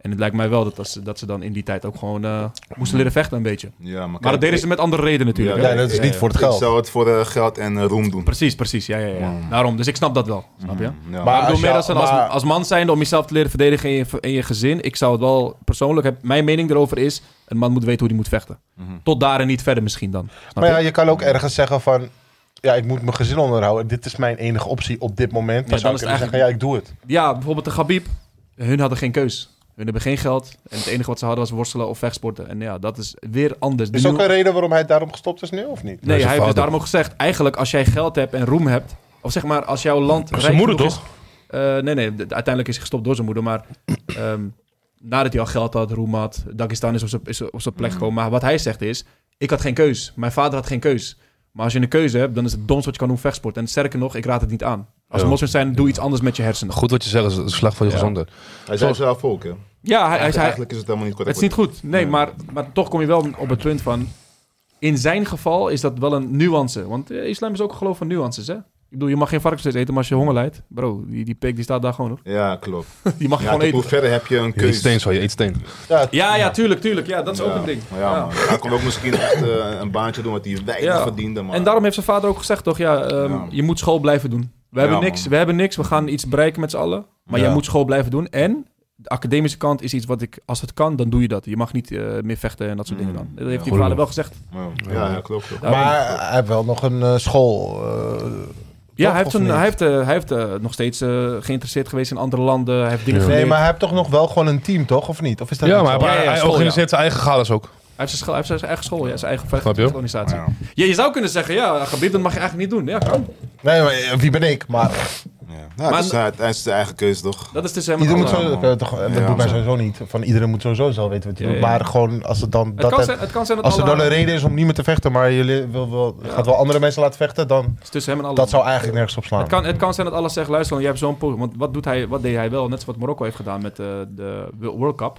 S5: En het lijkt mij wel dat, dat, ze, dat ze dan in die tijd ook gewoon eh, moesten leren vechten een beetje.
S3: Ja, maar,
S5: Maar dat deden ze met andere redenen natuurlijk.
S3: Ja,
S5: hè?
S2: ja, dat is
S3: ja,
S2: niet
S3: ja.
S2: voor het
S3: Ik
S2: geld.
S3: zou het voor eh, geld en eh, roem doen. Mhm,
S5: Precies, precies. Ja, ja, ja. Daarom. Dus ik snap dat wel. Snap je?
S3: Ja.
S5: Maar ik
S2: als
S5: bedoel meer
S2: jou-
S5: als, een- als,
S2: maar-
S5: als man zijnde om jezelf te leren verdedigen in je, in je gezin. Ik zou het wel persoonlijk, heb, mijn mening erover is, een man moet weten hoe hij moet vechten. Tot daar en niet verder misschien dan. Snap
S2: Maar ja,
S5: je?
S2: je kan ook ergens zeggen van... Ja, ik moet mijn gezin onderhouden. Dit is mijn enige optie op dit moment. Dan
S5: Ja,
S2: zou
S5: dan
S2: ik
S5: is
S2: kunnen
S5: het
S2: zeggen, ja, ik doe het.
S5: ja, bijvoorbeeld de Gabib. Hun hadden geen keus. Hun hebben geen geld. En het enige wat ze hadden was worstelen of vechtsporten. En ja, dat is weer anders.
S2: Is
S5: Nu-
S2: ook een reden waarom hij daarom gestopt is nu, of niet?
S5: Nee,
S1: zijn
S5: hij heeft dus
S1: vader.
S5: daarom ook gezegd... Eigenlijk als jij geld hebt en roem hebt... Of zeg maar, als jouw land
S1: Dat is
S5: rijk
S1: zijn moeder
S5: genoeg is-
S1: toch?
S5: Eh, nee, nee. d- Uiteindelijk is hij gestopt door zijn moeder. Maar ehm, nadat hij al geld had, roem had... Dagestan is op zijn- is op zijn plek gekomen. Maar wat hij zegt is... Ik had geen keus. Mijn vader had geen keus. Maar als je een keuze hebt, dan is het domst wat je kan doen vechtsport. En sterker nog, ik raad het niet aan. Als
S1: Ja.
S5: moslim zijn, doe iets anders met je hersenen.
S1: Goed wat je zegt, is het is slecht voor je
S5: Ja.
S1: gezondheid.
S3: Hij zei zelf ook, hè.
S5: Ja, hij, hij,
S3: Eigenlijk,
S5: hij-
S3: eigenlijk is het helemaal niet
S5: het
S3: correct.
S5: is niet goed. Nee, maar, maar toch kom je wel op het punt van... In zijn geval is dat wel een nuance. Want eh, islam is ook een geloof van nuances, hè? Ik bedoel, je mag geen varkensvlees eten, maar als je honger lijdt... Bro, die, die pik die staat daar gewoon, hoor.
S3: Ja, klopt.
S5: Die mag je
S3: Ja,
S5: gewoon
S3: kijk,
S5: eten.
S3: hoe verder heb je een
S1: Je eet
S3: keuze.
S1: steen zo, je eet steen.
S5: Ja, ja, tuurlijk, tuurlijk. Ja, dat is ook
S3: Ja,
S5: een ding.
S3: Ja,
S5: Ja.
S3: man. Hij kon ook misschien echt eh, een baantje doen wat hij weinig
S5: Ja.
S3: verdiende, man.
S5: En daarom heeft zijn vader ook gezegd, toch? Ja, ehm,
S3: Ja.
S5: je moet school blijven doen.
S3: Ja,
S5: We hebben niks,
S3: man.
S5: we hebben niks. We gaan iets bereiken met z'n allen. Maar jij
S2: Ja.
S5: moet school blijven doen. En de academische kant is iets wat ik, als het kan, dan doe je dat. Je mag niet eh, meer vechten en dat soort
S3: Mm.
S5: dingen dan. Dat heeft die
S1: Goeie
S5: vader wel gezegd.
S3: Ja, ja, ja, klopt. klopt.
S5: Daarom-
S2: Maar hij heeft wel nog een eh, school. eh,
S5: ja,
S2: toch,
S5: hij heeft,
S2: of
S5: een,
S2: niet?
S5: hij heeft, eh, hij heeft eh, nog steeds eh, geïnteresseerd geweest in andere landen. Hij heeft dingen
S1: Ja.
S2: nee,
S5: geleerd.
S2: maar hij heeft toch nog wel gewoon een team, toch? Of niet? Of is dat
S1: Ja,
S2: niet
S1: maar
S2: zo?
S1: hij,
S5: ja,
S1: hij
S5: school,
S1: organiseert zijn eigen galas ook.
S5: Hij heeft zijn, school- hij heeft zijn eigen school, ja, zijn eigen
S1: Snap je?
S5: veiligheidsorganisatie. Ja. je zou kunnen zeggen, ja, gebied, dat mag je eigenlijk niet doen. Ja, kan.
S2: Nee, maar eh, wie ben ik? Maar
S3: Ja. Nou, het
S5: Maar-
S3: is, zijn- het is zijn eigen keuze, toch?
S5: Dat is tussen hem en
S2: iedereen moet
S5: Allah.
S2: zo,
S3: man.
S2: eh, toch, eh, dat
S3: Ja,
S2: doet mij
S3: zo.
S2: sowieso niet. Van iedereen moet sowieso zelf weten wat hij
S5: Ja,
S2: doet.
S5: ja.
S2: Maar gewoon als het dan...
S5: Het
S2: Dat
S5: kan,
S2: het-
S5: zijn, het kan zijn dat
S2: als er
S5: Allah-
S2: dan een reden is om niet meer te vechten, maar jullie wil, wil, gaat wel andere mensen laten vechten, dan...
S5: Het is tussen hem en Allah.
S2: Dat zou eigenlijk nergens op slaan.
S5: Het kan, het kan zijn dat alles zegt, luister, jij hebt zo'n poging. Want wat, doet hij, wat deed hij wel? Net zoals wat Marokko heeft gedaan met eh, de World Cup. Op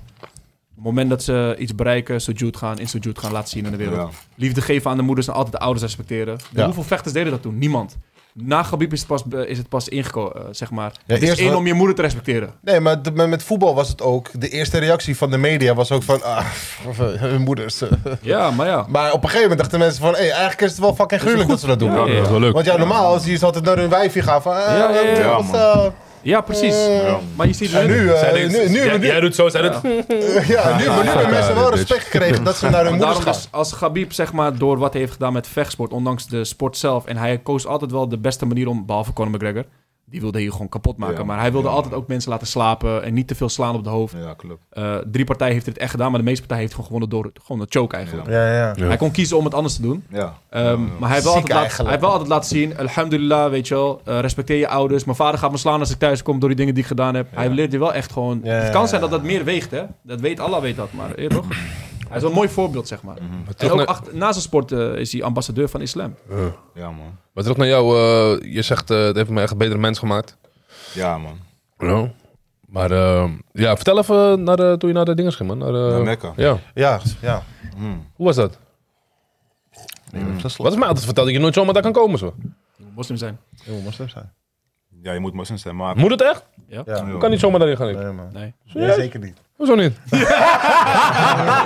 S5: het moment dat ze iets bereiken, sujud gaan, in sujud gaan, laten zien aan de wereld.
S3: Ja.
S5: Liefde geven aan de moeders en altijd de ouders respecteren.
S2: Ja.
S5: Hoeveel vechters deden dat toen? Niemand. Na Gabib is het pas, is het pas ingekomen, zeg maar.
S2: Ja,
S5: het is
S2: eerst
S5: één
S2: wel-
S5: om je moeder te respecteren.
S2: Nee, maar de- met, met voetbal was het ook. De eerste reactie van de media was ook van. Ah, of, eh, hun moeders. eh.
S5: Ja, maar ja.
S2: maar op een gegeven moment dachten mensen van. Hey, eigenlijk is het wel fucking gruwelijk dat ze dat doen.
S5: Ja,
S1: Dat is wel leuk.
S2: Want ja, normaal zie je ze altijd naar hun wijfje gaan van. eh,
S5: Ja, ja, ja.
S2: eh, wat, eh,
S5: Ja, precies.
S2: Ja.
S5: Maar je ziet
S2: Eh. en nu, eh,
S10: Zij
S2: nu,
S10: denkt,
S2: nu, nu,
S10: jij,
S2: hebben-
S10: jij doet zo, zij doet...
S2: ja, nu, hebben- nu hebben mensen wel respect gekregen dat ze naar hun
S5: Maar
S2: moeders gaan.
S5: daarom dus als Gabib, zeg maar, door wat hij heeft gedaan met vechtsport, ondanks de sport zelf, en hij koos altijd wel de beste manier om, behalve Conor McGregor, Die wilde je gewoon kapot maken.
S3: Ja,
S5: maar hij wilde
S3: ja.
S5: altijd ook mensen laten slapen en niet te veel slaan op de hoofd.
S3: Ja, klopt.
S5: Eh, drie partijen heeft het echt gedaan, maar de meeste partijen heeft gewoon gewonnen door gewoon een choke eigenlijk.
S2: Ja, ja.
S12: Ja.
S5: Hij kon kiezen om het anders te doen.
S3: Ja.
S5: Ehm, Maar hij heeft, wel
S2: Ziek
S5: altijd laten, hij
S2: eigenlijk.
S5: heeft wel altijd laten zien, alhamdulillah, weet je wel, eh, respecteer je ouders. Mijn vader gaat me slaan als ik thuis kom door die dingen die ik gedaan heb. Hij leert je wel echt gewoon...
S2: Ja,
S5: het
S2: ja,
S5: kan
S2: ja.
S5: zijn dat dat meer weegt, hè. Dat weet Allah, weet dat, maar eh, toch? Hij is wel een mooi voorbeeld, zeg
S2: Mhm.
S5: maar. En
S1: terug
S5: ook
S1: naar-
S5: achter- na zijn sport eh, is hij ambassadeur van islam.
S3: Ja, man.
S1: Maar terug naar jou. eh, je zegt, eh, het heeft me echt een betere mens gemaakt.
S3: Ja, man.
S1: Ja. Maar eh, ja, vertel even naar de, toen je naar de dingen ging, man. Naar, eh,
S3: Naar Mekka. Hmm.
S1: Ja.
S2: Ja, ja.
S1: Hoe was dat? Wat is mij altijd verteld dat je nooit zomaar daar kan komen, zo.
S5: Je moet moslim zijn.
S2: Je moet moslim zijn.
S3: Ja, je moet moslim zijn, maar...
S1: Moet het echt?
S2: Ja.
S1: Je kan niet zomaar daarin gaan. ik.
S2: Nee, man.
S5: Nee.
S2: Nee, zeker niet.
S1: Hoezo niet?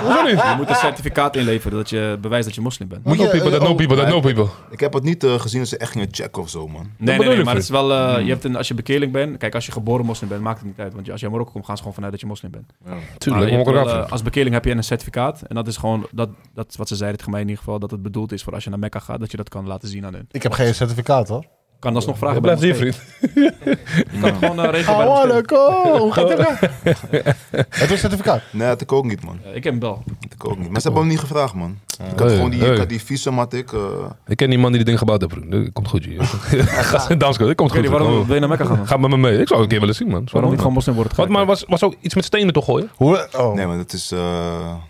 S1: Hoezo niet?
S5: Je
S2: Ah.
S5: moet een certificaat inleveren dat je bewijst dat je moslim bent.
S3: Moet
S1: No
S3: je,
S1: people, that
S3: eh,
S1: no
S3: oh,
S1: people, that no people.
S3: Ik heb het niet eh, gezien dat ze echt gingen checken of zo, man.
S5: Nee, nee,
S1: bedoel
S5: nee,
S1: ik
S5: maar
S1: dus.
S5: het is wel, eh,
S2: Hmm.
S5: je hebt een, als je bekeerling bent, kijk, als je geboren moslim bent, maakt het niet uit. Want als je uit Marokko komt, gaan ze gewoon vanuit dat je moslim bent.
S1: Tuurlijk,
S5: Maar je
S1: maar ook
S5: hebt
S1: eraf.
S5: wel, eh, als bekeerling heb je een certificaat. En dat is gewoon, dat, dat is wat ze zeiden, het gemeen in ieder geval, dat het bedoeld is voor als je naar Mekka gaat, dat je dat kan laten zien aan hun.
S2: Ik heb geen certificaat hoor.
S5: Kan alsnog vragen
S1: Je
S5: bij
S1: blijft
S5: de
S1: hier,
S5: moskee.
S1: vriend.
S5: Je kan het gewoon eh, regelen bij de
S2: Oh,
S5: moskee.
S2: leuk. Oh, hoe gaat het? Het was certificaat.
S3: Nee, dat ik ook niet, man.
S5: Eh, Ik heb hem wel.
S3: Dat ik ook niet. Maar ze hebben hem niet gevraagd, man. Ik had
S1: Hey,
S3: gewoon die,
S1: hey.
S3: ik had die visum, had ik... eh,
S1: Ik ken die man die die ding gebouwd heeft, vriend. Dat Komt goed, joh. Gast in Damsko, dat komt
S5: Ik weet
S1: goed.
S5: niet waarom
S1: vriend.
S5: wil je naar Mekka gaan.
S1: Ga met me mee. Ik zou een keer willen zien, man.
S5: Waarom niet gewoon
S1: man?
S5: moslim worden?
S1: Wat,
S5: gelijk?
S1: maar was, was ook iets met stenen toch gooien?
S2: Hoe? Oh.
S3: Nee, maar dat is, eh,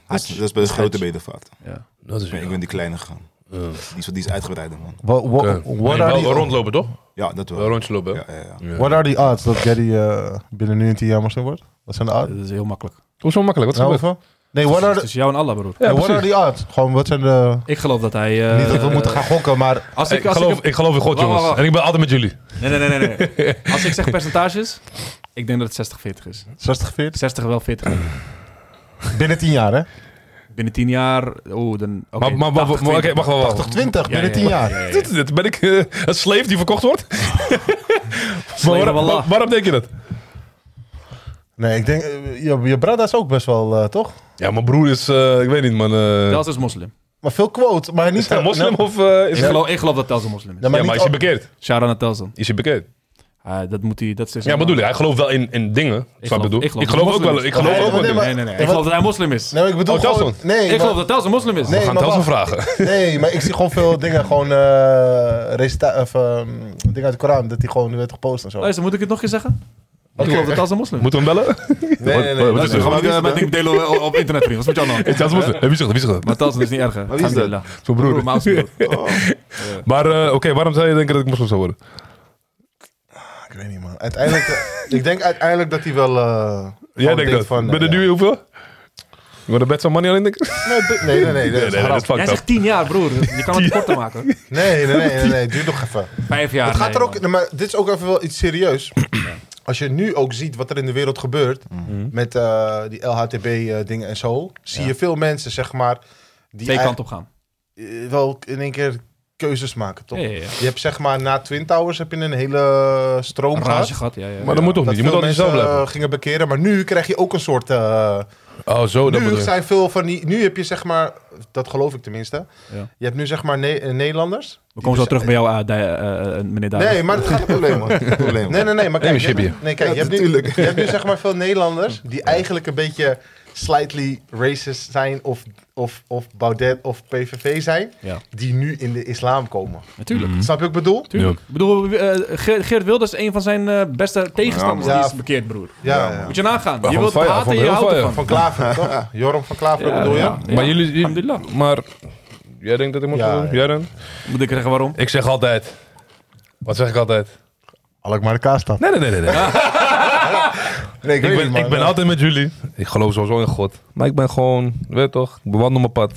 S3: dat is, dat is bij de grote bedevaart.
S1: Dat is
S3: Ik ben die kleine gegaan. Die is, die is uitgebreider, man.
S2: Wha- wha-
S1: Oké.
S2: what,
S1: Nee,
S2: are
S1: wel
S2: the,
S1: rondlopen, toch?
S3: Ja, dat wel.
S1: Wel rondlopen.
S3: Ja,
S1: hè?
S3: ja, ja.
S2: what are the odds dat Gary eh, binnen nu en tien jaar moslim wordt? Wat zijn de odds?
S5: Dat is heel makkelijk.
S1: Hoe zo makkelijk? Wat is
S2: Nou,
S1: gebeurd?
S2: hoeveel? Nee, what are the,
S5: Tussen jou en Allah, broer.
S1: Ja,
S2: en what are
S1: precies.
S2: the odds? Gewoon, wat zijn de...
S5: Ik geloof dat hij... eh,
S2: niet dat we moeten gaan gokken, maar...
S5: Als
S1: Ik
S5: ik, als
S1: geloof,
S5: ik,
S1: ik geloof in God,
S5: Wacht, wacht,
S1: jongens.
S5: wacht.
S1: En ik ben altijd met jullie.
S5: nee, nee, nee, nee, nee. Als ik zeg percentages, ik denk dat het 60-40 is.
S2: 60, 40?
S5: 60 wel 40.
S2: Binnen 10 jaar, hè?
S5: Binnen 10 jaar, oh, dan... oké,
S1: Maar, maar, maar,
S5: 80,
S1: maar-
S5: 20.
S1: oké, wacht, wacht, wacht.
S2: 80, 20,
S5: Ja,
S2: binnen
S5: ja,
S2: 10 jaar.
S5: ja, ja, ja.
S1: Dit is het. Ben ik eh, een slave die verkocht wordt? maar
S5: Slave of
S1: waarom,
S5: Allah.
S1: waarom denk je dat?
S2: Nee, ik denk, eh, je, je brada is ook best wel, eh, toch?
S1: Ja, mijn broer is, eh, ik weet niet, man. eh,
S5: Tels is moslim.
S2: Maar veel quote, maar niet...
S1: is hij moslim
S2: Nee,
S1: of eh, is
S5: Ik
S1: hij...
S5: geloof, ik geloof dat Tels een moslim is.
S2: nee,
S1: ja,
S2: maar
S1: maar is hij
S2: niet al-
S1: bekeerd?
S5: Shout out naar Tels dan.
S1: Is hij bekeerd?
S5: Ah, dat moet hij... Dat is
S1: Ja, bedoel ik. Hij gelooft wel in, in dingen. snap je wat Ik,
S5: geloof-
S1: bedoel?
S5: ik geloof
S1: ik geloof
S5: dat
S1: ook wel.
S5: moslims-
S1: Ik geloof
S2: Nee,
S1: ook wel.
S2: nee,
S1: in.
S2: maar-
S5: Nee, nee, nee. Ik
S2: Wat-
S5: geloof dat hij moslim is.
S2: Nee, maar Nou, ik bedoel
S1: Oh,
S2: gewoon...
S1: Telson.
S2: Nee,
S5: Ik
S2: maar-
S5: geloof dat Tels een moslim is.
S2: Nee,
S1: We gaan
S2: maar
S1: Tels wel
S2: wacht.
S1: vragen.
S2: Nee, maar ik zie gewoon veel dingen, gewoon eh resulta- of, ehm, dingen uit de Koran, dat die gewoon werd gepost en zo.
S5: Luister, moet ik het nog eens zeggen? Ik geloof dat Tels een moslim is.
S1: Moeten we hem bellen?
S2: nee, nee, nee.
S1: Wat is
S5: Luister,
S1: er?
S5: gaan we niet met dingen delen op- op internet, vriend. Wat is met jou nou?
S1: Ja, dat is moslim. Wie zegt dat? Wie zegt dat?
S5: Maar Tels is niet erger.
S3: wie is dat?
S5: Alhamdulillah.
S1: Zo'n broer.
S5: Broer, mijn oudste broer.
S1: Maar eh, oké, waarom zou je denken dat ik moslim zou worden?
S2: Ik weet niet, man. Uiteindelijk, eh, ik denk uiteindelijk dat hij wel... eh,
S1: Jij
S2: gewoon
S1: denkt
S2: denkt
S1: dat?
S2: van,
S1: Ben
S2: eh,
S1: er nu hoeveel? Ik word een bed van money alleen, denk ik.
S2: Nee, be- nee, nee, nee, dat
S1: Nee,
S2: is
S1: nee, dat
S2: grap.
S1: is fucked
S5: Jij
S1: up.
S5: zegt 10 jaar, broer. Je kan het korter maken.
S2: Nee, nee, nee, nee, nee, duurt nog even.
S5: 5 jaar.
S2: het gaat
S5: nee,
S2: er ook,
S5: man.
S2: nee, maar dit is ook even wel iets serieus. Als je nu ook ziet wat er in de wereld gebeurt met eh, die LHTB-dingen en zo, zie je veel mensen, zeg maar, die
S5: Twee
S2: eigenlijk,
S5: kanten op gaan.
S2: eh, wel in één keer keuzes maken, toch?
S5: Ja, ja, ja.
S2: Je hebt zeg maar na Twin Towers heb je een hele stroom gehad.
S5: Rage gehad, ja, ja.
S1: Maar dat moet toch
S2: Dat
S1: niet? Je
S2: veel
S1: moet altijd
S2: mensen
S1: jezelf blijven.
S2: eh, gingen bekeren, maar nu krijg je ook een soort. eh,
S1: Oh, zo, dat
S2: nu
S1: bedoel ik.
S2: zijn veel van die. Nu heb je zeg maar, dat geloof ik tenminste.
S5: Ja.
S2: Je hebt nu zeg maar Ne- eh, Nederlanders.
S5: We komen zo terug bij jou, eh, Dai- eh, eh, meneer Daar.
S2: Nee, maar het gaat
S3: Probleem, man. Probleem.
S2: Nee, nee, nee. Maar
S1: Nee,
S2: kijk, je,
S1: chipje.
S2: nee, kijk, je, hebt nu, je hebt nu zeg maar veel Nederlanders die eigenlijk een beetje slightly racist zijn of, of, of Baudet of PVV zijn,
S5: Ja.
S2: die nu in de islam komen.
S1: Hm?
S5: Natuurlijk.
S1: Mm,
S2: Snap je wat ik bedoel?
S5: Tuurlijk. Ik bedoel, eh, Ge- Geert Wilders is een van zijn eh, beste tegenstanders.
S2: Ja.
S5: Die is bekeerd, broer.
S2: Ja, ja.
S5: Moet je nagaan. Je
S1: vond
S5: wilt
S1: het fire,
S5: haten
S1: vond
S5: en
S1: het
S5: je
S1: heel
S5: houdt
S1: fire.
S5: ervan.
S2: Van Klaver, toch? Joram van Klaver, bedoel je?
S5: ja.
S1: Maar jullie, jullie-
S5: Alhamdulillah.
S1: maar jij denkt dat ik moet
S2: Ja,
S1: gaan doen?
S2: ja.
S1: Jij dan?
S5: Moet ik zeggen waarom?
S1: Ik zeg altijd. Wat zeg ik altijd?
S2: Alkmaar de Kaastad.
S1: Nee, nee, nee, nee. nee.
S2: Nee,
S1: ik ben, ik ben altijd met jullie. Ik geloof sowieso in God. Maar ik ben gewoon, weet je toch, ik bewandel mijn pad.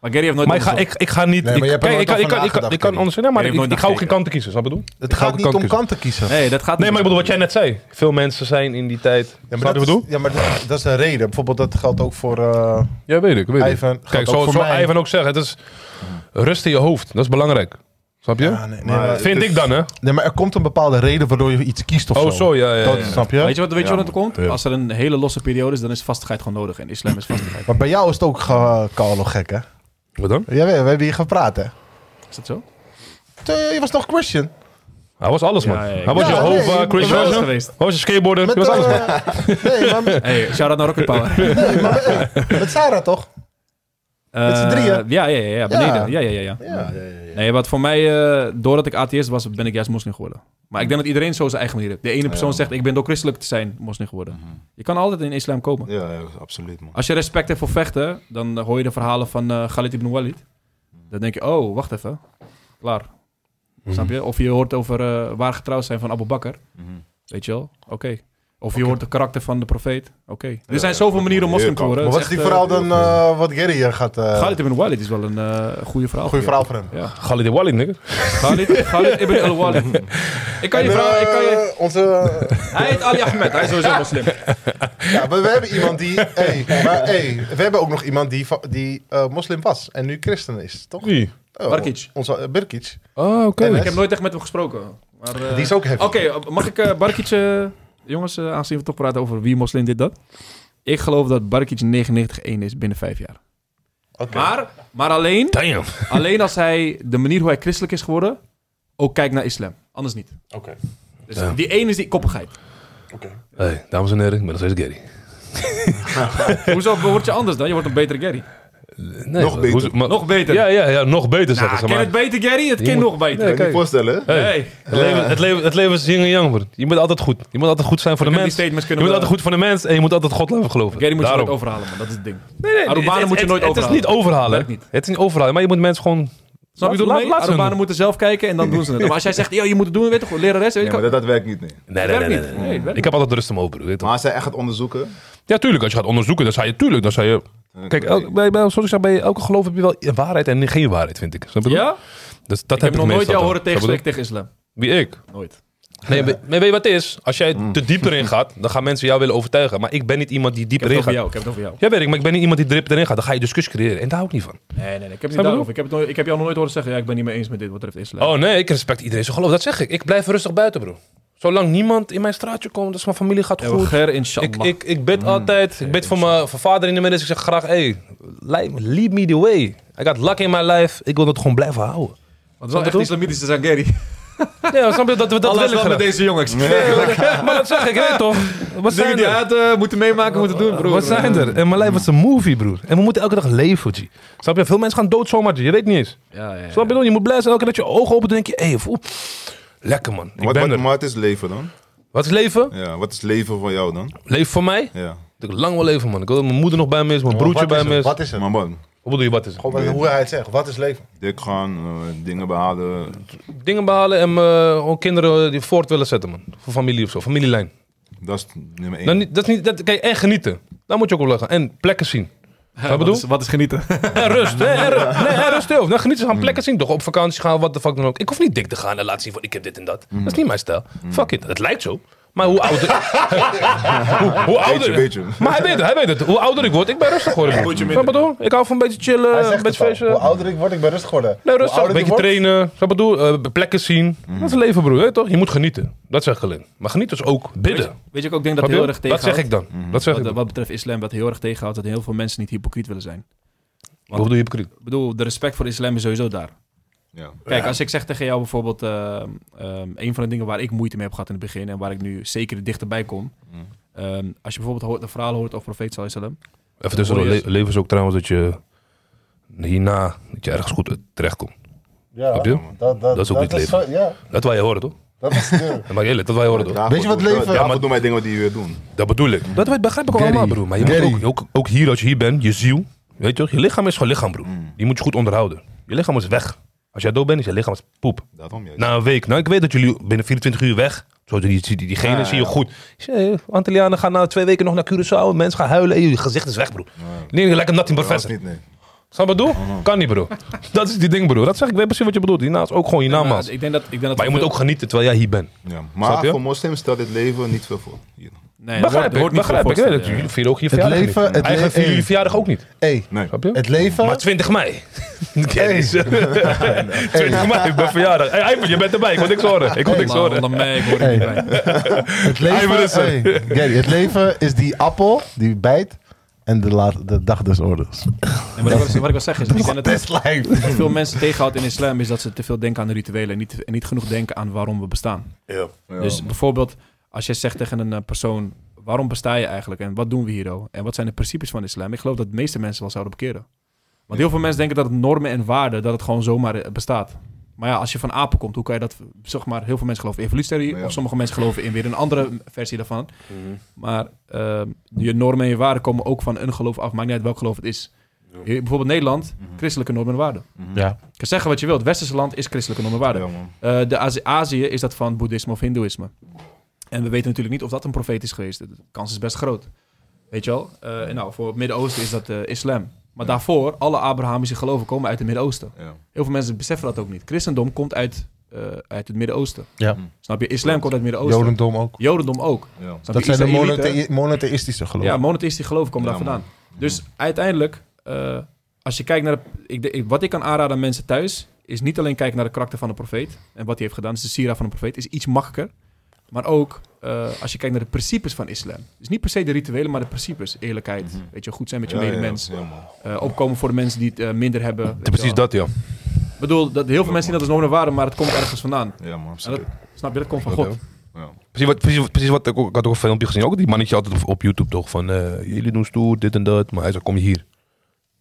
S5: Maar Gary heeft nooit
S1: Maar ik ga, ik, ik ga niet.
S2: Nee,
S1: ik,
S2: maar je hebt er
S1: kijk, ik, kan,
S2: nooit
S1: ik, kan,
S2: over
S1: ik, kan, ik
S2: nagedacht,
S1: kan
S2: Kenny.
S1: ondersteunen,
S5: Je
S1: maar
S5: hebt
S1: ik,
S5: nooit
S1: ik ga ook geen
S5: gekeken.
S1: kanten kiezen, snap je wat ik bedoel?
S2: Het gaat niet om kant te kiezen.
S5: Nee, dat gaat
S1: Nee, maar
S5: niet.
S1: ik bedoel wat jij net zei. Veel mensen zijn in die tijd.
S2: Ja,
S1: snap je
S2: maar,
S1: wat ik
S2: dat is,
S1: bedoel?
S2: ja, maar dat, dat is een reden. Bijvoorbeeld, dat geldt ook voor. eh,
S1: Ja, weet ik. Weet ik.
S2: Ivan, geldt
S1: Kijk,
S2: ook
S1: zoals
S2: voor
S1: zo
S2: mij.
S1: Ivan ook zegt, het is rust in je hoofd. Dat is belangrijk. Snap je?
S2: ja, nee, nee, maar,
S1: Vind ik dan, hè?
S2: nee, maar er komt een bepaalde reden waardoor je iets kiest of
S1: Oh, zo, ja, ja. ja.
S2: Dat, snap je?
S5: Weet je wat weet je
S3: Ja,
S5: wat het komt? Als er een hele losse periode is, dan is vastigheid gewoon nodig. En islam is vastigheid.
S2: Maar bij jou is het ook ge- Carlo gek, hè?
S1: Wat dan?
S2: Ja, we, we hebben hier gepraat, hè?
S5: Is dat zo?
S2: Toen- Je was nog Christian.
S1: Hij Hij was alles, man.
S5: Ja, ja, ja.
S1: Hij was
S2: Ja,
S1: Jehovah,
S2: nee,
S1: Chris
S2: maar-
S1: Johnson. Hij
S5: geweest.
S1: was een skateboarder.
S2: Met,
S1: Hij was alles, man.
S2: eh, nee, maar met,
S5: Hey, shout-out naar Rocket Power.
S2: nee, maar met, met Sarah toch? Met z'n
S5: Eh,
S2: drieën?
S5: Ja, ja, ja, ja, beneden. Ja, ja, ja. ja.
S2: Ja.
S5: Nee, wat voor mij, eh, doordat ik atheïst was, ben ik juist moslim geworden. Maar ik denk dat iedereen zo zijn eigen manier heeft. De ene persoon zegt, ik ben door christelijk te zijn moslim geworden. Je kan altijd in islam komen.
S3: Ja, ja, absoluut, man.
S5: Als je respect hebt voor vechten, dan hoor je de verhalen van eh, Khalid ibn Walid. Dan denk je, oh, wacht even. Klaar.
S2: Mhm.
S5: Snap je? Of je hoort over eh, waar getrouwd zijn van Abu Bakr.
S3: Mhm.
S5: Weet je wel? Oké. Of je hoort de karakter van de profeet. Oké. Er zijn zoveel manieren om moslim te worden.
S2: Maar
S5: Het
S2: wat
S5: is
S2: is die
S5: echt, eh,
S2: verhaal dan eh, wat Gary hier gaat... eh
S5: Khalid ibn Walid is wel een eh goede verhaal.
S2: goede verhaal voor hem.
S5: Ja.
S1: Khalid Wally, nigga.
S5: Khalid, Khalid ibn al-Walid. Ik kan je
S2: En,
S5: vragen, ik kan je...
S2: eh, Onze...
S5: Hij heet Ali Ahmed, hij is sowieso moslim.
S2: Ja, maar we hebben iemand die. Hey, maar hey, we hebben ook nog iemand die, va- die eh, moslim was en nu christen is, toch?
S1: Wie?
S2: Oh,
S5: Barkic.
S2: Onze eh, Birkic.
S1: Oh, oké.
S2: En,
S5: Ik
S2: eh,
S5: heb nooit echt met hem gesproken. Maar, eh,
S2: Die is ook heavy.
S5: Oké, eh, mag ik eh Barkic... eh, jongens, eh, aangezien we toch praten over wie moslim dit dat. Ik geloof dat Barkic 99-1 is binnen vijf jaar.
S2: Oké.
S5: Maar, maar alleen,
S1: Damn.
S5: alleen als hij de manier hoe hij christelijk is geworden... ook kijkt naar islam. Anders niet.
S10: Oké.
S5: Dus
S1: Ja.
S5: die één is die koppigheid.
S1: Hey, dames en heren, ik ben nog steeds Gary.
S5: Hoezo word je anders dan? Je wordt een betere Gary.
S1: Nee,
S3: Nog
S1: maar-
S3: beter.
S1: hoe- maar-
S5: Nog beter.
S1: Ja, ja, ja, nog beter
S5: Nou,
S1: zeggen ze
S5: ken
S1: maar.
S5: het beter, Gary? Het
S1: Je
S5: kind
S1: moet-
S5: nog
S1: Nee,
S5: beter.
S3: Kan je
S1: kijk.
S3: je voorstellen, hè?
S1: Hey,
S5: Hey.
S1: Het, leven, het, leven, het leven is yin en yang, broer. Je moet altijd goed. Je moet altijd goed zijn voor de
S5: kunnen
S1: mens.
S5: die
S1: Je
S5: statements
S1: moet
S5: kunnen we-
S1: altijd goed voor de mens en je moet altijd God blijven geloven.
S5: Gary moet je
S1: Daarom.
S5: nooit overhalen, man. Dat is het ding.
S1: Nee, nee,
S5: Arubanen
S1: het-
S5: moet je
S1: het-
S5: nooit
S1: Het is niet
S5: overhalen.
S1: overhalen.
S5: Werkt niet.
S1: Het is niet overhalen, maar je moet mensen gewoon...
S5: Snap je?
S1: Laat-
S5: Laat,
S1: laat- laat ze hun
S5: Arubanen
S1: doen.
S5: moeten zelf kijken en dan doen ze het. Maar als jij zegt, yo, je moet het doen, weet je toch, lerares, weet
S3: Nee,
S5: je
S3: maar
S5: wel.
S3: dat, dat werkt niet, nee.
S1: Nee, nee, nee,
S5: werkt
S1: nee,
S5: niet.
S1: nee.
S5: Nee, het werkt
S1: Ik heb altijd rust om open, broer, weet je
S3: Maar
S1: toch?
S3: als zij echt gaat onderzoeken...
S1: Ja, tuurlijk. Als je gaat onderzoeken, dan zei je... Tuurlijk, dan zei je...
S3: dan
S1: Kijk,
S3: kan je-
S1: el- bij, bij, zoals ik zei, bij elke geloof heb je wel waarheid en geen waarheid, vind ik. Snap je?
S5: Ja?
S1: Dus dat
S5: Ik heb nog nooit
S1: meestal dan.
S5: jou horen
S1: Snap je?
S5: tegenspreken tegen islam.
S1: Wie ik?
S5: Nooit.
S1: Nee, maar maar weet je wat het is? Als jij
S5: Mm.
S1: te dieper in gaat, dan gaan mensen jou willen overtuigen. Maar ik ben niet iemand die
S5: Ik heb
S1: dieper
S5: het
S1: in gaat.
S5: over jou, ik heb het over jou.
S1: Ja, weet ik, maar ik ben niet iemand die dieper erin gaat. Dan ga je discussie creëren. En daar hou ik niet van.
S5: Nee, nee, nee. Ik heb, het
S1: je?
S5: niet daarover. Ik, heb het nooit, ik heb jou nog nooit horen zeggen, ja, ik ben niet mee eens met dit wat betreft islam.
S1: Oh nee, ik respect iedereen zijn geloof. Dat zeg ik. Ik blijf rustig buiten, bro. Zolang niemand in mijn straatje komt, dus mijn familie gaat
S5: Ja,
S1: goed.
S5: Ger, inshallah.
S1: Ik, ik, ik bid altijd. Mm. Ik bid voor mijn voor vader in de midden. Dus ik zeg graag, hey, leid me- lead me the way. I got luck in my life. Ik wil dat gewoon blijven houden.
S5: Want wel echt
S1: doen?
S5: islamitisch te zijn, Gary.
S1: Ja, snap je? Dat, we- dat
S5: Allah is
S1: willen
S5: wel met deze jongens.
S1: Maar dat zeg ik, weet je toch? Wat
S5: Dingen
S1: zijn
S5: die
S1: er?
S5: haten, moeten meemaken, moeten doen, broer.
S1: Wat zijn er? En mijn lijf was een movie, broer. En we moeten elke dag leven, G. Snap je? Veel mensen gaan dood zomaar, G. Je weet niet eens.
S5: Ja, ja, ja.
S1: Snap je? dan? Je moet blij zijn elke keer dat je ogen opent en denk je... Hé, voel... Lekker, man. Ik
S3: Wat,
S1: ben
S3: wat,
S1: er.
S3: maar het is leven dan?
S1: Wat is leven?
S3: Ja, wat is leven voor jou dan?
S1: Leef voor mij?
S3: Ja.
S1: Ik wil lang wel leven, man. Ik wil dat mijn moeder nog bij me is, mijn
S2: Maar
S1: broertje
S2: wat
S1: bij
S2: is
S1: me
S2: het?
S1: is. Wat
S2: Wat is het?
S3: Maar man,
S1: bedoel je, wat is het?
S2: Gewoon met hoe hij het zegt. Wat is leven?
S3: dik gaan, eh, dingen behalen.
S1: Dingen behalen en eh, gewoon kinderen die voort willen zetten, man. Voor familie of zo, familielijn.
S3: Dat is nummer één.
S1: Dan Nou, niet, dat is niet, dat, kijk, en genieten. Daar moet je ook op leggen. En plekken zien. Wat ik bedoel?
S5: Wat is- Wat is genieten?
S1: En rust. Nee, en, ru- nee, en rust heel. Dan genieten ze
S2: Mm.
S1: gaan plekken zien. Toch op vakantie gaan, wat de fuck dan ook. Ik hoef niet dik te gaan en laten zien van ik heb dit en dat.
S2: Mm.
S1: Dat is niet mijn stijl. Fuck it. Het lijkt zo. Maar hoe ouder... hoe, hoe ouder...
S3: Beetje, beetje.
S1: Maar hij weet het, hij weet het. Hoe ouder ik word, ik ben rustig geworden. broer. Snap je wat ik bedoel? Ik hou van een beetje
S2: Hij
S1: chillen,
S2: zegt
S1: een beetje
S2: het al. Hoe
S1: feesten.
S2: ouder ik word, ik ben rustig geworden.
S5: Nou,
S1: Nee,
S2: Hoe
S1: rustig. Een
S2: ouder Mhm. ik
S1: beetje
S2: word-
S1: trainen. Snap je wat ik bedoel? Eh, plekken zien. Dat is leven, broer. Weet je toch? Je moet genieten. Dat zegt alleen. Maar genieten is ook
S5: Weet je-
S1: bidden.
S5: Weet je, ook ik denk dat
S1: Snap je?
S5: heel erg
S1: Dat
S5: tegenhoudt?
S1: zeg ik dan.
S2: Mhm.
S1: Dat zeg ik
S5: Wat,
S1: dan.
S5: wat betreft islam, wat heel erg tegenhoudt, dat heel veel mensen niet hypocriet willen zijn.
S1: Wat bedoel je hypocriet?
S5: Ik bedoel, de respect voor de islam is sowieso daar.
S3: Ja.
S5: Kijk, als ik zeg tegen jou bijvoorbeeld... ehm, ehm, een van de dingen waar ik moeite mee heb gehad in het begin... en waar ik nu zeker dichterbij kom...
S3: Mm.
S5: ehm, als je bijvoorbeeld hoort, een verhaal hoort over profeet Sallallahu alaihi wasallam,
S1: Even tussendoor.
S5: Hoor je
S1: Le- leven is ook trouwens dat je hierna dat je ergens goed eh, terechtkomt.
S2: Ja,
S1: Snap je?
S2: Dat,
S1: Dat is ook niet
S2: zo- ja,
S1: Dat wij je horen, toch?
S2: dat is
S1: Dat maakt eerlijk, dat wij je horen, toch?
S3: Daarvoor
S2: Weet je wat
S3: doen-
S2: leven-
S3: Daarvoor
S1: Ja, maar-
S3: doen wij dingen die we doen.
S1: Dat bedoel ik. Dat weet- begrijp ik ook allemaal, broer. Maar je moet ook, ook, ook hier, als je hier bent, je ziel. Weet je toch? Je lichaam is gewoon lichaam, broer.
S2: Mhm.
S1: Die moet je goed onderhouden. Je lichaam is weg. Als jij dood bent, is je lichaam is poep.
S3: Daarom juist.
S1: Na een week. Nou, ik weet dat jullie binnen 24 uur weg. Zo, die, die, die- diegene zie je goed. Ik zei, eh, Antillianen gaan na twee weken nog naar Curaçao. Mensen gaan huilen. Hey, je gezicht is weg, broer. Nee, nee, lekker nothing but
S3: Dat is
S1: vessel.
S3: niet, nee.
S1: Snap je wat ik bedoel? Kan niet, broer. Dat is die ding, broer. Dat zeg ik. Ik weet precies wat je bedoelt. Hierna is ook gewoon hierna,
S5: Maar
S1: man.
S5: eh, ik denk dat, ik denk dat
S1: Maar je moet
S5: veel-
S1: ook genieten terwijl jij hier bent.
S3: Ja.
S1: Snap
S3: Maar
S1: je?
S3: voor moslims stelt dit leven niet veel voor. Hier.
S5: Nee, dat
S1: Begrijp
S5: hoort-
S1: ik,
S5: hoort niet
S1: begrijp
S5: voor
S1: ik. Ja, dat
S5: voorstellen,
S1: jullie vieren ook je
S2: Het
S1: verjaardag
S2: leven,
S1: niet.
S2: het
S1: Eigenlijk
S2: le-
S1: vieren jullie
S2: hey.
S1: verjaardag ook niet.
S2: Hey,
S3: Nee.
S1: Snap je?
S2: het leven,
S1: Maar 20 mei. Kennis. 20 mei, ik ben verjaardag. Hey, Ivan, je bent erbij. Ik wil niks horen. Ik wil niks
S5: ja. Maar
S1: horen.
S5: onder mij, ik hoor er niet
S2: Hey.
S5: bij.
S2: het
S1: Ivan
S2: leven,
S1: is er.
S2: hey, Gary, het leven is die appel die bijt en de, laat, de dag des oordeels.
S5: En wat, ik, wat ik wil zeggen is, ik denk dat
S2: Best life.
S5: wat veel mensen tegenhoudt in islam is dat ze te veel denken aan de rituelen en niet, en niet genoeg denken aan waarom we bestaan.
S3: Ja.
S5: Dus bijvoorbeeld, als je zegt tegen een eh, persoon, waarom besta je eigenlijk en wat doen we hier oh? En wat zijn de principes van islam? Ik geloof dat de meeste mensen wel zouden bekeren. Want heel veel mensen denken dat het normen en waarden, dat het gewoon zomaar eh, bestaat. Maar ja, als je van apen komt, hoe kan je dat, zeg maar, heel veel mensen geloven in evolutietheorie,
S3: Maar ja. Mhm.
S5: of sommige mensen geloven in weer een andere versie daarvan. Maar ehm, je normen en je waarden komen ook van een geloof af, maakt niet uit welk geloof het is.
S10: Ja.
S5: Hier, Bijvoorbeeld Nederland, christelijke normen en waarden.
S3: Mhm.
S2: Ja.
S5: Je kan zeggen wat je wilt, het westerse land is christelijke normen en waarden.
S3: Ja, man.
S5: Eh, de Azi- Azië is dat van boeddhisme of hindoeïsme. En we weten natuurlijk niet of dat een profeet is geweest. De kans is best groot. Weet je wel? Eh, en nou, voor het Midden-Oosten is dat eh, islam. Maar daarvoor, alle Abrahamische geloven komen uit het Midden-Oosten.
S3: Ja.
S5: Heel veel mensen beseffen dat ook niet. Christendom komt uit, eh, uit het Midden-Oosten.
S2: Ja.
S5: Snap je? Islam komt uit het Midden-Oosten.
S2: Jodendom ook.
S5: Jodendom ook.
S3: Ja.
S5: Snap
S2: Dat
S5: je?
S2: zijn de
S5: Israëlieten-
S2: monothe- monotheïstische
S5: ja,
S2: geloven.
S5: monotheïstische geloven komen
S3: Ja,
S5: daar
S3: man.
S5: vandaan. Dus uiteindelijk, eh, als je kijkt naar... de- ik, de- ik- wat ik kan aanraden aan mensen thuis... is niet alleen kijken naar de karakter van de profeet... en wat hij heeft gedaan. Dus de sira van de profeet is iets makkelijker. Maar ook eh, als je kijkt naar de principes van islam. Dus niet per se de rituelen, maar de principes. Eerlijkheid, weet je, goed zijn met je
S3: Ja, ja,
S5: medemens.
S3: ja, man.
S5: eh, opkomen voor de mensen die het eh, minder hebben. weet je
S1: Precies
S5: wel.
S1: dat, ja.
S5: Ik bedoel, dat, heel veel mensen zien dat als normen en waarden... maar het komt ergens vandaan.
S3: Ja, man.
S5: En dat,
S3: Absoluut.
S5: snap je, dat komt van
S1: Dat,
S5: God.
S3: Ja.
S1: Precies wat, precies, precies wat ik ook, ik had ook een filmpje gezien. Ook die mannetje altijd op, op YouTube toch van eh, jullie doen stoer, dit en dat. Maar hij zei, kom je hier.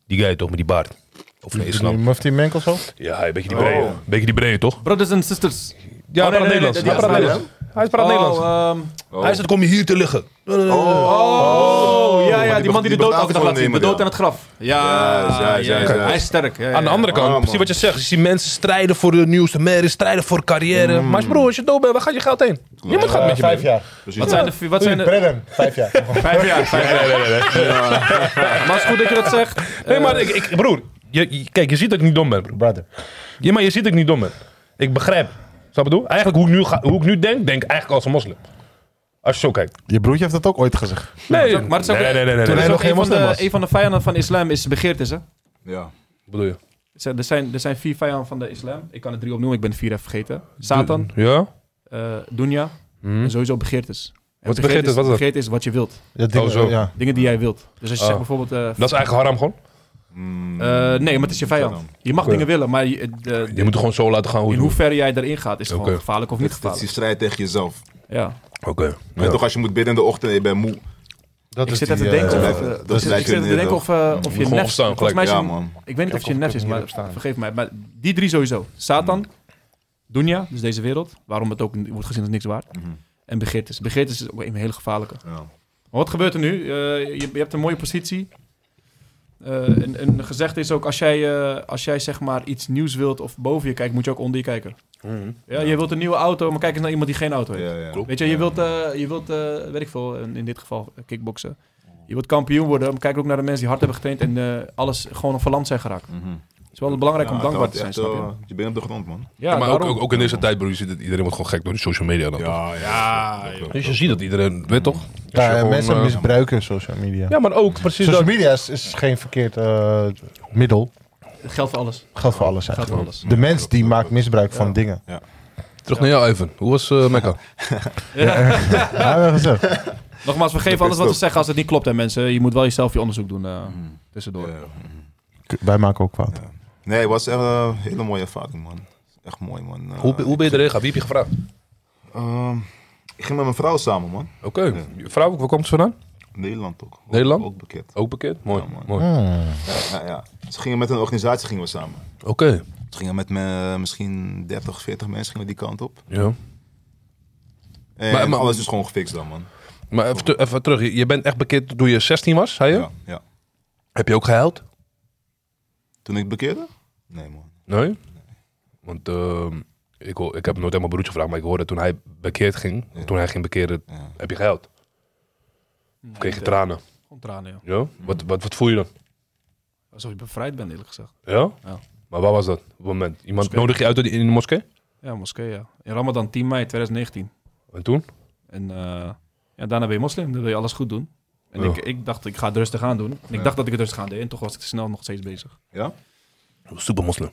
S1: Die guy toch met die baard. Of nee,
S2: Die
S1: islam.
S2: Mufti Menkel zo?
S1: Ja, een beetje die brede. Een beetje die brede toch?
S5: Brothers and sisters.
S1: Ja, hij
S5: Oh, nee,
S1: praat
S5: nee, nee,
S1: Nederlands.
S5: nee,
S1: Hij
S5: die
S1: praat
S5: is
S1: Nederlands. Hij praat Nederlands.
S5: Oh, ehm,
S1: Hij zegt, kom je hier te liggen.
S5: Oh, ja, ja, die, man die de
S3: die betaalt
S5: dood elke dag laat zien. De
S3: gewoon
S5: dood aan
S3: iemand,
S5: het graf.
S3: Juist, juist, juist, juist.
S5: Hij is sterk. ja, ja,
S1: Aan de
S5: ja.
S1: andere kant,
S3: Ah, man.
S1: precies wat je zegt. Je ziet mensen strijden voor de nieuwste merrie, strijden voor carrière.
S5: Mm.
S1: Maar als broer, als je dood bent, waar gaat je geld heen? Niemand
S5: Eh,
S1: gaat met je mee.
S2: Vijf jaar.
S3: Precies.
S5: Wat zijn de... Wat zijn de
S2: Bredden, vijf jaar.
S5: vijf jaar, vijf jaar. Ja. Maar het is goed dat je dat zegt. eh,
S1: Nee, maar ik, ik, broer, je, je- kijk, je ziet dat ik niet dom ben, broer.
S2: Brother.
S1: Ja, maar je ziet dat ik niet dom ben. Ik begrijp. Snap je wat ik bedoel? Eigenlijk hoe ik, nu ga, hoe ik nu denk, denk ik eigenlijk als een moslim. Als je zo kijkt.
S2: Je broertje heeft dat ook ooit gezegd.
S1: Nee,
S5: maar het is ook-
S1: nee, nee, nee. nee,
S5: Er
S1: nee.
S5: is
S2: nog
S5: ook
S2: geen
S5: een van,
S2: moslim
S5: de,
S2: was.
S5: een van de vijanden van de islam is begeertes, hè?
S3: Ja.
S1: Wat bedoel je?
S5: Er zijn- Er zijn, er zijn vier vijanden van de islam. Ik kan er drie opnoemen, ik ben de vier even vergeten. Satan,
S1: Ja?
S5: eh Dunya en sowieso begeertes. En
S1: Hm. Wat is begeertes? Wat is dat?
S5: Begeerte is wat je wilt.
S2: Ja, dingen-
S1: Oh, zo.
S2: Ja.
S5: Dingen die jij wilt. Dus als je
S1: Oh.
S5: zegt bijvoorbeeld... eh,
S1: Dat is eigenlijk haram gewoon.
S3: Mm.
S5: eh, nee, maar het is je vijand. Je mag
S1: Oké.
S5: dingen willen, maar... Je, eh, de-
S1: Je moet het gewoon zo laten gaan hoe
S5: In
S1: je het
S5: hoeverre jij daarin gaat, is gewoon
S1: Oh, Oké.
S5: gevaarlijk of
S3: Dit-
S5: niet
S3: dit is die
S5: gevaarlijk.
S3: strijd tegen jezelf.
S5: Ja.
S1: doet. Oké.
S3: Weet toch, als je moet bidden in de ochtend en je bent moe.
S2: Dat
S5: Ik
S2: is
S5: zit
S2: die,
S5: even te
S2: eh,
S5: denken of,
S3: blijft-
S5: eh,
S3: dat
S5: dus
S3: blijft
S5: ik zit
S3: je
S5: even te denken
S3: neer,
S5: of, eh, of je
S1: gewoon
S5: nefs...
S1: opstaan,
S5: Volgens mij is
S3: Ja,
S5: je-
S3: man.
S5: ik weet niet of je
S2: of
S5: nefs
S2: ik
S5: is,
S2: hem
S5: maar
S2: hier heb staan.
S5: vergeef mij. Maar die drie sowieso. Satan, Dunya, dus deze wereld, waarom het ook wordt gezien als niks waard. En begeertes. Begeertes is ook een hele gevaarlijke.
S3: Ja.
S5: Maar wat gebeurt er nu? Eh, je, je hebt een mooie positie. Eh, en, en gezegd is ook, als jij, eh, als jij zeg maar iets nieuws wilt of boven je kijkt, moet je ook onder je kijken. Ja, Je wilt een nieuwe auto, maar kijk eens naar iemand die geen auto heeft.
S3: Ja, ja.
S1: Klopt.
S5: Weet je, je wilt, eh, je wilt eh, weet ik veel, in, in dit geval eh, kickboksen. Je wilt kampioen worden, maar kijk ook naar de mensen die hard hebben getraind en eh, alles gewoon verland zijn geraakt.
S3: Mhm.
S5: Het is wel belangrijk om
S3: Ja,
S5: dankbaar
S3: dat
S5: te zijn,
S3: echt,
S5: snap je?
S3: eh, je bent op de grond, man.
S5: ja,
S1: Ja, maar ook,
S5: daarom.
S1: ook, ook in deze tijd, broer, je ziet dat iedereen wordt gewoon gek door de social media. Dan, toch?
S3: ja.
S1: Dus je ziet dat iedereen, weet toch?
S2: Ja,
S1: Als je
S2: eh, mensen
S1: gewoon, eh,
S2: misbruiken social media.
S1: Ja, maar ook precies
S2: Social
S1: dat.
S2: media is, is geen verkeerd eh, Dus middel.
S5: Het geldt voor alles.
S2: Geldt voor alles
S5: Geldt voor
S2: eigenlijk.
S5: alles.
S2: De mens die maakt misbruik van dingen.
S1: Terug naar jou, Ivan. Hoe was eh, Mekka?
S2: Ja, dat is het.
S5: Nogmaals, we geven
S3: Dat
S5: alles
S3: is
S5: wat we
S3: ook.
S5: zeggen als het niet klopt, hè mensen. Je moet wel jezelf je onderzoek doen eh, tussendoor.
S3: Mm. Ja.
S2: Wij maken ook kwaad.
S3: Nee, het was echt eh, een hele mooie ervaring, man. Echt mooi, man. Eh,
S1: Hoe, hoe ben je erin gegaan? Wie heb je gevraagd?
S3: ehm, ik ging met mijn vrouw samen, man.
S1: Oké, je vrouw, waar komt ze vandaan?
S3: Nederland ook. Ook-
S1: Nederland?
S3: Ook bekend.
S1: Ook bekend? Mooi,
S3: Ja, man.
S1: mooi.
S3: Ja, ja. Ze gingen met een organisatie gingen we samen.
S1: Oké,
S3: Ze gingen met me, misschien 30, 40 mensen gingen we die kant op.
S1: ja.
S3: En
S1: Maar- maar-
S3: alles is gewoon gefixt dan, man.
S1: Maar even, te- even terug, je je bent echt bekend toen je 16 was, zei je?
S3: Ja, ja.
S1: Heb je ook gehuild?
S3: Toen ik bekeerde? Nee, man.
S1: Nee? Want ehm, ik, hoor- ik heb nooit aan mijn broertje gevraagd, maar ik hoorde toen hij bekeerd ging, toen hij ging bekeren,
S3: Ja.
S1: heb je gehuild? Of kreeg je tranen?
S5: Eh, Gewoon tranen, joh.
S1: Ja? Wat, wat, wat voel je dan?
S5: Alsof je bevrijd bent, eerlijk gezegd.
S1: Ja?
S5: Ja.
S1: Maar waar was dat op het moment? Iemand
S5: Moskee.
S1: nodig je uit in de moskee?
S5: Ja, moskee, ja. In Ramadan 10 mei 2019.
S1: En toen?
S5: En eh, ja, daarna ben je moslim, dan wil je alles goed doen. En
S1: Ja.
S5: ik, ik dacht, ik ga het rustig aan doen. En ik
S3: Ja.
S5: dacht dat ik het rustig aan deed, en toch was ik te snel nog steeds bezig.
S3: Ja?
S1: Super moslim.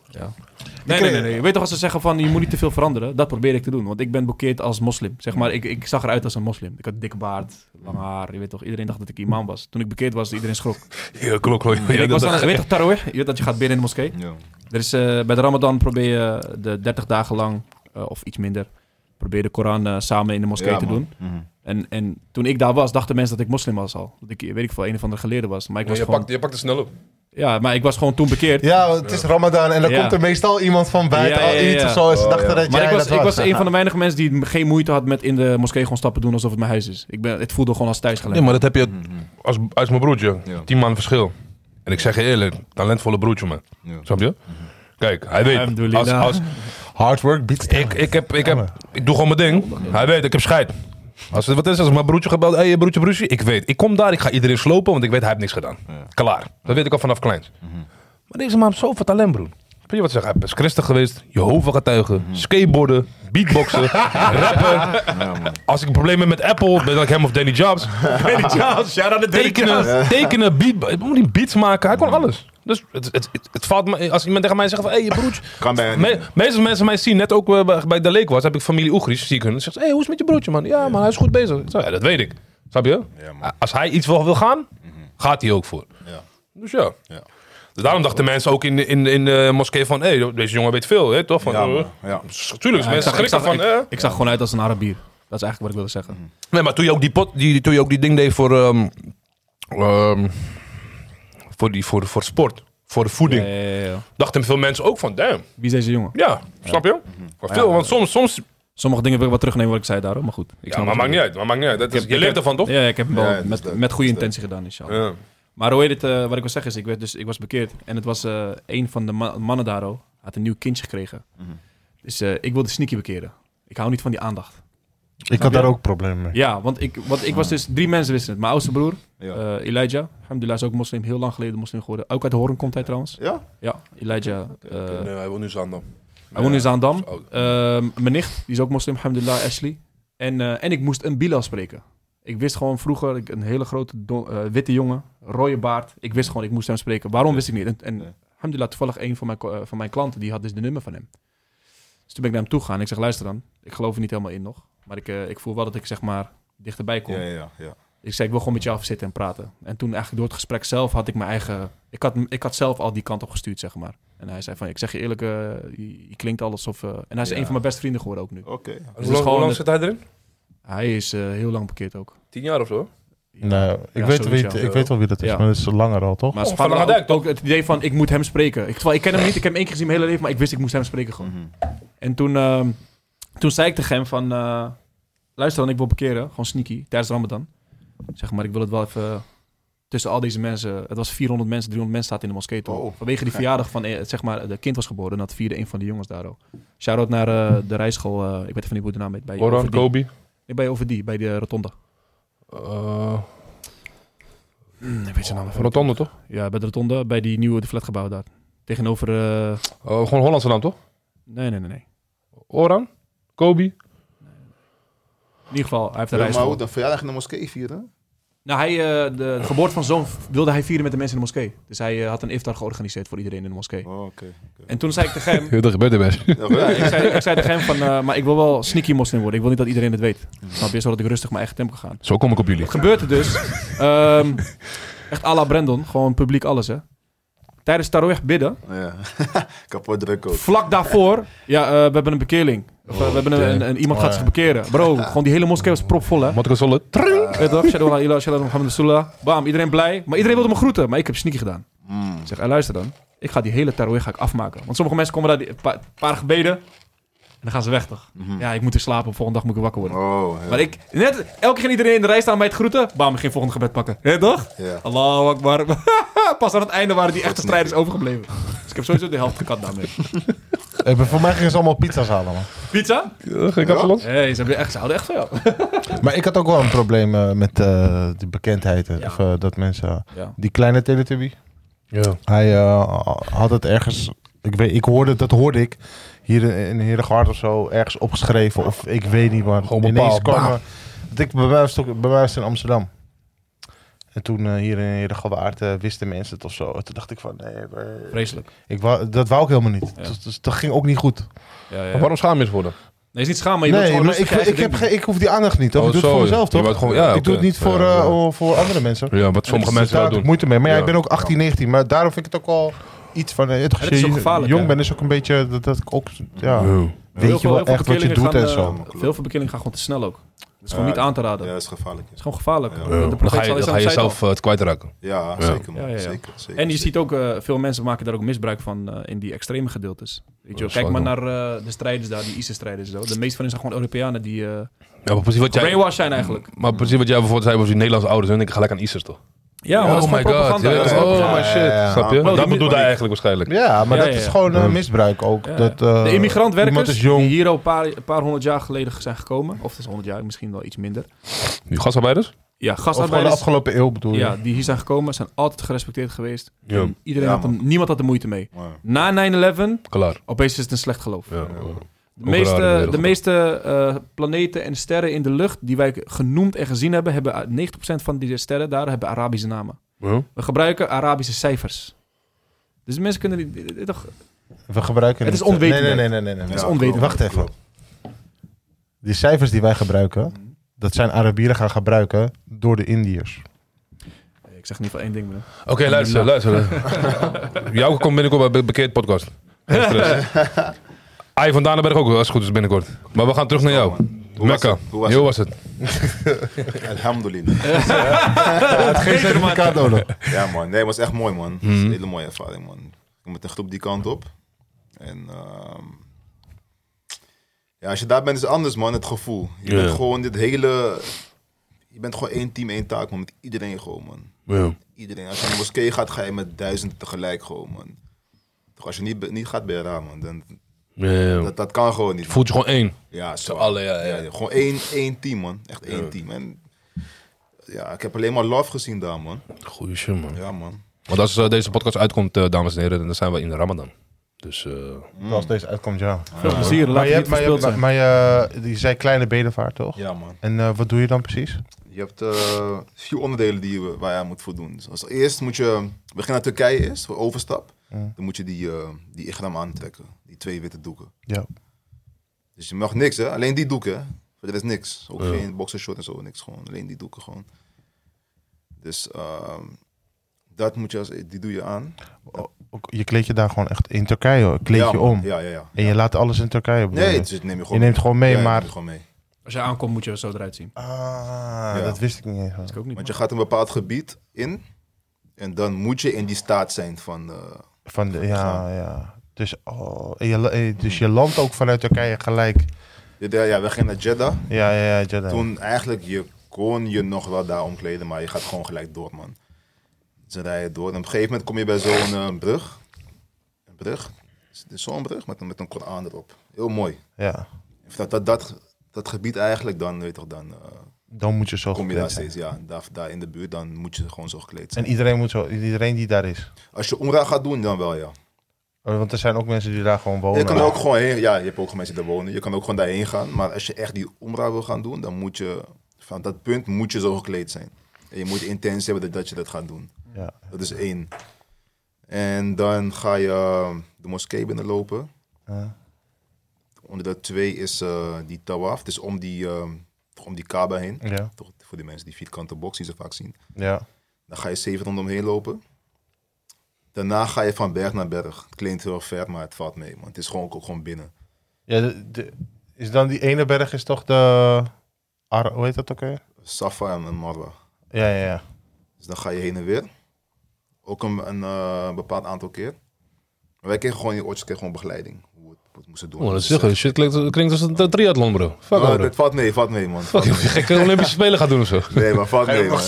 S5: Nee, nee, nee, nee. Je weet toch als ze zeggen van je moet niet te veel veranderen? Dat probeer ik te doen, want ik ben boekeerd als moslim. Zeg maar, ik, ik zag eruit als een moslim. Ik had dikke baard, lang haar. Je weet toch, iedereen dacht dat ik imam was. Toen ik bekeerd was, iedereen schrok.
S1: Ja, klopt, klopt. Ja,
S5: ik
S1: dat
S5: was aan,
S1: dacht
S5: je
S1: ik.
S5: weet toch, tarawih? Je weet dat je gaat binnen in de moskee.
S3: Ja.
S5: Er is, eh, bij de Ramadan probeer je de 30 dagen lang, eh, of iets minder, probeer de Koran eh, samen in de moskee
S3: Ja,
S5: te
S3: man.
S5: doen.
S3: Mhm.
S5: En, en toen ik daar was, dachten mensen dat ik moslim was al. Dat ik, eh, weet ik veel, een of andere geleerde was. Maar ik
S1: Ja,
S5: was
S1: je,
S5: gewoon,
S1: pakt, je pakt het snel op.
S5: ja, maar ik was gewoon toen bekeerd.
S2: Ja, want het is Ramadan en dan
S5: Ja.
S2: komt er meestal iemand van buiten
S5: Ja, ja,
S2: al iets
S5: ja.
S2: of zo. En ze
S3: Oh,
S2: dachten
S3: ja.
S2: dat
S5: Maar
S2: jij
S5: ik was,
S2: dat
S5: ik was een van de weinige mensen die geen moeite had met in de moskee gewoon stappen doen alsof het mijn huis is. Ik ben, het voelde gewoon als thuisgelijk.
S1: Nee, maar dat heb je als, als mijn broertje.
S3: Mhm. Ja.
S1: Tien man verschil. En ik zeg je eerlijk, talentvolle broertje, man.
S3: Ja. Mhm.
S1: Snap je? Kijk, hij weet. Als,
S5: Alhamdulillah.
S1: als,
S2: Hard work beats
S1: ik, ik, heb, ik, heb, ik doe gewoon mijn ding. Hij weet, ik heb scheid. Als het wat is, als mijn broertje gebeld, hé hey, broertje, broertje, ik weet. Ik kom daar, ik ga iedereen slopen, want ik weet, hij heeft niks gedaan. Klaar. Dat weet ik al vanaf kleins.
S3: Mhm.
S1: Maar deze man heeft zoveel talent, broer. Weet je wat ze zeggen? Hij is christen geweest, Jehovah-getuige,
S3: Mhm.
S1: skateboarden, beatboxen, rappen. Als ik problemen heb met Apple, ben ik hem of Danny Jobs. tekenen, tekenen, beat, moet die beats maken, hij kon alles. Dus het, het, het, het valt me, als iemand tegen mij zegt van, hé hey, je broertje.
S3: Kan bijna niet
S1: Me,
S3: meer.
S1: meestal mensen mij zien, net ook eh, bij- bij de leek was, heb ik familie Oegris, zie ik hun. Dan zegt ze, hé hey, hoe is het met je broertje man? Ja man, hij is goed bezig. Ik zeg, ja, dat weet ik. Snap je?
S3: Ja, man.
S1: als hij iets wil, wil gaan, gaat hij ook voor.
S3: Ja.
S1: Dus ja.
S3: Ja.
S1: Dus daarom dachten mensen ook in, de- in, de- in de moskee van, hé, deze jongen weet veel, hè, toch? Van,
S3: Ja,
S1: eh,
S3: man. Ja.
S1: Tuurlijk, mensen
S5: ik,
S1: schrikken
S5: zag,
S1: van...
S5: ik,
S1: eh.
S5: ik zag gewoon uit als een Arabier. Dat is eigenlijk wat ik wilde zeggen.
S3: Mm.
S1: Nee, maar toen je ook die, pot, die, toen je ook die ding deed voor, ehm, ehm, voor, die, voor, voor sport, voor de voeding,
S5: Ja, ja, ja, ja.
S1: dachten veel mensen ook van, damn,
S5: Wie is deze jongen?
S1: ja, snap je? Maar Veel, want soms, soms
S5: Sommige dingen wil ik wel terugnemen wat ik zei daarom, maar goed. Ik
S1: ja,
S5: snap
S1: maar
S5: wat
S1: maakt
S5: je
S1: niet uit, maar maakt niet uit. Dat is,
S5: Ik heb-
S1: je
S5: ik
S1: leeft
S5: heb-
S1: ervan, toch?
S5: Ja, ik heb hem wel
S3: Ja, het is
S5: met,
S3: dat.
S5: met goede intentie gedaan, inshallah.
S1: Ja.
S5: Maar hoe heet het, eh, wat ik wil zeggen is, ik, werd dus, ik was bekeerd. En het was eh, een van de ma- mannen daar al, had een nieuw kindje gekregen.
S3: Mhm.
S5: Dus eh, ik wilde Sneaky bekeren. Ik hou niet van die aandacht.
S2: Ik had daar ook problemen mee.
S5: Ja, want ik, want ik was dus, drie mensen wisten het. Mijn oudste broer,
S3: Ja.
S5: eh, Elijah, alhamdulillah is ook moslim, heel lang geleden moslim geworden. Ook uit Horen komt hij trouwens.
S3: Ja?
S5: Ja, Elijah. eh,
S1: Nee, hij wil nu Zandam.
S5: hij woont in Zaandam.
S1: Oud.
S5: Ehm, mijn nicht, die is ook moslim, alhamdulillah, Ashley. En, eh, en ik moest een bilal spreken. Ik wist gewoon vroeger, ik, een hele grote don- eh, witte jongen, rode baard. Ik wist gewoon, ik moest hem spreken. Waarom wist ik niet? En, en
S3: Ja.
S5: alhamdulillah, toevallig een van mijn, ko- eh, van mijn klanten, die had dus de nummer van hem. Dus toen ben ik naar hem toe gegaan. Ik zeg, luister dan, ik geloof er niet helemaal in nog. Maar ik, eh, ik voel wel dat ik zeg maar dichterbij kom.
S3: Ja, ja, ja.
S5: Ik zei, ik wil gewoon met jou zitten en praten. En toen eigenlijk door het gesprek zelf had ik mijn eigen... Ik had, ik had zelf al die kant op gestuurd, zeg maar. En hij zei van, ik zeg je eerlijk, eh, je, je klinkt al alsof... eh, en hij is
S3: Ja.
S5: een van mijn beste vrienden geworden ook nu.
S3: Oké.
S1: Hoe
S5: is
S1: lang, hoe
S5: gewoon
S1: lang
S5: het-
S1: zit hij erin?
S5: Hij is eh, heel lang bekeerd ook.
S1: Tien jaar of zo?
S2: Nou, ik,
S5: Ja,
S2: weet,
S5: sowieso.
S2: wie, het- ik weet wel wie dat is,
S5: Ja.
S2: maar dat is langer al, toch?
S5: Maar ze
S1: Van
S5: hadden
S1: Langendijk,
S5: ook, ook het idee van, ik moet hem spreken. Ik, terwijl ik ken hem niet, ik heb hem één keer gezien mijn hele leven, maar ik wist ik moest hem spreken gewoon.
S3: Mhm.
S5: En toen, ehm, toen zei ik tegen hem van... eh, luister dan, ik wil bekeren. Gewoon sneaky, tijdens Ramadan. Zeg maar, ik wil het wel even... Tussen al deze mensen... Het was 400 mensen, 300 mensen staat in de moskee toch.
S3: Oh.
S5: Vanwege die verjaardag van... eh, Zeg maar, de kind was geboren. En dat vierde een van de jongens daar ook. Shout-out naar eh, de rijschool. eh, ik weet even niet hoe de naam heet. Bij
S1: Oran,
S5: Overdie.
S1: Kobe.
S5: Nee, bij Overdie, bij de rotonde.
S1: eh,
S5: Hmm, ik weet zijn naam even niet.
S1: Rotonde, toch?
S5: Ja, bij de rotonde. Bij die nieuwe de flatgebouw daar. Tegenover... eh,
S1: Eh, gewoon Hollandse naam, toch?
S5: nee, nee, nee, nee.
S1: Oran, Kobe.
S5: In ieder geval, hij heeft een
S3: Ja, Maar
S5: rijschool.
S3: hoe de verjaardag in de moskee vieren?
S5: Nou, hij, eh, de geboorte van zoon wilde hij vieren met de mensen in de moskee. Dus hij eh, had een iftar georganiseerd voor iedereen in de moskee.
S3: Oh, oké.
S5: En toen zei ik tegen hem...
S1: dat gebeurt er best.
S5: ja, ik, zei, ik zei tegen hem van... eh, maar ik wil wel sneaky moslim worden. Ik wil niet dat iedereen het weet. Snap je? Zodat ik rustig mijn eigen tempo kan gaan.
S1: Zo kom ik op jullie.
S5: Wat gebeurt er dus? Ehm, echt à la Brandon. Gewoon publiek alles, hè. Tijdens Tarawih bidden.
S3: Ja. Kapot druk ook.
S5: Vlak daarvoor... Ja, eh, we hebben een bekeerling. Of, eh, we hebben een, een- een- iemand gaat zich bekeren. Bro, gewoon die hele moskee was propvol, hè.
S1: Wat ik zal het. Tring.
S5: Weet je Eh, toch? Shadow Allah, Ilah, Shadow Muhammad Rasulullah. Bam, iedereen blij. Maar iedereen wilde me groeten. Maar ik heb sneaky gedaan.
S2: Hmm.
S5: Ik zeg, hey, luister dan. Ik ga die hele tarawih ga ik afmaken. Want sommige mensen komen daar die- een paar, paar gebeden. En dan gaan ze weg toch?
S2: Mhm.
S5: Ja, ik moet weer slapen. Volgende dag moet ik weer wakker worden.
S3: Oh, ja.
S5: Maar ik, net elke keer ging iedereen in de rij staan bij het groeten. Bam, ik ging volgende gebed pakken. Hé toch?
S3: Ja.
S5: Allahu Akbar. Pas aan het einde waren die echte strijders overgebleven. Dus ik heb sowieso de helft gekat daarmee.
S2: Eh, maar voor mij gingen ze allemaal pizza's halen, man.
S5: Pizza?
S1: Geen kapsalon.
S5: Hé, ze, hebben echt, ze houden echt van jou.
S2: Maar ik had ook wel een probleem eh, met eh die bekendheid. eh, Of, eh, dat mensen...
S5: Ja.
S2: Die kleine Teletubby.
S1: Ja.
S2: Hij eh, had het ergens... Ik, weet, ik hoorde, dat hoorde ik hier in Heerlijkwaard of zo ergens opgeschreven. Of ik weet niet, maar
S1: Gewoon
S2: ineens
S1: bepaald,
S2: kwam...
S1: bam.
S2: er- Want ik bij mij was het ook- bij mij was het in Amsterdam. En toen eh, hier in Herengewaard eh wisten mensen het of zo. En toen dacht ik van, nee, eh,
S5: Vreselijk.
S2: ik wou, dat wou ik helemaal niet.
S5: Ja.
S2: Dus, dus dat ging ook niet goed.
S5: Ja, ja.
S10: Maar waarom schaam je het voor dan?
S5: Nee, is niet schaam, maar je wilt
S2: nee,
S5: gewoon
S2: maar ik,
S5: rustig
S2: ik,
S5: je eigen
S2: heb
S5: ding
S2: geen- ik hoef die aandacht niet. Toch?
S10: Oh,
S2: ik doe het
S10: zo,
S2: voor mezelf,
S10: je
S2: toch?
S10: wou het gewoon- ja,
S2: ik
S10: oké.
S2: doe het niet voor,
S10: Ja,
S2: eh,
S10: ja.
S2: voor andere mensen.
S10: Ja, wat sommige mensen
S2: daar heb
S10: wel
S2: ik
S10: doen.
S2: moeite mee. Maar ja,
S10: Ja.
S2: ik ben ook 18, 19. Maar daarom vind ik het ook al iets van... eh, toch,
S5: is
S2: als je
S5: ook gevaarlijk,
S2: jong
S5: hè?
S2: ben is ook een beetje... Dat, dat ik ook, ja,
S5: doen. Heel
S2: Weet je wel
S5: veel- heel veel
S2: echt wat je
S5: bekeringen
S2: doet
S5: gaan,
S2: en
S5: eh,
S2: zo.
S5: Veel van bekeringen gaan gewoon te snel ook. Dat is gewoon
S3: Ja,
S5: niet aan te raden.
S3: Ja,
S5: Het
S3: dat is gevaarlijk. ja.
S5: is gewoon gevaarlijk.
S3: Ja.
S5: De
S10: Dan
S5: profeet
S1: Dan ga je,
S5: zal
S1: dan
S5: Islam
S1: ga je
S5: zei het al.
S1: zelf eh, het kwijtraken.
S3: Ja, zeker man.
S5: Ja, ja, ja.
S3: Zeker, zeker,
S5: En je
S3: zeker.
S5: ziet ook, eh, veel mensen maken daar ook misbruik van eh, in die extreme gedeeltes. Weet je, wel. kijk maar
S1: zou
S5: naar eh, de strijders daar, die ISIS-strijders en zo. De meeste van hen zijn gewoon Europeanen die eh
S1: Ja, maar precies wat jij,
S5: brainwashed zijn eigenlijk.
S1: maar precies wat jij bijvoorbeeld zei was die Nederlandse ouders. En ik gelijk aan ISIS toch?
S5: Ja, maar dat is
S1: oh my
S5: gewoon
S1: god.
S5: propaganda.
S1: ja,
S5: Dat is gewoon-
S1: oh my
S2: propaganda. Ja,
S1: shit.
S2: ja, ja.
S1: Snap je?
S3: Ja,
S1: Dat
S5: die-
S1: bedoelt hij eigenlijk waarschijnlijk.
S2: Ja, maar
S5: Ja,
S2: dat
S5: ja,
S2: is
S5: ja.
S2: gewoon eh, misbruik ook.
S5: Ja, ja.
S2: Dat, eh,
S5: de
S2: Iemand
S5: immigrantwerkers
S2: is jong.
S5: die hier al een paar, een paar honderd jaar geleden zijn gekomen. Of dat is honderd jaar, misschien wel iets minder.
S1: Die gastarbeiders?
S5: Ja,
S2: Of gewoon de
S5: gastarbeiders
S2: afgelopen eeuw bedoel je?
S5: ja, die hier zijn gekomen zijn altijd gerespecteerd geweest.
S1: Ja.
S5: En Iedereen
S3: Ja,
S5: had er- niemand had er moeite mee. Na 9-11,
S1: Klaar.
S5: opeens is het een slecht geloof.
S1: Ja.
S5: De
S1: Ook raar in de
S5: meeste,
S1: wereld.
S5: de meeste eh, planeten en sterren in de lucht die wij genoemd en gezien hebben, hebben 90% van die sterren daar hebben Arabische namen.
S1: Ja.
S5: We gebruiken Arabische cijfers. Dus mensen kunnen die- die- die- toch?
S2: We gebruiken
S5: Het is
S2: niet, eh,
S5: onwetendheid.
S2: Nee, nee, nee. nee, nee, nee.
S5: is
S3: Ja,
S5: onwetend.
S3: klopt,
S2: Wacht even.
S3: klopt.
S2: Die cijfers die wij gebruiken, dat zijn Arabieren gaan gebruiken door de Indiërs.
S5: Mm. Ik zeg niet van één ding. Maar...
S1: Oké, luister, luister. Jouw komt binnenkort bij een bekeerd podcast. Geen stress. Ai van Danenberg ook, als het goed is binnenkort. Maar we gaan terug naar jou.
S3: Hoe was
S1: Mekka,
S3: het? Hoe was
S1: hoe was het?
S3: het? Alhamdulillah.
S2: Geen certificaat nodig.
S3: Ja, man. Nee, het was echt mooi, man. Het was een hele mooie ervaring, man. Ik ging met een groep die kant op. En ehm, ja, als je daar bent, is het anders, man. Het gevoel. Je bent gewoon dit hele. Je bent gewoon één team, één taak, man. Met iedereen gewoon, man. Iedereen. Als je naar de moskee gaat, ga je met duizenden tegelijk gewoon, man. Toch, als je niet, be- niet gaat bij raam, man, dan, dat, dat kan gewoon niet. man.
S1: Voelt je gewoon één.
S3: Ja, zo.
S1: allen, ja, ja.
S3: Gewoon één, één team, man. Echt één team. En ja, ik heb alleen maar love gezien daar, man.
S1: Goeie shit, man.
S3: Ja, man.
S1: Want als eh, deze podcast uitkomt, eh, dames en heren, dan zijn we in de Ramadan. Dus eh,
S2: Als deze uitkomt, ja.
S5: Veel plezier, laat
S2: Maar je,
S5: je
S2: hebt,
S5: niet
S2: maar, je, hebt-
S5: verspild zijn.
S2: maar je, die zei kleine bedevaart, toch?
S3: Ja, man.
S2: En eh, wat doe je dan precies?
S3: Je hebt eh, vier onderdelen die je, waar je aan moet voldoen. Dus als eerst moet je beginnen naar Turkije eerst, voor overstap. Dan moet je die, eh, die igram aantrekken, die twee witte doeken.
S2: Ja.
S3: Dus je mag niks, hè? Alleen die doeken, hè? Voor de rest niks. Ook geen boxershort en zo, niks. Gewoon alleen die doeken gewoon. Dus ehm, dat moet je als, die doe je aan.
S2: Ook- Je kleed je daar gewoon echt in Turkije, hoor. kleed
S3: ja,
S2: je
S3: man.
S2: om.
S3: Ja, ja, ja.
S2: En je laat alles in Turkije. bedoel
S3: Nee,
S2: je?
S3: het is- neem je
S2: je
S3: gewoon
S2: neemt gewoon
S3: Ja,
S2: mee,
S3: je
S2: maar...
S3: neemt gewoon mee.
S5: Als je aankomt moet je er zo eruit zien.
S2: Ah,
S3: Ja.
S2: dat wist ik niet eens. man.
S5: Dat is ook niet.
S3: Want je gaat een bepaald gebied in. En dan moet je in die staat zijn van... eh,
S2: Van de, ja, ja. Dus, oh, en je, la- eh, dus je landt ook vanuit Turkije gelijk.
S3: ja, ja, we gingen naar Jeddah.
S2: Ja, ja, ja. Jeddah.
S3: Toen eigenlijk, je kon je nog wel daar omkleden, maar je gaat gewoon gelijk door, man. Ze rijden door. En op een gegeven moment kom je bij zo'n eh, brug. Een brug. Is het Zo'n brug met, een- met een Koran erop. Heel mooi.
S2: Ja.
S3: En vanuit dat, dat, dat gebied eigenlijk dan, weet je toch, dan eh,
S2: Dan moet je zo
S3: kom je
S2: gekleed
S3: daar
S2: zijn.
S3: steeds, ja, daar, daar in de buurt, dan moet je gewoon zo gekleed
S2: En
S3: zijn.
S2: iedereen, moet zo, iedereen die daar is.
S3: Als je omra gaat doen, dan wel, ja.
S2: Eh, Want er zijn ook mensen die daar gewoon wonen.
S3: Je kan ook gewoon heen, ja, je hebt ook mensen die daar wonen, je kan ook gewoon daarheen gaan. Maar als je echt die omra wil gaan doen, dan moet je, van dat punt moet je zo gekleed zijn. En je moet de intentie hebben dat, dat je dat gaat doen.
S2: Ja.
S3: Dat is één. En dan ga je eh, de moskee binnenlopen.
S2: Ja.
S3: Onder dat twee is eh, die tawaf. Dus om die, eh, om die Kaaba heen.
S2: Ja.
S3: Toch, voor die mensen die vierkante box die ze vaak zien.
S2: ja.
S3: Dan ga je zeven ronden omheen lopen. Daarna ga je van berg naar berg. Het klinkt heel ver, maar het valt mee. Man. Het is gewoon, ook gewoon binnen.
S2: ja de, de- is dan die ene berg is toch de... Ar, hoe heet dat ook weer?
S3: Safa en en Marwa.
S2: Ja, ja, ja.
S3: Dus dan ga je heen en weer. Ook een, een eh, bepaald aantal keer. Maar wij kregen gewoon, die oortjes kregen gewoon begeleiding. Hoe we het, hoe we het moesten doen.
S1: oh, dat
S3: Dus,
S1: is zeggen.
S3: eh,
S1: Shit klinkt, klinkt als een triathlon, bro. Fuck,
S3: Oh,
S1: bro.
S3: dat valt mee, valt mee, man.
S1: Fuck, je gekke Olympische Spelen gaat doen of zo.
S3: Nee, maar valt mee, man.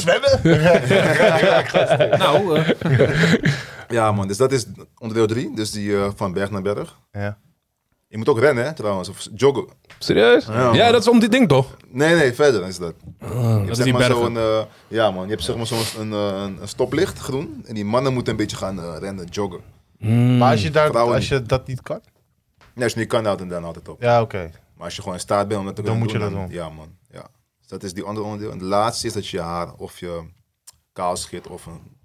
S5: Nou, eh,
S3: Ja, man. Dus dat is onderdeel 3. Dus die eh, van berg naar berg.
S2: Ja.
S3: Je moet ook rennen, hè, trouwens. Of joggen.
S1: Serieus? Ja,
S3: man.
S1: dat is om dit ding toch?
S3: Nee, nee, verder is dat. je hebt
S5: die
S3: zeg maar
S5: bergen.
S3: zo'n... eh, ja, man. Je hebt zeg maar zo'n een, eh, een- een stoplicht, groen. En die mannen moeten een beetje gaan eh, rennen, joggen.
S1: Hmm.
S2: Maar als je, daar,
S3: Vrouwen
S2: als je dat niet kan?
S3: Nee, als je niet kan, dan dan houdt het op.
S2: Ja, oké.
S3: Maar als je gewoon in staat bent om dat te
S2: Dan
S3: kunnen
S2: moet je
S3: doen,
S2: dat
S3: dan- Ja, man. Ja. Dus dat is die andere onderdeel. En de laatste is dat je je haar of je kaal schit of een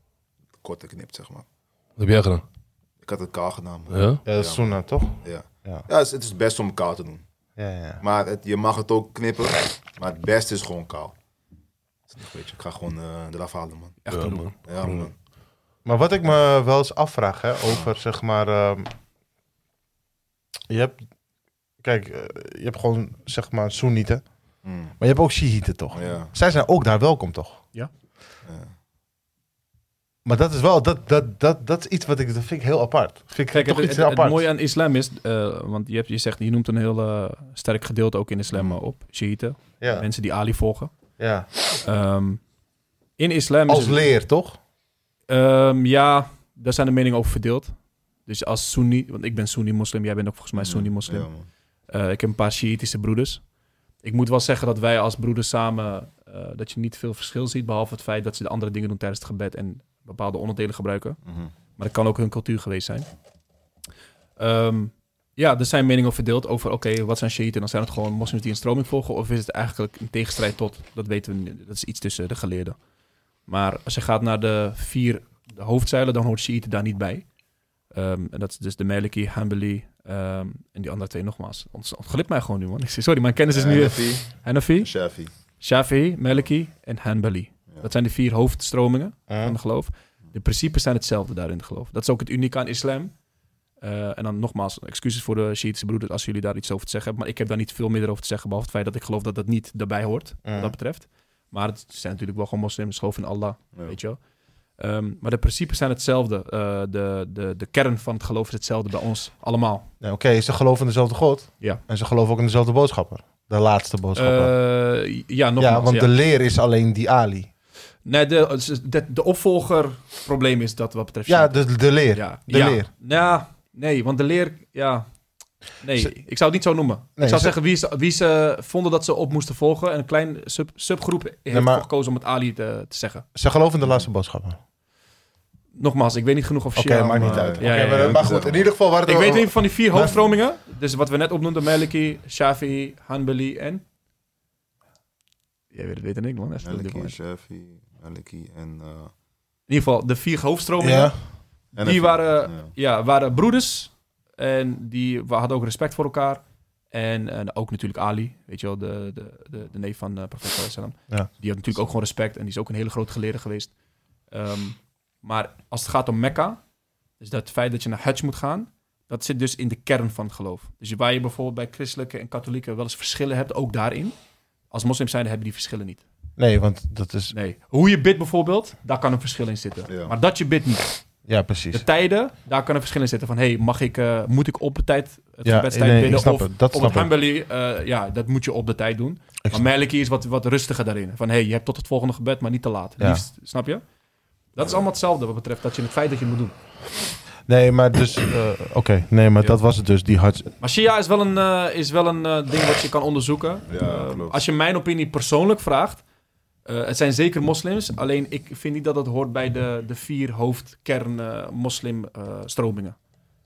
S3: korte knip, zeg maar.
S1: Wat heb jij gedaan?
S3: Ik had het kaal gedaan. man.
S1: Ja?
S2: Ja, dat is Suna, toch?
S3: Ja.
S2: Ja.
S3: Ja. het is- het is best om kaal te doen.
S2: Ja, ja.
S3: Maar het- je mag het ook knippen, maar het beste is gewoon kaal. Weet je, ik ga gewoon eh eraf halen, man.
S5: Echt een man.
S3: Ja, man.
S2: Maar wat ik me wel eens afvraag, hè, over zeg maar. ehm, je hebt. Kijk, eh, je hebt gewoon zeg maar Soenieten.
S3: Mm.
S2: Maar je hebt ook Shiiten, toch?
S3: Ja.
S2: Zij zijn ook daar welkom, toch?
S5: Ja.
S3: Ja.
S2: Maar dat is wel, dat, dat, dat, dat is iets wat ik, dat vind ik heel apart. Vind ik
S5: Kijk,
S2: toch
S5: het, het,
S2: iets
S5: het
S2: apart.
S5: mooie aan islam is, eh, want je, hebt, je zegt, je noemt een heel eh, sterk gedeelte ook in islam eh, op, Shiiten,
S2: ja,
S5: mensen die Ali volgen.
S2: ja.
S5: Ehm, in islam is
S2: Als
S5: het-
S2: leer, toch?
S5: Ehm, ja, daar zijn de meningen over verdeeld. Dus als Sunni, want ik ben Sunni-moslim, jij bent ook volgens mij
S3: Mhm,
S5: Sunni-moslim.
S3: Ja, man.
S5: Eh, ik heb een paar Shiïtische broeders. Ik moet wel zeggen dat wij als broeders samen, eh, dat je niet veel verschil ziet, behalve het feit dat ze de andere dingen doen tijdens het gebed en bepaalde onderdelen gebruiken.
S3: Mhm.
S5: Maar dat kan ook hun cultuur geweest zijn. Ehm, ja, er zijn meningen over verdeeld over, oké, wat zijn Shiiten? Dan zijn het gewoon moslims die een stroming volgen? Of is het eigenlijk een tegenstrijd tot? Dat weten we niet. Dat is iets tussen de geleerden. Maar als je gaat naar de vier de hoofdzeilen, dan hoort Shiiten daar niet bij. Ehm, en dat is dus de Maliki, Hanbali ehm, en die andere twee nogmaals. Ont- Ontglipt mij gewoon nu, man. Ik zeg, sorry, mijn kennis is nu...
S3: Hanafi,
S5: Hanafi,
S3: Shafi.
S5: Shafi'i, Maliki en Hanbali.
S3: Ja.
S5: Dat zijn de vier hoofdstromingen
S2: Ja.
S5: van het geloof. De principes zijn hetzelfde daarin, het geloof. Dat is ook het unieke aan islam. Eh, en dan nogmaals, excuses voor de Shiïtische broeders als jullie daar iets over te zeggen hebben. Maar ik heb daar niet veel meer over te zeggen, behalve het feit dat ik geloof dat dat niet daarbij hoort,
S2: Ja.
S5: wat dat betreft. Maar het zijn natuurlijk wel gewoon moslims, geloof in Allah,
S3: Ja.
S5: weet je wel. Ehm, maar de principes zijn hetzelfde. Eh, de, de, de kern van het geloof is hetzelfde bij ons allemaal.
S2: Ja, Oké, ze geloven in dezelfde God.
S5: Ja.
S2: En ze geloven ook in dezelfde boodschapper. De laatste boodschapper.
S5: Eh, ja, nogmaals.
S2: ja, want
S5: ja.
S2: de leer is alleen die Ali.
S5: Nee, de, de, de opvolgerprobleem is dat wat betreft
S2: Ja,
S5: Shiiten.
S2: de, de leer.
S5: ja.
S2: de
S5: ja.
S2: leer.
S5: Ja, nee, want de leer, ja. Nee,
S2: Ze-
S5: ik zou het niet zo noemen.
S2: Nee,
S5: ik zou
S2: ze-
S5: zeggen wie ze, wie ze vonden dat ze op moesten volgen. En een klein sub, subgroep heeft
S2: maar-
S5: voor gekozen om het Ali te, te zeggen.
S2: Ze geloven in de laatste boodschapper. Oké,
S5: Nogmaals, ik weet niet genoeg of Shia...
S2: maakt
S5: maar-
S2: niet uit.
S5: Ja, ja,
S2: Oké, maar, eh,
S5: ja.
S2: maar goed, in ieder geval waren het
S5: Ik
S2: wel-
S5: weet even van die vier
S2: Maar-
S5: hoofdstromingen. Dus wat we net opnoemden. Maliki, Shafi'i, Hanbali en... Jij weet het beter dan ik, man. Even op dit
S3: Maliki,
S5: moment.
S3: Shafi, Maliki en... eh,
S5: In ieder geval, de vier hoofdstromingen.
S2: Ja.
S3: Hanafi.
S5: Die waren,
S3: Ja.
S5: ja, waren broeders. En die wa- hadden ook respect voor elkaar. En, en ook natuurlijk Ali, weet je wel, de, de, de, de neef van eh, profeet Sallallahu Alaihi Wasallam.
S2: Ja.
S5: Die had natuurlijk ook gewoon respect. En die is ook een hele grote geleerde geweest. Ehm, maar als het gaat om Mekka, dus dat feit dat je naar Hajj moet gaan, dat zit dus in de kern van het geloof. Dus waar je bijvoorbeeld bij christelijke en katholieken wel eens verschillen hebt, ook daarin. Als moslims zijn, hebben die verschillen niet.
S2: Nee, want dat is...
S5: Nee. Hoe je bidt bijvoorbeeld, daar kan een verschil in zitten.
S3: Ja.
S5: Maar dat je bidt niet.
S2: Ja,
S5: De
S2: precies.
S5: tijden, daar kan een verschil in zitten. Van, hey, mag ik, eh, moet ik op de tijd het
S2: Ja,
S5: gebedstijd
S2: nee, ik
S5: bidden?
S2: snap
S5: Of
S2: het. Dat
S5: op
S2: snap
S5: het
S2: ik.
S5: Hanbali, eh, ja, dat moet je op de tijd doen. maar
S2: snap-
S5: Maliki is wat, wat rustiger daarin. Van, hey, je hebt tot het volgende gebed, maar niet te laat.
S2: Ja.
S5: Liefst, snap je? Dat is allemaal hetzelfde wat betreft dat je het feit dat je het moet doen.
S2: Nee, maar dus... eh, Oké, nee, maar
S5: Ja.
S2: dat was het dus. Die had...
S5: Maar Shia is wel een, eh, is wel een eh, ding wat je kan onderzoeken.
S3: Ja,
S5: Eh,
S3: klopt.
S5: als je mijn opinie persoonlijk vraagt, eh, het zijn zeker moslims. Alleen ik vind niet dat dat hoort bij de, de vier hoofdkern eh, moslim moslimstromingen.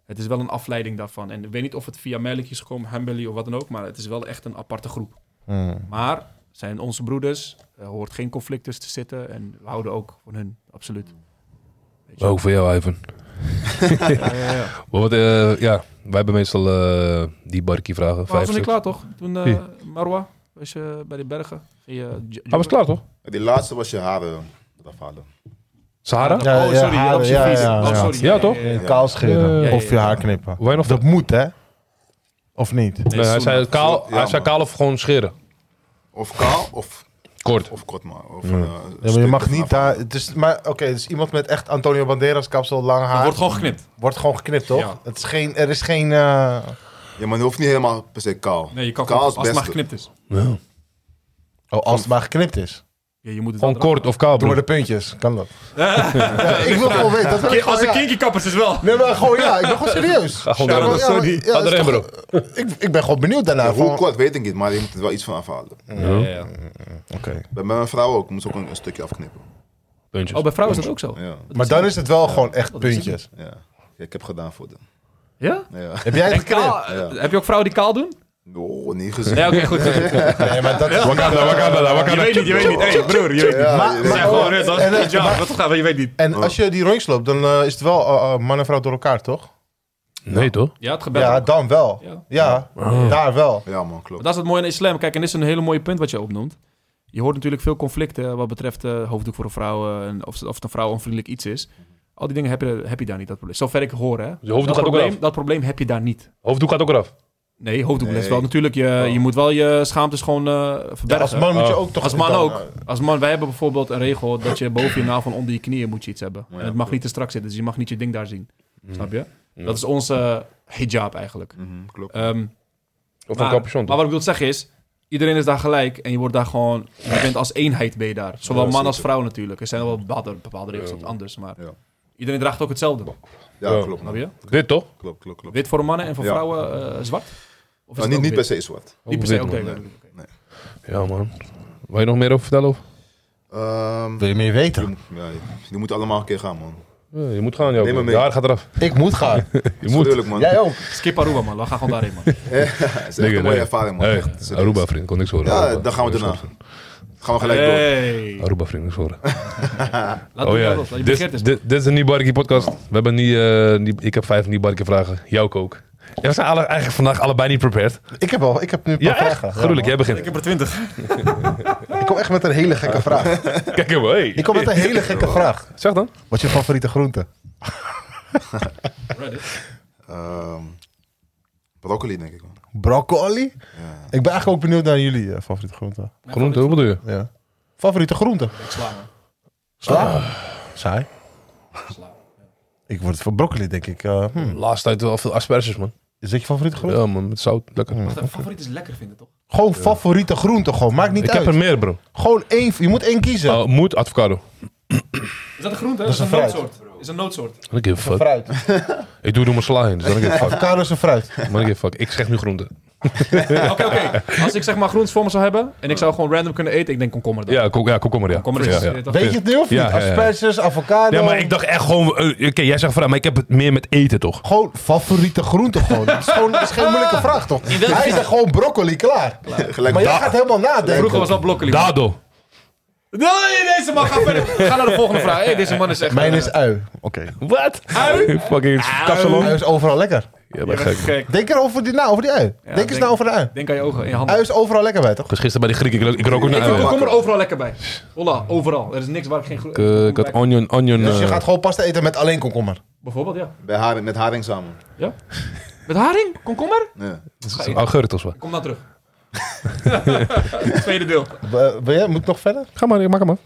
S5: het is wel een afleiding daarvan. En ik weet niet of het via Malik is gekomen, Hanbali of wat dan ook. Maar het is wel echt een aparte groep.
S2: Hmm.
S5: Maar zijn onze broeders. Er hoort geen conflict tussen te zitten. En we houden ook van hun, absoluut. Weet je wel.
S1: Ook voor jou, Ivan.
S5: Ja, ja, ja.
S1: Maar wat, eh, ja, wij hebben meestal eh, die barkie vragen.
S5: Maar
S1: Vijf,
S5: was nog niet
S1: stuk.
S5: klaar, toch? Toen eh,
S1: Wie?
S5: Marwa was je bij de bergen. Ging je, eh, j-
S1: Hij was klaar, toch?
S3: Die laatste was je haren eraf halen.
S1: Sahara?
S2: Ja,
S5: oh, sorry.
S2: ja,
S5: op je
S2: ja,
S5: fiets.
S2: ja,
S5: oh,
S2: ja.
S5: sorry.
S1: Ja, toch?
S3: Ja.
S2: Kaal scheren.
S1: Ja, ja,
S5: ja,
S2: Of je
S5: ja.
S2: haar knippen.
S1: Hoe nog?
S2: Dat moet, hè? Of niet?
S1: Nee, hij zei, kaal,
S3: Ja,
S1: hij zei
S3: man.
S1: kaal of gewoon scheren.
S3: Of kaal, of,
S1: Kort.
S3: of kort maar. Of,
S2: Hmm. Ja.
S3: eh,
S2: Ja, maar je mag
S3: stuk
S2: niet
S3: eraf halen.
S2: daar... Het is, maar oké, dus iemand met echt Antonio Banderas kapsel, lang
S5: Het
S2: haar...
S5: wordt
S2: Wordt,
S5: gewoon geknipt.
S2: gewoon geknipt, toch?
S5: Ja.
S2: Het is geen, er is geen... eh,
S3: Ja, maar je hoeft niet helemaal per se kaal.
S5: Nee, je kan
S3: kaal
S5: gewoon,
S3: is
S5: als het maar
S3: beste.
S5: geknipt is.
S1: Ja.
S2: Oh, als het maar geknipt is.
S5: Ja, je moet het
S1: Gewoon
S5: wel
S1: kort of kaal,
S2: Door
S1: broer.
S2: de puntjes, kan dat. Ja, ik wil gewoon weten. Dat wil ik
S5: eraf-
S2: gewoon,
S5: Als een
S2: ja.
S5: kinky kappers is wel.
S2: Nee, maar gewoon ja, ik ben gewoon serieus.
S1: Ga gewoon
S2: Ja,
S1: door.
S2: maar- ja, maar- ja,
S1: Ga
S2: dat is
S1: erin, bro.
S2: toch- ik, ik ben gewoon benieuwd daarna.
S3: Ja, hoe
S2: gewoon-
S3: kort weet ik niet, maar je moet er wel iets van afhalen.
S5: Ja, ja, ja.
S2: Hmm, Oké.
S3: Bij mijn vrouw ook, moet ze ook een, een stukje afknippen.
S1: Puntjes.
S5: Oh, bij vrouwen is dat ook zo.
S3: Ja,
S2: Maar dan is het wel gewoon echt
S5: dat is het.
S2: puntjes.
S3: ja. ja ik heb gedaan voor de.
S5: Ja?
S3: Ja.
S2: Heb jij het
S5: En
S2: geknipt?
S5: kaal,
S3: Ja.
S5: heb je ook vrouwen die kaal doen?
S3: Oh, niet gezien.
S5: Nee, oké, goed.
S2: Nee, maar dat is...
S1: Wakanda, Wakanda,
S5: Je
S1: Wakanda.
S5: weet niet, je weet niet. Hey, broer, je weet niet.
S3: Ja,
S2: Maar-
S3: je
S5: We
S3: weet
S5: zijn
S2: maar-
S3: wel.
S5: gewoon net als
S2: en, eh,
S5: dit jaar. Wat gaat, je weet niet.
S2: En als je die rondjes loopt, dan eh, is het wel eh, eh, man en vrouw door elkaar, toch?
S13: Nee, toch?
S5: Ja, het gebed.
S2: Ja,
S5: ook.
S2: dan wel.
S5: Ja.
S2: Ja, daar wel.
S3: ja, man, klopt.
S5: Maar dat is het mooie in islam. Kijk, en dit is een hele mooie punt wat je opnoemt. Je hoort natuurlijk veel conflicten wat betreft eh, hoofddoek voor een vrouw. eh, en of, of het een vrouw onvriendelijk iets is. Al die dingen heb je, heb je daar niet, dat probleem. Zover ik hoor, hè.
S1: Je hoofddoek
S5: dat,
S1: gaat ook
S5: probleem,
S1: eraf.
S5: dat probleem heb je daar niet.
S1: Hoofddoek gaat ook eraf.
S5: Nee, hoofddoek
S3: Nee. Oh.
S5: is wel. Natuurlijk, je, je moet wel je schaamtes gewoon eh, verbergen.
S2: Ja, als man moet je
S1: Oh.
S2: ook toch...
S5: Als man
S2: dan,
S5: ook.
S2: eh,
S5: Als man, wij hebben bijvoorbeeld een regel dat je boven je navel onder je knieën moet je iets hebben.
S3: Ja,
S5: en het mag
S3: klopt. Mm.
S5: niet te strak zitten, dus je mag niet je ding daar zien. Snap je?
S1: Ja.
S5: Dat is onze hijab eigenlijk.
S3: Mhm, klopt.
S5: Ehm,
S1: Of een
S5: maar,
S1: capuchon.
S5: maar wat ik wil zeggen is, iedereen is daar gelijk en je wordt daar gewoon, je bent als eenheid ben je daar. Zowel
S1: Ja,
S5: man als
S1: zeker.
S5: vrouw natuurlijk. Er zijn wel bepaalde, bepaalde regels
S1: Ja.
S5: wat anders, maar
S3: Ja.
S5: iedereen draagt ook hetzelfde.
S3: Ja,
S1: Ja.
S3: klopt.
S5: Snap
S3: man.
S5: je?
S1: Dit toch?
S3: Klopt, klopt, klopt.
S5: Wit voor mannen en voor
S3: Ja.
S5: vrouwen eh, zwart? Of
S3: Nou,
S5: het
S3: niet,
S5: ook
S3: niet per se
S5: wit?
S3: zwart.
S5: Niet per se,
S1: Wit,
S5: oké.
S1: man.
S5: oké.
S1: Ja, man. Wil je nog meer over vertellen? Of?
S3: Ehm,
S2: Wil je meer
S3: je,
S2: weten?
S3: moet- ja, je- je moet allemaal een keer gaan, man.
S1: Ja, je moet gaan, joh.
S3: Neem maar mee.
S1: Je haar gaat eraf.
S2: Ik moet gaan.
S1: Je
S3: Is
S1: moet.
S3: Eerlijk, man.
S2: Jij ook.
S5: Skip Aruba man, we gaan gewoon daarheen man.
S3: Het is echt een mooie
S1: nee.
S3: ervaring, man.
S1: Hey,
S3: Echt, serieus.
S1: Aruba, vriend. Kon niks horen.
S3: Ja,
S1: Aruba.
S3: dan gaan we
S1: Niks
S3: daarna.
S1: horen.
S3: Gaan we gelijk door.
S5: Hey.
S1: Aruba, vriend. Niks horen.
S5: Laat
S1: Oh
S5: het
S1: ja,
S5: los, laat je
S1: dit,
S5: begeertes,
S1: dit, dit is een Nibarki podcast. We hebben niet, eh, niet- ik heb vijf Nibarki vragen. Jou ook. Ja, we zijn alle, eigenlijk vandaag allebei niet prepared.
S2: Ik heb, al, ik heb nu een paar
S1: Ja, echt?
S2: vragen. Ja,
S1: Gruwelijk, jij begint.
S14: Ik heb er twintig.
S2: man. ik kom echt met een hele gekke vraag.
S1: Kijk hem, hey.
S2: Ik kom met een hele gekke vraag.
S1: Zeg dan.
S2: Wat is je favoriete groente?
S3: Ehm, broccoli, denk ik, man.
S2: Broccoli?
S3: Ja.
S2: Ik ben eigenlijk ook benieuwd naar jullie eh, favoriete groente.
S1: Groente, hoe bedoel je?
S2: Ja. Favoriete groente?
S5: Ik sla man.
S2: Sla?
S1: Ah.
S2: Saai.
S5: Sla.
S2: Ik word voor broccoli, denk ik. Eh, hmm.
S1: Laatste tijd wel veel asperges, man.
S2: Is dat je favoriete groente?
S1: Ja, man, met zout. Lekker.
S2: Mm.
S5: Wacht, favoriet is lekker vinden toch?
S2: Gewoon favoriete groente, gewoon. Maakt niet
S1: Ik
S2: uit.
S1: heb er meer, bro.
S2: Gewoon één. Je moet één kiezen.
S1: Eh, moet, avocado.
S5: Is dat een groente?
S2: Dat is een fruit.
S5: noodsoort. Is een noodsoort.
S1: Dan give a fuck.
S2: Fruit.
S1: Ik doe er mijn sla in, dus dan give a fuck.
S2: Avocado is een fruit.
S1: Man, give a fuck. Ik zeg nu groente.
S5: Oké, oké. Als ik zeg maar groentes voor me zou hebben en ik zou gewoon random kunnen eten, ik denk komkommer dan.
S1: Ja, kom, ja komkommer, ja.
S5: Komkommer is
S1: ja,
S5: ja,
S1: ja.
S5: toch?
S2: Weet je het nu of niet?
S1: Ja, ja, ja.
S2: Asperges, avocado.
S1: Ja, maar ik dacht echt gewoon... eh, Oké, jij zegt vraag, maar ik heb het meer met eten, toch?
S2: Gewoon favoriete groente gewoon. Dat is, gewoon, dat is
S1: Ah.
S2: geen moeilijke vraag, toch? Hij zegt gewoon broccoli, klaar.
S3: Gelijk
S2: Maar jij
S3: daar.
S2: gaat helemaal nadenken.
S5: Vroeger was dat broccoli. man.
S1: Dado.
S5: Nee, deze man, ga verder. Ga naar de volgende vraag. Hey, deze man is echt...
S2: Mijn
S5: eh,
S2: is ui. Oké.
S1: Wat?
S5: Ui?
S1: Fucking
S2: Ui
S1: kapsalon.
S2: is overal lekker.
S1: Ja, ben
S5: Je bent
S1: gek.
S5: gek.
S2: Denk er over die, na over die ui. denk eens
S5: denk-
S2: na over de ui.
S5: Denk aan je ogen, in je handen.
S2: Ui is overal lekker bij, toch?
S1: Ik was gisteren bij de Griek, ik rook, ik rook ook naar
S5: Ik vind
S1: uien.
S5: komkommer overal lekker bij. Holla, overal. Er is niks waar ik geen groen.
S1: Oh, Ik, eh, ik had onion, onion...
S2: Dus je
S1: eh,
S2: gaat gewoon pasta eten met alleen komkommer.
S5: Bijvoorbeeld, ja.
S3: Bij haring, met haring samen.
S5: Met haring? Komkommer?
S3: Ja.
S1: augurk of zo.
S5: Kom nou terug. Tweede deel.
S2: Eh, wil jij, moet ik nog verder?
S1: Ga maar, ik maak hem maar.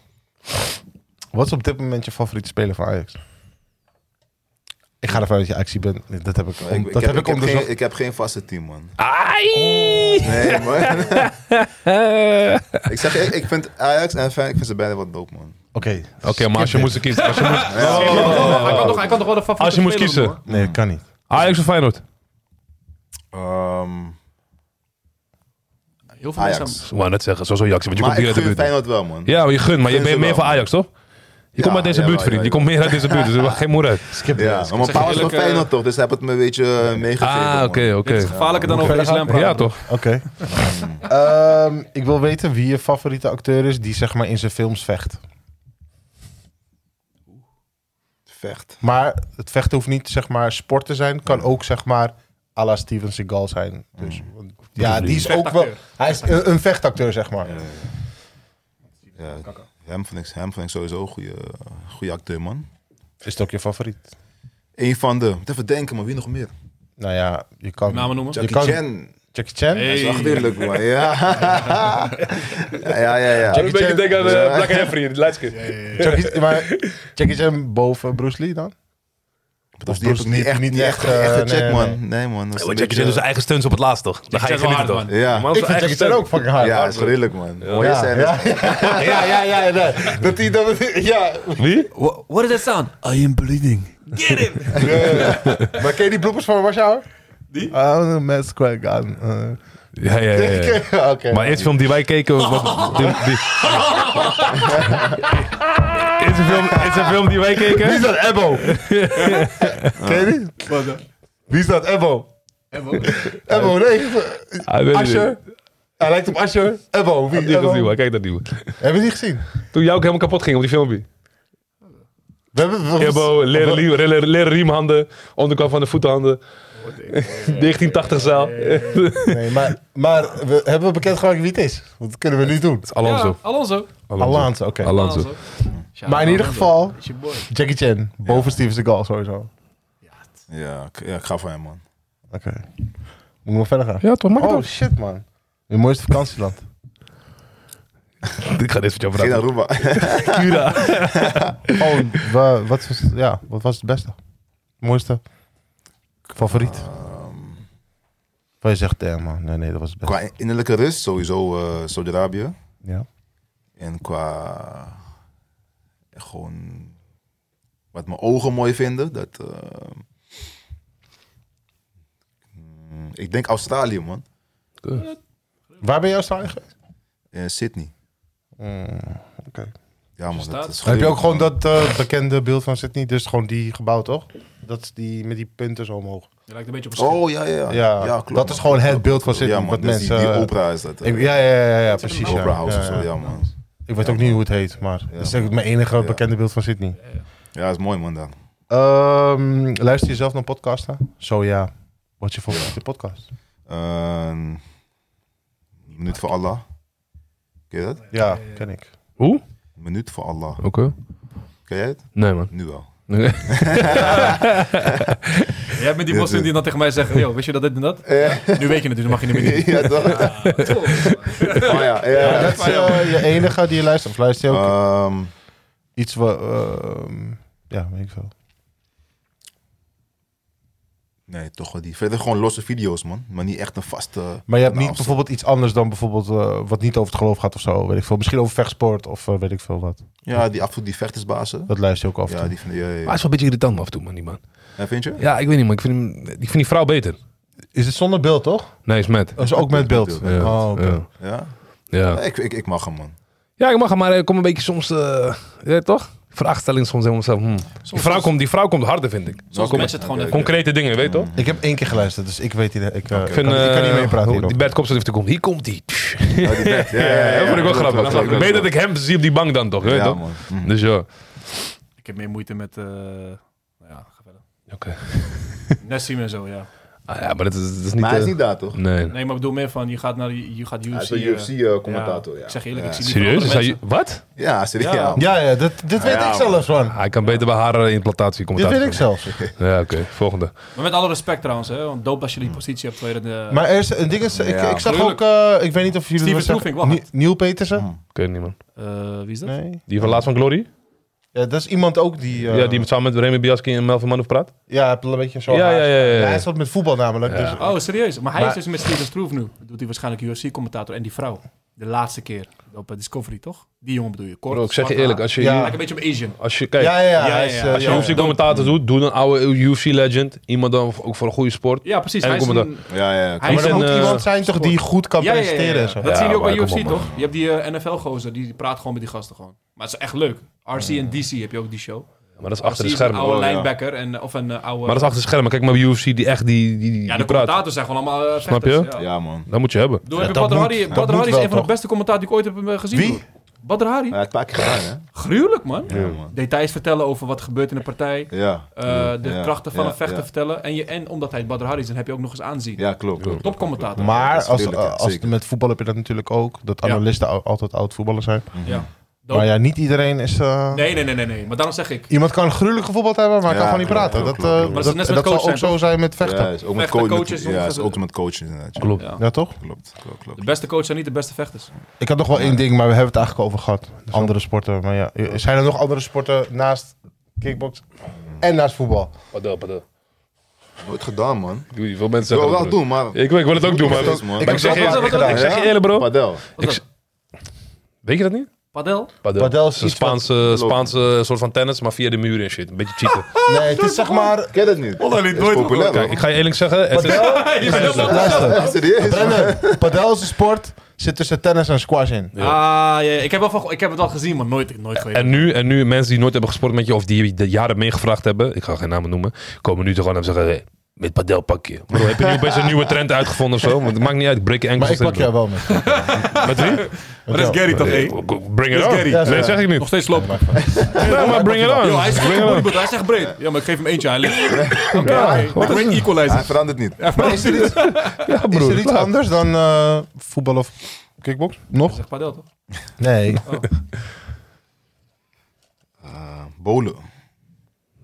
S2: Wat is op dit moment je favoriete speler van Ajax? Ik ga ervan uit dat je actie bent. Dat heb ik, om-
S3: Ik, ik,
S2: dat
S3: heb,
S2: heb ik
S3: ik, heb
S2: onderzocht.
S3: geen, ik heb geen vaste team, man. Oh.
S1: Ai!
S3: Nee, man. ik zeg, je, ik, ik vind Ajax en Feyenoord, ik vind ze beide wat dope, man.
S2: Oké.
S1: Oké, maar als je moest kiezen... Als je moest,
S5: Oh, Hij kan toch- Hij kan toch wel de favoriete
S1: Als je moest
S5: speler
S1: kiezen.
S5: noemen,
S2: Nee,
S3: Mm.
S2: dat kan niet.
S1: Ajax of Feyenoord?
S3: Ehm,
S5: hoor. Heel veel
S3: Ajax.
S5: mensen...
S1: Ik wou net zeggen, zoals Ajax, want je
S3: maar
S1: komt hier uit
S3: ik
S1: de
S3: gun
S1: buurt.
S3: Feyenoord wel, man.
S1: Ja, maar je gunt, maar je
S3: Gun
S1: bent
S3: ze
S1: meer
S3: wel.
S1: van Ajax, toch? Je komt
S3: Ja,
S1: uit deze
S3: jawel,
S1: buurt, vriend. Je
S3: jawel.
S1: komt meer uit deze buurt, dus er maakt geen moer uit.
S2: Skip
S3: Ja,
S1: dus
S2: this.
S3: maar mijn
S5: zeg
S3: pa
S5: je
S3: was van
S5: eerlijk, eh,
S3: Feyenoord, toch? Dus hij heeft het me een beetje eh, meegegeven,
S1: Ah,
S3: man.
S1: oké,
S5: Dit is
S1: oké.
S5: gevaarlijker dan over islam praten.
S1: Ja, toch?
S2: Oké.
S3: Mm.
S2: Ehm, ik wil weten wie je favoriete acteur is die zeg maar in zijn films vecht.
S3: Vecht. Mm.
S2: Maar het vechten hoeft niet zeg maar sport te zijn. Kan ook zeg maar à la Steven Seagal zijn. Dus, want- ja, die is ook wel... Hij is een, een vechtacteur zeg maar.
S3: Ja, hem, vind ik, hem vind ik sowieso een goede, goede acteur, man.
S2: Is het ook je favoriet?
S3: Eén van de... Moet even denken, maar wie nog meer?
S2: Nou ja, je kan...
S5: Namen noemen?
S2: Je
S3: Jackie
S2: kan,
S3: Chan.
S2: Jackie Chan?
S3: Dat is achterlijk, man. Ja. ja, ja, ja.
S2: Jackie Chan,
S1: denken aan eh,
S3: Ja.
S1: Black Jeffrey, de laatste
S2: Jackie, E- maar Jackie Chan boven Bruce Lee dan?
S3: Of
S2: Bruce Lee heeft niet echt,
S3: een
S2: eh,
S3: echte check,
S2: nee,
S3: man.
S2: nee.
S3: Nee, man. Dat
S1: Jackie
S3: is een
S1: Chan doet
S2: dus
S3: beetje-
S1: zijn eigen stunts op het laatst, toch? Dan ga je
S5: Jackie Chan
S1: genieten,
S5: is
S1: toch?
S5: wel hard,
S3: Ja.
S1: Man,
S2: Ik
S1: zijn
S2: vind
S1: eigen
S2: Jackie
S1: stunt.
S2: Chan ook fucking hard.
S3: Ja, dat is redelijk, man. Mooie
S2: ja,
S3: scène.
S2: ja, ja, ja, ja, nee. Dat die, dat die, ja.
S1: Wie?
S5: What is that sound? I am bleeding. Get him!
S2: Maar ken je die bloepers van Rush Hour? Die? Oh, met Square Gun. Eh,
S1: Ja, ja, ja, ja.
S2: Oké.
S1: Maar eerst film die wij keken... was- die, die... Eerste film, eerste film die wij keken...
S2: Wie is dat, Ebbo? ken je die? Wie is dat, Ebbo? Ebbo, nee.
S1: Hij Ah, weet het niet.
S2: Asher. Hij lijkt op Asher. Ebbo, wie?
S1: Die is
S2: Ebbo.
S1: nieuw, hij kijkt dat nieuwe.
S2: Hebben we die gezien?
S1: Toen jou ook helemaal kapot ging op die filmpje.
S2: We hebben... we-
S1: Ebbo, leren, lie- leren- leren riemhanden, onderkant van de voetenhanden. 1980 zaal. Het
S2: Nee, maar, maar we, hebben we bekendgemaakt wie het is? Want dat kunnen we nu doen.
S1: is Alonso.
S5: Ja, Alonso.
S2: Alonso, oké.
S1: Alonso.
S5: Ja,
S2: Maar in ieder
S5: Alonso.
S2: geval,
S5: Is je boy.
S2: Jackie Chan. Boven Steven Seagal sowieso.
S3: Ja, ik, ja, ik ga voor hem, man.
S2: Oké. Moet ik maar verder gaan?
S1: Ja, toch
S2: Oh,
S1: makkelijk.
S2: shit, man. Je mooiste vakantieland.
S1: Ik ga dit met jou
S3: Geen
S1: praten.
S3: Aruba.
S1: Cura.
S2: Oh, wa- wat, was, ja, wat was het beste? Mooiste? Favoriet?
S3: Ehm,
S2: Waar je zegt, eh, man. Nee, nee, dat was het beste.
S3: qua innerlijke rust, sowieso eh Saudi-Arabië.
S2: Ja.
S3: En qua gewoon wat mijn ogen mooi vinden, dat. eh, mm, ik denk Australië, man.
S2: Waar ben je Australië geweest?
S3: Eh, Sydney. Ja, man. Dat
S5: Staat.
S3: is
S2: Mm, Heb je ook
S3: gruwelijk,
S2: gewoon
S3: man.
S2: dat eh, bekende beeld van Sydney? Dus gewoon die gebouw, toch? Dat is die met die punten zo omhoog.
S5: Je lijkt een beetje op een
S3: Oh ja, ja,
S2: Ja,
S3: ja. klopt,
S2: dat is
S3: man.
S2: gewoon het
S3: Klopt,
S2: beeld van
S3: klopt.
S2: Sydney,
S3: Ja, man.
S2: wat
S3: dat is die-
S2: mensen,
S3: Die
S2: eh,
S3: opera is dat. eh.
S2: Ik, ja, ja, ja, ja, ja, precies.
S3: opera
S2: ja.
S3: house
S2: ja,
S3: of zo,
S2: ja.
S3: ja, man.
S2: Ik weet ook niet hoe het heet, maar dat is eigenlijk mijn enige bekende beeld van Sydney.
S3: Ja, is mooi, man. Dan.
S2: Ehm, luister je zelf naar podcasten? Zo ja. Wat je voor de podcast?
S3: Ehm, minuut voor Allah. Ken je dat?
S2: Ja, ken ik.
S1: Hoe?
S3: Minuut voor Allah.
S1: Oké.
S3: Ken jij het?
S1: Nee, man.
S3: Nu wel.
S5: Jij bent die moslim die dan tegen mij zegt, yo, wist je dat dit en dat? Nu weet je het, dus dan mag je niet meer doen.
S3: ja, toch? Maar ja, ja, ja.
S2: dat is eh, je enige die je luistert. Of luister je ook
S3: Ehm,
S2: iets wat... ehm, ja, weet ik veel.
S3: nee, toch wel die. Verder gewoon losse video's, man. Maar niet echt een vaste.
S2: Maar je hebt niet
S3: Nou, zo-
S2: bijvoorbeeld iets anders dan bijvoorbeeld eh, wat niet over het geloof gaat of zo. Weet ik veel. Misschien over vechtsport of eh, weet ik veel wat.
S3: Ja, die af en toe die vechtersbazen.
S2: Dat luister je ook af. en
S3: Ja,
S2: toe.
S3: die vind ja, ja,
S1: Maar hij is
S3: ja.
S1: wel een beetje irritant af en toe, man, die man.
S3: Ja, vind je?
S1: Ja, ik weet niet, maar ik vind, hem, ik vind die vrouw beter.
S2: Is het zonder beeld, toch?
S1: Nee, is met.
S2: Dat is ook met beeld.
S3: Ja.
S2: Oh, oké.
S1: Ja.
S3: Ja.
S1: Ja.
S3: Nee, ik, ik, ik mag hem, man.
S1: Ja, ik mag hem, maar ik kom een beetje soms... eh ja, toch? Vraagstelling soms helemaal zelf. hmm. Die, vrouw komt, die vrouw komt harder, vind ik.
S5: Soms
S3: Kom-
S5: mensen het gewoon
S3: Oké,
S5: even.
S1: Concrete dingen, weet je toch?
S2: Ik heb één keer geluisterd, dus ik weet hier... Ik, eh,
S1: Ik,
S2: kan,
S1: vind,
S2: ik kan niet
S1: eh,
S2: meepraten
S1: hoe- Die
S2: hierop.
S1: Bert Kopster heeft te komen. Hier komt hij.
S3: Ja, die bed. Ja, ja, ja,
S1: dat vond ik wel
S3: klopt,
S1: grappig.
S3: klopt, klopt,
S1: Beter dat ik hem zie op die bank dan toch, weet je
S3: Ja,
S1: toch?
S3: man. Mm.
S1: Dus ja.
S5: Ik heb meer moeite met, eh, nou ja, ga verder.
S1: Oké.
S5: Nessim en zo, ja.
S1: Ah, ja, maar dat is, dat is niet...
S3: Maar hij is
S1: eh,
S3: niet daar, toch?
S1: Nee.
S5: Nee, maar ik bedoel meer van, je gaat naar, die- je gaat UFC.
S3: Hij is een
S5: eh,
S3: UFC-commentator, ja.
S5: Ik zeg je eerlijk, ik zie niet
S1: Serieus?
S5: van
S1: Is hij,
S5: andere mensen.
S1: wat?
S3: Ja, serieus.
S5: Ja.
S3: Ja, man.
S2: Ja, Ah, ja, dit, dit weet
S3: Ja,
S2: ik
S3: man.
S2: zelfs, man.
S1: Hij kan beter bij haar eh, implantatie komen.
S2: Dit weet ik zelfs.
S1: Ja, oké. Volgende.
S5: Maar met alle respect trouwens, hè, want doop als je die positie hebt. Tweede, eh, de,
S2: Maar er is een ding is, ik,
S3: Ja,
S2: ik zag ook,
S5: tuurlijk.
S2: eh, ik weet niet of jullie
S5: Steven Hm.
S2: dat zeggen.
S5: Stroef vind ik wel hard.
S2: Nie- Neil Petersen?
S1: Ik weet het niet, man.
S5: eh, wie is dat?
S2: Nee.
S1: Die van laatst van Glory?
S2: Ja, dat is iemand ook die... eh,
S1: Ja, die met- samen met Remy Biaski en Melvin Manhoef praat?
S2: Ja, heb een beetje zo.
S1: Ja, ja, ja, ja, ja.
S2: Hij zat met voetbal namelijk. Dus,
S5: Oh, serieus? Maar hij
S2: Maar-
S5: is dus met Steven Stroef nu. Dat doet hij waarschijnlijk UFC-commentator en die vrouw. De laatste keer op eh, Discovery, toch? Die jongen bedoel je. Kort,
S1: Bro, ik zeg je
S5: zwart
S1: eerlijk,
S5: haar.
S1: als je,
S2: Ja.
S5: Lijkt een beetje op Asian.
S1: als je, kijk,
S2: ja, ja, ja.
S5: Ja,
S2: hij
S5: ja,
S2: is,
S5: ja.
S2: eh,
S1: als je
S2: ja, ja.
S1: UFC-commentator doet, doe een oude UFC-legend. Iemand dan v- ook voor een goede sport.
S5: Ja, precies.
S1: En
S5: Hij is
S1: dan
S5: een,
S3: Ja, ja, ja.
S5: hij
S2: Maar
S5: is
S1: en,
S2: er moet
S1: eh,
S2: iemand zijn toch die goed kan
S5: Ja, ja, ja, ja.
S2: presteren en zo.
S5: Dat zie je
S1: Ja,
S5: ook bij
S1: maar kom
S5: UFC,
S1: op, man.
S5: toch? Je hebt die eh, NFL-gozer, die, die praat gewoon met die gasten gewoon. Maar het is echt leuk. RC en DC heb je ook die show.
S1: Maar dat is
S5: RC
S1: achter de
S5: is
S1: schermen.
S5: Een oude
S3: Oh, ja.
S5: linebacker en, of een eh, oude...
S1: Maar dat is achter de schermen. Kijk maar bij UFC, die echt die, die, die,
S5: ja, de
S1: die praat.
S5: commentators zijn gewoon allemaal eh,
S1: Snap
S5: vechters,
S1: je?
S5: Ja.
S3: Ja, man.
S1: Dat moet je hebben.
S5: Doe,
S2: Ja,
S5: heb je
S2: dat
S5: Badr
S2: moet- dat
S5: Hari- Badr
S2: moet
S5: Hari is
S2: wel,
S5: een van de
S2: toch?
S5: beste commentator die ik ooit heb eh, gezien.
S2: Wie?
S5: broer. Badr Hari.
S3: Ja, het paar keer gedaan, hè?
S5: Gruwelijk, man.
S3: Ja, man.
S5: Details vertellen over wat gebeurt in een partij.
S3: Ja,
S5: eh, de
S3: Ja,
S5: krachten van
S3: ja,
S5: een vechter
S3: ja.
S5: vertellen. En, je, en omdat hij het Badr Hari is, dan heb je ook nog eens aanzien.
S3: ja klopt. klopt.
S5: Topcommentator.
S2: Maar
S3: dat is
S2: als,
S3: tuurlijk, ja,
S2: eh, als
S3: zeker.
S2: met voetbal heb je dat natuurlijk ook. Dat
S5: Ja.
S2: analisten al- altijd oud voetballers zijn.
S5: Ja. Doop.
S2: Maar ja, niet iedereen is... eh,
S5: Nee, nee, nee, nee, nee. Maar daarom zeg ik.
S2: Iemand kan gruwelijk gevoetbald hebben, maar hij
S3: Ja,
S2: kan gewoon niet
S3: klopt,
S2: praten.
S3: klopt,
S2: Dat,
S3: klopt, klopt.
S2: eh
S5: Maar
S2: dat,
S5: dat is net
S2: dat,
S5: met
S2: zal
S5: coach
S2: ook
S5: zijn,
S2: zo zijn met vechten.
S3: Ja,
S2: Ja,
S3: is ook met
S5: Vechten,
S3: coach.
S5: coaches,
S3: ja, is ook
S5: ongeveer.
S3: met coaches inderdaad. ja.
S1: Klopt.
S5: Ja.
S2: toch?
S3: Klopt, klopt, klopt.
S5: De beste coaches zijn niet de beste vechters.
S2: Ik had nog wel één ding, maar we hebben het eigenlijk al over gehad. Andere sporten, maar ja. Zijn er nog andere sporten naast kickbox en naast voetbal?
S1: Padel, padel.
S3: Nooit gedaan, man.
S1: Ik doe- Veel mensen
S3: Ik
S1: zeggen
S3: wil wel
S1: dat, bro.
S3: doen, maar...
S1: Ik, weet- ik wil het ook doen, maar...
S3: Precies, man.
S1: maar
S3: Ik
S1: Ik,
S2: heb
S1: zeg
S2: dat
S1: je
S2: wel
S1: eerlijk-
S5: gedaan,
S1: ik zeg je
S3: hè?
S1: eerlijk, bro.
S3: Padel.
S5: Wat
S1: Ik
S5: is dat?
S1: Weet je dat niet?
S5: Padel?
S1: Padel.
S2: Padel is
S1: Het is een
S2: iets wat-
S1: Spaanse, Spaanse soort van tennis, maar via de muur en shit. Een beetje cheaten.
S2: Nee, het is zeg maar...
S3: Ken het niet.
S5: Padel niet
S3: Het is populair,
S1: Kijk, ik
S3: hoor.
S1: ga je eerlijk zeggen... Het is,
S5: Je bent helemaal enthousiast.
S2: Luister,
S3: Ja, serieus.
S2: Brennan, padel is een sport, zit tussen tennis en squash in.
S5: Ah, ja, ja. Ik, heb wel van, ik heb het al gezien, maar nooit, nooit geweten.
S1: En nu, en nu, mensen die nooit hebben gesport met je of die de jaren meegevraagd hebben, ik ga geen namen noemen, komen nu toch gewoon en zeggen: hey, met padelpakje. Bro, heb je nu best een nieuwe trend uitgevonden of zo? Want het maakt niet uit, break je
S2: Maar ik
S1: enkels.
S2: pak jou wel mee.
S1: Met wie? Eh,
S5: Maar dat is Gary toch, hé?
S1: Bring it
S5: Dat
S1: on.
S5: is Gary. Ja,
S1: Nee, dat zeg ik
S5: Nog
S1: niet.
S5: steeds lopen.
S1: Ja, maar bring it on.
S5: Yo, hij is
S1: Bring
S5: echt
S1: it on.
S5: bodybuild, hij is echt breed. Ja, maar ik geef hem eentje, hij ligt. Oké,
S1: wat
S5: ik ben
S3: Hij
S5: equalizer.
S3: verandert niet.
S2: Maar is er iets,
S1: Ja,
S2: is er
S1: broer.
S2: iets
S1: klaar.
S2: anders dan eh, voetbal of kickbox? Nog?
S5: Zeg padel, toch?
S2: Nee.
S3: Ah, bolen.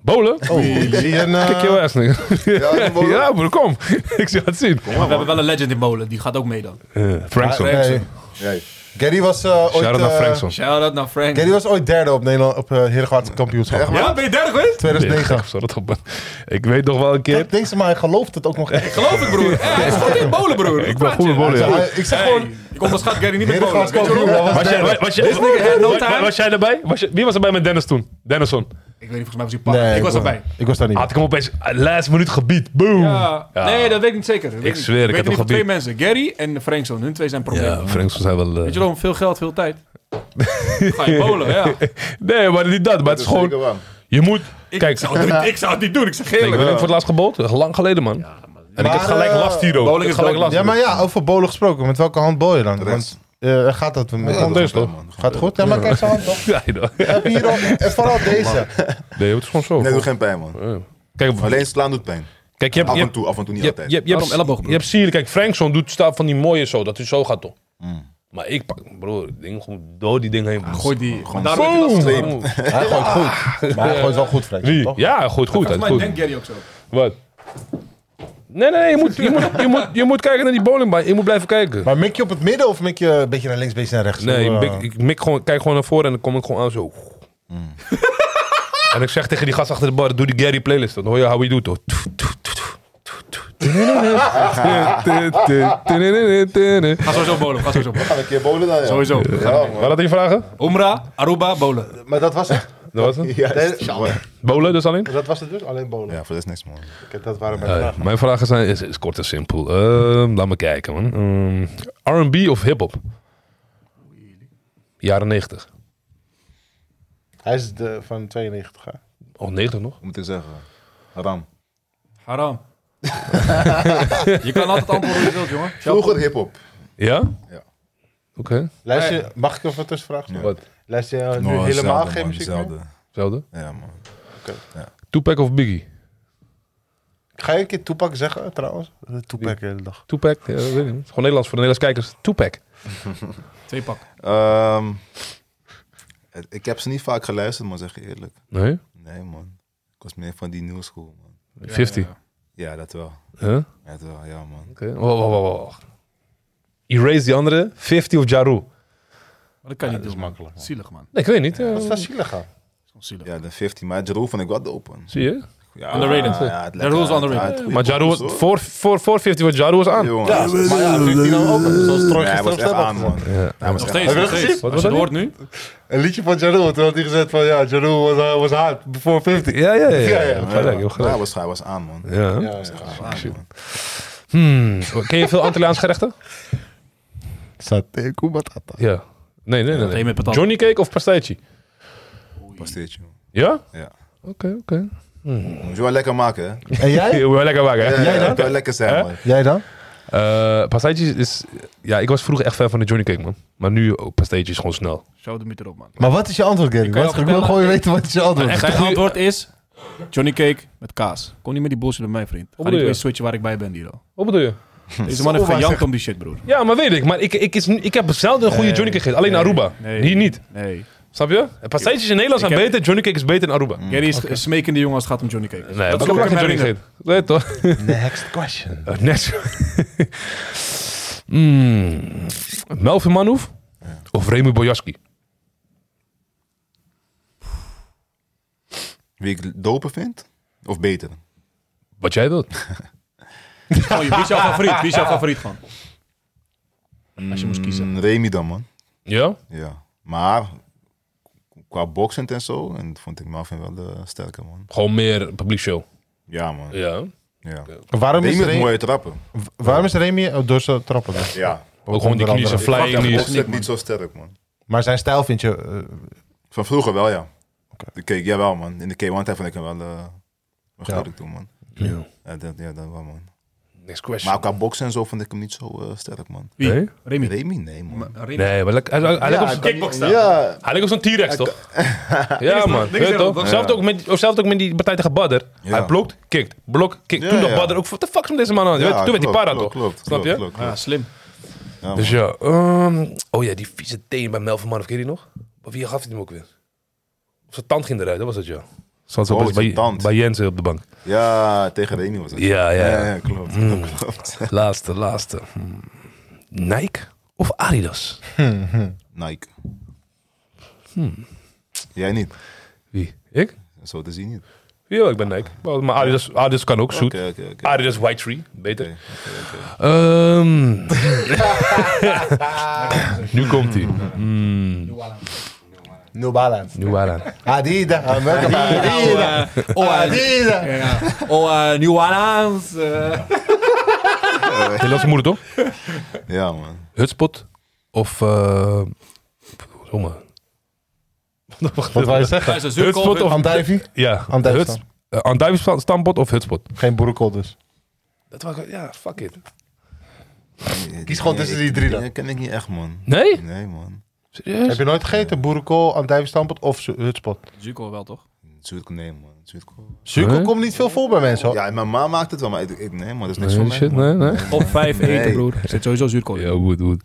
S1: Bolen?
S2: Oh, ik zie een... eh,
S1: Kijk je ass, nigga.
S3: Ja, bolen.
S1: Ja, broer, kom. Ik zal het zien.
S5: we hebben wel een legend in molen, die gaat ook mee dan.
S1: Eh, Frankson.
S2: nee.
S5: Frankson.
S3: Ja,
S2: Gary was eh, ooit...
S1: Shout-out naar
S2: eh,
S1: Frankson.
S5: Shout-out naar Frank.
S2: Gary was ooit derde op Nederland op eh Heergewaardse kampioenschap.
S5: Ja, ben je derde geweest?
S2: 2009.
S1: Zo, dat op- Ik weet nog wel een keer.
S2: Kijk, Deze maar hij gelooft het ook nog echt.
S5: Geloof ik, broer. Eh, Hij is goed in bolen, broer.
S1: Ik ben goed met bolen, ja.
S2: Hij- Ik zeg gewoon...
S5: Hey, ik onderschat Gary niet met bolen.
S2: Heergewaardse
S5: Weet je
S2: kampioen,
S5: waarom?
S2: hij was
S1: Was jij, was,
S2: derde.
S1: was, jij,
S5: nigga had no
S1: was-
S5: time.
S1: was jij erbij? Was jij- wie was erbij met Dennis toen? Dennison.
S5: Ik weet niet, volgens mij was hij
S2: Nee,
S5: pak. Ik was erbij.
S2: Ik was daar niet.
S1: Had ik hem opeens, eh, last minuut gebied. Boom.
S5: Ja. Nee, dat weet ik niet zeker. Dat
S1: Ik
S5: weet
S1: zweer, ik
S5: weet
S1: heb
S5: het
S1: hem
S5: niet van twee mensen. Gary en Frankson. Hun twee zijn problemen.
S1: Ja, Frankson zijn wel... eh,
S5: Weet je wel, veel geld, veel tijd. Ga je bolen, ja.
S1: Nee, maar niet dat. Maar het
S3: dat
S1: is
S3: is
S1: gewoon...
S3: zeker waar.
S1: Je moet...
S5: Ik,
S1: Kijk,
S5: zou het niet, ik zou het niet doen, ik zeg
S1: ik
S5: eerlijk.
S1: ben ook voor het laatst gebold. Lang geleden, man. En ik
S2: Maar,
S1: heb gelijk
S2: eh,
S1: last hier ook.
S5: bowling
S1: Ik heb
S5: is
S1: gelijk
S5: dood.
S1: last.
S2: Ja, maar ja, over bolen gesproken. Met welke hand bol je dan?
S3: Rechts.
S2: Want eh, gaat dat met...
S1: Gewoon deze, toch?
S2: Gaat goed? Ja, maar kijk zijn hand toch?
S1: Ja, joh.
S2: Heb je hier al... En vooral deze.
S1: Nee, het is gewoon zo.
S3: Nee, doe geen pijn, man.
S1: Kijk,
S3: Alleen slaan doet pijn.
S1: kijk, je hebt...
S3: Af
S1: je
S3: en
S1: hebt-
S3: toe, af en toe niet
S1: Je, je,
S3: altijd.
S1: je, hebt- je,
S5: Waarom elleboog,
S1: hebt-
S5: broer?
S1: je hebt Siri, kijk, Frankson doet staat van die mooie zo, dat hij zo gaat toch. Maar ik pak, broer, dat ding gewoon door die ding heen.
S5: Gooi die.
S3: Gewoon
S5: daarom heb je last van
S1: Boom.
S5: hem.
S2: Hij gooit goed. Maar hij gooit wel goed, Frank.
S1: Wie?
S2: toch?
S1: Ja, goed, goed.
S5: Volgens
S1: Goed,
S5: mij denkt Gary ook zo.
S1: Wat? Nee, nee, nee, je moet, je moet, je moet, je moet kijken naar die bowlingbaan. Je moet blijven kijken.
S2: Maar mik je op het midden of mik je een beetje naar links, een beetje naar rechts?
S1: Nee,
S2: Of,
S1: ik,
S2: eh,
S1: mik- ik mik gewoon, kijk gewoon naar voren en dan kom ik gewoon aan zo.
S3: Mm.
S1: en ik zeg tegen die gast achter de bar, doe die Gary playlist. Dan hoor je how we do toch.
S5: Ga sowieso bolen, ga sowieso bolen.
S3: Gaan we een keer bolen dan, ja.
S5: Sowieso.
S3: Ja, man.
S1: Waar had je vragen?
S5: Omra, Aruba, bolen.
S2: Maar dat was het.
S1: Dat was het.
S3: Ja,
S2: Nee,
S1: Bowlen dus alleen?
S2: dat was het dus, alleen bolen.
S3: Ja, voor de is niks, man.
S2: Kijk, Dat waren mijn
S1: Eh,
S2: vragen.
S1: mijn vragen zijn is, is kort en simpel. Ehm, laat me kijken, man. Ehm, R&B of hip-hop? Jaren 90.
S2: Hij is de, van 92, hè?
S1: Of 90 Oh, nog?
S3: Hoe moet ik zeggen? Haram.
S5: Haram. je kan altijd antwoorden hoe je wilt, jongen.
S3: Vroeger hip-hop.
S1: Ja?
S3: Ja.
S1: Oké.
S2: Luister je, mag ik even tussen vragen?
S3: Ja.
S1: Wat?
S2: Luister je nu
S3: Nou,
S2: helemaal
S3: zelden,
S2: geen
S3: man,
S2: muziek meer?
S3: zelden.
S1: Zelfde.
S3: Ja, man.
S1: Tupac of Biggie?
S2: Ga je een keer Toepak zeggen, trouwens? Eh, Toepak de hele dag.
S1: Tupac? Ja, dat weet ik niet. Het is Gewoon Nederlands voor de Nederlandse kijkers. Tupac.
S5: Twee pak.
S3: Ehm, het- ik heb ze niet vaak geluisterd, maar zeg je eerlijk.
S1: Nee?
S3: Nee, man. Ik was meer van die new school, man.
S1: 50.
S3: Ja, dat wel.
S1: Huh? Oké.
S3: Dat wel, ja, man.
S1: Wacht, wacht, wacht, wacht. Erase die andere. 50 of Jaru?
S5: Maar dat kan je niet doen.
S2: makkelijk, man.
S5: Zielig, man.
S1: Nee, ik weet niet. eh,
S2: Wat is dat zielig aan?
S5: Gewoon zielig.
S3: Ja, de 15. Maar Jeroen vond ik wel dope, man.
S1: Zie je?
S3: Ja,
S5: Underrated.
S3: Ja, het
S5: De rules underrated.
S1: Maar Jaru was... Voor, voor, voor 50 was Jaru was aan.
S3: Jongen.
S2: Ja, maar ja, vindt hij dan open? Zoals Troy
S3: Nee, hij
S2: gisteren
S3: was echt
S2: zelf
S3: aan,
S2: had
S3: man.
S2: gezegd.
S1: Ja.
S3: Hij was echt
S5: Nog steeds, nog
S2: gezien?
S5: steeds.
S1: Wat
S5: Als je
S1: was
S5: het
S1: dat
S5: hoort nu.
S2: Een liedje van Jarul, toen had hij gezegd van ja, Jarul was, eh, was hard voor 50.
S1: Ja, ja, ja. ja,
S2: Ja, ja.
S1: Gelijk,
S3: aan.
S1: heel
S3: Ja,
S1: gelijk.
S3: hij was, hij was aan, man.
S1: Ja.
S2: Ja, ja.
S1: Hmm. Ken je veel Antilliaans gerechten?
S2: Saté Kubatata.
S1: Ja. Nee, nee, nee.
S5: Saté met patat.
S1: Johnny cake of pasteitje?
S3: Pasteertje, man.
S1: Ja?
S3: Ja.
S1: Oké, oké.
S3: Moet je wel lekker maken, hè?
S2: En jij?
S1: Hey, we lekker wakker, hè?
S3: Ja, moet wel lekker zijn, man.
S2: Jij dan?
S1: Eh, pasteitjes is... Ja, ik was vroeger echt fan van de Johnny cake, man. Maar nu ook pasteitjes gewoon snel.
S5: Zo de meter op, man.
S2: Maar wat is je antwoord, Gary?
S5: kan
S2: Wat-
S5: jou
S2: Ik wil
S5: vertellen-
S2: gewoon weten wat is je antwoord.
S5: Zijn antwoord is Johnny Cake met kaas. Kom niet met die bullshit met mij, vriend. Ga
S1: bedoel
S5: niet
S1: je?
S5: weer switchen waar ik bij ben, hier al.
S1: Wat bedoel je?
S5: Deze man heeft
S2: Zo was
S5: gejankt om die shit, broer.
S1: Ja, maar weet ik. Maar ik, ik, is, nu- ik heb zelden een goede
S5: Nee,
S1: Johnny cake gegeten. Alleen
S5: nee,
S1: Aruba.
S5: nee.
S1: Hier niet.
S5: Nee.
S1: Snap je? En Pasteitjes in Nederland
S5: Ik
S1: zijn
S5: heb-
S1: beter. Johnny cake is beter dan Aruba.
S5: Gary is een smekende jongen als het gaat om Johnny Cake.
S1: Nee, dat
S5: is
S1: ik heb
S5: ook
S1: lang geen
S5: een
S1: Johnny
S5: herinnering.
S1: gegeten. Nee, toch?
S2: Next question.
S1: Eh, Net mm. Melvin Manhoef of Remy Bojaski?
S3: Wie ik doper vind? Of beter?
S1: Wat jij wilt.
S5: Oh, je- Wie is jouw favoriet? Wie is jouw favoriet van? Als je moest kiezen.
S3: Mm, Remy dan, man.
S1: Ja?
S3: Ja. Maar qua boksen en zo, en vond ik Marvin wel de sterke, man.
S1: Gewoon meer publiek show.
S3: Ja, man. Ja.
S1: Ja.
S2: Waarom
S3: Remy
S2: is,
S3: heeft
S2: Remy,
S3: mooie trappen.
S2: waarom is Remy oh, door zijn trappen? dan?
S3: Ja.
S1: Ook gewoon die
S2: onder
S1: knieën, zijn
S2: andere.
S1: flying
S3: Ik
S1: knieën.
S3: is niet, niet zo sterk, man.
S2: Maar zijn stijl vind je... eh,
S3: Van vroeger wel, ja. De cake, jawel, man. In de K1 tijd vond ik hem wel... eh wel
S2: Ja.
S3: gruwelijk toen, man.
S10: Ja.
S3: Ja, dat, ja, dat wel, man.
S10: Next
S3: Maar
S10: question.
S3: qua boksen en zo vond ik hem niet zo eh, sterk, man.
S5: Wie?
S1: Nee?
S5: Remy.
S3: Remy, nee, man.
S5: Maar- Remy.
S1: Nee, maar hij- hij- hij lijkt
S3: Ja,
S1: op
S3: hij
S1: zo'n-
S3: kan-
S5: kickboxer.
S3: Ja,
S1: hij lijkt op zo'n T-Rex, toch? Ja, man.
S5: niks
S1: Weet
S5: aan
S1: toch?
S5: dat.
S1: Zelfde ook met- of Zelfde ook met die partij tegen Badder.
S3: Ja.
S1: Hij blokt, kickt, blok, kickt.
S3: Ja,
S1: Toen nog
S3: ja.
S1: Badder ook. Wat de fuck is met deze man aan? de hand?
S3: ja,
S1: Toen werd die
S3: klopt,
S1: para,
S3: klopt,
S1: toch?
S3: Klopt,
S1: Snap je?
S3: klopt, klopt.
S5: Ja, Ah, slim.
S3: Ja,
S1: Dus
S3: man.
S1: ja, ehm, oh ja, die vieze teen bij Melvin Man, of ken je die nog? Of wie gaf hij hem ook weer? Of zijn tand ging eruit, dat was het ja. Zat
S3: Oh,
S1: zo
S3: zijn
S1: bij,
S3: tand.
S1: bij Jensen op de bank.
S3: ja, tegen Remy was het.
S1: Ja, Mm. ja.
S3: ja, klopt. klopt.
S1: Laatste, laatste. Hmm. Nike of Adidas?
S3: Nike.
S1: Hmm.
S3: Jij niet.
S1: Wie? Ik?
S3: Zo te zien niet.
S1: Ja, ik ben Nike. Wel, Maar Adidas, Adidas kan ook, zoet.
S3: Oké, oké, oké.
S1: Adidas Ah, White Tree, beter.
S3: Oké,
S1: Ehm. nu komt hij.
S2: New Balance.
S1: Mm, Nu aan.
S2: Adidas. Adidas.
S5: Oh, eh,
S2: Adidas.
S6: Oh, New Orleans.
S5: eh.
S1: Nederlandse moeder toch?
S3: Ja, man.
S1: Hutspot of... eh Jongen.
S2: Wat wou je zeggen?
S5: Hij is een
S1: Hutspot
S5: zuurkool.
S1: of...
S2: Andijvie?
S1: Ja,
S2: Andijvie
S1: Huts- eh, Andijvie sta- standbot of hutspot?
S2: Geen boerenkool dus.
S1: Dat was, ja, fuck it.
S2: Kies gewoon tussen die drie dan.
S3: Dat ken ik niet echt, man.
S1: Nee?
S3: Nee, man.
S1: Serieus?
S2: Heb je nooit gegeten? Boerenkool, andijvie of zu- hutspot?
S5: Zuurkool wel, toch?
S3: Zuidkool, nee, man. Zuidkool.
S2: Zuurkool
S1: Nee.
S2: komt niet veel voor bij mensen hoor.
S3: Ja, mijn ma maakt het wel, maar ik, ik- nee, man. Dat is niks
S1: Oh. Nee,
S3: voor mij.
S1: shit,
S3: man.
S1: nee, nee.
S5: Op vijf
S3: Nee.
S5: eten, broer. Er zit sowieso zuurkool in.
S1: Ja, goed, goed.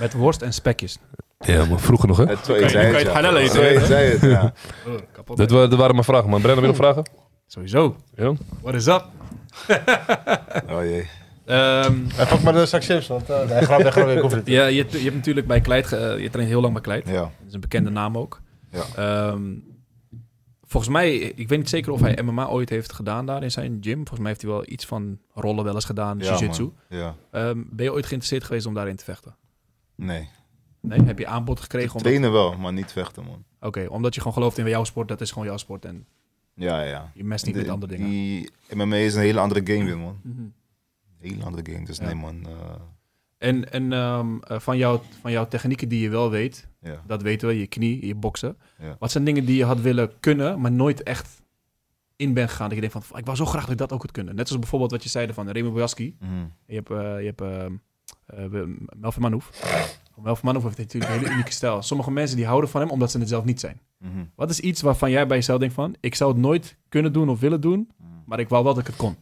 S5: Met worst en spekjes.
S1: Ja, maar vroeger nog, hè?
S3: Het, zo, ik Eh, zei
S5: je
S3: het,
S5: kan
S3: ja.
S5: het gaan eten,
S3: Zo, ik zei het, ja.
S5: kapot.
S1: Dat, wa- dat waren mijn vragen, man. Brennan, wil je nog vragen?
S5: Sowieso.
S1: Ja.
S5: What is up?
S3: Oh jee.
S5: Ehm,
S2: En pak maar de zak chips, want eh, nee, grap, nee, grap, ik hoef het niet.
S5: ja, je, je hebt natuurlijk bij Kleid... ge- eh, je traint heel lang bij Kleid.
S3: Ja.
S5: Dat is een bekende naam ook.
S3: Ja.
S5: Ehm, volgens mij, ik weet niet zeker of hij MMA ooit heeft gedaan daar in zijn gym. Volgens mij heeft hij wel iets van rollen wel eens gedaan,
S3: Ja,
S5: jiu-jitsu.
S3: man. Ja.
S5: Ehm, ben je ooit geïnteresseerd geweest om daarin te vechten?
S3: Nee.
S5: Nee? Heb je aanbod gekregen? Omdat... Oké,
S3: Trainen wel, maar niet vechten, man.
S5: omdat je gewoon gelooft in jouw sport, dat is gewoon jouw sport. En
S3: Ja, ja.
S5: je mest niet
S3: De-
S5: met andere dingen.
S3: Die MMA is een hele andere game weer, man.
S5: Mhm.
S3: Hele andere game, dus
S5: Ja.
S3: nee, man. eh,
S5: En, en ehm, eh, van, jouw, van jouw technieken die je wel weet,
S3: ja.
S5: dat weten we, je knie, je boksen.
S3: Ja.
S5: Wat zijn dingen die je had willen kunnen, maar nooit echt in bent gegaan? Dat je denkt van, ik wou zo graag dat ik dat ook had kunnen. Net zoals bijvoorbeeld wat je zeide van Remy Bojaski.
S3: Mhm.
S5: Je hebt, eh, je hebt ehm, eh, we- Melvin Manhoef. Melvin Manhoef heeft natuurlijk een hele unieke stijl. Sommige mensen die houden van hem omdat ze het zelf niet zijn.
S3: Mhm.
S5: Wat is iets waarvan jij bij jezelf denkt van... ik zou het nooit kunnen doen of willen doen...
S3: Mm.
S5: maar ik wou wel dat ik het kon.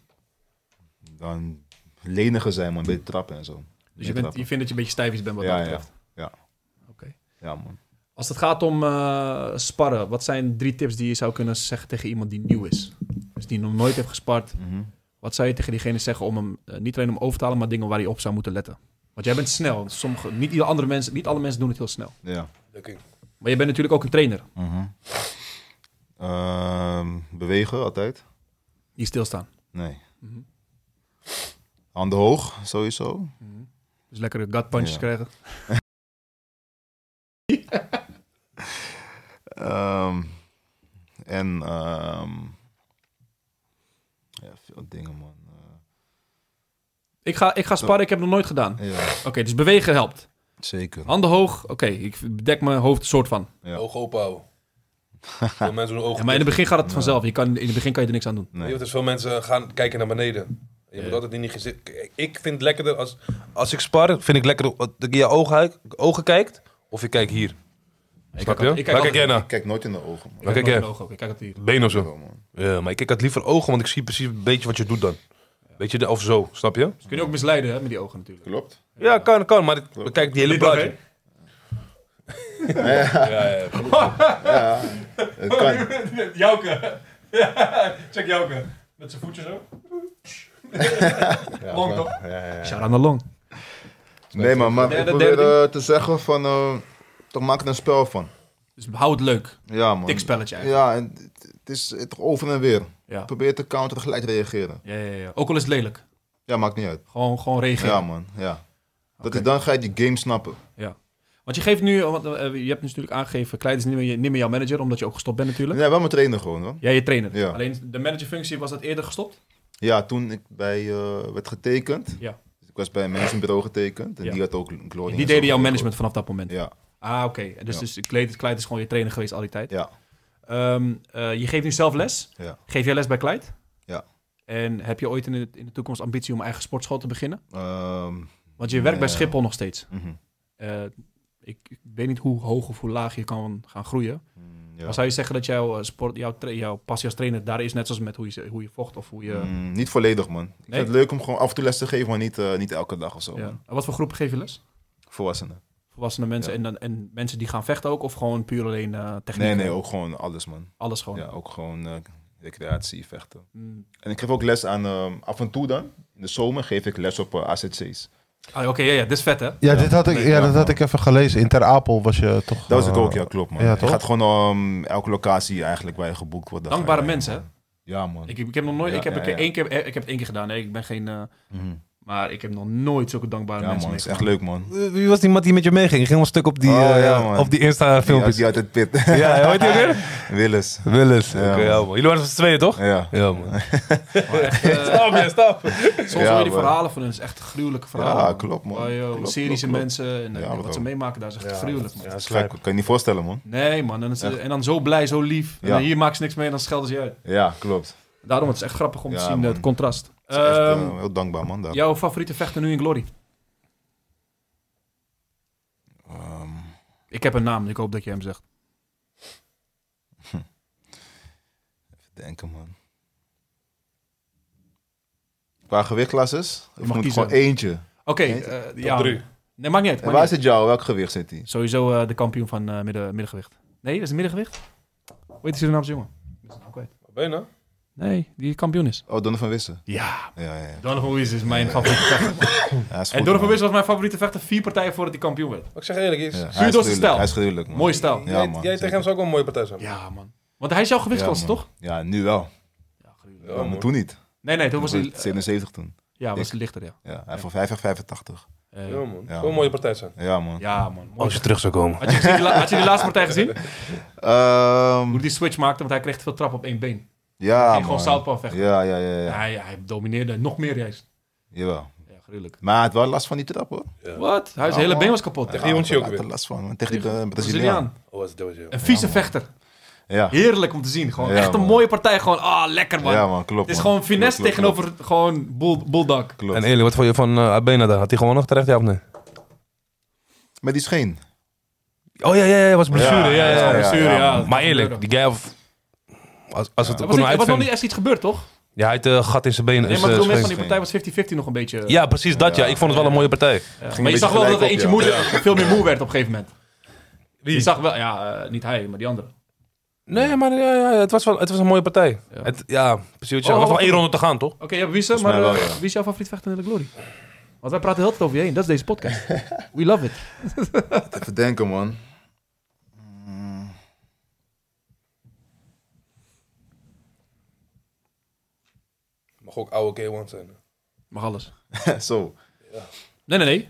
S3: Dan leniger zijn, man. Beetje trappen en zo.
S5: Dus
S3: Meer
S5: je, bent,
S3: trappen.
S5: je vindt dat je een beetje stijf is bent wat
S3: Ja,
S5: dat
S3: ja.
S5: betreft.
S3: Ja, man.
S5: Als het gaat om eh, sparren, wat zijn drie tips die je zou kunnen zeggen tegen iemand die nieuw is? Dus die nog nooit heeft gespart.
S3: Mhm.
S5: Wat zou je tegen diegene zeggen om hem eh, niet alleen om over te halen, maar dingen waar hij op zou moeten letten? Want jij bent snel. Sommige, niet, ieder andere mensen, niet alle mensen doen het heel snel.
S3: Ja.
S5: Maar je bent natuurlijk ook een trainer.
S3: Mhm. Ehm, bewegen, altijd.
S5: Die stilstaan.
S3: Nee.
S5: Mhm.
S3: Handen hoog, sowieso.
S5: Dus lekkere gut punches
S3: Ja.
S5: krijgen.
S3: Ehm, en ehm, ja, veel dingen, man. Eh,
S5: Ik ga, ik ga sparren, ik heb het nog nooit gedaan. Oké,
S3: ja,
S5: dus bewegen helpt.
S3: zeker.
S5: Handen hoog, oké, ik bedek mijn hoofd soort van.
S3: Ja.
S10: Ogen open houden. Veel mensen doen
S5: Ja,
S10: ogen
S5: maar in het
S10: dicht.
S5: begin gaat het vanzelf. Je kan, in het begin kan je er niks aan doen.
S10: Weet
S3: Nee.
S10: je wat, dus veel mensen gaan kijken naar beneden. En Je moet altijd in die gezicht... Kijk, Ik vind het lekkerder als... Als ik spar, vind ik lekkerder dat ik in je ogen, huik- ogen kijkt. Of je kijkt hier.
S5: Ik
S10: Snap
S5: kijk
S10: je?
S5: altijd- ik kijk
S10: Waar kijk jij
S5: altijd-
S10: naar?
S3: Ik kijk nooit in de ogen, man.
S5: Ik
S10: Waar
S5: nooit
S10: kijk jij?
S5: in de ogen ook. Ik kijk het hier.
S10: Been of zo.
S3: Zo, man.
S10: Ja, maar ik kijk het liever ogen, want ik zie precies een beetje wat je doet dan. Weet je, de- of zo, snap je?
S5: Kun je ook misleiden hè, met die ogen natuurlijk.
S3: Klopt.
S10: Ja, kan, kan, maar ik bekijk die hele plaatje.
S5: Oh,
S3: Het kan.
S5: Jouke. Check Jouke. Met zijn voetje zo. long toch? Shout aan de long.
S3: Nee, maar, maar
S5: Derde-
S3: ik probeer
S5: derde
S3: eh, te zeggen van... eh, toch maak er een spel van.
S5: Dus hou het leuk.
S3: Ja, man.
S5: Dik spelletje eigenlijk.
S3: Ja, en het- het is toch over en weer.
S5: Ja.
S3: Probeer te counteren, gelijk reageren.
S5: Ja, ja, ja. Ook al is het lelijk.
S3: Ja, maakt niet uit.
S5: Gewoon, gewoon reageren.
S3: Ja, man. Ja. Dat is, dan ga je die game snappen.
S5: Want je geeft nu, want, eh, je hebt natuurlijk aangegeven, Kleid is niet meer, je- niet meer jouw manager, omdat je ook gestopt bent natuurlijk.
S3: Ja, wel mijn trainer gewoon, hoor.
S5: Jij je trainer.
S3: Ja.
S5: Alleen de managerfunctie was dat eerder gestopt?
S3: Ja, toen ik bij, eh, werd getekend.
S5: Ja.
S3: Dus ik was bij een managementbureau getekend. En
S5: Ja.
S3: die had ook Glory.
S5: Die deden jouw management vanaf dat moment.
S3: Ja,
S5: Ah, oké. Dus,
S3: Ja.
S5: dus Kleid, Kleid is gewoon je trainer geweest al die tijd.
S3: ja.
S5: Ehm, eh, je geeft nu zelf les.
S3: Ja.
S5: Geef jij les bij Kleid?
S3: Ja.
S5: En heb je ooit in de, in de toekomst ambitie om eigen sportschool te beginnen?
S3: Ehm,
S5: Want je werkt bij
S3: Nee.
S5: Schiphol nog steeds.
S3: mhm.
S5: Eh, ik, ik weet niet hoe hoog of hoe laag je kan gaan groeien.
S3: Mm, ja.
S5: Maar zou je zeggen dat jouw, eh, sport, jouw, tra- jouw passie als trainer daar is, net zoals met hoe je, hoe je vocht of hoe je...
S3: Mm, niet volledig, man. Ik
S5: eh, Nee.
S3: vind het leuk om gewoon af en toe les te geven, maar niet, eh, niet elke dag of zo.
S5: Ja.
S3: man.
S5: En wat voor groepen geef je les?
S3: Volwassenen.
S5: Volwassene mensen
S3: Ja.
S5: en, dan, en mensen die gaan vechten ook? Of gewoon puur alleen eh techniek?
S3: Nee, nee, ook gewoon alles, man.
S5: Alles gewoon?
S3: Ja, ook gewoon eh, recreatie, vechten.
S5: Mm.
S3: En ik geef ook les aan, ehm, af en toe dan, in de zomer geef ik les op eh, AZC's.
S5: Ah, Oké, ja, ja, dit is vet hè?
S2: Ja, dit had ik, ja, dat had ik even gelezen. In Ter Apel was je toch...
S3: Dat was ik
S2: eh,
S3: ook, ja, klopt, man.
S2: ja,
S3: je
S2: toch?
S3: gaat gewoon ehm, elke locatie eigenlijk waar je geboekt wordt. dan ga je
S5: Dankbare
S3: daarheen,
S5: mensen hè?
S3: man. Ja, man.
S5: Ik, ik heb nog nooit...
S3: Ja,
S5: ik, heb
S3: ja,
S5: een keer,
S3: ja.
S5: één keer, eh, ik heb het één keer gedaan. Nee, ik ben geen... eh,
S3: Mhm.
S5: maar ik heb nog nooit zulke dankbare
S3: Ja,
S5: mensen
S3: man, het is echt
S5: meegemaakt.
S3: leuk, man.
S11: Wie was die man die met je meeging? Ging een stuk op die,
S3: Oh,
S11: eh,
S3: ja, man.
S11: op die Insta-filmpjes.
S3: Die uit het pit.
S11: Ja, hoe heet die ook weer?
S3: Willis.
S11: Willis.
S3: Ja,
S11: Oké, ja,
S3: man.
S11: man. Jullie waren met z'n tweeën, toch?
S3: Ja.
S11: Ja, man.
S10: Stap, ja, stap.
S5: Soms
S3: Ja,
S5: Eh, hoor je die
S3: man.
S5: verhalen van hen. Het is echt gruwelijke verhalen.
S3: Ja, klopt, man.
S5: Waar je
S3: Klopt,
S5: series en
S3: klopt,
S5: mensen en eh,
S3: Ja,
S5: wat
S3: bro.
S5: ze meemaken daar is echt gruwelijk, man.
S10: Ja,
S3: Gek, kan je niet voorstellen, man.
S5: Nee, man. En, het- en dan zo blij, zo lief. En
S3: Ja.
S5: dan hier maken ze niks mee en dan schelden ze je uit.
S3: Ja, klopt.
S5: Daarom het is echt grappig om te
S3: Ja,
S5: zien
S3: man.
S5: het contrast.
S3: Het is echt,
S5: Ehm,
S3: eh, heel dankbaar, man. Daar.
S5: jouw favoriete vechter nu in Glory?
S3: Ehm,
S5: Ik heb een naam, ik hoop dat je hem zegt.
S3: denken, man. Qua gewichtklasses? Of
S5: mag
S3: moet ik
S5: kiezen.
S3: gewoon eentje?
S5: Oké, eh, ja.
S10: drie.
S5: Nee, maakt niet uit.
S3: En
S5: maakt
S3: waar
S5: niet
S3: zit jou? Welk gewicht zit hij?
S5: uit. Sowieso eh, de kampioen van eh, midden, middengewicht. Nee, dat is het middengewicht. Hoe heet die Surinaamse jongen? Dat is nou kwijt.
S10: Bijna.
S5: Nee, die kampioen is.
S3: Oh, Donovan Wissen.
S5: Ja,
S3: Ja, ja, ja.
S5: Donovan Wies is mijn favoriete vechter.
S3: Hij is
S5: En
S3: goed,
S5: Donovan
S3: man.
S5: Wies was mijn favoriete vechter vier partijen voordat hij kampioen werd.
S10: Maar ik zeg eerlijk, is,
S3: Ja, hij is
S5: Zuidos
S3: gruwelijk,
S5: stijl.
S3: Hij is gruwelijk, man.
S5: Mooi stijl.
S3: Ja,
S10: jij,
S3: man,
S10: jij tegen
S3: zeker.
S10: hem zou ook wel een mooie partij zijn.
S5: Ja, man. Want hij is jouw gewichtsklasse,
S3: man.
S5: toch?
S3: Ja, nu wel.
S10: Ja,
S3: Ja, maar
S10: man.
S3: toen niet.
S5: Nee, nee, toen
S3: Toen
S5: was
S3: was
S5: hij,
S3: het 77 toen.
S5: ja, was hij lichter, ja.
S3: Ja, hij heeft van 50 85.
S5: Eh,
S10: Ja, man.
S3: Ja,
S10: Zo'n mooie partij zijn.
S3: Ja, man.
S5: ja, man. Mooi.
S3: Oh,
S1: Als je terug zou komen.
S5: Had je, gezien die la- had je die laatste partij gezien?
S3: Ehm,
S5: Hoe die switch maakte, want hij kreeg te veel trap op één been. Hij
S3: ja,
S5: ging
S3: man.
S5: gewoon southpaw vechten.
S3: Ja, ja, ja, ja.
S5: Hij, hij domineerde nog meer juist.
S3: Jawel.
S5: Ja, gruwelijk.
S3: Maar hij had wel last van die trap, hoor.
S5: Wat? Hij
S3: Ja,
S5: hele
S3: man.
S5: been was kapot.
S3: Ja,
S5: Echt
S10: die hondje ook
S3: hij had
S10: weer.
S3: er last van, man. Tegen die eh, Braziliaan.
S5: Braziliaan.
S10: Oh, dat is- dat was heel.
S5: Een vieze vechter.
S3: Ja.
S5: Heerlijk om te zien. Gewoon
S3: Ja,
S5: echt een
S3: man.
S5: mooie partij. Gewoon, ah, lekker man.
S3: Ja, man, klopt.
S5: Het is
S3: man.
S5: gewoon finesse
S3: Klopt, klopt,
S5: tegenover gewoon bull, bulldog.
S3: Klopt.
S1: En eerlijk, wat vond je van eh, Abena daar? Had hij gewoon nog terecht, ja of nee?
S3: Met die scheen.
S1: Oh ja, ja, ja, was blessure. Ja, ja, ja.
S5: Blessure,
S3: ja,
S5: ja.
S1: Maar eerlijk, die guy... of- Als, als het
S5: Er
S1: kon
S5: was, niet, er was nog
S1: uitvinden...
S5: niet echt iets gebeurd, toch?
S1: Ja, hij had een gat in zijn benen.
S5: Nee,
S1: is,
S5: maar ik
S1: eh,
S5: bedoel, mensen
S1: scheen.
S5: van die partij was 50-50 nog een beetje...
S1: Ja, precies dat ja. Ik vond het wel een mooie partij.
S5: Ja,
S3: een
S5: maar je
S3: beetje
S5: zag wel dat er
S3: gelijk
S5: eentje
S3: op,
S5: moe,
S3: ja.
S5: veel meer moe werd op een gegeven moment.
S1: Wie?
S5: Je zag wel, ja, eh, niet hij, maar die andere.
S1: Nee, maar ja, ja, het, was wel, het was een mooie partij.
S5: Ja.
S1: Ja, het, ja precies wat je zegt.
S5: Oh,
S1: Er was nog
S5: wacht.
S1: één ronde te gaan, toch?
S5: Oké, ja, wie is er?
S3: Volgens
S5: Maar
S3: mij
S5: eh,
S3: wel, ja.
S5: wie is jouw favoriet vechter in de glory? Want wij praten heel de hele tijd over je heen. Dat is deze podcast. We love it.
S3: Even denken, man.
S10: Mag ook oude K1 zijn.
S5: Mag alles.
S3: Zo.
S5: Nee, nee, nee.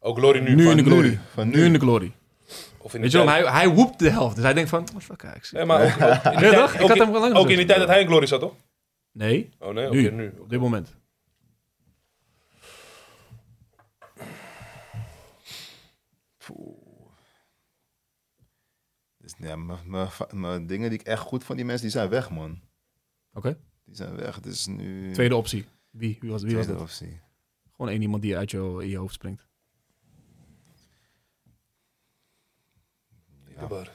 S10: Ook Glory nu.
S5: Nu
S10: van
S5: in de
S3: nu,
S5: glory.
S3: van
S5: nu.
S3: nu.
S5: in de glory.
S10: Of in
S5: Weet je
S10: die
S5: wel,
S10: tijd-
S5: hij, hij woept de helft. Dus hij denkt van... Oh, fuck, ik zie-
S10: Nee, maar ook, ook in
S5: Ja,
S10: die tijd-
S5: toch? Ik
S10: ook
S5: had
S10: in-
S5: hem wel lang
S10: Ook in die
S5: gezet.
S10: tijd dat hij in Glory zat, toch?
S5: Nee,
S10: Oh nee, oké,
S5: nu.
S10: nu.
S5: Op dit moment.
S3: Dus, ja, mijn- mijn va- mijn dingen die ik echt goed van die mensen, die zijn weg, man.
S5: Oké.
S3: Die zijn weg. Het is nu...
S5: Tweede optie. Wie, wie, was, wie was
S3: tweede
S5: dat?
S3: optie.
S5: Gewoon één iemand die uit jou, in je hoofd springt.
S10: Blijf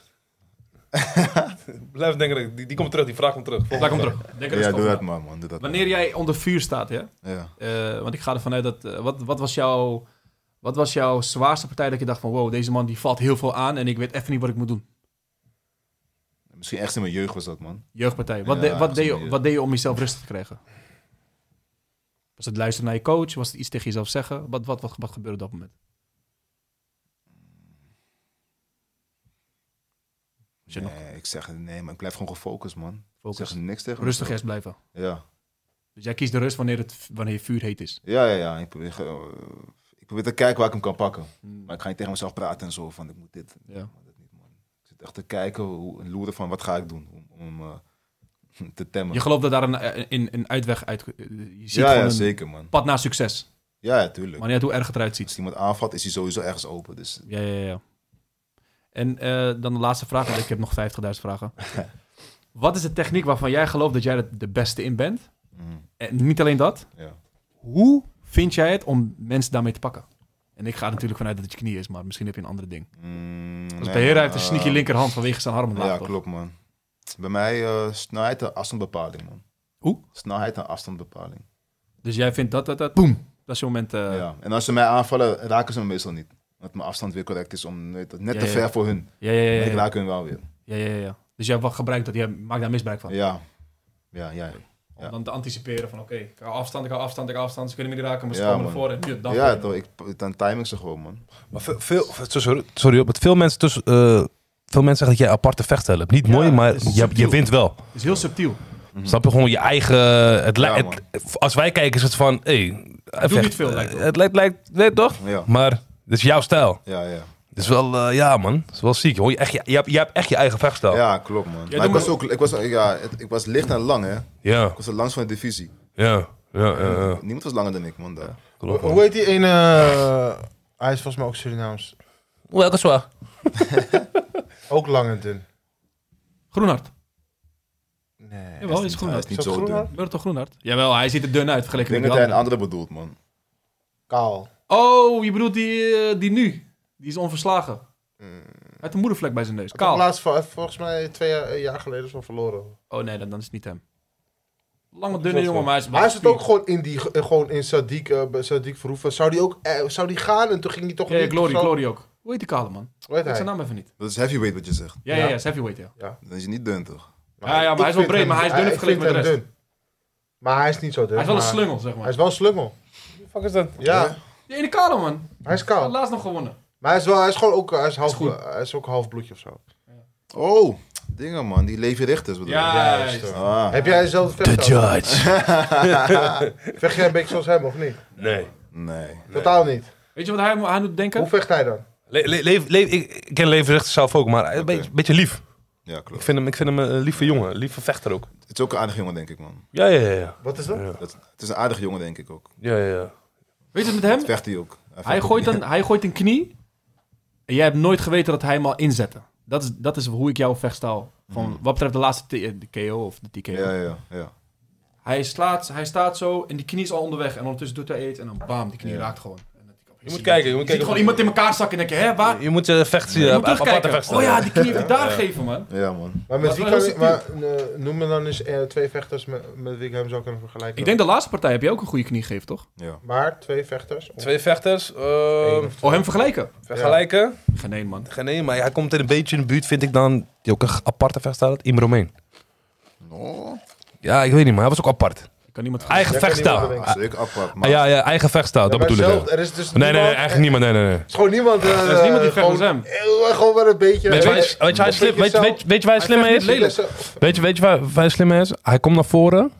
S10: Blijf denken, dat ik- die, die komt terug, die vraag komt terug.
S5: Daar komt terug. Denk er
S3: Ja,
S5: eens over
S3: doe
S5: na.
S3: dat maar, man. Doe dat
S5: Wanneer jij onder vuur staat, hè?
S3: maar. Ja.
S5: Eh, want ik ga ervan uit dat... eh, wat, wat, was jouw, wat was jouw zwaarste partij dat je dacht van... Wow, deze man die valt heel veel aan en ik weet even niet wat ik moet doen.
S3: Misschien echt in mijn jeugd was dat, man.
S5: Jeugdpartij. Wat,
S3: Ja,
S5: de- wat,
S3: op
S5: deed
S3: zo'n
S5: je,
S3: manier.
S5: wat deed je om jezelf rustig te krijgen? Was het luisteren naar je coach? Was het iets tegen jezelf zeggen? Wat, wat, wat, wat gebeurde op dat moment? Als je nog
S3: Nee, ik zeg, nee, maar ik blijf gewoon gefocust, man. Ik
S5: focus.
S3: zeg niks tegen mezelf.
S5: Rustig eerst blijven.
S3: Ja.
S5: Dus jij kiest de rust wanneer, het, wanneer je vuur heet is.
S3: Ja, ja, ja. Ik probeer, ge- eh, ik probeer te kijken waar ik hem kan pakken. Maar ik ga niet tegen mezelf praten en zo van, ik moet dit.
S5: Ja.
S3: Ik zit echt te kijken, hoe, en loeren van, wat ga ik doen om, om hem eh, te temmen.
S5: Je gelooft dat daar een, eh, in, een uitweg uit... eh, Je ziet
S3: ja,
S5: gewoon
S3: ja,
S5: een
S3: zeker, man.
S5: pad naar succes.
S3: Ja, ja, tuurlijk.
S5: Wanneer het hoe erg het eruit
S3: Als
S5: ziet.
S3: iemand aanvalt, is hij sowieso ergens open. Dus
S5: Ja, ja, ja. En eh, dan de laatste vraag, want ik heb nog 50.000 vragen. Wat is de techniek waarvan jij gelooft dat jij er de beste in bent? En niet alleen dat.
S3: mm, Ja.
S5: Hoe vind jij het om mensen daarmee te pakken? En ik ga er natuurlijk vanuit dat het je knie is, maar misschien heb je een andere ding.
S3: Mm,
S5: Dus
S3: nee,
S5: bij Hera
S3: man,
S5: heeft een
S3: eh,
S5: sneaky linkerhand vanwege zijn arm omlaag,
S3: Ja,
S5: toch?
S3: klopt man. Bij mij eh snelheid en afstandbepaling man.
S5: Hoe?
S3: Snelheid en afstandbepaling.
S5: Dus jij vindt dat, dat, dat, boem. Dat is je moment. eh, ja.
S3: Ja. En als ze mij aanvallen, raken ze me meestal niet. Dat mijn afstand weer correct is om weet je, net
S5: Ja,
S3: te
S5: ja.
S3: ver voor hun.
S5: Ja, ja, ja,
S3: Maar Ik
S5: ja,
S3: raak hun wel weer.
S5: ja, ja, ja. Dus jij wat gebruikt dat, jij maakt daar misbruik van.
S3: Ja. Ja, ja.
S5: Om
S3: Ja.
S5: dan te anticiperen van, oké, ik hou afstand, ik hou afstand, ik hou afstand. Ze kunnen me niet raken, maar ze
S3: Ja,
S5: komen
S3: man.
S5: ervoor en pjut, dan.
S3: Ja, toch, ik, dan time ik ze gewoon, man.
S1: Maar veel, veel, sorry, sorry, hoor, maar veel mensen, tussen, eh, veel mensen zeggen dat jij aparte vechtstijl hebt. Niet
S5: Ja,
S1: mooi, maar
S5: het is
S1: je, je
S5: subtiel.
S1: wint wel.
S5: Het is heel subtiel.
S1: Snap je gewoon je eigen. Het li-
S3: Ja,
S1: het- als wij kijken, is het van. Hey, hij
S5: Doe
S1: vecht.
S5: niet veel, lijkt het.
S1: het lijkt, lijkt nee, toch?
S3: Ja,
S1: Maar dit is jouw stijl.
S3: ja, ja.
S1: Het is wel, eh, ja man, het is wel ziek. Hoor. Je, echt, je, je hebt, je hebt echt je eigen vechtstijl. Ja,
S3: Ja, klopt, man.
S5: doe
S3: maar ik
S5: maar.
S3: was, ook, ik, was, ja, het- ik was licht en lang, hè. Ik
S1: ja,
S3: was de langste van de divisie.
S1: ja, ja. ja, ja.
S3: Niemand was langer dan ik, man. Daar.
S1: Klopt, man.
S2: Hoe heet die ene... eh, hij is volgens mij ook Surinaams.
S1: Welke zwaar?
S2: Ook lang en dun.
S5: Groenhard.
S2: Nee.
S5: Jawel, is
S3: Hij
S5: Groenhard.
S3: is niet
S2: Is dat
S3: zo
S2: groen,
S3: dun.
S2: man?
S5: Myrtle Groenhard. Jawel, hij ziet er dun uit
S3: Ik
S5: vergeleken
S3: denk
S5: met
S3: dat
S5: die
S3: hij een
S5: andere.
S3: andere bedoelt, man.
S2: Kaal.
S5: Oh, je bedoelt die, eh, die nu. Die is onverslagen. Uit de moedervlek bij zijn neus.
S2: Kaal.
S5: Kaal.
S2: Mm. Laatst, vol- volgens mij twee jaar, een jaar geleden is wel verloren.
S5: Oh nee, dan, dan is het niet hem. Lange, dunne jongen, maar hij is...
S2: Maar hij zit ook gewoon in, die, eh, gewoon in Sadiq, eh, bij Sadiq Verhoeven. Zou die ook eh, zou die gaan en toen ging hij toch
S5: Ja, ja,
S2: niet
S5: Glory,
S2: of zo?
S5: Glory ook. Hoe heet die kale man?
S2: Hoe heet
S5: Ik zijn
S2: hij?
S5: naam even niet.
S3: Dat is heavyweight wat je zegt.
S5: Ja, ja, ja, is heavyweight, ja.
S3: Dan is je niet dun, toch?
S5: Ja, ja, maar
S2: ik
S5: hij is wel
S2: vind
S5: breed,
S2: hem-
S5: maar hij is dunner
S2: ik
S5: vergeleken
S2: vind
S5: met de
S2: hem dun. Maar hij is niet zo dun.
S5: Hij is wel een
S2: maar-
S5: slungel, zeg
S2: Hij
S5: maar.
S2: is wel een slungel.
S15: fuck is dat?
S2: Ja,
S5: Die ene kale man. Hij
S2: hij is
S5: had
S2: kaal.
S5: laatst nog gewonnen.
S2: Maar hij is, wel, hij is gewoon ook, hij is half,
S5: goed.
S2: eh, hij is ook half bloedje of zo.
S3: Oh, dingen, man. Die leven rechters, bedoel je?
S5: Ja,
S2: juist,
S5: juist.
S2: hoor.
S3: Ah.
S2: Heb jij zelf
S1: The
S2: vechten?
S1: Judge.
S2: Vecht jij een beetje zoals hem of niet?
S1: Nee.
S3: Nee.
S2: Totaal niet.
S5: Weet je wat hij mo- aan doet denken?
S2: Hoe vecht hij dan?
S1: Le- le- leef- leef- ik ik ken Levenrecht zelf ook, maar een beetje, beetje lief.
S3: Ja,
S1: Ik
S3: klopt.
S1: vind hem, ik vind hem een lieve jongen, lieve vechter ook.
S3: Het is ook een aardige jongen, denk ik, man.
S1: Ja, ja, ja. ja.
S2: Wat is dat?
S3: Dat, het is een aardige jongen, denk ik ook.
S1: ja, ja, ja.
S5: Weet je het met hem?
S3: Vecht hij ook.
S5: Hij
S3: vecht
S5: gooit,
S3: ook
S5: een, hij gooit een knie. En jij hebt nooit geweten dat hij hem al inzette. Dat is, dat is hoe ik jou vechtstaal. Van, Wat betreft de laatste T- eh, de KO of de TKO.
S3: niet. Ja, ja, ja.
S5: Hij, slaat, hij staat zo en die knie is al onderweg. En ondertussen doet hij iets en dan bam, die knie raakt gewoon. En dat-
S1: Je moet kijken, je moet
S5: Je ziet
S1: kijken.
S5: gewoon iemand in elkaar zakken en denk je, hè, waar?
S1: Je moet je vechten zien,
S5: Je moet
S1: aparte
S5: terugkijken.
S1: vechtstijl.
S5: Oh ja, die knie heb ik daar gegeven, man.
S3: Ja, man.
S2: Maar met
S5: Dat
S2: wie
S5: is
S2: kan
S5: wel
S2: ik, maar, eh, noem me dan eens eh, twee vechters met, met wie ik hem zou kunnen vergelijken.
S5: Ik denk de laatste partij heb je ook een goede knie gegeven, toch?
S3: Ja.
S2: Maar twee vechters? Of
S1: Twee vechters,
S2: één
S1: eh,
S2: of twee?
S5: Oh, hem vergelijken?
S1: vergelijken.
S5: Geen één, man.
S1: Geen nee, maar hij komt in een beetje in de buurt, vind ik dan. Die ook een aparte vechtstijl had, Im Romein.
S3: No.
S1: Ja, ik weet niet, maar hij was ook apart.
S5: Ik kan niemand vergelijken.
S1: Eigen
S2: Jij
S1: vechtstijl.
S2: kan niemand bedenken.
S3: Zeker apart,
S1: Ah,
S3: man.
S1: ja, ja, eigen vechtstijl, dat
S2: Maar
S1: bedoel ik.
S2: zelf-
S1: wel.
S2: Er is dus
S1: Nee, nee, nee,
S2: niemand-
S1: eigenlijk niemand. Nee, nee, nee.
S2: Er is gewoon niemand. eh,
S5: Er is niemand die vecht
S2: gewoon,
S5: als hem.
S2: Eh, gewoon wel een beetje.
S1: Weet je waar
S2: eh,
S1: hij- weet je waar hij slim-
S2: beetje
S1: weet-
S2: zo-
S1: weet- weet je waar hij slim mee is?
S5: vecht lelijk.
S1: Weet je, weet je waar, waar hij slim mee is? Hij komt naar voren.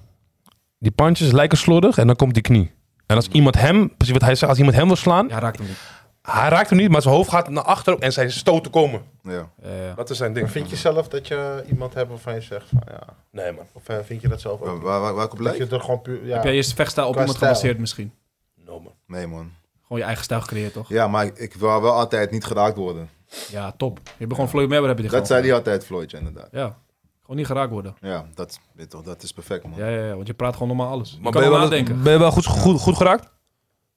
S1: Die pandjes lijken slordig en dan komt die knie. En als iemand hem, precies wat hij zegt, als iemand hem wil slaan,
S5: Ja, raakt hem niet.
S1: hij raakt hem niet, maar zijn hoofd gaat naar achteren en zijn stoten komen.
S3: Ja.
S5: Eh,
S1: Dat is zijn
S2: Maar
S1: ding.
S2: Vind je zelf dat je iemand hebt waarvan je zegt van ja.
S1: Nee, man.
S2: Of eh, vind je dat zelf ook?
S3: Waar, waar, waar ik
S2: Dat
S3: op
S2: je
S3: lijk?
S2: het er gewoon puur. Ja.
S5: Heb jij eerst vechtstijl op
S2: Qua
S5: iemand
S2: stijl.
S5: gebaseerd misschien?
S1: No, man.
S3: Nee, man.
S5: Gewoon je eigen stijl gecreëerd, toch?
S3: Ja, maar ik, ik wil wel altijd niet geraakt worden.
S5: Ja, top. Je begon Floyd Mayweather heb je
S3: Dat zei hij altijd, Floyd, ja, inderdaad.
S5: Ja. Gewoon niet geraakt worden.
S3: Ja, dat, weet je toch, dat is perfect, man.
S5: Ja, ja, ja, want je praat gewoon normaal alles. Je
S1: Maar
S5: kan
S1: ben je,
S5: wel
S1: wel,
S5: nadenken.
S1: ben je wel goed, goed, goed geraakt?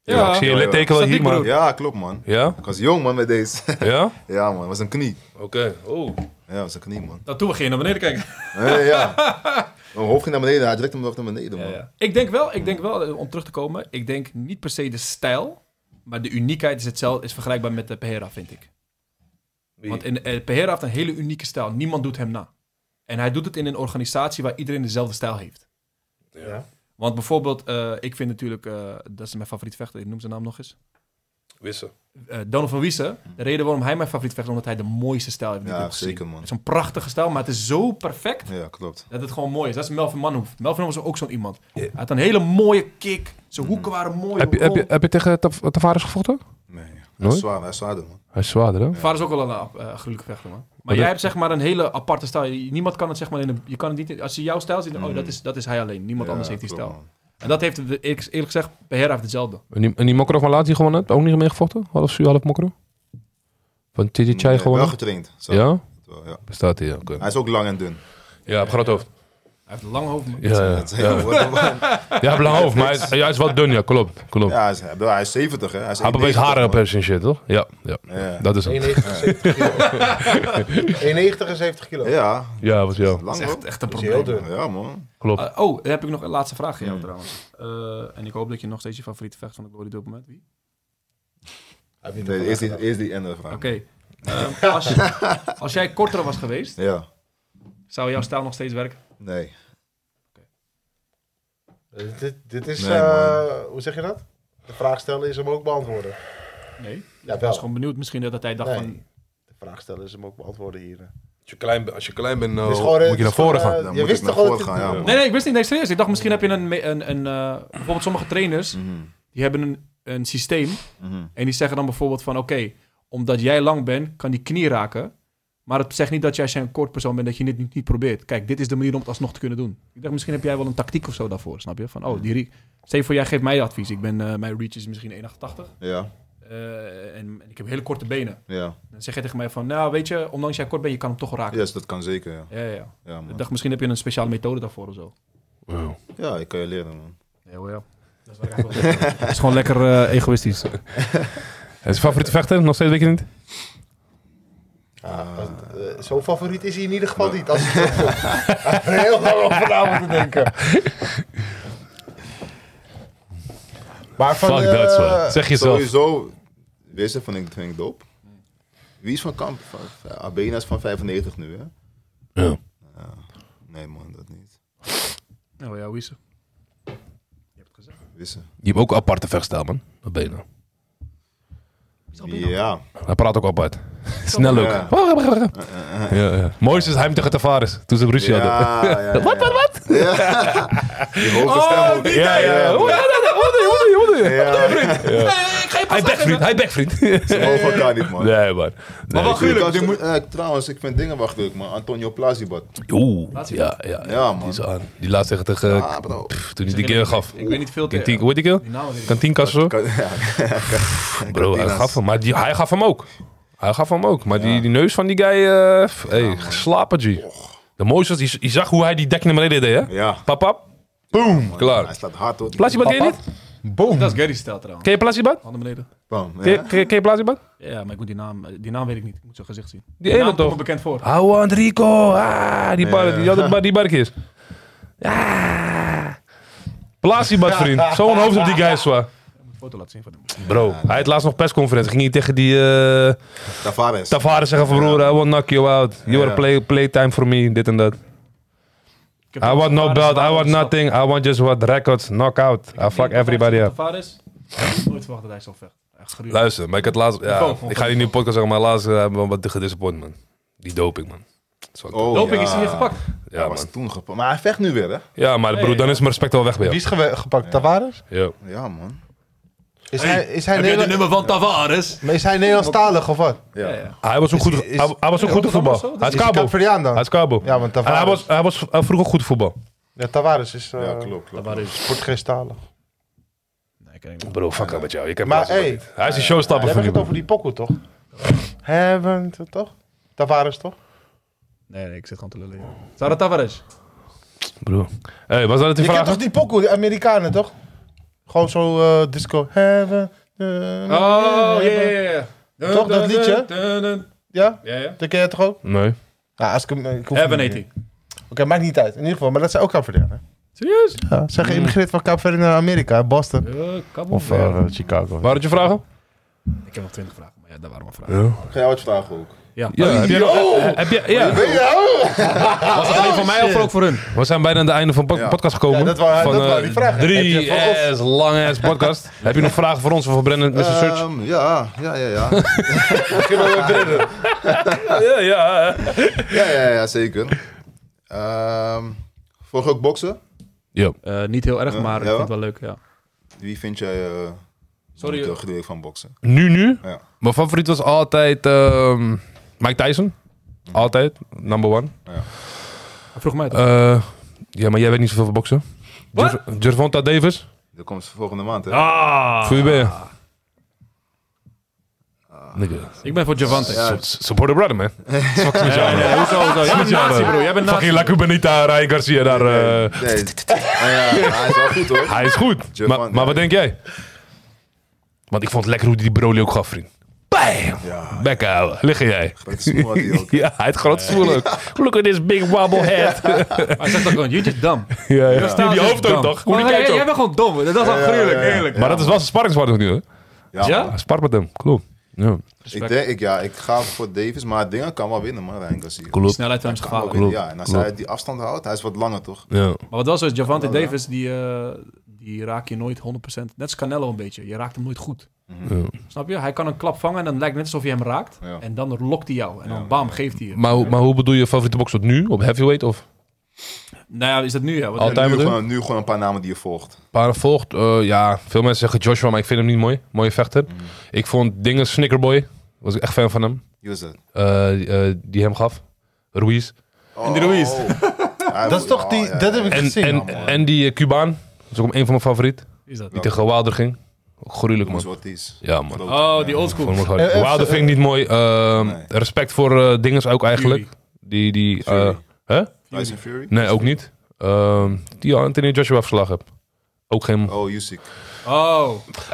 S5: Ja.
S1: ik zie je
S3: Ja, ja.
S1: litteken wel
S5: Staat
S1: hier,
S5: dik,
S1: man.
S5: broer.
S3: Ja, klopt, man.
S1: Ja?
S3: Ik was jong, man, met deze.
S1: Ja?
S3: ja, man. Het was een knie.
S1: Oké. Oh.
S3: Ja, het was een knie, man.
S5: Dat Nou, toen we gingen naar beneden kijken.
S3: ja. ja. Mijn hoofd ging naar beneden. Hij direct hem nog naar beneden, man.
S5: Ik denk wel, ik denk wel, eh, om terug te komen, ik denk niet per se de stijl, maar de uniekheid is hetzelfde, is vergelijkbaar met de Pereira, vind ik. Want in, eh, Pereira heeft een hele unieke stijl. Niemand doet hem na. En hij doet het in een organisatie waar iedereen dezelfde stijl heeft.
S2: Ja.
S5: Want bijvoorbeeld, eh, ik vind natuurlijk, eh, dat is mijn favoriet vechter, ik noem zijn naam nog eens.
S1: Wissen.
S5: Eh Donovan Wiese, de reden waarom hij mijn favoriet vechter is, omdat hij de mooiste stijl heeft die ik
S3: Ja,
S5: heb gezien.
S3: zeker, man.
S5: Het is een prachtige stijl, maar het is zo perfect.
S3: Ja, klopt.
S5: Dat het gewoon mooi is. Dat is Melvin Manhoef. Melvin was ook zo'n iemand. Hij had een hele mooie kick. Zijn
S3: Mhm.
S5: hoeken waren mooi. Oh.
S16: Heb je, heb je,
S5: rond.
S16: heb je tegen Tav- Tavares gevochten?
S3: Nee. Hij
S16: Nooit?
S3: is zwaar, hij is zwaarder, man.
S16: Hij is zwaarder, hè?
S5: Vader is ook wel een ap- eh, gruwelijke vechter, man. Maar
S16: Maar
S5: jij
S16: dat-
S5: hebt zeg maar een hele aparte stijl. Je- Niemand kan het zeg maar in een... Je kan het niet... in- Als je jouw stijl ziet, dan- oh, dat is, dat is hij alleen. Niemand
S3: Mhm. Ja,
S5: anders heeft die
S3: klopt,
S5: stijl.
S3: man.
S5: En dat heeft, de- eerlijk eerlijk gezegd, Behera heeft hetzelfde.
S16: En die, en die Mokrov Malaat die gewonnen hebt, ook niet meegevochten? Half Su, half Mokrov? Van Titi Chai
S3: Nee, Wel
S16: gewonnen?
S3: getraind. Zo.
S16: Ja?
S3: Wel, ja.
S16: Bestaat hij, ja. oké.
S3: Hij is ook lang en dun.
S1: Ja, op groot hoofd.
S5: heeft een lang hoofd, man.
S1: Ja, ja,
S3: Dat is heel
S1: ja.
S3: woord, man.
S1: ja belang hoofd, maar hij is, ja, hij is wat dun, ja, klopt. klopt.
S3: Ja, hij is, hij is 70, hè? Hij is
S1: hij heeft een beetje
S3: 1,90,
S1: haren op
S3: man.
S1: hem en shit, toch? Ja, ja,
S3: Ja.
S1: dat is hem.
S2: 1,90 en 70 kilo.
S3: Ja,
S1: Ja, wat jou.
S3: lang
S5: Dat is
S3: hoor.
S5: echt, echt een
S2: is heel
S5: probleem.
S2: dun.
S3: Ja, man.
S1: Klopt.
S5: Ah, oh, daar heb ik nog een laatste vraag aan jou trouwens. Eh, en ik hoop dat je nog steeds je favoriete vecht van de Glory doet op het moment. Wie?
S3: Nee, eerst die, eerst die ene vraag.
S5: Oké. Ehm, als, als jij korter was geweest,
S3: Ja,
S5: zou jouw stijl nog steeds werken?
S3: nee.
S2: Eh, Dit, dit is,
S3: Nee,
S2: eh, hoe zeg je dat? De vraag stellen is hem ook beantwoorden.
S5: Nee.
S2: Ja,
S5: Ik was
S2: wel.
S5: gewoon benieuwd misschien dat hij dacht
S2: Nee.
S5: van...
S2: De vraag stellen is hem ook beantwoorden hier. eh.
S1: Als je klein, bent- als je klein bent, nou,
S2: Het is gewoon, eh,
S1: moet je naar
S2: het is gewoon,
S1: voren gaan.
S2: eh,
S3: Dan
S2: je
S3: moet ik
S2: wist
S3: naar
S2: toch al
S3: voren
S2: dat
S3: gaan, ja,
S2: dit-
S3: man.
S5: Nee, nee, ik wist niet. Nee, serieus. Ik dacht misschien heb je een... me- een, een eh, bijvoorbeeld sommige trainers,
S3: Mhm,
S5: die hebben een, een systeem.
S3: mhm.
S5: En die zeggen dan bijvoorbeeld van... Oké, omdat jij lang bent, kan die knie raken. Maar het zegt niet dat jij als jij een kort persoon bent, dat je dit niet, niet probeert. Kijk, dit is de manier om het alsnog te kunnen doen. Ik dacht, misschien heb jij wel een tactiek of zo daarvoor, snap je? Van, oh, die... re- Stel je voor, jij geeft mij advies. Ik ben, eh, mijn reach is misschien 1,88.
S3: Ja,
S5: eh, en, en ik heb hele korte benen.
S3: ja.
S5: Dan zeg je tegen mij van, nou weet je, ondanks jij kort bent, je kan hem toch wel raken.
S3: Yes, dat kan zeker, ja.
S5: Ja, ja, ja.
S3: Ja, man.
S5: Ik dacht, misschien heb je een speciale methode daarvoor of zo.
S3: ja ik kan je leren, man.
S5: Ja, ja. Dat is, gewoon lekker eh, egoïstisch.
S2: eh,
S1: Het is favoriete vechter, nog steeds weet je niet?
S2: Ja, dat- eh, Zo'n favoriet is hij in ieder geval niet. Als ik het zo voel. heel lang over na moeten denken. Maar van eh,
S1: Fuck
S2: de-
S1: dat, zo. Zeg jezelf.
S3: Sowieso, wisten van ik vind ik dope. Wie is van kamp? Van, van- Abena is van 95 nu, hè?
S1: Ja.
S3: Ja. Nee, man, dat niet.
S5: Nou ja, wie is er?
S3: Wissen.
S1: Die heeft ook een aparte vechtstijl, man. Wat ben je nou?
S3: Ja.
S1: Hij praat ook apart. Snel ook. Oh,
S3: Ja.
S1: Ja, ja. Mooiste is hij hem tegen Tavares, toen ze ruzie
S3: Eh, Ja,
S1: hadden.
S3: ja, ja, Wat, wat, wat? Die hoge stem ook.
S1: Ja, Oh, ja, Oh, ja. Hoe- ja, oh, dat- dat- wat- wat- wat- wat- Hij backvriend, hij backvriend.
S3: Ze mogen elkaar niet, man.
S1: Nee, man. Nee,
S3: Ik- ik- eh, trouwens, ik vind dingen wacht leuk, man. Antonio Plazibot.
S1: Oeh, ja, ja,
S3: Ja,
S1: Die
S3: man.
S1: is aan. Die laatst tegen, tegen eh,
S3: Ah, bro.
S1: pff, toen hij die keer gaf.
S5: Ik weet niet veel te-
S1: Kantien, hoe heet die keer?
S5: Die namen weet ik
S1: Kantien of zo?
S3: Kan- ja.
S1: Bro, hij
S3: Kantinas.
S1: gaf hem. Maar die, hij gaf hem ook. Hij gaf hem ook. Maar die, die neus van die guy, eh f- hey, geslapen, G. De mooiste was, je- je zag hoe hij die dek naar beneden deed, hè?
S3: Ja.
S1: Pap, pap. Boom,
S3: Hij
S1: klaar.
S3: staat hard, hoor.
S1: Plasibat, ken je niet?
S5: niet. Dat is Gary's stijl trouwens.
S1: Ken je Plasibat?
S5: Handen beneden.
S3: Bam,
S1: Ken
S3: ja.
S1: je- ken je- ken je Plasibat?
S5: Ja, maar ik moet die naam, eh, die naam weet ik niet. Ik moet zijn gezicht zien. Die,
S1: ene
S5: naam
S1: toch?
S5: komt me bekend voor.
S1: I want Rico. Ah, die bar, die, had bar, die barkjes. Ah. Plasibat, vriend. Zo'n hoofd op die guy, zwaar.
S5: Een foto laten zien van hem.
S1: Bro, hij had laatst nog persconferentie. Ging hij tegen die eh,
S3: Tavares.
S1: Tavares zeggen van broer, I want knock you out. You are
S3: Ja.
S1: play, playtime for me, dit en dat.
S5: Ik heb
S1: I want no
S5: Tavares
S1: belt, I
S5: waarom
S1: want
S5: stap.
S1: nothing. I want just what records, knockout. I fuck everybody up.
S5: Tavares, ik had nooit verwacht dat hij zo vecht. Echt gruwelijk.
S1: Luister, maar ik had laatst... Ja,
S5: Telefoon,
S1: ik ga niet nu podcast zeggen, maar laatst eh, hebben we wat gedisappoint, man. Die doping, man. Dat is wel-
S3: Oh,
S5: Doping
S3: ja.
S5: is hier gepakt.
S1: Ja,
S3: Hij was
S1: man.
S3: toen gepakt. Maar hij vecht nu weer, hè?
S1: Ja, maar broer, dan is mijn respect wel weg bij
S2: Wie
S1: jou.
S2: is gewe- gepakt? Tavares?
S1: Ja.
S3: Ja, man.
S2: Is hij, is hij,
S5: Heb jij de
S2: Nederland,
S5: nummer van Tavares?
S2: maar is hij Nederlandstalig of wat?
S3: Ja.
S1: Hij was ook goed,
S2: is-
S1: hij, hij was ook goed in
S5: Rotterdam of
S1: voetbal.
S5: zo?
S1: Hij is
S2: Is hij
S1: kabel.
S2: Capriaan dan?
S1: Hij is kabel.
S2: Ja, want
S1: En hij
S2: Tavares,
S1: was, hij was eh, vroeger goed in voetbal.
S2: ja, Tavares is eh
S3: Ja, klopt, klopt.
S5: Tavares.
S2: Portugees-talig.
S5: Nee, ken ik niet.
S1: Bro, fuck up met jou. Ik heb
S2: Maar,
S1: Lazio
S2: hey.
S1: niet. Hij is de showstapper
S2: Jij
S1: van
S2: hebt het
S1: jullie.
S2: over die pokoe, toch? Hebben we het toch? Tavares, toch?
S5: Nee, nee, ik zit gewoon te lullen. hier. Zou dat Tavares?
S1: Bro. Hey, was dat het die
S2: Je kent
S1: vraag?
S2: toch die pokoe, de Amerikanen, toch? Gewoon zo eh, disco. eh, Heaven.
S5: Oh, ja, ja, ja. Dun,
S2: Toch, dat
S5: dun,
S2: liedje?
S5: dun, dun.
S2: Ja,
S5: Ja, ja.
S2: dat ken je toch ook?
S1: Nee.
S2: Ja, als ik hem... eh, Ik hoef
S5: Heaven
S2: hem niet
S5: heet
S2: meer.
S5: hij.
S2: Oké, maakt niet uit. In ieder geval, maar dat zijn ook Kaapverdianen.
S5: Serieus?
S2: Ja, zijn geïmmigreerd van Kaapverdië naar Amerika, Boston. Of eh, Chicago.
S1: Waar had je vragen?
S5: Ik heb nog twintig vragen, maar ja, daar waren we vragen.
S1: Ja.
S3: Ga jij wat vragen ook?
S1: heb je nog- heb je, ja. Was
S2: Oh,
S1: dat alleen voor mij of voor ook voor hun? We zijn bijna aan het einde van de
S3: Ja.
S1: podcast gekomen.
S2: Ja, dat wou-
S1: van,
S2: dat
S1: eh,
S2: wou die vragen. Heb
S1: Drie
S2: je voor ons-
S1: ass, lange ass podcast. heb je nog vragen voor ons of voor Brennan, Mr. Search?
S3: Ehm, ja, ja, ja, ja.
S1: Ja, ja.
S3: Ja, ja, ja, zeker. Ehm Volg ook boksen.
S1: Ja.
S5: Eh, niet heel erg, maar
S3: Ja,
S5: ik vind
S3: hoor.
S5: het wel leuk, ja.
S3: Wie vind jij eh
S5: Sorry,
S3: het
S5: joh.
S3: gedeelte van boksen?
S1: Nu, nu.
S3: Ja.
S1: Mijn favoriet was altijd ehm, Mike Tyson. Altijd. Number one.
S5: Hij vroeg mij toch?
S1: Eh, ja, maar jij weet niet zoveel van boksen. Gerv- Gervonta Davis.
S3: Dat komt volgende maand, hè?
S1: Voor wie ben je? Nigga.
S5: Ik ben voor Javante.
S1: Su- Support the brother, man. Fuck is met jou, man.
S5: hoezo, hoezo? Jij bent nazi, bro. Jij bent nazi.
S1: Fucking La Cubanita, Ryan Garcia daar. eh,
S3: Nee. Ah ja, hij is wel goed hoor.
S1: Hij is goed.
S3: Giovanni,
S1: Maar, maar wat
S3: ja.
S1: denk jij? Want ik vond het lekker hoe hij die brolie ook gaf, vriend. Bam!
S3: Ja,
S1: Bek houden. Liggen jij.
S3: dat is mooi, die ook.
S1: Ja, hij had groot stoel ook. Look at this big wobble head.
S5: Hij zegt ook gewoon, you just dumb.
S1: ja, ja. Stuur die hoofd ook
S5: Dumb.
S1: toch? Hoe
S5: Maar
S1: die
S5: jij,
S1: kijkt
S5: jij
S1: ook.
S5: bent gewoon dom. Dat is wel gruwelijk, eerlijk.
S1: Maar dat is wel zijn sparringspartner nu, hè?
S5: Ja?
S1: Hij spart met hem. Klopt. Ja,
S3: Ik denk, ik, ja, ik ga voor Davis, maar dingen kan wel winnen, man. Ryan Garcia.
S1: klopt.
S5: Snelheid van hem is
S3: Kan wel
S5: gevaarlijk.
S3: winnen,
S1: Klopt,
S3: ja. En als
S1: klopt.
S3: hij die afstand houdt, hij is wat langer toch?
S1: Ja.
S5: Maar wat wel zo is, Javante Davis, die, eh, die raak je nooit 100%. Net als Canelo een beetje. Je raakt hem nooit goed. Snap je? Hij kan een klap vangen en dan lijkt het net alsof je hem raakt.
S3: Mhm. Ja.
S5: En dan lokt hij jou. En dan bam, geeft hij je.
S1: Maar, hoe- maar hoe bedoel je favoriete bokser nu? Op heavyweight of?
S5: Nou ja, is dat nu? Ja,
S1: Altijd.
S5: want,
S3: En nu,
S1: Timer doen?
S3: gewoon, nu gewoon een paar namen die je volgt.
S1: Paar volgt, eh, ja, veel mensen zeggen Joshua, maar ik vind hem niet mooi. Mooie vechter. Ik vond dingen Snickerboy, was ik echt fan van hem,
S3: Wie was dat?
S1: eh, die- eh, die hem gaf. Ruiz.
S3: Oh, Ruiz.
S2: Dat is toch die... dat heb ik
S1: En,
S2: gezien.
S1: en,
S2: allemaal.
S1: en die eh, Cubaan, dat is ook een van mijn favoriet.
S5: is dat?
S1: Die tegen Wilder ging. Gruwelijk man.
S3: Ortiz.
S1: Ja man.
S5: Oh,
S1: Vond
S5: die oldschool.
S1: hem ook
S2: Eh,
S1: hard. Wilder vind ik niet mooi. Ehm,
S3: Nee.
S1: Respect voor eh dinges ook eigenlijk. Die, die, eh,
S3: Fury.
S1: hè?
S3: Tyson Fury.
S1: Nee, ook niet. Ehm, die Anthony Joshua verslag heb. Ook geen...
S3: Oh, Usyk.
S5: Oh,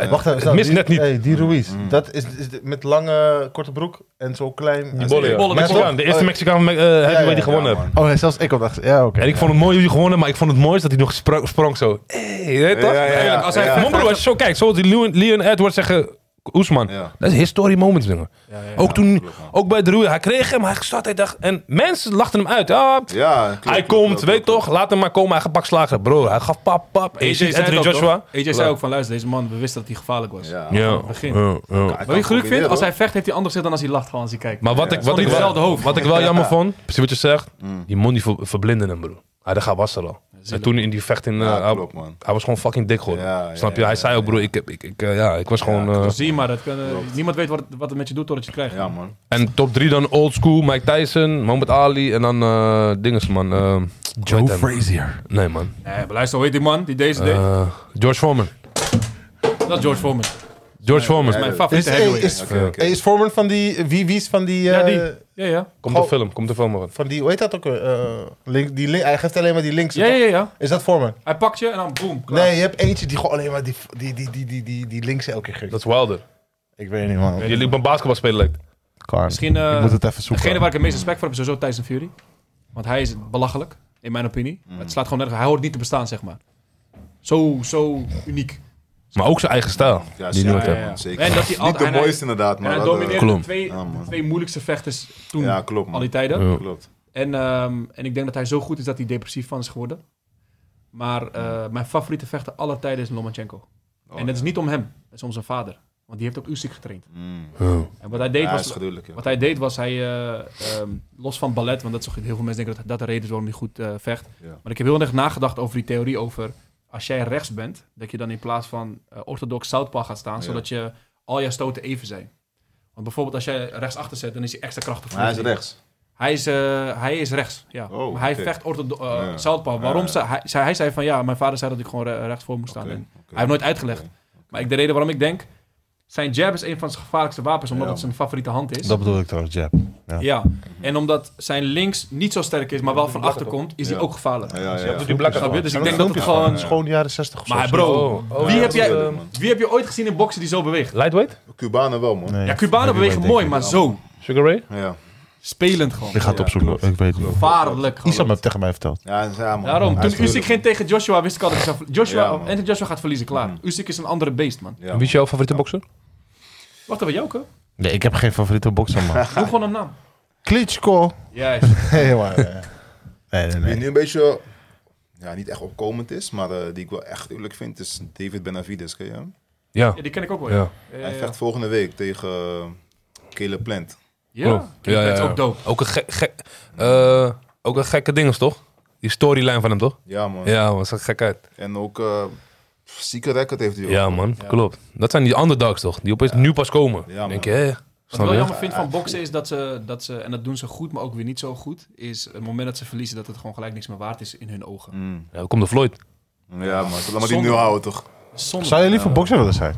S2: Wacht even. snel,
S1: mist
S2: die-
S1: net niet.
S2: hey, die Ruiz. Dat is, is de- met lange, korte broek en zo klein.
S1: Die bolle, ja.
S5: bolle
S1: Mexicaan.
S2: toch?
S1: De eerste Mexicaan eh, heavyweight
S2: ja,
S1: die gewonnen
S3: ja,
S1: heeft.
S3: man.
S2: Oh, nee, zelfs ik op dacht. Ja, oké.
S1: En ik vond het mooi hoe hij gewonnen, maar ik vond het mooiste dat hij nog spro- sprong zo. Hey, je weet toch?
S3: Ja, ja, ja.
S1: Eigenlijk, Als hij
S3: Ja.
S1: Mon broer, als je zo kijkt, zoals die Leon, Leon Edwards zeggen, Oesman.
S3: Ja.
S1: Dat is historie moments, jongen. ook toen, ook bij de Roer, hij kreeg hem, hij zat, hij dacht, en mensen lachten hem uit. Ah, pff,
S3: Ja, klopt,
S1: hij
S3: klopt,
S1: komt,
S3: klopt,
S1: weet
S3: klopt.
S1: toch, laat hem maar komen, hij gepakt slagen. Bro, hij gaf pap, pap. En je ziet
S5: AJ zei, het
S1: Anthony
S5: ook,
S1: Joshua.
S5: toch? AJ zei ook van, luister, deze man, we wisten dat hij gevaarlijk was.
S3: Ja.
S1: Ja,
S5: Begin.
S1: ja, ja.
S3: Hij
S5: Wat
S3: kan
S5: ik geluk vind,
S3: combineren,
S5: als
S3: hoor.
S5: hij vecht, heeft hij anders zit dan als hij lacht, gewoon als hij kijkt.
S1: Maar wat ik,
S5: Gewoon
S1: wat, ik
S5: in hetzelfde
S1: wel,
S5: hoofd.
S1: wat ik wel jammer vond, precies wat je zegt,
S3: Mm.
S1: die mond die ver- verblindde hem, bro. Hij daar was er al. En toen in die vecht in... eh,
S3: Ja,
S1: hij-
S3: klopt, man.
S1: Hij was gewoon fucking dik geworden.
S3: Ja, ja,
S1: Snap je? Hij zei ook, broer, ik, heb- ik, ik, eh, ja, ik was gewoon... eh,
S5: Zie je maar, dat kan, eh, niemand weet wat het, wat het met je doet totdat je het krijgt.
S3: Ja, man.
S1: en top 3 dan old school, Mike Tyson, Mohamed Ali en dan eh dinges, man. eh, hoe heet hij?
S2: Frazier.
S1: Nee, man.
S5: Nee, maar luister, hoe heet die man die deze deed?
S1: Eh, George Foreman.
S5: Dat is George Foreman.
S1: George Foreman.
S5: Dat is mijn
S3: ja.
S2: Is,
S5: favoriete
S2: hey,
S5: heavyweight.
S2: is,
S3: Oké, oké.
S2: hey, is Foreman van die... eh, Wie, wie is van die...
S5: Ja,
S2: eh,
S5: die. Ja, ja.
S1: Komt de
S2: Goh.
S1: film, komt de film maar.
S2: Van die... Hoe heet dat ook? weer? Eh, link, die link, hij geeft alleen maar die links.
S5: Ja, ja, ja.
S2: Is dat Foreman?
S5: Hij pakt je en dan boom. klaar.
S2: Nee, je hebt eentje die gewoon alleen maar die, die, die, die, die, die, die links elke
S1: Dat
S2: keer geeft.
S1: is Wilder.
S2: Ik weet niet, man.
S1: Die liep een basketbal spelen lijkt.
S2: Kan.
S5: Misschien, eh,
S2: ik moet het even zoeken.
S5: Degene waar ik het meest respect voor heb is sowieso Tyson Fury. Want hij is belachelijk, in mijn opinie.
S3: Mm.
S5: Het slaat gewoon nergens. Hij hoort niet te bestaan, zeg maar. Zo, zo uniek.
S1: Maar ook zijn eigen stijl.
S3: Ja,
S1: die
S3: zeker,
S1: nooit
S5: ja,
S1: hebben.
S5: ja.
S3: Zeker.
S5: En dat hij
S3: Niet
S5: altijd-
S3: de
S5: en hij-
S3: mooiste, inderdaad,
S5: En
S3: maar...
S5: hij
S3: dat, eh,
S5: domineerde de
S1: Klopt.
S5: twee,
S3: Ja, man.
S5: de twee moeilijkste vechters toen,
S3: Ja, klopt, man.
S5: al die tijden.
S1: Ja.
S3: Klopt.
S5: En, ehm, en ik denk dat hij zo goed is dat hij depressief van is geworden. Maar eh, mijn favoriete vechter aller tijden is Lomachenko.
S3: Hmm. Oh,
S5: en dat is niet om hem, dat is om zijn vader. Want die heeft ook Usyk getraind.
S3: Mm.
S1: Ja.
S5: En wat hij deed
S3: Ja, hij is
S5: was...
S3: geduldig, ja.
S5: Wat hij deed was, hij, eh, ehm, los van ballet, want dat is toch, heel veel mensen denken dat dat de reden is waarom hij goed eh, vecht.
S3: Ja.
S5: Maar ik heb heel erg nagedacht over die theorie over als jij rechts bent, dat je dan in plaats van eh, orthodox southpaw gaat staan,
S3: Ja.
S5: zodat je al jouw stoten even zijn. Want bijvoorbeeld als jij rechts achter zet, dan is hij extra krachtig. voor
S3: Maar hij is
S5: je.
S3: rechts.
S5: Hij is, eh, hij is rechts, ja.
S3: Oh,
S5: maar hij
S3: oké.
S5: vecht orthodox eh
S3: Ja.
S5: southpaw. Waarom
S3: Ja.
S5: ze- hij, zei, hij zei van ja, mijn vader zei dat ik gewoon re- rechts voor moest staan.
S3: Oké,
S5: En
S3: oké.
S5: Hij heeft nooit uitgelegd.
S3: Oké.
S5: Maar ik, de reden waarom ik denk, zijn jab is een van zijn gevaarlijkste wapens, omdat
S3: Ja,
S5: het zijn favoriete hand is.
S2: Dat bedoel ik trouwens, Jab.
S5: Ja, en omdat zijn links niet zo sterk is, maar wel van achter komt, is hij
S3: Ja.
S5: ook gevaarlijk.
S3: Ja, ja, ja.
S1: Doet die blakke
S5: Snap je?
S1: man.
S5: Dus
S2: Ja,
S5: ik denk
S2: dat
S5: dat het
S2: filmpje
S5: gewoon...
S2: is gewoon de jaren 60 of zo.
S5: Maar bro,
S1: Oh, oh,
S5: wie,
S1: ja,
S5: heb
S1: dat is,
S5: jij,
S1: eh,
S5: wie heb je ooit gezien in boksen die zo beweegt?
S1: Lightweight?
S3: Cubanen wel, man.
S2: Nee.
S5: Ja, Cubanen bewegen mooi, maar zo.
S1: Sugar Ray?
S3: Ja.
S5: Spelend gewoon.
S2: Ik ga het opzoeken. Ik weet niet.
S5: Gevaarlijk gewoon.
S2: Isam heeft tegen mij verteld.
S3: Ja, ja, man.
S5: Daarom,
S3: Hij is
S5: toen Usyk
S3: geduldig,
S5: ging tegen Joshua, wist ik al dat ik zou... Joshua,
S3: Ja, man. Mm.
S5: Anthony Joshua gaat verliezen, klaar. Usyk is een andere beest, man.
S3: man. Ja,
S1: Wie is jouw favoriete bokser?
S5: Wacht even, Jouke?
S2: Nee, ik heb geen favoriete bokser, man.
S5: Noem gewoon een naam.
S2: Klitschko.
S5: Juist.
S2: Nee, maar... eh, Nee, nee,
S3: Die
S2: nee.
S3: nu een beetje, ja, niet echt opkomend is, maar eh, die ik wel echt leuk vind, is David Benavides. Ken je hem?
S1: Ja.
S5: Ja, die ken ik ook wel,
S1: Ja.
S5: ja. Eh, Ja, ja,
S3: Hij
S5: ja.
S3: vecht volgende week tegen eh, Caleb Plant.
S5: Ja,
S1: Klopt.
S5: Kijk, dat is ook dope.
S1: Ook een, gek, gek, eh, ook een gekke ding is toch? Die storyline van hem toch?
S3: Ja, man.
S1: Ja, man, zag gek uit.
S3: En ook eh zieke record heeft hij ook.
S1: Ja, man, klopt. Dat zijn die underdogs toch? Die opeens nu pas komen.
S3: Ja, man.
S1: Denk je, hè?
S5: Wat ik
S1: Snap
S5: wel
S1: je?
S5: jammer vind van boksen is dat ze, dat ze, en dat doen ze goed, maar ook weer niet zo goed, is het moment dat ze verliezen dat het gewoon gelijk niks meer waard is in hun ogen.
S3: Mm.
S1: Ja, komt de Floyd.
S3: Ja, man. Laat maar die
S5: Zonde.
S3: nu houden, toch?
S5: Zonde.
S2: Zou je liever bokser willen zijn?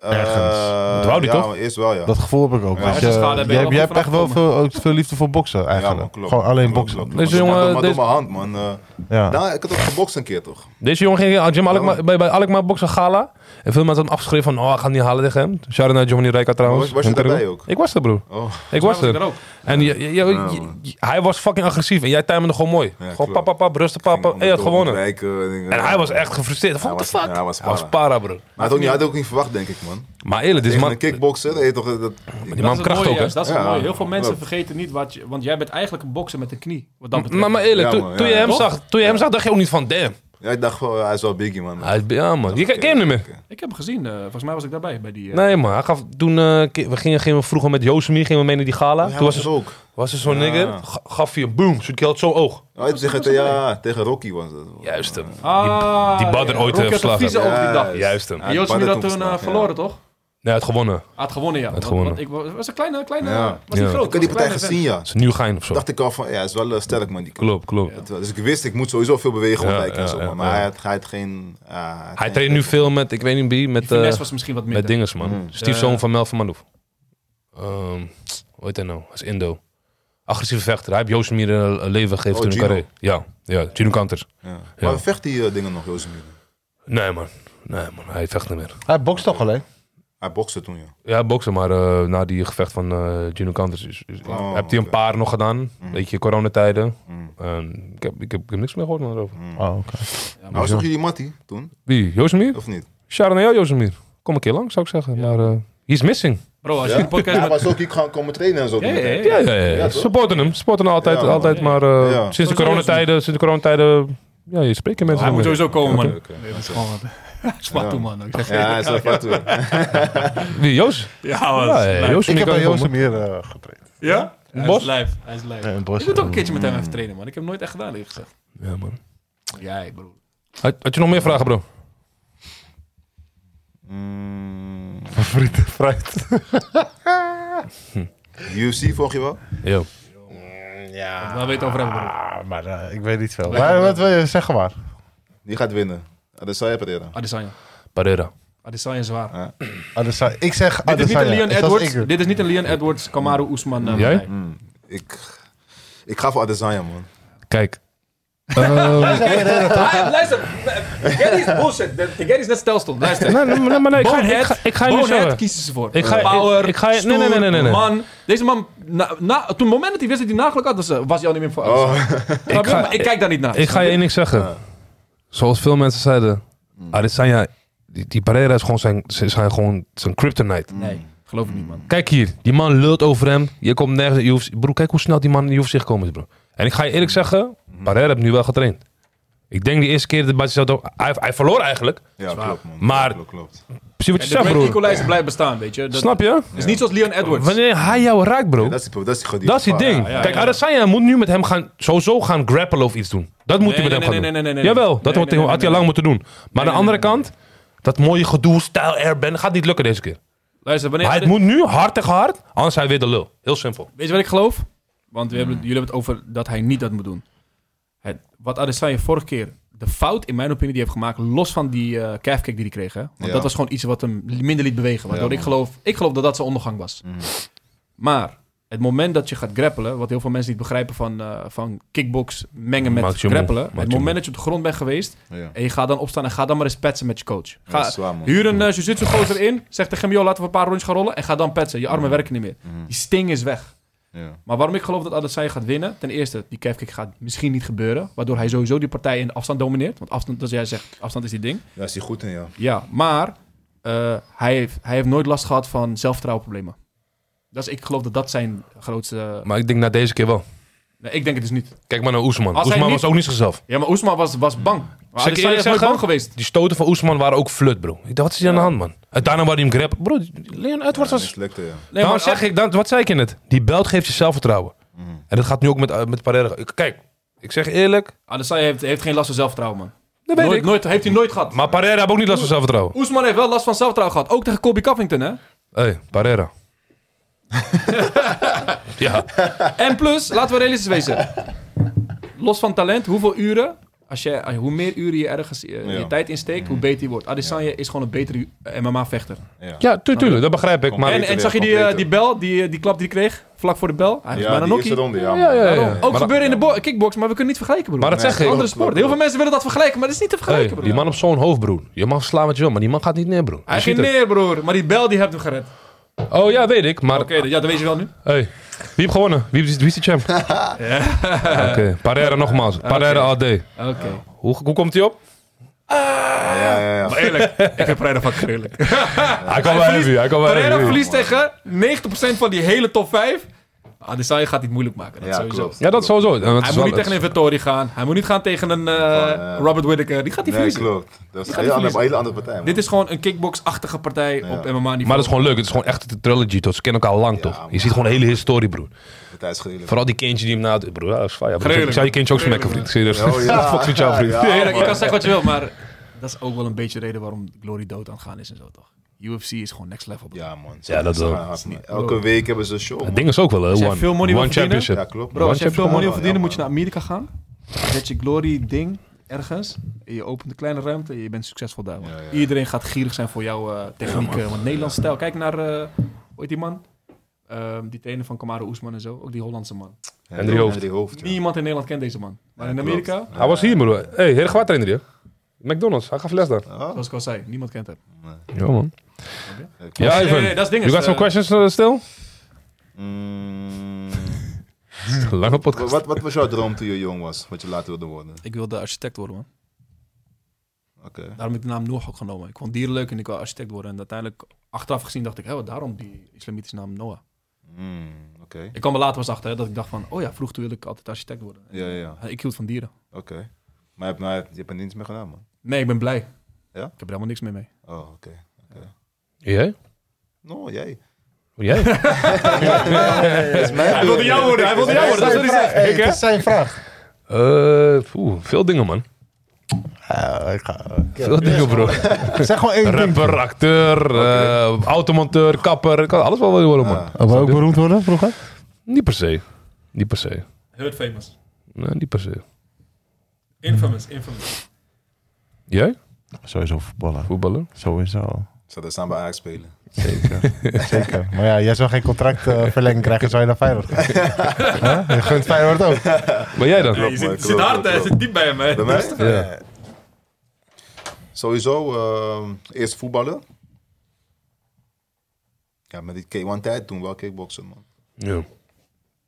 S2: Ergens.
S3: Eh,
S1: Dat wou die
S3: ja,
S1: toch?
S3: maar Eerst wel, ja.
S2: Dat gevoel heb ik ook.
S3: Ja,
S2: want
S5: als
S2: je,
S5: je schade hebt, ben
S2: jij,
S5: je
S2: hebt- jij hebt
S5: wel
S2: echt wel veel, ook veel liefde voor boksen
S3: ja, maar
S2: eigenlijk.
S3: klopt.
S2: Gewoon alleen
S3: Klopt,
S2: boksen.
S3: klopt.
S1: Deze
S3: Maar
S1: jongen,
S3: doe maar door
S1: deze-
S3: mijn hand, man. Eh,
S2: Ja.
S3: nou, ik had ook gebokst een keer, toch?
S1: Deze jongen ging aan Jim Alkmaar, bij, bij Alkmaar Boxen Gala. En veel mensen hadden afgeschreven van, oh, ik ga het niet halen tegen hem. Shout-out naar Giovanni Rijka trouwens.
S3: Was- was je
S1: Hem
S3: daarbij
S1: terug.
S3: ook?
S1: Ik was er, broer.
S3: Oh,
S1: Ik was
S5: was ik
S1: er.
S5: er ook.
S1: En je- je- je- je- je- hij was fucking agressief. En jij timende gewoon mooi. gewoon
S3: klopt.
S1: papa, papa, rustig papa. En je had gewonnen. En hij was echt gefrustreerd. Van,
S3: Hij
S1: what the
S3: was-
S1: fuck?
S3: ja, hij was para.
S1: para, bro.
S3: Maar hij had ook niet, hij had ook niet verwacht, denk ik, man.
S1: Maar eerlijk, dit is
S3: Tegen
S1: man...
S3: een kickbokser, dat je toch... eh, Dat,
S1: Die man
S5: Dat is het
S1: kracht
S5: mooie
S1: ook, hè?
S5: juist, Dat is het
S3: Ja,
S5: mooie. Heel veel
S3: klopt.
S5: mensen vergeten niet wat je... Want jij bent eigenlijk een bokser met een knie. Wat dat betreft.
S1: Maar, maar eerlijk,
S3: Ja,
S1: toen-
S3: man,
S1: toen,
S3: ja,
S1: je hem
S3: ja.
S1: zag, toen je hem zag, dacht je ook niet van, damn.
S3: ja, ik dacht wel, hij is wel biggie, man.
S1: Hij is- ja, man. Je ken ken je hem niet meer.
S5: Ik heb hem gezien. eh, volgens mij was ik daarbij. Bij die, eh,
S1: Nee, man. Hij gaf, toen eh, ki- we gingen, gingen we vroeger met Yosemite gingen we mee naar die gala.
S3: Ja,
S1: toen was
S3: het
S1: er,
S3: ook.
S1: was er zo'n nigger, ga- gaf hij een boom. Zo'n keer had zo'n oog.
S3: Ja, tegen, ja, tegen Rocky was dat.
S1: Juist hem.
S5: Ah,
S1: die Badr ooit, eh,
S5: Rocky had een
S1: verslagen.
S5: vieze oog die dag.
S3: Ja,
S1: Juist hem.
S3: Ja,
S5: En Joost
S3: Badr
S5: had
S3: toen
S5: toen eh,
S3: verslagen, ja.
S5: verloren, toch?
S1: Nee, het gewonnen.
S5: Hij had gewonnen, ja. Want-
S1: gewonnen.
S5: want ik wa- was een kleine... kleine
S3: Ja.
S5: Was niet
S1: Ja.
S5: groot.
S3: Ik had die
S5: was
S3: partij
S5: een kleine
S3: gezien,
S5: vent.
S3: ja.
S1: Dat is een nieuwgein of zo.
S3: dacht ik al van, ja, hij is wel eh, sterk, man. Die
S1: Klopt, klopt.
S3: Dat- Dus ik wist, ik moet sowieso veel bewegen
S1: Ja,
S3: op lijken en
S1: ja,
S3: zo.
S1: ja,
S3: man. maar
S1: ja.
S3: hij had, hij had geen... ah, hij had
S1: Hij
S3: geen-
S1: traint nu veel met, ik weet niet wie,
S5: Die
S1: met, eh
S5: finesse was misschien wat
S1: met
S5: minder. Hmm.
S1: dinges, man. Stiefzoon van Mel van Manouf. Ehm hoe heet hij nou? Hij is Indo. Agressieve vechter. Hij heeft Yosemite een een leven gegeven
S3: Oh,
S1: toen
S3: Gino.
S1: een carré. Ja, ja. Gino Kanters.
S3: Ja.
S1: Ja.
S3: Maar vecht die eh, dingen nog, Jozemine?
S1: Nee, man. Nee, man. Hij vecht niet meer.
S2: Hij bokst toch alleen?
S3: Hij bokste toen, ja.
S1: Ja, boksen, maar eh, na die gevecht van eh Gino Kanters is, is-
S3: Oh,
S1: heb hij een
S3: oké.
S1: paar nog gedaan. Weet je, coronatijden.
S3: Mm.
S1: Ehm, ik, heb, ik, heb, ik heb niks meer gehoord, man. Over.
S2: Oh, oké.
S3: Maar Nou, was toch jullie Mattie toen,
S1: Wie? Yosemite?
S3: of niet?
S1: Sharon en jou, Yosemite. Kom een keer lang, zou ik zeggen. Maar eh he is missing.
S5: Bro, als je
S3: Ja?
S5: die podcast...
S3: Hij
S5: met-
S3: was ook hier gaan komen trainen en zo.
S5: Ja, ja, ja.
S1: Ja, ja, ja.
S3: Ja, toch?
S1: supporten hem. Supporten hem altijd.
S3: Ja, man.
S1: altijd maar eh,
S3: Ja.
S1: sinds, de
S5: Sowieso
S1: coronatijden, sinds de coronatijden... Ja, je spreekt geen mensen
S5: Hij moet
S1: meer.
S5: sowieso komen, man.
S6: Dat is gewoon wat. Spat toe, man. Ik zeg,
S3: Ja, hij is wel vet hoor.
S1: Wie, Joost?
S5: Ja, man.
S1: Ja, ja, Joost
S2: Ik heb bij Jozef
S1: Joost
S2: meer eh, getraind.
S5: Ja? Hij
S1: Bos?
S5: is live. Hij is live.
S2: Nee, in
S5: Ik
S2: Boston.
S5: moet ook een keertje
S6: Mm.
S5: met hem even trainen, man. Ik heb hem nooit echt gedaan, eerlijk gezegd.
S1: ja, man.
S5: Jij, bro.
S1: Had, had je nog meer vragen, bro?
S3: Mm,
S2: Favoriete fruit.
S3: UFC volg je wel?
S1: Ja.
S5: Waar wil je het over hebben, bro?
S2: Ah, maar eh, ik weet niet veel. Maar wat wil je zeggen maar?
S3: Die gaat winnen. Adesanya Pereira.
S5: Adesanya.
S1: Pereira.
S5: Adesanya is waar.
S10: Ah, dus, eh,
S2: Adesanya. Ik zeg
S5: Dit is niet
S2: Adesanya.
S5: een Leon
S2: Is dat
S5: Edwards.
S2: ik?
S5: Dit is niet een Leon Edwards, Kamaru Oesman. eh,
S1: Jij?
S5: partij.
S3: Ik, ik ga voor Adesanya, man.
S1: Kijk.
S5: Ah, luister, Gary is bullshit. De- de Gary is net stelsel. Luister.
S1: Nee, nee, nee, maar nee, ik ga, ik ga,
S5: Bonehead,
S1: ik ga je nu
S5: Bonehead
S1: zeggen.
S5: kiezen ze voor.
S1: Ik ga-
S5: Power,
S1: ik ga- nee, nee, nee, nee, nee, nee.
S5: man. Deze man, na, na, toen het moment dat hij wist dat hij nagelijk had, was, eh, was hij al niet meer voor Adesanya.
S3: Oh.
S5: Snap
S1: Oh, Ik
S5: je?
S1: ga-
S5: Maar ik kijk daar niet naar.
S1: Ik ga je één ding zeggen. Zoals veel mensen zeiden,
S5: Mm.
S1: Ah, Adesanya, die, die Pereira is gewoon zijn, zijn zijn gewoon zijn kryptonite.
S5: Nee, geloof ik niet, man.
S1: Kijk hier, die man lult over hem. Je komt nergens. Je hoeft, broer, kijk hoe snel die man in je zich komen is, bro. En ik ga je eerlijk
S5: Mm.
S1: zeggen, Pereira heeft nu wel getraind. Ik denk die eerste keer dat Basis hij, hij verloor eigenlijk.
S3: Ja, klopt, man.
S1: Maar-
S3: Klopt, klopt.
S1: Zie wat
S5: En
S1: je
S5: de
S1: zegt,
S5: Great
S1: broer.
S5: Equalizer blijft bestaan, weet je. Dat
S1: Snap je?
S5: is niet zoals Leon Edwards.
S1: Wanneer hij jou raakt, bro.
S3: Ja, dat is die, dat is die,
S1: Dat is het ding.
S5: ja,
S1: Kijk,
S5: ja.
S1: Adesanya moet nu met hem gaan, sowieso gaan grappelen of iets doen. Dat moet hij met
S5: Nee, nee,
S1: hem
S5: nee,
S1: gaan
S5: nee,
S1: doen.
S5: nee, nee, nee.
S1: Jawel, dat
S5: Nee,
S1: wordt-
S5: nee, nee,
S1: had hij
S5: nee,
S1: lang moeten doen. Maar aan de
S5: nee,
S1: andere kant, dat mooie gedoe, stijl, airband, gaat niet lukken deze keer.
S5: Luister, wanneer
S1: Maar het
S5: Ade-
S1: moet nu hard tegen hard, anders zijn hij weer de lul. Heel simpel.
S5: Weet je wat ik geloof? Want we hebben, jullie hebben het over dat hij niet dat moet doen. Het, wat Adesanya vorige keer, de fout in mijn opinie die hij heeft gemaakt, los van die eh calf kick die hij kreeg. Hè? Want
S3: Ja.
S5: dat was gewoon iets wat hem minder liet bewegen. Waardoor
S3: Ja,
S5: ik,
S3: man.
S5: geloof, ik geloof dat dat zijn ondergang was.
S1: Hmm.
S5: Maar het moment dat je gaat grappelen, wat heel veel mensen niet begrijpen van, eh, van kickbox mengen met
S1: Maakt je moe.
S5: grappelen.
S1: Maakt
S5: Het
S1: je moe.
S5: moment dat je op de grond bent geweest
S3: Ja.
S5: en je gaat dan opstaan en ga dan maar eens petsen met je coach. Ga,
S3: dat is zwaar, man.
S5: Huur een eh, jujutsu gozer in, zeg tegen hem, joh, laten we een paar rondjes gaan rollen en ga dan petsen. Je armen
S1: Mhm.
S5: werken niet meer. Die sting is weg.
S3: Ja.
S5: Maar waarom ik geloof dat Adesanya gaat winnen... Ten eerste, die calfkick gaat misschien niet gebeuren... waardoor hij sowieso die partij in de afstand domineert. Want afstand, zoals jij zegt, afstand is die ding.
S3: Daar is hij goed in, ja.
S5: Ja, maar eh, hij, heeft, hij heeft nooit last gehad van zelfvertrouwenproblemen. Dat is, ik geloof dat dat zijn grootste...
S1: Maar ik denk na deze keer wel.
S5: Nee, ik denk het dus niet.
S1: Kijk maar naar Oesman.
S5: Als hij
S1: Oesman
S5: niet-
S1: was ook niet zichzelf.
S5: Ja, maar Oesman was, was bang. Maar
S1: Zal ik
S5: Adesanya
S1: eerlijk
S5: is nooit
S1: zeggen?
S5: bang geweest.
S1: Die stoten van Oesman waren ook flut, bro. Ik dacht, wat is hier aan de hand, man? En daarna waar hij hem grab. Bro, Leon Edwards
S3: Ja,
S1: was...
S3: niks lekte, ja.
S5: Nee,
S1: nou, zeg ik, dan, wat zei ik in het? Die belt geeft je zelfvertrouwen.
S5: Mm.
S1: En dat gaat nu ook met, eh, met Pereira. Ik- Kijk, ik zeg eerlijk,
S5: Adesanya heeft, heeft geen last van zelfvertrouwen, man.
S1: dat weet
S5: nooit,
S1: ik.
S5: Nooit, heeft hij nooit gehad.
S1: Maar Pereira heeft ook niet last van zelfvertrouwen.
S5: Oesman heeft wel last van zelfvertrouwen gehad. Ook tegen Colby Covington, hè?
S1: Hé, hey, Pereira. ja,
S5: En plus, laten we realistisch wezen. Los van talent, hoeveel uren Als je, als- hoe meer uren je ergens eh,
S3: Ja.
S5: je tijd insteekt, hoe beter je wordt. Adesanya is gewoon een betere MMA-vechter.
S3: Ah,
S1: Oh, Ja, tu- tuurlijk, dat begrijp ik. Maar
S5: En, en zag je die, eh, die bel, die, eh, die klap die hij kreeg? Vlak voor de bel? Hij was
S3: Ja,
S5: bijna
S3: die eerste
S5: nokkie.
S3: ronde, ja.
S1: Ja, ja, ja.
S5: Daarom.
S1: Maar
S5: Ook
S1: dat-
S5: gebeuren in de bo- eh, kickbox, maar we kunnen niet vergelijken, broer.
S1: Maar dat zeg ik.
S5: Andere sport. Heel veel mensen willen dat vergelijken, maar dat is niet te
S1: Hey,
S5: vergelijken, broer.
S1: die man op zo'n hoofd, broer. Je mag slaan wat je wil, maar die man gaat niet neer, broer.
S5: Hij
S1: Je ziet
S5: ging neer, broer. Maar die bel, die hebt hem gered. Oké,
S1: het. Oh ja, weet ik. Maar
S5: dat- ja, dat weet je wel nu.
S1: hey, wie heeft gewonnen? Wie, is- wie is de champ? Oké, Pereira nogmaals. Pereira all day.
S5: Oké.
S1: Hoe, hoe komt hij op?
S3: Ja, ja, ja.
S5: Maar eerlijk, ik heb Pereira fucking gruwelijk.
S1: Hij kan wel heavy, hij kan wel
S5: Pereira
S1: heavy.
S5: verliest tegen 90% van die hele top 5. Adesanya gaat het niet moeilijk maken, dat
S3: Ja,
S5: sowieso.
S3: klopt.
S1: Ja, dat sowieso. En dat
S5: Hij
S1: is
S5: moet
S1: wel-
S5: niet tegen een Vittori gaan. Hij moet niet gaan tegen een eh,
S3: ja.
S5: Robert Whittaker. Die gaat hij
S3: Nee,
S5: verliezen.
S3: klopt. Dat is
S5: gaat
S3: een
S5: die
S3: hele andere,
S5: verliezen.
S3: hele andere partij. man.
S5: Dit is gewoon een kickbox-achtige partij op MMA niveau.
S1: Maar dat is gewoon leuk. Het is gewoon echt de trilogy, toch? Ze kennen elkaar lang, toch? Je
S3: man.
S1: ziet gewoon een hele historie, broer.
S3: partij is geleden.
S1: Vooral die kindje die hem na... Broer, ja, dat is fijn. ja, broer.
S5: Gruwelijk.
S1: Ik zou je kindje ook smekken, vriend. Serieus.
S3: Oh, ja.
S1: Fuck met jou, vriend.
S3: Ja,
S5: Ja, eerlijk, je
S3: man.
S5: kan zeggen wat je wil, maar dat is ook wel een beetje de reden waarom Glory dood aan het gaan is en zo, toch? UFC is gewoon next level. bro.
S3: Ja, man.
S1: Ja, dat
S3: Ze gaan
S1: wel.
S3: hard, man. Elke week hebben ze een show.
S1: Het
S3: man.
S1: ding is ook wel, hè.
S5: jij
S1: One,
S5: veel money wil
S1: one
S5: verdienen-
S1: championship.
S3: Ja, klopt.
S5: Bro, als je
S1: Want je
S5: veel
S1: hebt-
S5: money wil
S3: Ja, man.
S5: verdienen, moet je naar Amerika gaan. Zet je Glory-ding ergens. en Je opent een kleine ruimte en je bent succesvol daar. man.
S3: Ja, ja.
S5: Iedereen gaat gierig zijn voor jouw eh technieken. want Nederlands stijl. Kijk naar, eh hoe heet die man? Ehm, die trainer van Kamaru Oesman en zo. Ook die Hollandse man.
S3: Ja,
S1: Henry Hoofd.
S3: Henry Hoofd, ja.
S5: Niemand in Nederland kent deze man. Maar in
S3: Ja,
S5: Amerika,
S3: klopt.
S1: Hij was hier, broer. Hé, hey, hele gewaar trainer, McDonald's, hij gaf les daar.
S3: Ah,
S5: zoals ik al zei, niemand kent hem.
S1: Ja, man.
S3: kijk.
S1: Ja,
S5: Nee, nee,
S1: Ivan.
S5: nee, dat is ding.
S1: You got
S5: is,
S1: some
S5: eh,
S1: questions uh, still?
S3: Mm,
S1: Lange podcast.
S3: wat, wat was jouw droom toen je jong was? Wat je later wilde worden?
S5: Ik wilde architect worden, man.
S3: Oké.
S5: Daarom heb ik de naam Noah ook genomen. Ik vond dieren leuk en ik wil architect worden. En uiteindelijk, achteraf gezien, dacht ik, hé, wat daarom die islamitische naam Noah.
S3: Mm, Oké.
S5: Ik kwam er later pas achter hè, dat ik dacht van, oh ja, vroeg wilde ik altijd architect worden.
S3: Ja, ja, ja.
S5: Ik hield van dieren.
S3: Oké. Maar je hebt, nou, je hebt er niets meer gedaan, man.
S5: Nee, ik ben blij.
S3: Ja?
S5: Ik heb er helemaal niks meer mee.
S3: Oh, oké.
S1: Jij?
S3: No, jij.
S1: Jij?
S3: Hij wilde jou worden, hij wilde jou
S10: Dat is zijn vraag.
S1: Eh, oeh, veel dingen, man. Ah,
S10: Ja, ik ga,
S1: Veel dingen, bro.
S10: zeg gewoon één ding.
S1: Rapper, acteur, eh, automonteur, kapper. Ik kan alles wel willen worden, man.
S3: Ah.
S10: Wou ook beroemd worden vroeger?
S1: Niet per se. Niet per se.
S5: Heard famous.
S1: Nee, niet per se.
S5: Infamous, infamous.
S1: Jij?
S10: Sowieso voetballen.
S1: Voetballer?
S10: Sowieso.
S3: Zou dat samen bij Ajax spelen?
S10: Zeker. Maar ja, jij zou geen contract eh, verlenging krijgen, zou je naar Feyenoord gaan? Huh? Je gunt Feyenoord ook.
S1: Maar jij dan?
S3: Klopt, man, klopt, klopt, klopt.
S5: eh, diep bij hem, hè.
S3: Bij mij?
S1: Ja.
S3: Sowieso, ehm, eerst voetballen. Ja, met die K1-tijd toen wel kickboksen, man.
S1: Ja.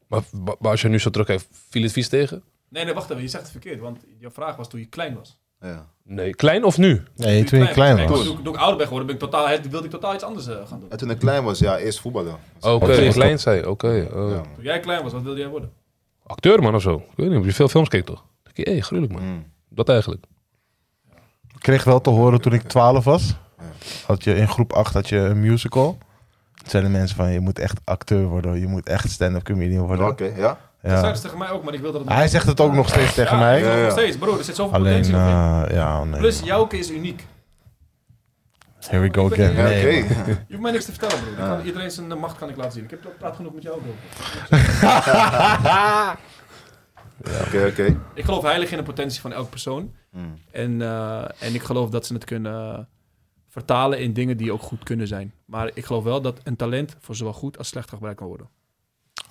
S1: Maar, maar als je nu zo terugkijkt, viel het vies tegen?
S5: Nee, nee, wacht even. Je zegt het verkeerd, want jouw vraag was toen je klein was.
S3: Ja.
S1: Nee. Klein of nu?
S10: Nee, toen je klein was.
S5: Toen, ik- toen ik ouder ben geworden, ben ik totaal, hè, wilde ik totaal iets anders eh, gaan doen.
S3: En toen ik klein was, ja, eerst voetballen.
S1: Oké,
S10: Oké.
S1: klein zei. Oké. oh.
S3: Ja, man.
S5: Toen jij klein was, wat wilde jij worden?
S1: Acteur, man, of zo. Ik weet niet, heb je veel films keek, toch? Hé, hey, gruwelijk, man.
S3: Mm.
S1: Dat eigenlijk.
S10: Ik kreeg wel te horen toen ik 12 was. Had je in groep 8 had je een musical. Toen zeiden mensen van, je moet echt acteur worden. Je moet echt stand-up comedian
S3: Oké,
S10: worden.
S3: ja.
S5: Dat
S10: Ja.
S5: zeiden ze tegen mij ook, maar ik wilde dat
S10: Hij zegt het ook nog steeds tegen mij.
S3: Ja, ja.
S5: Nog steeds, broer. Er zit zoveel
S10: Alleen,
S5: potentie nog in.
S10: eh, ja, nee.
S5: Plus, jouw keer is uniek.
S10: Here we go again.
S3: Ja,
S10: Nee,
S3: Oké.
S10: man.
S5: Je hoeft mij niks te vertellen, broer. Ik kan- iedereen zijn eh, macht kan ik laten zien. Ik heb ik praat genoeg met jou, broer.
S3: Oké, oké. Mm.
S5: Ik geloof heilig in de potentie van elke persoon. En, eh, en ik geloof dat ze het kunnen eh, vertalen in dingen die ook goed kunnen zijn. Maar ik geloof wel dat een talent voor zowel goed als slecht gebruikt kan worden.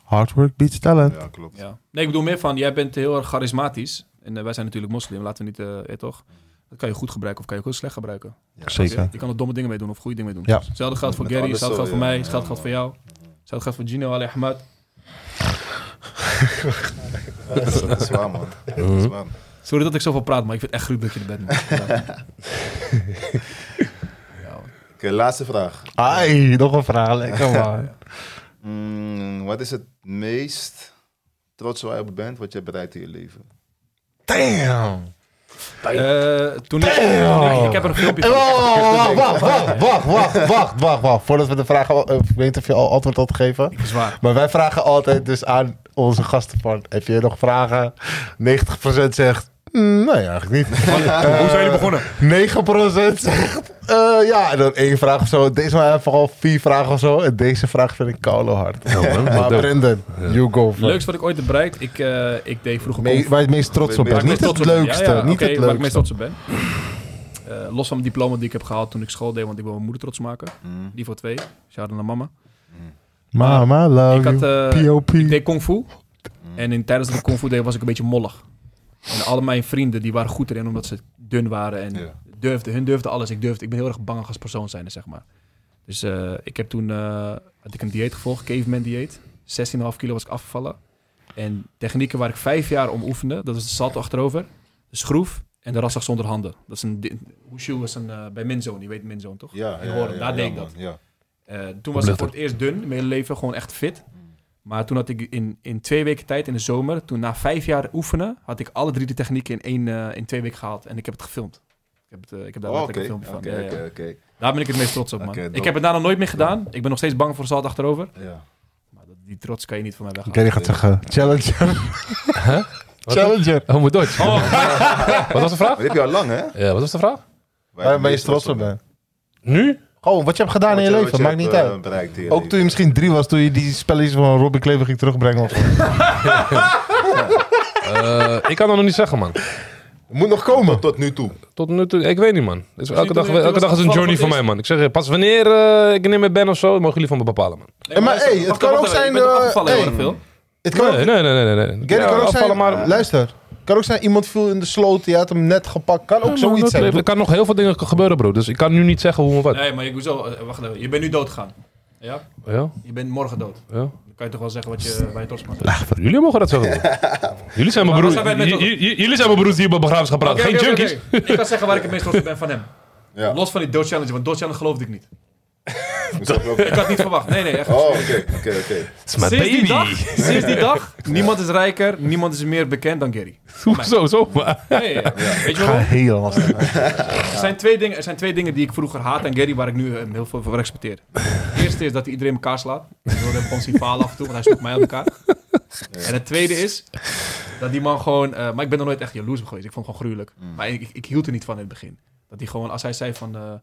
S10: Hard work beats talent.
S3: Ja, klopt.
S5: Ja. Nee, ik bedoel meer van, jij bent heel erg charismatisch. En eh, wij zijn natuurlijk moslim, laten we niet, eh eh, toch? Dat kan je goed gebruiken of kan je ook heel slecht gebruiken.
S10: Zeker.
S5: Je kan er domme dingen mee doen of goede dingen mee doen.
S10: Ja.
S5: Hetzelfde geldt voor
S3: Met
S5: Gary,
S3: alles
S5: hetzelfde geldt
S3: zo,
S5: voor
S3: ja.
S5: mij, hetzelfde geldt voor jou. Hetzelfde geldt voor Gino, Ali Ahmad.
S3: Ja, dat, is, Eh, dat is waar, man. Dat is waar.
S5: Sorry dat ik zoveel praat, maar ik vind het echt goed dat je er bent. man. Ja. Ja, man.
S3: Oké, laatste vraag.
S10: Ai, nog een verhaal. Lekker man.
S3: Mm, wat is het meest trots waar je op bent, wat je bereikt in je leven?
S10: Damn.
S5: Eh, toen ik, ik heb er een filmpje
S10: Hey,
S5: van.
S10: wacht, wacht, wacht, wacht, wacht, wacht, wacht, wacht. Voordat we de vraag, al- eh, ik weet niet of je al antwoord had gegeven.
S5: is waar.
S10: Maar wij vragen altijd dus aan onze gasten van, heb je nog vragen? 90% zegt,
S2: Mm, nee, eigenlijk niet.
S5: Hoe zijn jullie begonnen?
S2: 9% zegt. eh, ja, en dan één vraag of zo. Deze maar vooral vier vragen of zo. En deze vraag vind ik koude hard. maar
S1: dope.
S2: Brendan, you go first.
S5: Leukst wat ik ooit heb bereikt. Ik, eh, ik deed vroeger...
S2: Me- waar je het meest trots op
S3: Waar
S2: bent.
S5: Waar
S2: Niet het
S5: ik meest trots op ben.
S2: leukste.
S5: Ja, ja,
S2: Niet
S5: oké,
S2: het
S5: Waar ik meest
S2: leukste.
S5: trots op ben. Eh, los van het diploma die ik heb gehaald toen ik school deed, want ik wil mijn moeder trots maken.
S3: Mm.
S5: Die voor twee. Shout out naar mama.
S2: Mama, love
S5: ik had...
S2: you.
S5: eh,
S2: P.O.P.
S5: Ik
S10: Mm.
S5: deed kung fu. En in, tijdens dat ik kung fu deed was ik een beetje mollig. En alle mijn vrienden die waren goed erin omdat ze dun waren en
S10: Ja.
S5: durfden. Hun durfden alles. Ik durfde. Ik ben heel erg bang als persoon zijnde, zeg maar. Dus eh, ik heb toen eh, had ik een dieet gevolgd, caveman dieet. 16,5 kilo was ik afgevallen. En technieken waar ik vijf jaar om oefende, dat is de salto achterover, de schroef en de rassig zonder handen. Dat is een di- wushu was een eh, bij Minzoon, je weet Minzoon toch?
S3: Ja,
S5: In Horen, daar deed ik
S3: man,
S5: dat.
S3: Ja.
S5: Eh, toen was ik voor het eerst dun, mijn hele leven gewoon echt fit. Maar toen had ik in, in twee weken tijd in de zomer, toen na vijf jaar oefenen, had ik alle drie de technieken in, één, eh, in twee weken gehaald. En ik heb het gefilmd. Ik heb, het, eh, ik heb daar
S3: Oh,
S5: letterlijk
S3: Oké,
S5: een filmpje van.
S3: oké,
S5: Ja, ja.
S3: oké, oké.
S5: Daar ben ik het meest trots op, man.
S3: Oké, dope.
S5: ik heb het daarna nooit meer gedaan. Ik ben nog steeds bang voor zalt achterover.
S3: Ja.
S5: Maar dat- die trots kan je niet van mij
S2: Oké,
S5: weghalen.
S2: die gaat zeggen. Challenger.
S1: Wat?
S2: Challenger.
S1: Oh, mijn Duits. wat was de vraag?
S3: Maar die heb je al lang, hè? Waar
S1: Ja, wat was de vraag?
S3: je
S2: Waar je
S3: het
S2: het meest
S3: meest
S2: trots op bent.
S1: Nu?
S10: Oh,
S2: Gewoon, wat je hebt gedaan in je
S3: Wat
S2: leven.
S3: wat
S2: Maakt
S3: hebt,
S2: niet
S3: eh,
S2: uit.
S3: bereikt in je
S2: Ook
S3: leven.
S2: toen je misschien drie was, toen je die spelletjes van Robbie Klever ging terugbrengen. Of...
S1: Eh, ik kan dat nog niet zeggen, man.
S2: Moet nog komen.
S3: Tot nu toe.
S1: Tot nu toe, ik weet niet, man. Dus elke
S5: toen-
S1: dag,
S5: toen was
S1: elke dag is een
S5: het
S1: journey
S5: eerst-
S1: voor mij, man. Ik zeg je, pas wanneer eh, ik er niet meer ben of zo, mogen jullie van me bepalen, man.
S5: Nee,
S2: maar
S5: luister,
S2: hey, het
S5: wacht
S2: kan
S5: even,
S2: ook
S5: wacht even.
S2: zijn,
S5: Je bent
S2: eh,
S5: afgevallen heel
S2: hey.
S5: erg veel.
S2: Het kan ook
S1: Nee, nee, nee, nee. nee, nee.
S2: Gary, kan
S1: Ja,
S2: ook zijn,
S1: afvallen, maar-
S2: luister, kan ook zijn iemand viel in de sloot, je had hem net gepakt. Kan ook
S1: Ja, man,
S2: zoiets
S1: dat-
S2: zijn.
S1: Er kan nog heel veel dingen gebeuren, bro. Dus ik kan nu niet zeggen hoe en wat.
S5: Nee, maar ik, hoezo, Eh, wacht even. Je bent nu dood gegaan. Ja?
S1: Ja,
S5: Je bent morgen dood.
S1: ja.
S5: Dan kan je toch wel zeggen wat je, waar je trots op bent.
S1: Jullie mogen dat zeggen. bro. Jullie zijn mijn
S5: Maar
S1: broers.
S5: waar zijn wij met-
S1: J- j- j- Jullie zijn mijn broers die op mijn begrafenis gaan praten.
S5: Oké,
S1: Geen
S5: oké, oké,
S1: junkies.
S5: oké. Ik kan zeggen waar ik het meest trots op ben van hem.
S3: Ja.
S5: Los van die dood challenge, want dood challenge geloofde ik niet.
S3: Dus dat ook-
S5: Ik had niet verwacht. Nee, nee, echt.
S3: Oh, oké, oké, oké.
S1: It's my
S5: sinds, die
S1: baby.
S5: dag, sinds die dag, niemand is rijker, niemand is meer bekend dan Gary.
S1: Zo, zo. maar.
S5: Nee, ja, ja. Weet je
S2: Ga
S5: wel?
S2: heel lastig.
S5: Er zijn, twee dingen, er zijn twee dingen die ik vroeger haat aan Gary, waar ik nu eh, heel veel voor respecteer. Het eerste is dat hij iedereen in elkaar slaat. Ik wilde ons zien falen af en toe, want hij sloeg mij aan elkaar. En het tweede is dat die man gewoon... eh, maar ik ben er nooit echt jaloers op geweest. Ik vond het gewoon gruwelijk. Maar ik, ik, ik hield er niet van in het begin. Dat hij gewoon, als hij zei van... eh,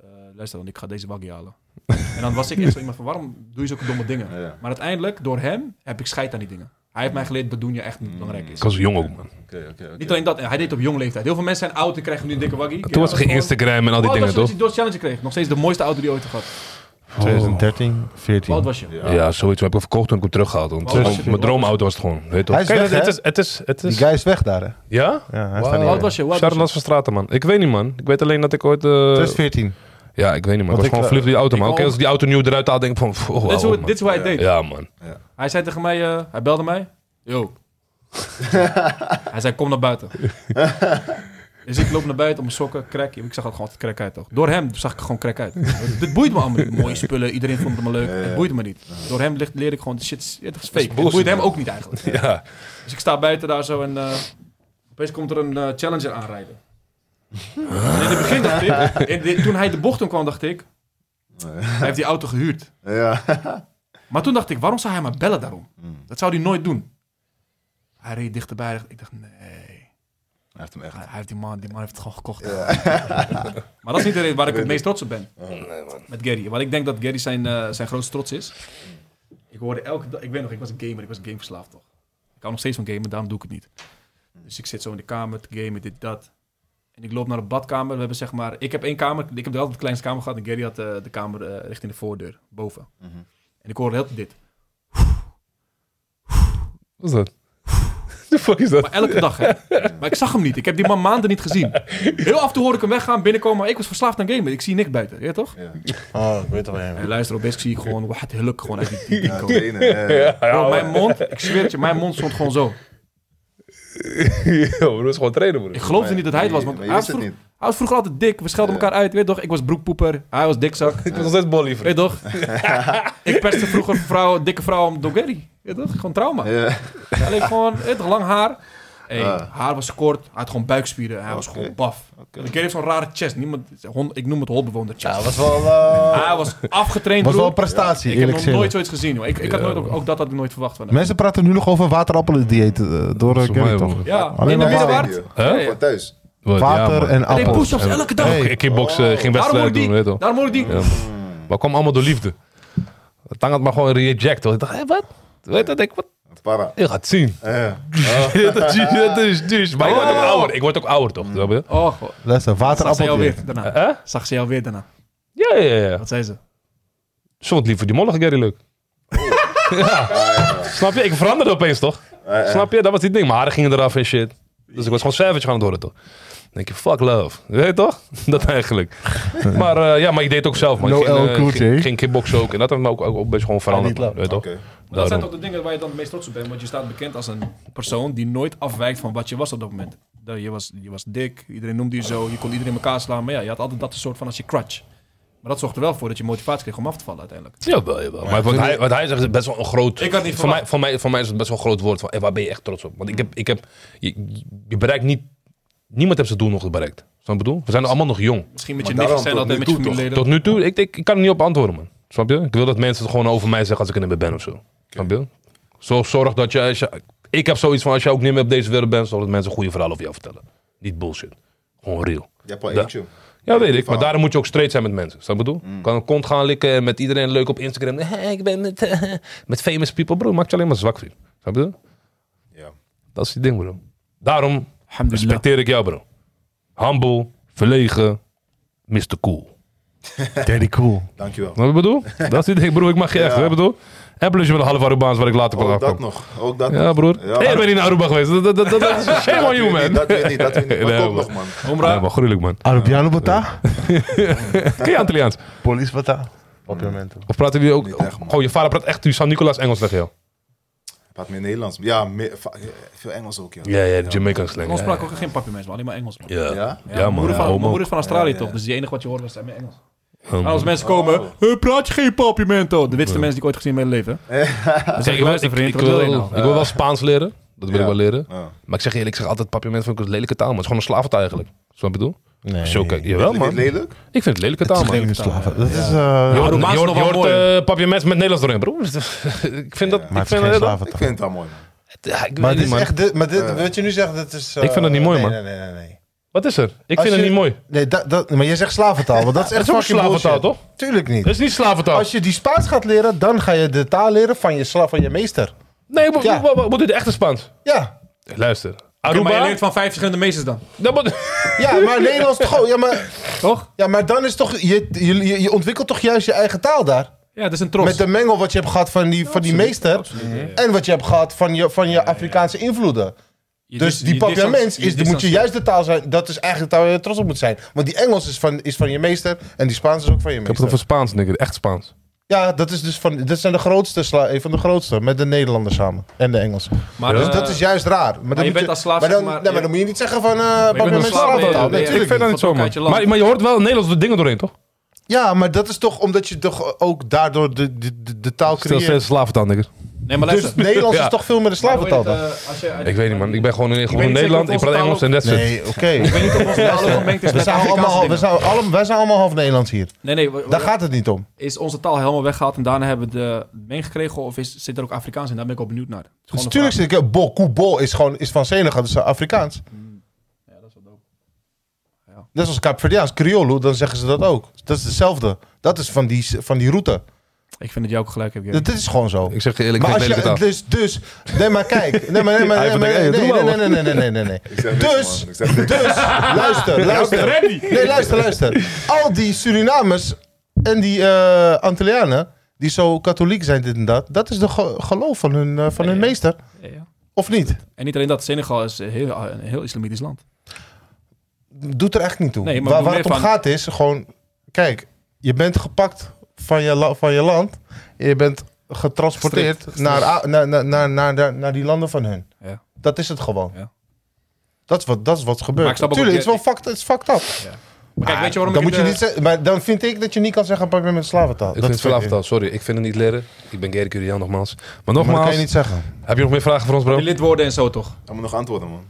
S5: eh, luister dan, ik ga deze waggie halen. En dan was ik echt zo iemand van, waarom doe je zulke domme dingen?
S3: Ja, ja.
S5: Maar uiteindelijk, door hem, heb ik scheid aan die dingen. Hij heeft mij geleerd dat doen je echt niet belangrijk is.
S1: Ik was jong ook, man.
S3: Oké, oké,
S5: Niet
S3: oké.
S5: alleen dat, en hij deed het op jonge leeftijd. Heel veel mensen zijn oud en krijgen nu een dikke waggie.
S1: Toen was er geen Instagram en al die
S5: Hoe oud
S1: dingen,
S5: was je toen
S1: toch?
S5: je door Challenge kreeg? Nog steeds de mooiste auto die je ooit hebt gehad. dus-
S2: 2013,
S5: Hoe oud
S2: 14.
S5: was je?
S1: Ja, zoiets heb ik verkocht toen ik hem teruggehaald. Want
S5: Wow.
S1: het was- mijn droomauto was het gewoon. Weet je toch?
S2: Hij is
S1: Kijk,
S2: weg,
S1: het, het
S2: hè?
S1: is, het is, het
S2: Die
S1: is.
S2: guy is weg daar, hè?
S1: Ja?
S2: Ja, hij
S1: Wow.
S2: staat
S5: Hoe oud
S2: niet
S5: was
S2: meer.
S5: je? Hoe oud was
S1: Charles
S5: je?
S1: van Straten, man. Ik weet niet, man. Ik weet alleen dat ik ooit... eh,
S2: 2014.
S1: Ja, ik weet niet, man. Ik
S2: Want
S1: was
S2: ik,
S1: gewoon
S2: eh,
S1: flip die auto,
S5: ik
S1: man. Oké,
S5: ook.
S1: als ik die auto nieuw eruit haal, denk ik van... pff, Oh,
S5: Dit is,
S1: wauw,
S5: hoe,
S1: man.
S5: dit is hoe hij het deed.
S1: Ja, man.
S5: Hij zei tegen mij, eh, hij belde mij. Yo. hij zei, kom naar buiten. dus ik loop naar buiten om mijn sokken, crack. Ik zag ook gewoon altijd crack uit, toch? Door hem zag ik er gewoon crack uit. Dit boeit me allemaal niet. Mooie spullen, iedereen vond het me leuk. Het boeit me niet. Door hem ligt- leer ik gewoon, shit, is- het is fake. Het boeit hem ook niet eigenlijk.
S1: Ja.
S5: Dus ik sta buiten daar zo en eh, opeens komt er een eh, challenger aanrijden. En in het begin dacht ik, in de- toen hij de bocht om kwam, dacht ik, hij heeft die auto gehuurd.
S3: Ja.
S5: Maar toen dacht ik, waarom zou hij maar bellen daarom? Dat zou hij nooit doen. Hij reed dichterbij. Ik dacht, nee.
S3: Hij heeft hem echt.
S5: Hij hij heeft die man, die man heeft het gewoon gekocht. maar dat is niet de reden waar ik het meest trots op ben. Met Gary. Want ik denk dat Gary zijn, eh, zijn grootste trots is. Ik hoorde elke dag... Ik weet nog, ik was een gamer. Ik was gameverslaafd toch. Ik hou nog steeds van gamen, daarom doe ik het niet. Dus ik zit zo in de kamer te gamen, dit, dat. En ik loop naar de badkamer. We hebben zeg maar... Ik heb één kamer. Ik heb altijd de kleinste kamer gehad. En Gary had eh, de kamer eh, richting de voordeur. Boven. En ik hoorde heel de tijd dit.
S1: Wat is dat? The fuck is dat?
S5: Maar elke dag, hè. Maar ik zag hem niet. Ik heb die man maanden niet gezien. Heel af en toe hoorde ik hem weggaan, binnenkomen. Maar ik was verslaafd aan gamen. Ik zie niks buiten. Ja, toch?
S2: Oh, ik weet het alleen.
S5: En luister, op best zie ik gewoon... Wat geluk gewoon uit die- die die code.
S3: Trainen, ja, ja.
S5: Bro, mijn mond... Ik zweer het je, mijn mond stond gewoon zo.
S1: Yo, dat is gewoon trainen, broer.
S5: Ik geloofde niet dat hij het was.
S3: Maar
S5: Want
S3: je
S5: hij
S3: wist
S5: was,
S3: het
S5: vroeg-
S3: niet.
S5: hij was vroeger altijd dik. We schelden elkaar uit. Weet je toch? Ik was broekpoeper. Hij was dikzak.
S1: Ik was nog steeds bol
S5: Weet je toch? ik pestte vroeger vrouwen, dikke vrouwen om Dogeri. Weet je toch? Gewoon trauma.
S3: Ja.
S5: Alleen gewoon, weet je toch, lang haar. Hey,
S3: Ah.
S5: Haar was kort, hij had gewoon buikspieren, hij was
S3: Oké.
S5: gewoon baf. De kerel heeft zo'n rare chest. Niemand, hon- ik noem het holbewoner chest.
S10: Ja, was wel, eh,
S5: hij was afgetraind,
S10: was wel een
S5: broer.
S10: prestatie,
S5: Ik heb
S10: eerlijk
S5: nog
S10: gezegd.
S5: nooit zoiets gezien. Hoor. Ik, ik had nooit, ook, ook dat had ik nooit verwacht van hem.
S10: Mensen praten nu nog over waterappelen-dieet eh, door eh,
S1: Volgens mij,
S10: Gary, toch?
S1: broer.
S5: ja,
S10: Alleen
S5: in de
S10: maar
S5: middenwaard.
S3: Huh?
S5: Ja, ja.
S3: Voor thuis.
S1: Wat, ja,
S10: Water
S1: man.
S10: en
S5: Hij deed
S10: appels.
S5: push-ups elke dag.
S1: Hey, kickboksen, geen
S5: Daarom hoor
S1: wedstrijden
S5: ik
S1: doen,
S5: die.
S1: weet je toch.
S5: Daarom hoor ik die.
S1: Ja. Maar kwam allemaal door liefde. Tang had maar gewoon reject, hoor. Ik dacht, hé, wat? Weet dat ik wat?
S3: Para.
S1: Je gaat zien.
S3: Eh.
S1: dat is, dat is, dus. Maar ik word ook ouder. Ik word ook ouder, toch? Snap je?
S5: Oh, god.
S10: Luister,
S5: Zag ze jou
S10: waterappel-dieet.
S5: weer daarna.
S1: Hè?
S5: Zag ze jou weer daarna.
S1: Ja, ja, ja.
S5: Wat zei ze?
S1: Zo wat liever die mollige Gary leuk. ja. Snap je? Ik veranderde opeens, toch?
S3: Eh, eh.
S1: Snap je? Dat was die ding. Mijn haren gingen eraf en shit. Dus ik was gewoon savage gaan worden, toch? Dan denk je, fuck love. Weet je toch? Dat eigenlijk. maar eh, ja, maar ik deed het ook zelf, man. Ik
S10: No
S1: ging,
S10: L
S1: eh,
S10: Cool
S1: ging,
S10: J.
S1: ging kickboksen ook. En dat heeft me ook, ook, ook best gewoon veranderd, man. Weet je toch?
S3: Oké.
S5: Dat zijn
S1: Daarom.
S5: toch de dingen waar je dan het meest trots op bent. Want je staat bekend als een persoon die nooit afwijkt van wat je was op dat moment. Dat Je was, je was dik, iedereen noemde je zo, je kon iedereen in elkaar slaan. Maar ja, je had altijd dat soort van als je crutch. Maar dat zorgt er wel voor dat je motivatie kreeg om af te vallen uiteindelijk.
S1: Jawel, jawel. Maar wat hij, wat hij zegt is best wel een groot...
S5: Ik had niet
S1: voor, mij,
S5: verwacht.
S1: voor, mij, voor mij is het best wel een groot woord. Van, eh, waar ben je echt trots op? Want ik heb... Ik heb je, je bereikt niet... Niemand heeft zijn doel nog bereikt. Snap je wat ik bedoel? We zijn allemaal nog jong.
S5: Misschien met
S3: Maar
S5: je nichtjes
S3: daarom tot
S5: zijn altijd
S3: nu
S5: met je
S3: toe toch?
S5: familieleden.
S1: Tot nu toe, ik, ik, ik kan er niet op antwoorden, man. Snap je? Ik wil dat mensen het gewoon over mij zeggen als ik er niet meer ben of zo. Snap je? Zo, zorg dat je, als je... Ik heb zoiets van, als je ook niet meer op deze wereld bent... zodat mensen een goede verhaal over jou vertellen. Niet bullshit. Gewoon real.
S3: Je hebt al
S1: Da-
S3: eentje.
S1: Ja, weet ik. Maar daarom moet je ook straight zijn met mensen. Snap je wat ik bedoel? Kan een kont gaan likken en met iedereen leuk op Instagram. Hey, ik ben met, eh, met famous people, bro. Maakt je alleen maar zwak, vriend. Snap je? wat ik bedoel?
S3: Ja.
S1: Dat is die ding, bro. Daarom
S5: Alhamdulillah.
S1: respecteer ik jou, bro. Humble, verlegen, Mr. Cool.
S10: Daddy cool.
S3: Dankjewel.
S1: Snap je Wat ik bedoel? Dat is die ding, bro. Ik mag je echt, hè, bedoel? En plus je bent een half Arubaans waar ik later
S3: Ook
S1: vanaf
S3: Oh, dat
S1: kom.
S3: nog. Ook dat
S1: Ja,
S3: nog.
S1: broer.
S3: Ja.
S1: Hey, ik ben niet naar Aruba geweest. Dat, dat, dat, dat is shame on you,
S3: Nee,
S1: man.
S3: Dat weet ik niet, dat weet ik niet. Maar
S1: Nee,
S3: kom
S1: man.
S3: nog, man.
S1: Nee, maar gruwelijk, man.
S10: Arabiano bata?
S1: Ken je Antilliaans?
S10: Police bata? Op je momenten.
S1: Of praten jullie ook...
S3: Niet echt, man.
S1: Gewoon, je vader praat echt San-Nicolaas Engels tegen jou.
S3: Ik Praat meer Nederlands. Ja, meer- va- veel Engels ook, ja.
S1: Ja, ja, de Jamaican slang.
S5: Ons
S1: ja,
S5: sprak ook geen papiermens, maar alleen maar Engels.
S1: Ja, ja.
S3: Ja?
S5: Ja, mijn,
S1: man.
S5: moeder van,
S1: Ja,
S5: mijn moeder
S1: homo.
S5: is van Australië
S3: Ja, Oh. ja.
S5: toch? Dus het enige wat je hoort was mijn Engels.
S1: Homo.
S5: Maar als mensen komen, "Hey, praat je geen papimento? De witste mensen die ik ooit gezien in mijn leven. Dan zeg
S1: Zeg,
S5: ik,
S1: ik, wil,
S5: luister
S1: ik,
S5: vriend,
S1: ik
S5: wat wil
S1: wil,
S5: je nou?
S1: ik wil wel Spaans leren. Dat wil
S3: Ja.
S1: ik wel leren.
S3: Ja.
S1: Maar ik zeg je eerlijk, ik zeg altijd papierment van een lelijke taal, man. Het is gewoon een slaventaal eigenlijk. Snap je wat ik bedoel?
S10: Nee.
S1: Zo kijk, jawel
S3: Vind je het
S1: man. Ik
S3: lelijk?
S1: vind het lelijke taal, man.
S10: Geen slaven. Dat is... eh,
S1: Je hoort,
S5: Arubaans
S1: je
S5: is
S1: hoort, je
S5: nog wel
S1: hoort,
S5: mooi.
S1: eh, papiermes met Nederlands erin, broer. ik vind dat... Ik
S3: Maar
S10: Maar het is
S1: vind,
S10: geen
S1: dat-
S3: Ik
S10: slaventaal.
S3: vind het wel mooi, man.
S1: Ja, ik weet
S10: Maar dit
S1: niet,
S10: is
S1: man.
S10: echt... dit- Maar dit, wat je nu zegt, dat is... eh,
S1: Ik vind dat niet mooi,
S10: nee,
S1: man.
S10: Nee, nee, nee, nee.
S1: Wat is er? Ik
S10: Als
S1: vind het
S10: je-
S1: niet mooi.
S10: Nee, dat, dat, maar jij zegt slaventaal, want dat is echt
S1: Dat is ook
S10: fucking
S1: slaventaal,
S10: bullshit. Tuurlijk
S1: Dat
S10: niet.
S1: is niet slaventaal.
S10: Als je die Spaans gaat leren, dan ga je de taal leren van je, sla- van je meester.
S1: Nee, maar
S10: Ja.
S1: wat moet dit de echte Spaans?
S10: Ja.
S1: Luister.
S5: Oké, maar je
S1: Aruba...
S5: leert van vijf verschillende meesters dan,
S1: Dat moet...
S10: Ja, maar Nederlands toch ook... Ja, maar,
S5: toch?
S10: ja, maar dan is toch... Je, je, je- je ontwikkelt toch juist je eigen taal daar?
S5: Ja, dat is een trots.
S10: Met de mengel wat je hebt gehad van die, van die meester. En wat je hebt gehad van je, van je Afrikaanse invloeden.
S5: Je
S10: Dus
S5: dis-
S10: die
S5: je
S10: papiaments
S5: distance-
S10: is, moet je
S5: distance-
S10: juist de taal zijn. Dat is eigenlijk de taal waar je trots op moet zijn. Want die Engels is van, is van je meester en die Spaans is ook van je
S1: Ik heb het
S10: meester.
S1: over Spaans, nigga. Echt Spaans.
S10: Ja, dat is dus van. Dat zijn de grootste, sla, een van de grootste. Met de Nederlanders samen en de Engelsen.
S5: Maar,
S10: Dus
S5: eh,
S10: dat is juist raar. Maar, dan
S5: je
S10: moet
S5: bent als slaaf,
S10: Maar dan,
S5: zeg maar,
S10: nee, maar
S5: je-
S10: dan moet je niet zeggen van. eh papiaments
S5: slaaf,
S10: slaven.
S5: nee,
S10: taal.
S5: nee,
S10: Nee,
S5: ik
S1: ik
S10: tuurlijk
S1: vind dat
S10: niet.
S1: niet zo,
S5: Wat ook
S1: man.
S5: uit je land.
S1: Maar, maar je hoort wel Nederlandse dingen doorheen, toch?
S10: Ja, maar dat is toch omdat je toch ook daardoor de, de, de, de taal
S1: Stel
S10: creëert.
S1: steeds slaventaal, nigga.
S5: Nee, maar
S10: Dus
S5: luister.
S10: Nederlands
S1: Ja.
S10: is toch veel meer de
S5: Maar hoe heet
S10: slaventaal
S5: het,
S10: dan?
S5: eh, als je-
S1: Ik weet niet, man. Ik ben gewoon in, gewoon
S5: weet
S1: in
S5: niet zeker
S1: Nederland. Ik
S5: of onze
S1: praat
S5: taal
S1: Engels
S5: ook-
S1: en that's it.
S10: Nee, oké.
S5: Ik weet niet of onze taal vermengd is
S10: We
S5: met
S10: zijn
S5: Afrikaanse
S10: allemaal, we
S5: eh? dingen. Oh,
S10: zijn, allemaal, wij zijn allemaal half Nederlands hier.
S5: Nee, nee. we-
S10: Daar
S5: we-
S10: gaat het niet om.
S5: Is onze taal helemaal weggehaald en daarna hebben we de meegekregen? Of is, zit er ook Afrikaans in? Daar ben ik wel benieuwd naar. Het is gewoon
S10: Dus
S5: een
S10: tuurlijk zit ik... Bo, koe, bo is, gewoon, is van Senegal, dus Afrikaans.
S5: vraag. Ja, dat is wel dope.
S10: Net zoals Kaapverdiaans, Criollo, dan zeggen ze dat ook. Dat is hetzelfde. Dat is van die, van die route.
S5: Ik vind dat jij ook gelijk hebt. Jerry.
S10: Dat, dit is gewoon zo.
S1: Ik zeg je eerlijk, ik
S10: maar
S1: vind
S10: als
S1: het lelijke
S10: je,
S1: taal.
S10: dus, dus, nee maar kijk, nee maar, nee maar,
S1: Hij
S10: nee
S1: van,
S10: maar,
S1: hey,
S10: nee,
S1: doe maar,
S10: nee, nee, nee, nee, nee, nee, nee.
S3: Ik zeg niks,
S10: Dus,
S3: man. Ik zeg niks.
S10: dus, luister, luister. Nee, luister, luister. Al die Surinamers en die eh Antillianen, die zo katholiek zijn dit en dat, dat is de ge- geloof van hun, eh, van hun
S5: Ja.
S10: meester,
S5: Ja, ja.
S10: of niet?
S5: En niet alleen dat. Senegal is eh, heel, een heel islamitisch land.
S10: doet er echt niet toe.
S5: Nee, maar
S10: waar
S5: doe
S10: waar het om
S5: meer van-
S10: gaat is gewoon... Kijk, je bent gepakt van je, la- van je land. en Je bent getransporteerd Naar, a- naar, naar, naar, naar, naar, naar die landen van hun.
S5: Ja.
S10: Dat is het gewoon.
S5: Ja.
S10: Dat is wat, dat is wat
S5: Maar ik
S10: gebeurt.
S5: snap ook
S10: Tuurlijk, het
S5: wat
S10: is wel fucked, het is fucked up.
S5: Ja. Maar kijk, weet je waarom
S2: dan
S5: ik
S2: moet je
S5: het,
S2: niet zeggen, maar dan vind ik dat je niet kan zeggen, pak me met slaventaal.
S1: Ik
S2: dat
S1: vind het
S2: vind ik-
S1: slaaftaal, sorry. Ik vind het niet leren. Ik ben Gerrit Curian nogmaals. Maar
S2: Maar dat
S1: nogmaals,
S2: kan je niet zeggen.
S1: heb je nog meer vragen voor ons,
S5: eh,
S1: bro?
S5: die lidwoorden en zo toch?
S1: Dus!
S3: Dan moet nog antwoorden, man.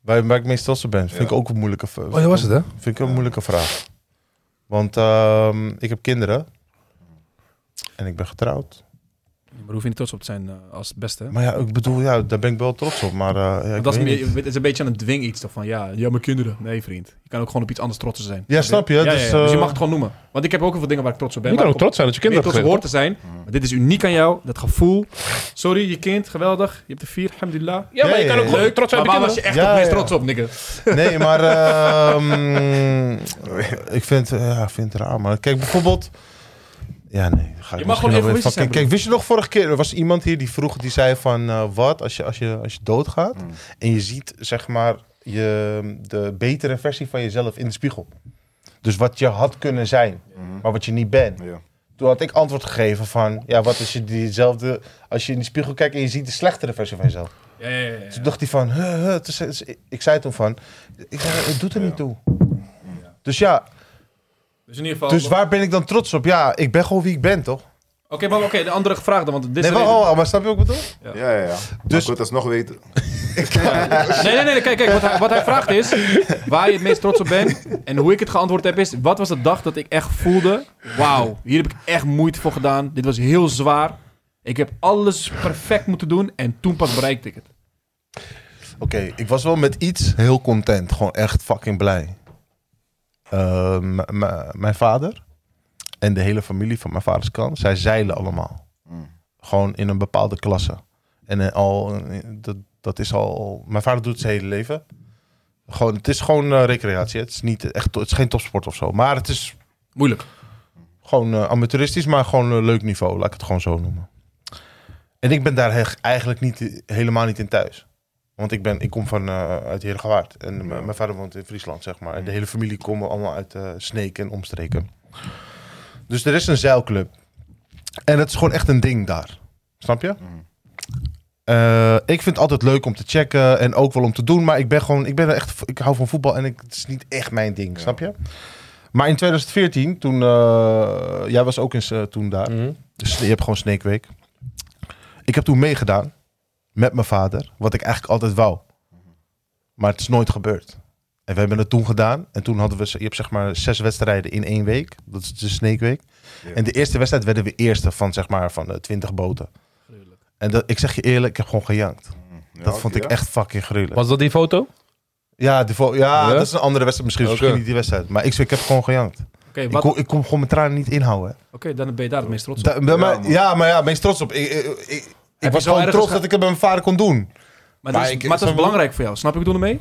S2: Waar, waar ik meest trots op ben, vind ik ook een moeilijke v-
S1: Oh, dat was het, hè?
S2: Vind ik een moeilijke vraag. Want ehm, ik heb kinderen. En ik ben getrouwd.
S5: Maar hoef je niet trots op te zijn eh, als beste. hè?
S2: Maar ja, ik bedoel, ja, daar ben ik wel trots op. Maar eh, ja, ik
S5: Want dat is,
S2: weet
S5: meer-
S2: niet.
S5: het is een beetje aan het dwing iets toch van ja, ja, mijn kinderen. Nee, vriend. Je kan ook gewoon op iets anders trots op zijn.
S2: Ja, snap je?
S5: Ja, ja,
S2: dus,
S5: ja. Dus je
S2: eh,
S5: mag het gewoon noemen. Want ik heb ook heel veel dingen waar ik trots op ben.
S1: Je kan
S5: waar
S1: ook
S5: ik op-
S1: trots zijn dat je
S5: meer
S1: kinderen
S5: trots op
S1: hebt
S5: hoort te zijn. Maar dit is uniek aan jou. Dat gevoel. Sorry, je kind. Geweldig. Je hebt er vier. Alhamdulillah.
S10: Ja, maar
S2: Ja,
S10: je
S2: ja,
S10: kan ook
S2: ja.
S10: leuk trots zijn
S5: Maar
S10: op
S5: waar
S10: je
S5: was
S10: kinderen.
S5: je echt
S2: Ja,
S5: het meest
S2: ja.
S5: trots op, nigga?
S2: Nee, maar ehm, ik vind, eh, ja, ik vind het raar. Maar kijk, bijvoorbeeld. Ja, nee. Ga ik misschien
S5: Je mag gewoon
S2: nog weer
S5: egoïstisch zijn,
S2: fucking- Kijk, wist je nog vorige keer? Er was iemand hier die vroeg, die zei van... eh, wat als je, als, je, als je doodgaat
S3: Mm.
S2: en je ziet, zeg maar, je, de betere versie van jezelf in de spiegel. Dus wat je had kunnen zijn,
S5: Mm-hmm.
S3: Mhm.
S2: maar wat je niet bent.
S3: Ja.
S2: Toen had ik antwoord gegeven van... Ja, wat als je diezelfde... Als je in de spiegel kijkt en je ziet de slechtere versie van jezelf.
S5: Ja, ja, ja. ja.
S2: Toen dacht hij van, huh, huh, het is- het is- ik zei toen van, ik zei, het doet er niet toe. Dus ja,
S5: Dus in ieder geval...
S2: dus waar ben ik dan trots op? Ja, ik ben gewoon wie ik ben, toch?
S5: Oké, maar oké, de andere vraag dan, want dit
S2: Nee,
S5: is...
S2: maar, oh, maar snap je wat ik bedoel?
S3: Ja, ja, ja. Dus...
S2: Dus-
S3: Ik wil het alsnog weten.
S5: Nee, nee, nee, kijk, kijk wat, hij, wat hij vraagt is waar je het meest trots op bent en hoe ik het geantwoord heb is, wat was de dag dat ik echt voelde, wauw, hier heb ik echt moeite voor gedaan, dit was heel zwaar, ik heb alles perfect moeten doen en toen pas bereikte ik het.
S2: Oké, ik was wel met iets heel content. Gewoon echt fucking blij. Eh, m- m- mijn vader en de hele familie van mijn vaders kant, zij zeilen allemaal.
S3: Mm.
S2: Gewoon in een bepaalde klasse. En eh, al, eh, dat, dat is al, mijn vader doet het zijn hele leven. Gewoon, het is gewoon eh, recreatie. hè. Het is, niet echt, het is geen topsport of zo. Maar het is
S5: Moeilijk.
S2: gewoon eh, amateuristisch, maar gewoon een leuk niveau. Laat ik het gewoon zo noemen. En ik ben daar he- eigenlijk niet, eh, helemaal niet in thuis. Want ik, ben, ik kom van, eh uit Heergewaard. En m- mijn vader woont in Friesland, zeg maar. En de hele familie komt allemaal uit eh Sneek en omstreken. Dus er is een zeilclub. En dat is gewoon echt een ding daar. Snap je?
S3: Mm.
S2: Eh, ik vind het altijd leuk om te checken en ook wel om te doen. Maar ik ben gewoon, ik ben er echt, ik hou van voetbal en ik, het is niet echt mijn ding, snap je? Maar in 2014, toen, eh, jij was ook eens eh, toen daar. Dus je hebt gewoon Snake Week. Ik heb toen meegedaan met mijn vader, wat ik eigenlijk altijd wou. Maar het is nooit gebeurd. En we hebben het toen gedaan. En toen hadden we, z- je hebt zeg maar zes wedstrijden in één week. Dat is de Snake Week.
S3: Ja.
S2: En de eerste wedstrijd werden we eerste van zeg maar van eh, twintig boten. En dat, ik zeg je eerlijk, ik heb gewoon gejankt.
S3: Mm. Ja,
S2: Dat vond ik
S3: ja.
S2: echt fucking gruwelijk.
S1: Was dat die foto?
S2: Ja, die vo- ja,
S1: Ja?
S2: dat is een andere wedstrijd misschien. dus
S1: Oké.
S2: Misschien niet die wedstrijd. Maar ik, ik heb gewoon gejankt.
S5: Oké,
S2: Ik
S5: wat-
S2: kon, ik kon gewoon mijn tranen niet inhouden. hè.
S5: oké, dan ben je daar het meest trots op.
S2: Da- maar-
S3: man.
S2: ja, maar ja, meest trots op. Ik, ik, ik- ik
S5: je
S2: was
S5: zo
S2: gewoon
S5: ergens
S2: trots
S5: ge-
S2: dat ik het bij mijn vader kon doen.
S5: Maar, dat is,
S2: Maar ik-
S5: maar dat is
S2: snap-
S5: belangrijk voor jou, snap ik bedoel mee?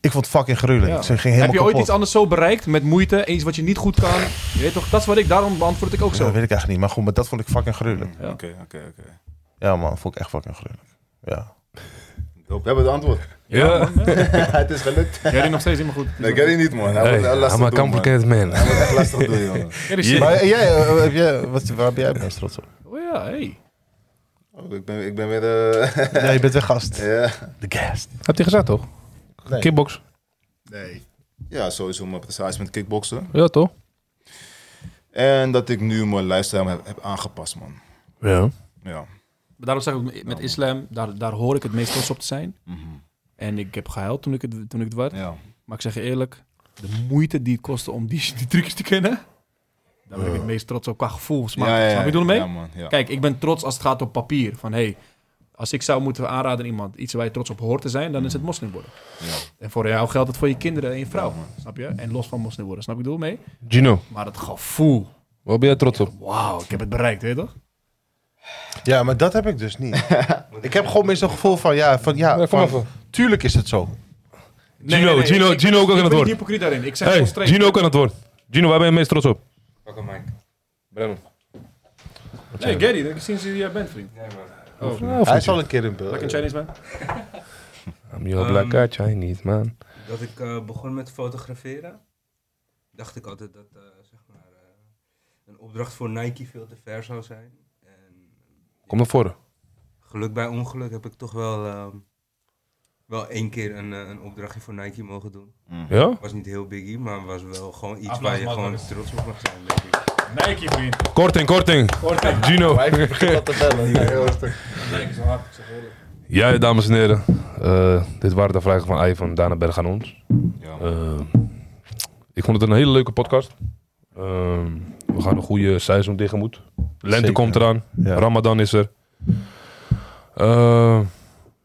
S2: Ik vond het fucking gruwelijk.
S5: Ja.
S2: Ik ging helemaal
S5: Heb je ooit
S2: kapot.
S5: iets anders zo bereikt met moeite, en iets wat je niet goed kan? Je weet toch, dat is wat ik, daarom beantwoord ik ook
S2: Ja,
S5: zo.
S2: dat weet ik eigenlijk niet. Maar goed, maar dat vond ik fucking gruwelijk.
S5: Ja.
S3: Oké, oké, oké.
S2: Ja man, vond ik echt fucking gruwelijk. Ja.
S3: Dope. We hebben het antwoord.
S1: Ja.
S3: het is gelukt.
S5: Jij doet nog steeds helemaal goed.
S3: Nee, ik weet het niet, man. Hij wordt heel
S1: I'm a
S3: lastig doen, man. Hij
S1: complicated man.
S3: wordt echt lastig doen, jongen.
S5: Ja, die shit.
S2: Maar eh, jij, eh, heb jij, wat, waar ben jij het meest trots op?
S5: Oh ja, hey.
S3: Oh, ik, ben, ik ben weer... eh,
S2: Ja, je bent de gast.
S3: ja.
S2: De gast.
S1: Heb je gezegd, toch?
S2: Nee.
S1: Kickbox.
S3: ja, sowieso mijn prestaties met kickboksen.
S1: Ja, toch?
S3: En dat ik nu mijn lifestyle heb, heb aangepast, man.
S1: Ja.
S3: Ja.
S5: Maar daarom zeg ik ook met islam, daar, daar hoor ik het meest trots op te zijn.
S3: Mhm.
S5: En ik heb gehuild toen ik het, toen ik het werd.
S3: ja.
S5: Maar ik zeg je eerlijk, de moeite die het kostte om die, die trucjes te kennen, daar ben ik het meest trots op qua gevoelsmaat.
S3: Ja, ja, ja.
S5: Snap je bedoel mee?
S3: Ja, man. Ja.
S5: Kijk, ik ben trots als het gaat op papier. Van hey, als ik zou moeten aanraden aan iemand iets waar je trots op hoort te zijn, dan is het moslim worden.
S3: Ja.
S5: En voor jou geldt het voor je kinderen en je vrouw. snap je? En los van moslim worden, snap je bedoel mee?
S1: Gino,
S5: Maar het gevoel,
S1: waar ben jij trots op?
S5: wauw, ik heb het bereikt, weet je toch?
S2: Ja, maar dat heb ik dus niet. ik heb gewoon meer zo'n gevoel van, ja, van, ja,
S1: Ja, kom
S2: van,
S1: even.
S2: tuurlijk is het zo.
S5: Nee,
S1: Gino, Gino,
S5: ik- ik-
S1: Gino ook aan het
S5: ik ben
S1: woord.
S5: niet hypocriet daarin. Ik zeg
S1: Hey,
S5: gewoon straight.
S1: Gino kan het woord. Gino, waar ben je het meest trots op?
S10: Pak hem, Mike. Brennan.
S5: Nee, Gary, ik zie wie jij bent, vriend. Oh,
S2: Hij is al een keer in beeld.
S5: lekker Chinese man.
S1: I'm
S5: Ehm.
S1: your black guy, Chinese man.
S17: Dat ik eh, begon met fotograferen, dacht ik altijd dat eh, zeg maar, eh, een opdracht voor Nike veel te ver zou zijn. En
S1: Kom naar voren.
S17: geluk bij ongeluk heb ik toch wel ehm, wel één keer een, eh, een opdrachtje voor Nike mogen doen.
S1: Ja?
S17: Was niet heel biggie, maar was wel gewoon iets
S5: Applaus,
S17: waar je
S5: man,
S17: gewoon
S5: man.
S17: trots op mag zijn, denk ik.
S5: Nike, vriend.
S1: Korting, korting.
S5: Korting.
S1: Gino.
S2: dat te bellen.
S5: Nike is hard, ik zeg eerlijk.
S1: Ja, dames en heren. Eh, dit waren de vragen van Ivan Danenberg aan ons.
S3: Ja,
S1: Eh, ik vond het een hele leuke podcast. Eh, we gaan een goede seizoen tegemoet. Lente
S2: Zeker.
S1: komt eraan.
S2: Ja.
S1: Ramadan is er. Eh,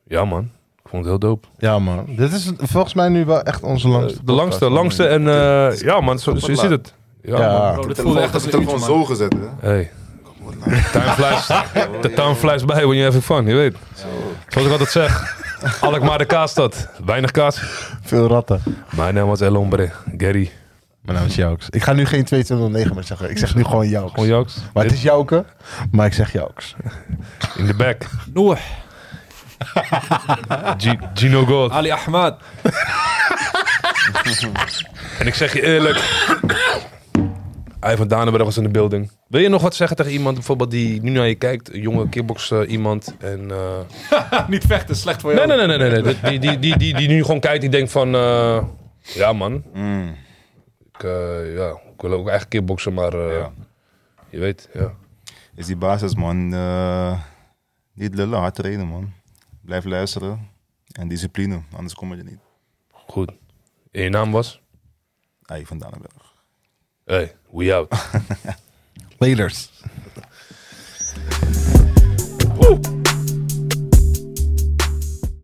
S1: ja, man. Ik vond het heel dope. Eh,
S2: Ja, man. Dit is volgens mij nu wel echt onze langste.
S1: de langste,
S2: podcast.
S1: langste. En eh, ja, man, zo, zo zit het. Ja,
S2: Ja.
S1: man.
S5: Bro,
S3: de
S5: dit voelde
S3: telefoon,
S5: echt
S3: echt
S5: als
S3: de
S5: een uurtje,
S3: telefoon zo
S5: man.
S3: gezet, hè?
S1: Hey. Time flies, the time flies by when you having fun, je weet. Zoals ik altijd zeg. Alkmaar de kaasstad. Weinig kaas.
S2: Veel ratten.
S1: Mijn naam was El Hombre. Gary.
S2: Mijn naam nou is Jouks. Ik ga nu geen 2209 meer zeggen. Ik zeg nu gewoon Jouks.
S1: Gewoon Jaks.
S2: Maar het is Jouke, maar ik zeg Jouks.
S1: In de back.
S5: Noor,
S1: G- Gino Gold.
S5: Ali Ahmad.
S1: En ik zeg je eerlijk. Ivan Danenberg was in de building. Wil je nog wat zeggen tegen iemand bijvoorbeeld die nu naar je kijkt? Een jonge kickbox eh, iemand. En, eh,
S5: Niet vechten, slecht voor jou.
S1: Nee, nee, nee, nee. nee, nee. Die, die, die, die, die nu gewoon kijkt, die denkt van... eh, ja, man.
S3: Mm.
S1: Ik, eh, ja, ik wil ook echt kickboksen, maar... eh,
S3: Ja.
S1: Je weet, ja.
S3: Is die basis, man. Eh, niet lullen, hard trainen, man. Blijf luisteren. En discipline, anders kom je er niet.
S1: Goed. En je naam was?
S3: Ai, van Danenberg.
S1: Hey, we out.
S2: Laters.